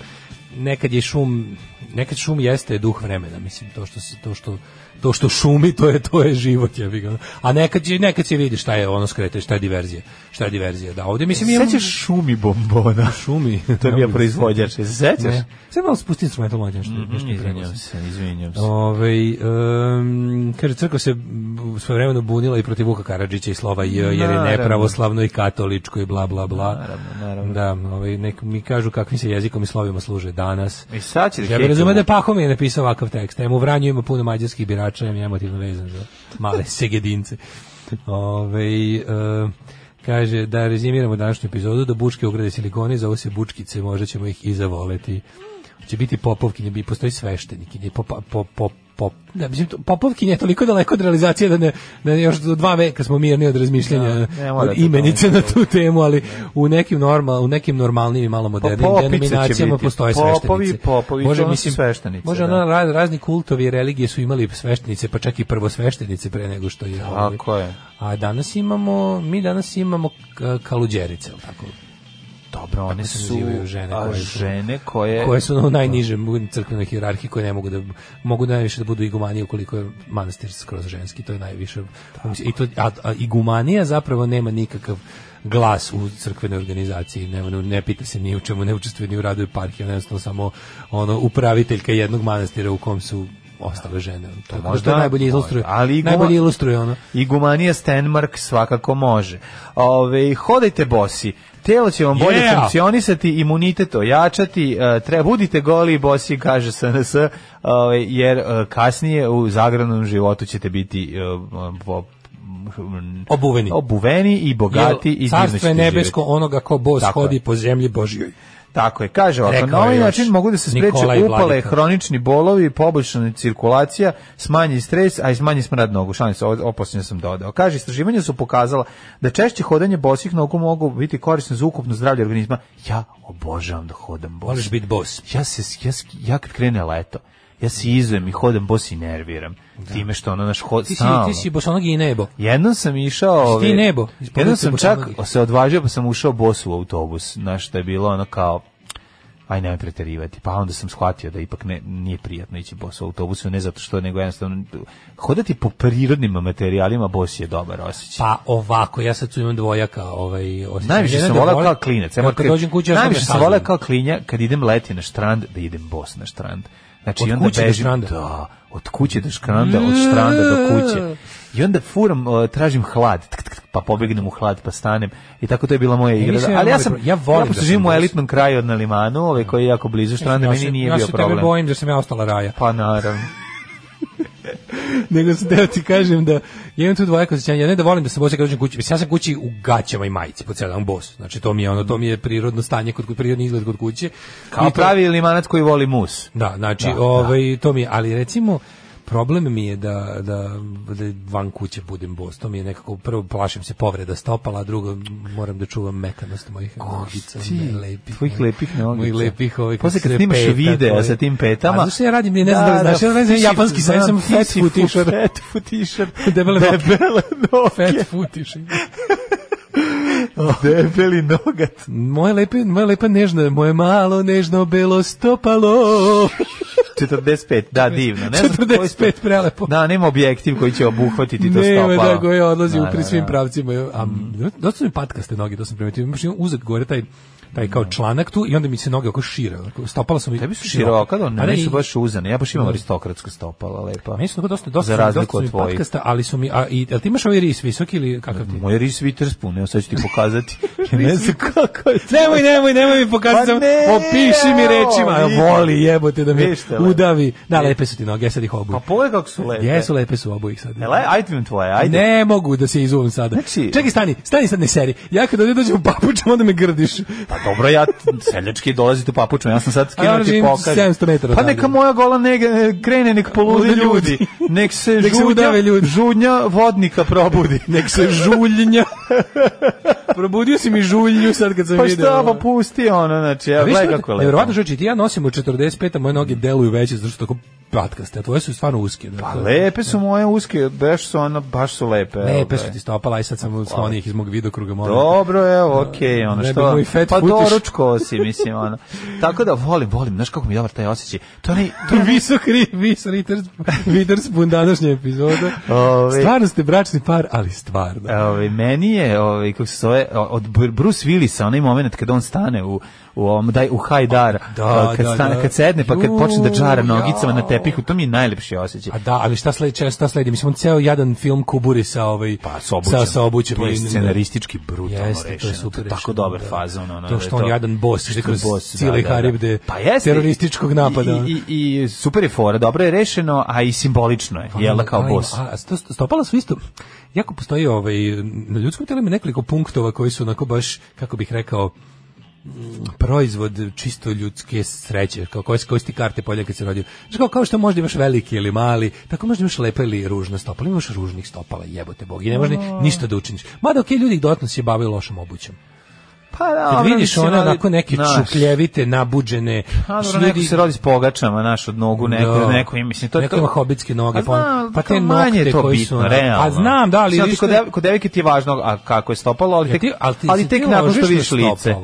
[SPEAKER 6] nekad je šum nekad šum jeste duh vremena, mislim to što se to što to što šumi to je to je život ja ga. A nekad je nekad se vidi šta je ono skretanje, šta je diverzija, šta je diverzija. Da, ovdje mislim imamo-
[SPEAKER 7] Sećaš šumi bombona?
[SPEAKER 6] šumi.
[SPEAKER 7] To je bio proizvođač, se sećaš?
[SPEAKER 6] Ne. Sve malo spusti instrumental mlađe nešto. Mm
[SPEAKER 7] Izvinjam Mm-hmm, se, izvinjam se.
[SPEAKER 6] Ove, um, kaže, crkva se mm, svojevremeno bunila i protiv Vuka Karadžića i slova J, jer je
[SPEAKER 7] Naravno.
[SPEAKER 6] nepravoslavno i katoličko i bla, bla, bla.
[SPEAKER 7] Naravno, naravno.
[SPEAKER 6] Da, ovaj, nek mi kažu kakvim se jezikom i slovima služe danas.
[SPEAKER 7] I sad će da
[SPEAKER 6] Ja bih
[SPEAKER 7] hejtujemo.
[SPEAKER 6] razumeo da je Pahom je napisao ovakav tekst. Em u Vranju ima puno mađarskih birača, em je emotivno vezan za male segedince. Ove, kaže, da rezimiramo današnju epizodu, da bučke ograde silikoni, zove se bučkice, možda ćemo ih i zavoleti. Će biti popovkinje, bi postoji sveštenikinje, pop, pop, pop, pop, da, mislim, to- popovkinje je toliko daleko od realizacije da ne, da još do dva veka smo mirni od razmišljanja
[SPEAKER 7] ne
[SPEAKER 6] od
[SPEAKER 7] morate to
[SPEAKER 6] imenice na tu temu, ali u nekim, normal, u nekim normalnim i malo modernim
[SPEAKER 7] Pa popice će
[SPEAKER 6] denominacijama
[SPEAKER 7] biti.
[SPEAKER 6] postoje
[SPEAKER 7] Popovi,
[SPEAKER 6] sveštenice.
[SPEAKER 7] popovi,
[SPEAKER 6] Može,
[SPEAKER 7] to su
[SPEAKER 6] mislim,
[SPEAKER 7] sveštenice,
[SPEAKER 6] Može,
[SPEAKER 7] da.
[SPEAKER 6] ono, ra- razni kultovi i religije su imali sveštenice, pa čak i prvo sveštenice pre nego što je... ovaj.
[SPEAKER 7] Tako je.
[SPEAKER 6] A danas imamo, mi danas imamo k- kaluđerice, jel tako?
[SPEAKER 7] Dobro, one
[SPEAKER 6] se
[SPEAKER 7] su
[SPEAKER 6] nazivaju žene
[SPEAKER 7] a,
[SPEAKER 6] koje su-
[SPEAKER 7] žene koje
[SPEAKER 6] koje su ono na najnižem crkvenoj hijerarhiji koje ne mogu da mogu najviše da budu igumanije ukoliko je manastir skroz ženski to je najviše i to a, a igumanija zapravo nema nikakav glas u crkvenoj organizaciji ne, ne, ne pita se ni u čemu ne učestvuje ni u radu eparhije ona je jednostavno samo ono upraviteljka jednog manastira u kom su ostale žene ono, to, je-
[SPEAKER 7] možda-
[SPEAKER 6] to najbolje ilustruje
[SPEAKER 7] možda, ali iguma-
[SPEAKER 6] najbolje ilustruje ono
[SPEAKER 7] Igumanija Stenmark svakako može. Ove, hodajte bosi. Telo će vam bolje
[SPEAKER 6] Yeah!
[SPEAKER 7] funkcionisati, imunitet ojačati, e, treba, budite goli i bosi, kaže SNS, ove, jer e, kasnije u zagranom životu ćete biti e, bo-
[SPEAKER 6] Obuveni.
[SPEAKER 7] obuveni i bogati i
[SPEAKER 6] Jer
[SPEAKER 7] divno
[SPEAKER 6] carstvo
[SPEAKER 7] ćete
[SPEAKER 6] je nebesko
[SPEAKER 7] živjeti.
[SPEAKER 6] onoga ko bos
[SPEAKER 7] Tako je.
[SPEAKER 6] hodi po zemlji božjoj
[SPEAKER 7] Tako je, kaže ovako,
[SPEAKER 6] Rekao
[SPEAKER 7] na ovaj
[SPEAKER 6] je još
[SPEAKER 7] način mogu da se
[SPEAKER 6] Nikolaj
[SPEAKER 7] spreče upale,
[SPEAKER 6] Vladika.
[SPEAKER 7] hronični bolovi, poboljšana cirkulacija, smanji stres, a i smanji smrad nogu. Šalim se, o- oposljedno sam dodao. Kaže, istraživanja su pokazala da češće hodanje bosih nogu mogu biti korisno za ukupno zdravlje organizma. Ja obožavam da hodam bos.
[SPEAKER 6] možeš biti bos
[SPEAKER 7] Ja, se, ja, s- ja kad krene leto, ja se izujem i hodam bos i nerviram. Time što ono naš hod
[SPEAKER 6] ti si,
[SPEAKER 7] stalno.
[SPEAKER 6] ti si bosonogi i nebo
[SPEAKER 7] Jednom sam išao...
[SPEAKER 6] Jesi ti
[SPEAKER 7] ove,
[SPEAKER 6] nebo? Iz
[SPEAKER 7] Jednom
[SPEAKER 6] područja
[SPEAKER 7] sam čak
[SPEAKER 6] Bosanogih.
[SPEAKER 7] se odvažio pa sam ušao bos u autobus. Znaš, da je bilo ono kao aj nemoj preterivati. Pa onda sam shvatio da ipak ne, nije prijatno ići bos u autobusu, ne zato što, nego jednostavno hodati po prirodnim materijalima bos je dobar osjećaj.
[SPEAKER 6] Pa ovako, ja sad tu imam dvojaka ovaj, osjećaj.
[SPEAKER 7] Najviše
[SPEAKER 6] Jedan
[SPEAKER 7] sam
[SPEAKER 6] da
[SPEAKER 7] volao
[SPEAKER 6] volim-
[SPEAKER 7] kao klinac. Ja
[SPEAKER 6] Kad
[SPEAKER 7] moram
[SPEAKER 6] kad
[SPEAKER 7] kri-
[SPEAKER 6] dođem kući, ja sam
[SPEAKER 7] Najviše
[SPEAKER 6] ga
[SPEAKER 7] sam
[SPEAKER 6] sazujem.
[SPEAKER 7] volao kao klinja kad idem leti na štrand, da idem bos na štrand. Znači,
[SPEAKER 6] Od
[SPEAKER 7] i onda
[SPEAKER 6] kuće do
[SPEAKER 7] bežim,
[SPEAKER 6] štranda?
[SPEAKER 7] Da, od kuće do štranda, od štranda do kuće. I onda furam, e, tražim hlad, tk, tk, tk, pa pobegnem u hlad, pa stanem. I tako to je bila moja igra.
[SPEAKER 6] nisam ja
[SPEAKER 7] Ali ja
[SPEAKER 6] volim
[SPEAKER 7] sam,
[SPEAKER 6] pro- ja volim
[SPEAKER 7] pošto
[SPEAKER 6] da sam
[SPEAKER 7] živim u
[SPEAKER 6] bos.
[SPEAKER 7] elitnom kraju od na limanu, ovaj koji je jako blizu štranda,
[SPEAKER 6] Ja
[SPEAKER 7] meni
[SPEAKER 6] se-
[SPEAKER 7] nije bio
[SPEAKER 6] Ja se tebe
[SPEAKER 7] problem.
[SPEAKER 6] bojim da sam ja ostala raja.
[SPEAKER 7] Pa naravno.
[SPEAKER 6] Nego sam teo ti kažem da ja imam tu dvojaka osjećanja. Ja ne da volim da se bosim kad dođem kući. Mislim, ja sam kući u gaćama i majici po cijel dan bos. Znači, to mi je ono, to mi je prirodno stanje, kod, prirodni izgled kod kuće.
[SPEAKER 7] Kao
[SPEAKER 6] I to-
[SPEAKER 7] pravi limanac koji voli mus.
[SPEAKER 6] Da, znači,
[SPEAKER 7] Da, da.
[SPEAKER 6] ovaj, to mi je, ali recimo, problem mi je da, da, da van kuće budem bos. To mi je nekako, prvo plašim se povreda stopala, a drugo moram da čuvam mekanost mojih nogica.
[SPEAKER 7] ti,
[SPEAKER 6] ne, lepih,
[SPEAKER 7] tvojih lepih nogica.
[SPEAKER 6] Mojih lepih ovih.
[SPEAKER 7] Posle kad
[SPEAKER 6] sve
[SPEAKER 7] snimaš
[SPEAKER 6] peta
[SPEAKER 7] videa
[SPEAKER 6] tvoje.
[SPEAKER 7] sa tim petama-
[SPEAKER 6] A zašto ja radim, ne znam da, li znaš, ja radim japanski, sad sam fat food t-shirt.
[SPEAKER 7] Fat food t-shirt.
[SPEAKER 6] Debele noge.
[SPEAKER 7] Debele noge.
[SPEAKER 6] Fat food t-shirt.
[SPEAKER 7] Debeli nogat.
[SPEAKER 6] Moje lepe, moje lepa nežna, moje malo nežno belo stopalo.
[SPEAKER 7] 45, da, divno. Ne znam koji ste-
[SPEAKER 6] 45 prelepo.
[SPEAKER 7] Da, nema objektiv koji će obuhvatiti to stopalo.
[SPEAKER 6] Nema da koje odlazi
[SPEAKER 7] Da,
[SPEAKER 6] u pri
[SPEAKER 7] da, Mhm.
[SPEAKER 6] svim
[SPEAKER 7] da.
[SPEAKER 6] pravcima. A dosta mi patkaste noge, to sam primetio. Imaš jedan uzak gore taj taj kao članak tu i onda mi se noge oko šire. onako, Stopala su mi
[SPEAKER 7] Tebi su široka, da
[SPEAKER 6] Pa
[SPEAKER 7] ne,
[SPEAKER 6] da,
[SPEAKER 7] meni
[SPEAKER 6] i-
[SPEAKER 7] su baš uzane. Ja baš imam aristokratsko stopala, lepa.
[SPEAKER 6] Meni su onako dosta, dosta,
[SPEAKER 7] Za
[SPEAKER 6] su mi- dosta
[SPEAKER 7] razliku
[SPEAKER 6] su mi
[SPEAKER 7] od tvojih.
[SPEAKER 6] patkasta, ali su mi, a, i, jel ti imaš ovaj ris visoki ili kakav ti?
[SPEAKER 7] Moj Reese Witherspoon, evo sad ću ti pokazati. Ja ne znam kako je to.
[SPEAKER 6] Nemoj, nemoj, nemoj mi pokazati.
[SPEAKER 7] Pa ne,
[SPEAKER 6] opiši mi
[SPEAKER 7] evo,
[SPEAKER 6] rečima.
[SPEAKER 7] vidi.
[SPEAKER 6] Voli jebote da mi
[SPEAKER 7] Ništa, lepo.
[SPEAKER 6] udavi. Da, lepe su ti noge, ja sad ih obuj.
[SPEAKER 7] Pa pogledaj kako su lepe.
[SPEAKER 6] Jesu lepe su obuj ih sad.
[SPEAKER 7] E, le- Ajde vidim tvoje, ajde.
[SPEAKER 6] Ne mogu da se izuvim sada.
[SPEAKER 7] Znači-
[SPEAKER 6] Čekaj, stani, stani sad, ne seri. Ja kad ovdje dođem u papučama, onda me grdiš.
[SPEAKER 7] Pa dobro, ja seljački dolazite u papučama, ja sam sad
[SPEAKER 6] A ja
[SPEAKER 7] skinuo ti
[SPEAKER 6] živim
[SPEAKER 7] pokažem.
[SPEAKER 6] 700 metara
[SPEAKER 7] Pa
[SPEAKER 6] odavde.
[SPEAKER 7] neka moja gola ne, krene, nek polude
[SPEAKER 6] Lude ljudi.
[SPEAKER 7] ljudi. Nek se,
[SPEAKER 6] Nek se
[SPEAKER 7] žudnja,
[SPEAKER 6] udave ljudi.
[SPEAKER 7] žudnja vodnika probudi.
[SPEAKER 6] Nek se žuljnja. Probudio si mi žuljnju sad kad sam
[SPEAKER 7] Pa
[SPEAKER 6] video.
[SPEAKER 7] šta,
[SPEAKER 6] ovo.
[SPEAKER 7] pa pusti ono, znači, evo,
[SPEAKER 6] A viš
[SPEAKER 7] gledaj
[SPEAKER 6] šta,
[SPEAKER 7] kako je lepo.
[SPEAKER 6] Neverovatno što ti ja nosim u 45, a moje noge deluju veće zato što tako patkaste, a tvoje su stvarno uske. Da,
[SPEAKER 7] Pa
[SPEAKER 6] to je-
[SPEAKER 7] lepe su moje uske, baš su ono, baš su lepe. evo,
[SPEAKER 6] E, Lepe su
[SPEAKER 7] bre.
[SPEAKER 6] ti stopala, aj sad sam sklonio ih iz mog vidokruga. molim te.
[SPEAKER 7] Dobro, evo, okej, ono
[SPEAKER 6] Ne
[SPEAKER 7] što.
[SPEAKER 6] bi moj fat
[SPEAKER 7] pa
[SPEAKER 6] footiš.
[SPEAKER 7] doručko si, mislim, ono. Tako da volim, volim, znaš kako mi je dobar taj osjećaj. To ne, to je onaj-
[SPEAKER 6] Visok ri, vis Ritters, Witherspoon današnje epizode.
[SPEAKER 7] Ove.
[SPEAKER 6] Stvarno ste bračni par, ali stvarno.
[SPEAKER 7] Ove, ovaj, meni je, ove, kako se zove, o- od Br- Bruce Willisa, onaj moment kada on stane u, u, ovom, daj, u hajdar,
[SPEAKER 6] Da,
[SPEAKER 7] a, kad,
[SPEAKER 6] da,
[SPEAKER 7] stane,
[SPEAKER 6] da.
[SPEAKER 7] kad sedne, pa kad počne da džara
[SPEAKER 6] Ju,
[SPEAKER 7] nogicama na
[SPEAKER 6] jao.
[SPEAKER 7] tepihu, to mi je najlepši osjećaj.
[SPEAKER 6] A da, ali šta sledi, če- šta sledi? Mislim, on ceo jadan film kuburi sa ovaj...
[SPEAKER 7] Pa s obućem.
[SPEAKER 6] Sa, sa obućem.
[SPEAKER 7] To je
[SPEAKER 6] i-
[SPEAKER 7] scenaristički brutalno
[SPEAKER 6] Jeste, to je
[SPEAKER 7] rešeno.
[SPEAKER 6] super
[SPEAKER 7] To je tako
[SPEAKER 6] rešeno,
[SPEAKER 7] dobar
[SPEAKER 6] da.
[SPEAKER 7] faza. Ono, ono,
[SPEAKER 6] To
[SPEAKER 7] da
[SPEAKER 6] što
[SPEAKER 7] je
[SPEAKER 6] on jadan boss, ide
[SPEAKER 7] Što je
[SPEAKER 6] kroz cijeli haribde terorističkog napada.
[SPEAKER 7] Pa I, i, i super je fora, dobro je rešeno, a i simbolično je, jel da kao
[SPEAKER 6] Aj,
[SPEAKER 7] boss.
[SPEAKER 6] Pa, A, sto- stopala su isto, jako postoji ovaj, na ljudskom telu ima nekoliko punktova koji su onako baš, kako bih rekao, mm, proizvod čisto ljudske sreće, kao koje, koje su ti karte polje kad se rodio. Znaš, kao, kao što možda imaš veliki ili mali, tako možda imaš lepa ili ružna stopala, imaš ružnih stopala, jebote bog, i ne možeš ni- ništa da učiniš. Mada okej, ljudi ih dodatno se bavaju lošom obućom.
[SPEAKER 7] Pa da,
[SPEAKER 6] Kad
[SPEAKER 7] ono,
[SPEAKER 6] vidiš
[SPEAKER 7] mislim,
[SPEAKER 6] one
[SPEAKER 7] ali,
[SPEAKER 6] onako neke
[SPEAKER 7] znaš,
[SPEAKER 6] čukljevite, nabuđene,
[SPEAKER 7] A dobro,
[SPEAKER 6] ljudi-
[SPEAKER 7] neko se rodi s pogačama, naš, od nogu, neko,
[SPEAKER 6] Da.
[SPEAKER 7] neko, i mislim, to je
[SPEAKER 6] Neko
[SPEAKER 7] to-
[SPEAKER 6] ima hobitske noge,
[SPEAKER 7] A
[SPEAKER 6] pa on-
[SPEAKER 7] znam,
[SPEAKER 6] pa te
[SPEAKER 7] kao manje je
[SPEAKER 6] nokte
[SPEAKER 7] to
[SPEAKER 6] koji su,
[SPEAKER 7] bitno,
[SPEAKER 6] ono-
[SPEAKER 7] realno.
[SPEAKER 6] Pa znam, da, ali
[SPEAKER 7] Sad ti
[SPEAKER 6] viš
[SPEAKER 7] kod,
[SPEAKER 6] te-
[SPEAKER 7] dev- kod devike ti je važno a kako je stopalo, ali
[SPEAKER 6] Jel
[SPEAKER 7] tek,
[SPEAKER 6] ti- ali ti,
[SPEAKER 7] ali
[SPEAKER 6] si
[SPEAKER 7] tek
[SPEAKER 6] ti
[SPEAKER 7] nakon
[SPEAKER 6] ložiš
[SPEAKER 7] što
[SPEAKER 6] na
[SPEAKER 7] vidiš
[SPEAKER 6] stopalo?
[SPEAKER 7] lice.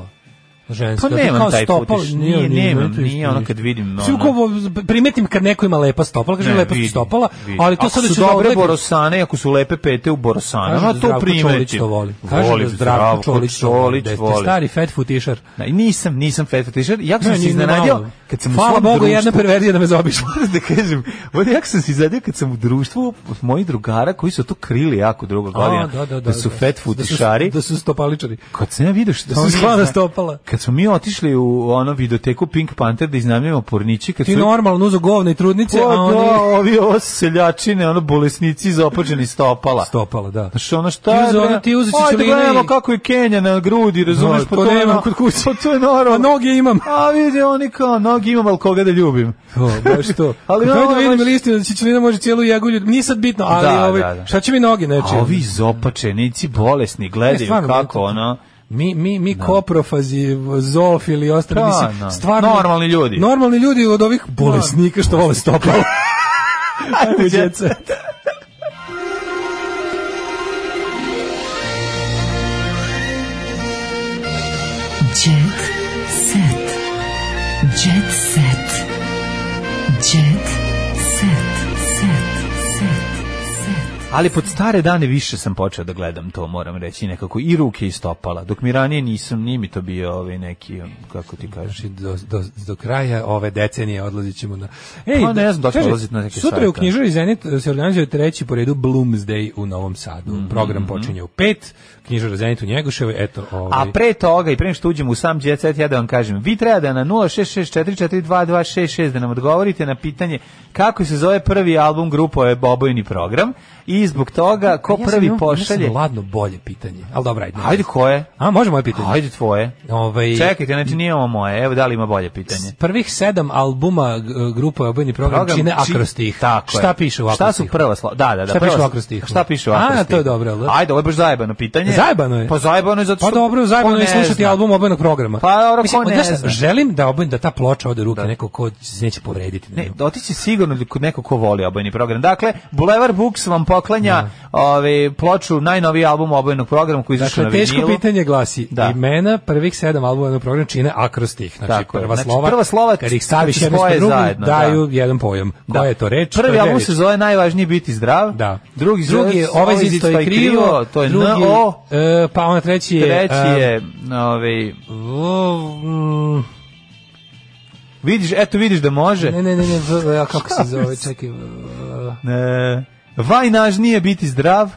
[SPEAKER 6] Žensko,
[SPEAKER 7] Pa
[SPEAKER 6] ti
[SPEAKER 7] nemam
[SPEAKER 6] kao
[SPEAKER 7] taj
[SPEAKER 6] stopalo,
[SPEAKER 7] fetiš.
[SPEAKER 6] nije,
[SPEAKER 7] Nije,
[SPEAKER 6] nije,
[SPEAKER 7] nemam,
[SPEAKER 6] to isto
[SPEAKER 7] nije ono
[SPEAKER 6] ništa.
[SPEAKER 7] kad vidim,
[SPEAKER 6] Svi
[SPEAKER 7] ono-
[SPEAKER 6] ukovo- primetim kad neko ima lepa stopala, kažem
[SPEAKER 7] Ne,
[SPEAKER 6] lepa su
[SPEAKER 7] vidim,
[SPEAKER 6] stopala,
[SPEAKER 7] vidim.
[SPEAKER 6] ali to
[SPEAKER 7] Ako
[SPEAKER 6] sad
[SPEAKER 7] su
[SPEAKER 6] ću da
[SPEAKER 7] dobre
[SPEAKER 6] odlepim.
[SPEAKER 7] borosanije, ako su lepe pete u borosanama,
[SPEAKER 6] Kažu da
[SPEAKER 7] to
[SPEAKER 6] Zdravko Čolić
[SPEAKER 7] primetim.
[SPEAKER 6] to voli. Kažu da Zdravko Čolić to voli.
[SPEAKER 7] Čolić
[SPEAKER 6] Da ste
[SPEAKER 7] voli.
[SPEAKER 6] Stari fat footišar.
[SPEAKER 7] Da, i nisam, nisam fat fetisher. Ja sam
[SPEAKER 6] Ne,
[SPEAKER 7] se
[SPEAKER 6] nije
[SPEAKER 7] iznenadio
[SPEAKER 6] normalno.
[SPEAKER 7] kad sam u
[SPEAKER 6] Hvala
[SPEAKER 7] svom
[SPEAKER 6] Bogu,
[SPEAKER 7] društvu...
[SPEAKER 6] jedna perverzija da me zaobišla.
[SPEAKER 7] da kažem, vodi, ja sam se iznenadio kad sam u društvu mojih drugara koji su to krili jako drugo godina,
[SPEAKER 6] A, da, da, da,
[SPEAKER 7] su
[SPEAKER 6] da.
[SPEAKER 7] fat futišari.
[SPEAKER 6] Da su stopaličari.
[SPEAKER 7] Kad sam ja vidio što
[SPEAKER 6] Da su
[SPEAKER 7] oni-
[SPEAKER 6] sklada stopala.
[SPEAKER 7] Kad smo mi otišli u ono videoteku Pink Panther da iznajmljujemo pornići, kad
[SPEAKER 6] Ti
[SPEAKER 7] su
[SPEAKER 6] normalno uzo govne i trudnice,
[SPEAKER 7] Pa
[SPEAKER 6] a
[SPEAKER 7] da,
[SPEAKER 6] oni...
[SPEAKER 7] ovi ovo seljačine, ono bolesnici iz opađenih stopala.
[SPEAKER 6] Stopala, da.
[SPEAKER 7] Znaš, ono šta je,
[SPEAKER 6] Ti uzeo,
[SPEAKER 7] bre?
[SPEAKER 6] ono, ti uzeo
[SPEAKER 7] Ajde,
[SPEAKER 6] ćeline
[SPEAKER 7] gledamo
[SPEAKER 6] i-
[SPEAKER 7] kako je Kenja na grudi, razumeš,
[SPEAKER 6] Da,
[SPEAKER 7] pa
[SPEAKER 6] to
[SPEAKER 7] to je
[SPEAKER 6] nemam
[SPEAKER 7] ono-
[SPEAKER 6] kod kuće.
[SPEAKER 7] Pa to je normalno.
[SPEAKER 6] A noge imam.
[SPEAKER 7] A vidi, oni kao, nogi imam, ali koga da ljubim.
[SPEAKER 6] To, baš to.
[SPEAKER 7] Ali
[SPEAKER 6] ali
[SPEAKER 7] ono,
[SPEAKER 6] da vidim
[SPEAKER 7] baš-
[SPEAKER 6] listinu, da Čičelina može cijelu jagulju, nije sad bitno, ali
[SPEAKER 7] Da,
[SPEAKER 6] ovaj,
[SPEAKER 7] da, da.
[SPEAKER 6] šta će mi noge, neće?
[SPEAKER 7] A ovi izopačenici, bolesni,
[SPEAKER 6] Ne,
[SPEAKER 7] gledaju
[SPEAKER 6] stvarno,
[SPEAKER 7] kako,
[SPEAKER 6] meni to-
[SPEAKER 7] ono...
[SPEAKER 6] Mi, mi, mi koprofazi, zoofili i ostali,
[SPEAKER 7] Da,
[SPEAKER 6] mislim,
[SPEAKER 7] da.
[SPEAKER 6] stvarno...
[SPEAKER 7] Normalni ljudi.
[SPEAKER 6] Normalni ljudi od ovih bolesnika što vole stopalo. Ajmo, djeca.
[SPEAKER 8] Jet set. Jet set. Jet set. Set. Set.
[SPEAKER 7] Ali pod stare dane više sam počeo da gledam to, moram reći, nekako i ruke i stopala. Dok mi ranije nisam, nije mi to bio ovaj neki, kako ti kažeš,
[SPEAKER 6] Znači, do, do, do kraja ove decenije odlazit ćemo na... Ej,
[SPEAKER 7] Pa ne znam da li ćemo
[SPEAKER 6] kaže,
[SPEAKER 7] odlaziti na neke
[SPEAKER 6] Sutra
[SPEAKER 7] sajte.
[SPEAKER 6] u knjižari Zenit e, se organizuje treći po redu Bloomsday u Novom Sadu.
[SPEAKER 7] Mhm.
[SPEAKER 6] Program počinje u pet, knjižara Zenit u Njegoševoj, eto... Ovaj,
[SPEAKER 7] A pre toga i pre nego što uđemo u sam jet set, ja da vam kažem, vi treba da na 0664422266 da nam odgovorite na pitanje kako se zove prvi album grupove Bobojni program i zbog toga ko
[SPEAKER 6] Ja sam
[SPEAKER 7] prvi
[SPEAKER 6] imao- Ja
[SPEAKER 7] pošalje...
[SPEAKER 6] sam ladno bolje pitanje, ali dobro, ajde.
[SPEAKER 7] Ajde koje?
[SPEAKER 6] A, može moje pitanje?
[SPEAKER 7] Ajde tvoje.
[SPEAKER 6] Ovaj,
[SPEAKER 7] Čekajte, znači nije ovo moje, evo da li ima bolje pitanje.
[SPEAKER 6] prvih sedam albuma g- grupa Obojni program,
[SPEAKER 7] Program
[SPEAKER 6] čine
[SPEAKER 7] či-
[SPEAKER 6] akrostih.
[SPEAKER 7] Tako je.
[SPEAKER 6] Šta piše u
[SPEAKER 7] Šta
[SPEAKER 6] akrostih?
[SPEAKER 7] su prva slova? Da, da, da.
[SPEAKER 6] Šta
[SPEAKER 7] prva
[SPEAKER 6] piše u
[SPEAKER 7] slo-
[SPEAKER 6] akrostihu?
[SPEAKER 7] Šta piše u
[SPEAKER 6] A,
[SPEAKER 7] akrostihu?
[SPEAKER 6] to je dobro, jel da?
[SPEAKER 7] Ajde, ovo je baš zajebano pitanje.
[SPEAKER 6] Zajebano je.
[SPEAKER 7] Pa zajebano je zato što...
[SPEAKER 6] Pa dobro, zajebano je
[SPEAKER 7] Ko ne
[SPEAKER 6] slušati
[SPEAKER 7] zna?
[SPEAKER 6] album obojnog programa.
[SPEAKER 7] Pa dobro, ko ne
[SPEAKER 6] znaš šta,
[SPEAKER 7] zna?
[SPEAKER 6] Želim da obojn, da ta ploča ode u ruke neko ko se neće povrediti. na
[SPEAKER 7] Ne,
[SPEAKER 6] nju.
[SPEAKER 7] otići sigurno kod nekog ko voli obojni program. Dakle, Boulevard Books vam poklanja ovaj, ploču, najnoviji album obojenog programa koji izašao
[SPEAKER 6] Dakle,
[SPEAKER 7] na vinilu.
[SPEAKER 6] teško pitanje glasi,
[SPEAKER 7] Da.
[SPEAKER 6] imena prvih sedam albuma na programu čine akrostih. Znači,
[SPEAKER 7] Tako je.
[SPEAKER 6] prva,
[SPEAKER 7] Znači,
[SPEAKER 6] slova,
[SPEAKER 7] prva slova
[SPEAKER 6] kad ih staviš
[SPEAKER 7] se
[SPEAKER 6] jedno
[SPEAKER 7] spoje
[SPEAKER 6] s drugim,
[SPEAKER 7] zajedno,
[SPEAKER 6] daju jedan pojam.
[SPEAKER 7] Da.
[SPEAKER 6] Koja je to reč? to
[SPEAKER 7] Prvi
[SPEAKER 6] je
[SPEAKER 7] album
[SPEAKER 6] reč.
[SPEAKER 7] se zove Najvažnije je biti zdrav.
[SPEAKER 6] Da.
[SPEAKER 7] Drugi,
[SPEAKER 6] drugi je ovaj zid
[SPEAKER 7] isto
[SPEAKER 6] stoji krivo,
[SPEAKER 7] to je
[SPEAKER 6] drugi,
[SPEAKER 7] NO.
[SPEAKER 6] e, pa ona treći je...
[SPEAKER 7] Treći
[SPEAKER 6] e,
[SPEAKER 7] je, ovaj,
[SPEAKER 6] o, mm,
[SPEAKER 7] vidiš, eto vidiš da može.
[SPEAKER 6] ne, ne, ne, ne, v- v- a kako se zove, čekaj, v-
[SPEAKER 7] E, Vajnažnije biti zdrav.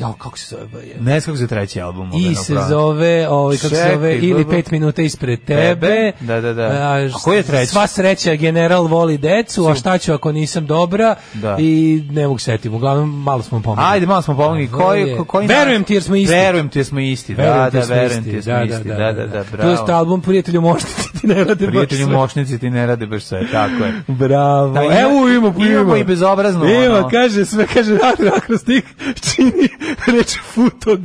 [SPEAKER 6] ja, kako se zove, ba, je.
[SPEAKER 7] Ne znam kako se treći album.
[SPEAKER 6] I
[SPEAKER 7] obrano
[SPEAKER 6] se
[SPEAKER 7] pravo.
[SPEAKER 6] zove, ovaj kako se
[SPEAKER 7] Čekaj,
[SPEAKER 6] zove, ili
[SPEAKER 7] dobro.
[SPEAKER 6] 5 minuta ispred tebe.
[SPEAKER 7] Da, da, da.
[SPEAKER 6] A,
[SPEAKER 7] A koji je treći?
[SPEAKER 6] Sva sreća, general voli decu, a šta ću ako nisam dobra?
[SPEAKER 7] Da.
[SPEAKER 6] I ne mogu setim, uglavnom malo smo pomogli.
[SPEAKER 7] Ajde, malo smo pomogli.
[SPEAKER 6] A,
[SPEAKER 7] Koji,
[SPEAKER 6] je.
[SPEAKER 7] ko- koji
[SPEAKER 6] Verujem ti jer smo isti.
[SPEAKER 7] Verujem ti jer smo isti. Da,
[SPEAKER 6] Verujem ti
[SPEAKER 7] da,
[SPEAKER 6] jer smo
[SPEAKER 7] verujem ti
[SPEAKER 6] isti,
[SPEAKER 7] jer smo isti. Da, da, da,
[SPEAKER 6] Tu je sto
[SPEAKER 7] bravo.
[SPEAKER 6] album Prijatelju moštiti, ti ne rade baš
[SPEAKER 7] Prijatelji
[SPEAKER 6] sve.
[SPEAKER 7] moćnici ti ne rade baš sve, tako je.
[SPEAKER 6] Bravo.
[SPEAKER 7] Da, ima-
[SPEAKER 6] Evo ima,
[SPEAKER 7] imamo i bezobrazno,
[SPEAKER 6] Ima,
[SPEAKER 7] ono.
[SPEAKER 6] kaže, sve kaže, rad akrostih čini reč futog.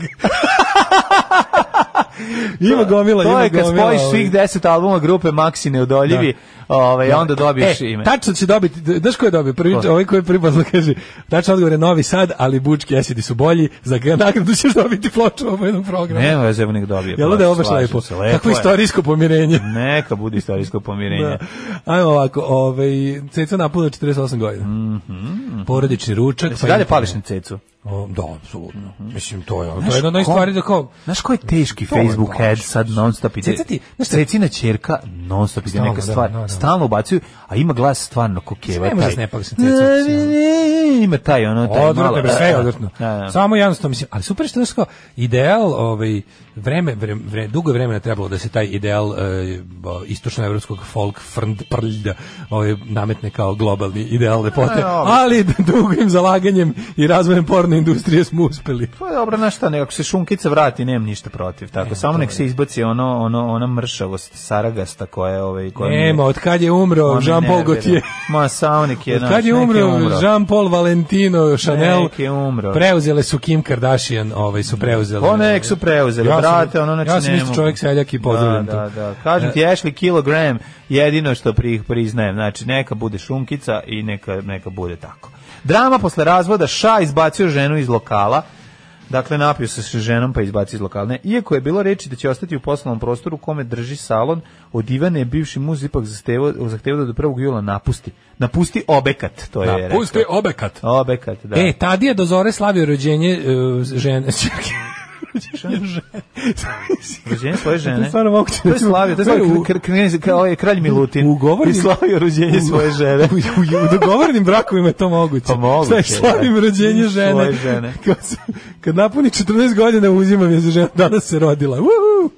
[SPEAKER 6] ima gomila,
[SPEAKER 7] to
[SPEAKER 6] ima
[SPEAKER 7] je kad
[SPEAKER 6] gomila,
[SPEAKER 7] spojiš
[SPEAKER 6] ovaj.
[SPEAKER 7] svih deset albuma grupe Maxi Neodoljivi, ovaj, onda dobiješ
[SPEAKER 6] e,
[SPEAKER 7] ime.
[SPEAKER 6] Tačno će dobiti, d- znaš ko je dobio? Prvi,
[SPEAKER 7] Ko?
[SPEAKER 6] ovaj koji je pripazno kaže, tačno odgovor je Novi Sad, ali Bučki Esidi su bolji, za ga- nagradu ćeš dobiti ploču ovom jednom programu.
[SPEAKER 7] Nema veze, evo nek dobije.
[SPEAKER 6] Jel da je ovo baš
[SPEAKER 7] Slažem
[SPEAKER 6] lepo?
[SPEAKER 7] se, lepo
[SPEAKER 6] Kako
[SPEAKER 7] je.
[SPEAKER 6] istorijsko pomirenje.
[SPEAKER 7] Neka bude istorijsko pomirenje.
[SPEAKER 6] Da. Ajmo ovako, ovaj, Ceca napunila 48 godina. Porodični ručak.
[SPEAKER 7] Da. Mhm. Se Pa dalje Mhm.
[SPEAKER 6] internet.
[SPEAKER 7] pališ na cecu.
[SPEAKER 6] O, da, apsolutno. Mislim, to je, ono, to je jedna od onih stvari da kao...
[SPEAKER 7] Znaš koji
[SPEAKER 6] Pa
[SPEAKER 7] je teški
[SPEAKER 6] je
[SPEAKER 7] Facebook
[SPEAKER 6] baš.
[SPEAKER 7] head sad non stop ide?
[SPEAKER 6] Ceca ti- znaš šta-
[SPEAKER 7] Cecina ćerka non stop ide
[SPEAKER 6] Stalno,
[SPEAKER 7] neka
[SPEAKER 6] da,
[SPEAKER 7] stvar.
[SPEAKER 6] da, da.
[SPEAKER 7] Stalno ubacuju, a ima glas stvarno kokeva.
[SPEAKER 6] Ne može
[SPEAKER 7] taj.
[SPEAKER 6] se ne pali sa cecom, mislim.
[SPEAKER 7] Ima taj ono, taj
[SPEAKER 6] Odvrtno, bre, sve je odvrtno.
[SPEAKER 7] Da, da.
[SPEAKER 6] Samo jednostavno, mislim, ali super što je znaš kao ideal, ovaj, vreme, vreme, vre- dugo je vremena trebalo da se taj ideal e, bo- istočnoevropskog folk frnd prlja ovaj, nametne kao globalni ideal
[SPEAKER 7] Pa,
[SPEAKER 6] lepote,
[SPEAKER 7] A, ovo.
[SPEAKER 6] ali dugim zalaganjem i razvojem porno industrije smo uspeli.
[SPEAKER 7] Pa dobro, znaš šta, nekako se šunkica vrati, nemam ništa protiv, tako, samo nek se izbaci ono, ono, ona mršavost, saragasta koja je, ovaj, koja mi je-
[SPEAKER 6] Nema, od kad je umro
[SPEAKER 7] ona me
[SPEAKER 6] Jean-Paul
[SPEAKER 7] nervira. ono,
[SPEAKER 6] Gaultier.
[SPEAKER 7] Ma, samo nek je,
[SPEAKER 6] Od
[SPEAKER 7] znaš,
[SPEAKER 6] kad je
[SPEAKER 7] nek
[SPEAKER 6] umro, Jean-Paul Valentino Chanel,
[SPEAKER 7] Nek je umro.
[SPEAKER 6] preuzele su Kim Kardashian, ovaj, su preuzele.
[SPEAKER 7] Pa nek su preuzeli,
[SPEAKER 6] Ja sam-
[SPEAKER 7] brate, ono znači
[SPEAKER 6] Ja sam
[SPEAKER 7] ne
[SPEAKER 6] isto
[SPEAKER 7] mogu.
[SPEAKER 6] čovjek seljak i pozdravljam
[SPEAKER 7] da,
[SPEAKER 6] to. E.
[SPEAKER 7] Da, da, Kažem ti, Ashley Kilogram, jedino što pri, priznajem, znači neka bude šunkica i neka, neka bude tako. Drama posle razvoda, Ša izbacio ženu iz lokala, Dakle, napio se sa ženom pa izbacio iz lokalne. Iako je bilo reči da će ostati u poslovnom prostoru u kome drži salon, od Ivane je bivši muz ipak zahtevao, zahtevao da do 1. jula napusti. Napusti obekat, to je rekao.
[SPEAKER 6] Pusti obekat.
[SPEAKER 7] Obekat, da.
[SPEAKER 6] E, Tadija do zore slavio rođenje e, žene. Rođenje žene.
[SPEAKER 7] Rođenje svoje žene.
[SPEAKER 6] To je stvarno moguće.
[SPEAKER 7] To je slavio, to je slavio
[SPEAKER 6] U-
[SPEAKER 7] kr- kr- knez- kao ovaj kralj Milutin.
[SPEAKER 6] ugovornim-
[SPEAKER 7] I slavio rođenje svoje žene.
[SPEAKER 6] U, u, u dogovorenim brakovima je to moguće.
[SPEAKER 7] Pa moguće,
[SPEAKER 6] Sve slavim
[SPEAKER 7] da.
[SPEAKER 6] rođenje žene.
[SPEAKER 7] Svoje žene.
[SPEAKER 6] Kad, se- kad napuni 14 godina uzimam je za ženu. Danas se rodila. Uhu!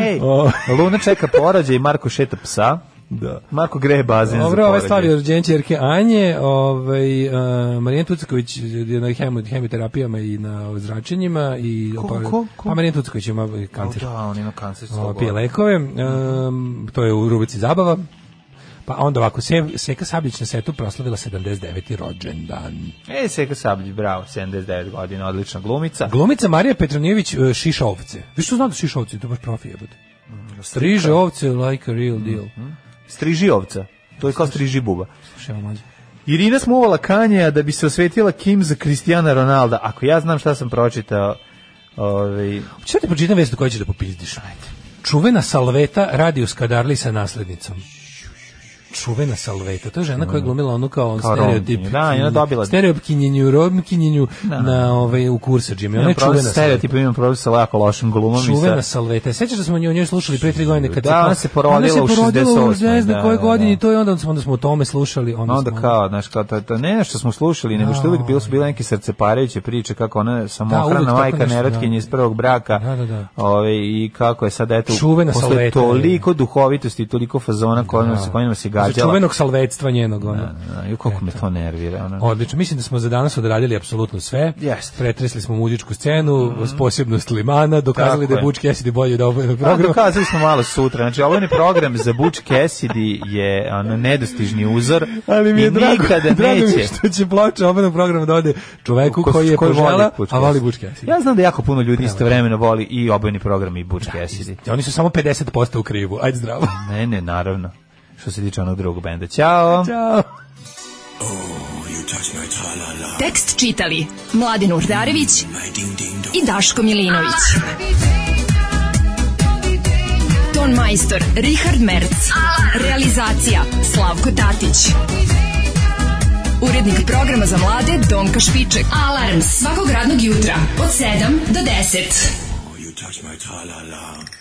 [SPEAKER 7] Ej,
[SPEAKER 6] O.
[SPEAKER 7] Luna čeka porađaj i Marko šeta psa.
[SPEAKER 6] Da.
[SPEAKER 7] Marko greje bazen za
[SPEAKER 6] Dobro, ovaj
[SPEAKER 7] porađaj.
[SPEAKER 6] ove stvari rođenje ćerke Anje, ovaj uh, Marijan Tucaković je na hemo, hemioterapijama i na zračenjima i
[SPEAKER 7] Ko-
[SPEAKER 6] opar-
[SPEAKER 7] ko- ko?
[SPEAKER 6] pa Marijan Tucaković ima kancer.
[SPEAKER 7] Da, on ima kancer
[SPEAKER 6] O,
[SPEAKER 7] slobodno.
[SPEAKER 6] pije lekove, em, to je u rubrici zabava. Pa onda ovako, Se- Seka Sablić na setu proslavila 79. rođendan.
[SPEAKER 7] E, Seka Sabljić, bravo, 79 godina, odlična glumica.
[SPEAKER 6] Glumica Marija Petronijević e, šiša ovce. Vi što znam da šiša ovce, to je baš profi jebote.
[SPEAKER 7] Mm,
[SPEAKER 6] Striže ovce like a real deal.
[SPEAKER 7] Mhm. Striži ovca. To je kao striži buba.
[SPEAKER 6] Slušaj, evo mlađe.
[SPEAKER 7] Irina smuvala Kanja da bi se osvetila Kim za Kristijana Ronalda. Ako ja znam šta sam pročitao, ovaj,
[SPEAKER 6] Hoćeš da ti pročitam vest koju ćeš da popizdiš? Čuvena Salveta radi u Skadarli sa naslednicom. Čuvena Salveta, to je žena koja je glumila onu kao, on
[SPEAKER 7] Mhm. Kao
[SPEAKER 6] stereotip.
[SPEAKER 7] Romkinju. Da, i ona dobila-
[SPEAKER 6] Stereotipkinjenju, romkinjenju na ovaj, u kursađima. Ona
[SPEAKER 7] imam
[SPEAKER 6] je
[SPEAKER 7] problem
[SPEAKER 6] čuvena
[SPEAKER 7] sa
[SPEAKER 6] Salveta.
[SPEAKER 7] stereotipom, imam problem sa jako lošim glumom. i sa-
[SPEAKER 6] Čuvena Salveta. Sećaš da smo o njoj- o njoj slušali pre tri godine kad
[SPEAKER 7] Da, ona se porodila u
[SPEAKER 6] Ona se porodila u
[SPEAKER 7] 68.,
[SPEAKER 6] ne znam
[SPEAKER 7] da,
[SPEAKER 6] koje
[SPEAKER 7] da,
[SPEAKER 6] godine i
[SPEAKER 7] da.
[SPEAKER 6] to je onda smo onda smo o tome slušali, onda,
[SPEAKER 7] onda
[SPEAKER 6] smo-
[SPEAKER 7] kao, znaš, kao to, to ne što smo slušali, nego što je uvijek bilo su bile neke srceparajuće priče kako ona je
[SPEAKER 6] uvek
[SPEAKER 7] samohrana
[SPEAKER 6] tako
[SPEAKER 7] majka
[SPEAKER 6] nešto,
[SPEAKER 7] nerotkinja
[SPEAKER 6] da.
[SPEAKER 7] iz prvog braka.
[SPEAKER 6] Da, da, da.
[SPEAKER 7] Ovaj i kako je sad eto
[SPEAKER 6] Čuvena
[SPEAKER 7] posle
[SPEAKER 6] Salveta,
[SPEAKER 7] toliko duhovitosti i toliko fazona kojima se kojima se
[SPEAKER 6] Za
[SPEAKER 7] gađala.
[SPEAKER 6] čuvenog salvetstva njenog ona.
[SPEAKER 7] Da, I kako me to nervira. ono. Ona.
[SPEAKER 6] Odlično, mislim da smo za danas odradili apsolutno sve.
[SPEAKER 7] Jeste.
[SPEAKER 6] Pretresli smo muzičku scenu, posebnost limana, dokazali
[SPEAKER 7] Tako
[SPEAKER 6] da je
[SPEAKER 7] je.
[SPEAKER 6] Bučki Esidi bolje da obojeno
[SPEAKER 7] Pa
[SPEAKER 6] program.
[SPEAKER 7] dokazali smo malo sutra. Znači, ovaj program za Butch Cassidy je ono, nedostižni uzor
[SPEAKER 6] Ali mi je
[SPEAKER 7] i
[SPEAKER 6] drago,
[SPEAKER 7] nikada
[SPEAKER 6] drago mi je
[SPEAKER 7] neće.
[SPEAKER 6] što će ploča obanom programu da ode čoveku
[SPEAKER 7] Ko-
[SPEAKER 6] koji je
[SPEAKER 7] koji voli
[SPEAKER 6] požela,
[SPEAKER 7] Butch
[SPEAKER 6] a voli
[SPEAKER 7] Cassidy.
[SPEAKER 6] Bučki Esidi.
[SPEAKER 7] Ja znam da jako puno ljudi istovremeno voli i obojni program i Butch Cassidy.
[SPEAKER 6] Oni su samo 50% u krivu. Ajde zdravo.
[SPEAKER 7] Ne, ne, naravno. Što se tiče onog drugog benda. Ćao!
[SPEAKER 6] Ćao.
[SPEAKER 1] You
[SPEAKER 8] Tekst čitali Mladin Urdarević i Daško Milinović. Ton majstor Richard Merc. Realizacija Slavko Tatić. Urednik programa za mlade Donka Špiček. Alarms svakog radnog jutra od 7 do 10.
[SPEAKER 1] Oh, You touch my tra-la-la.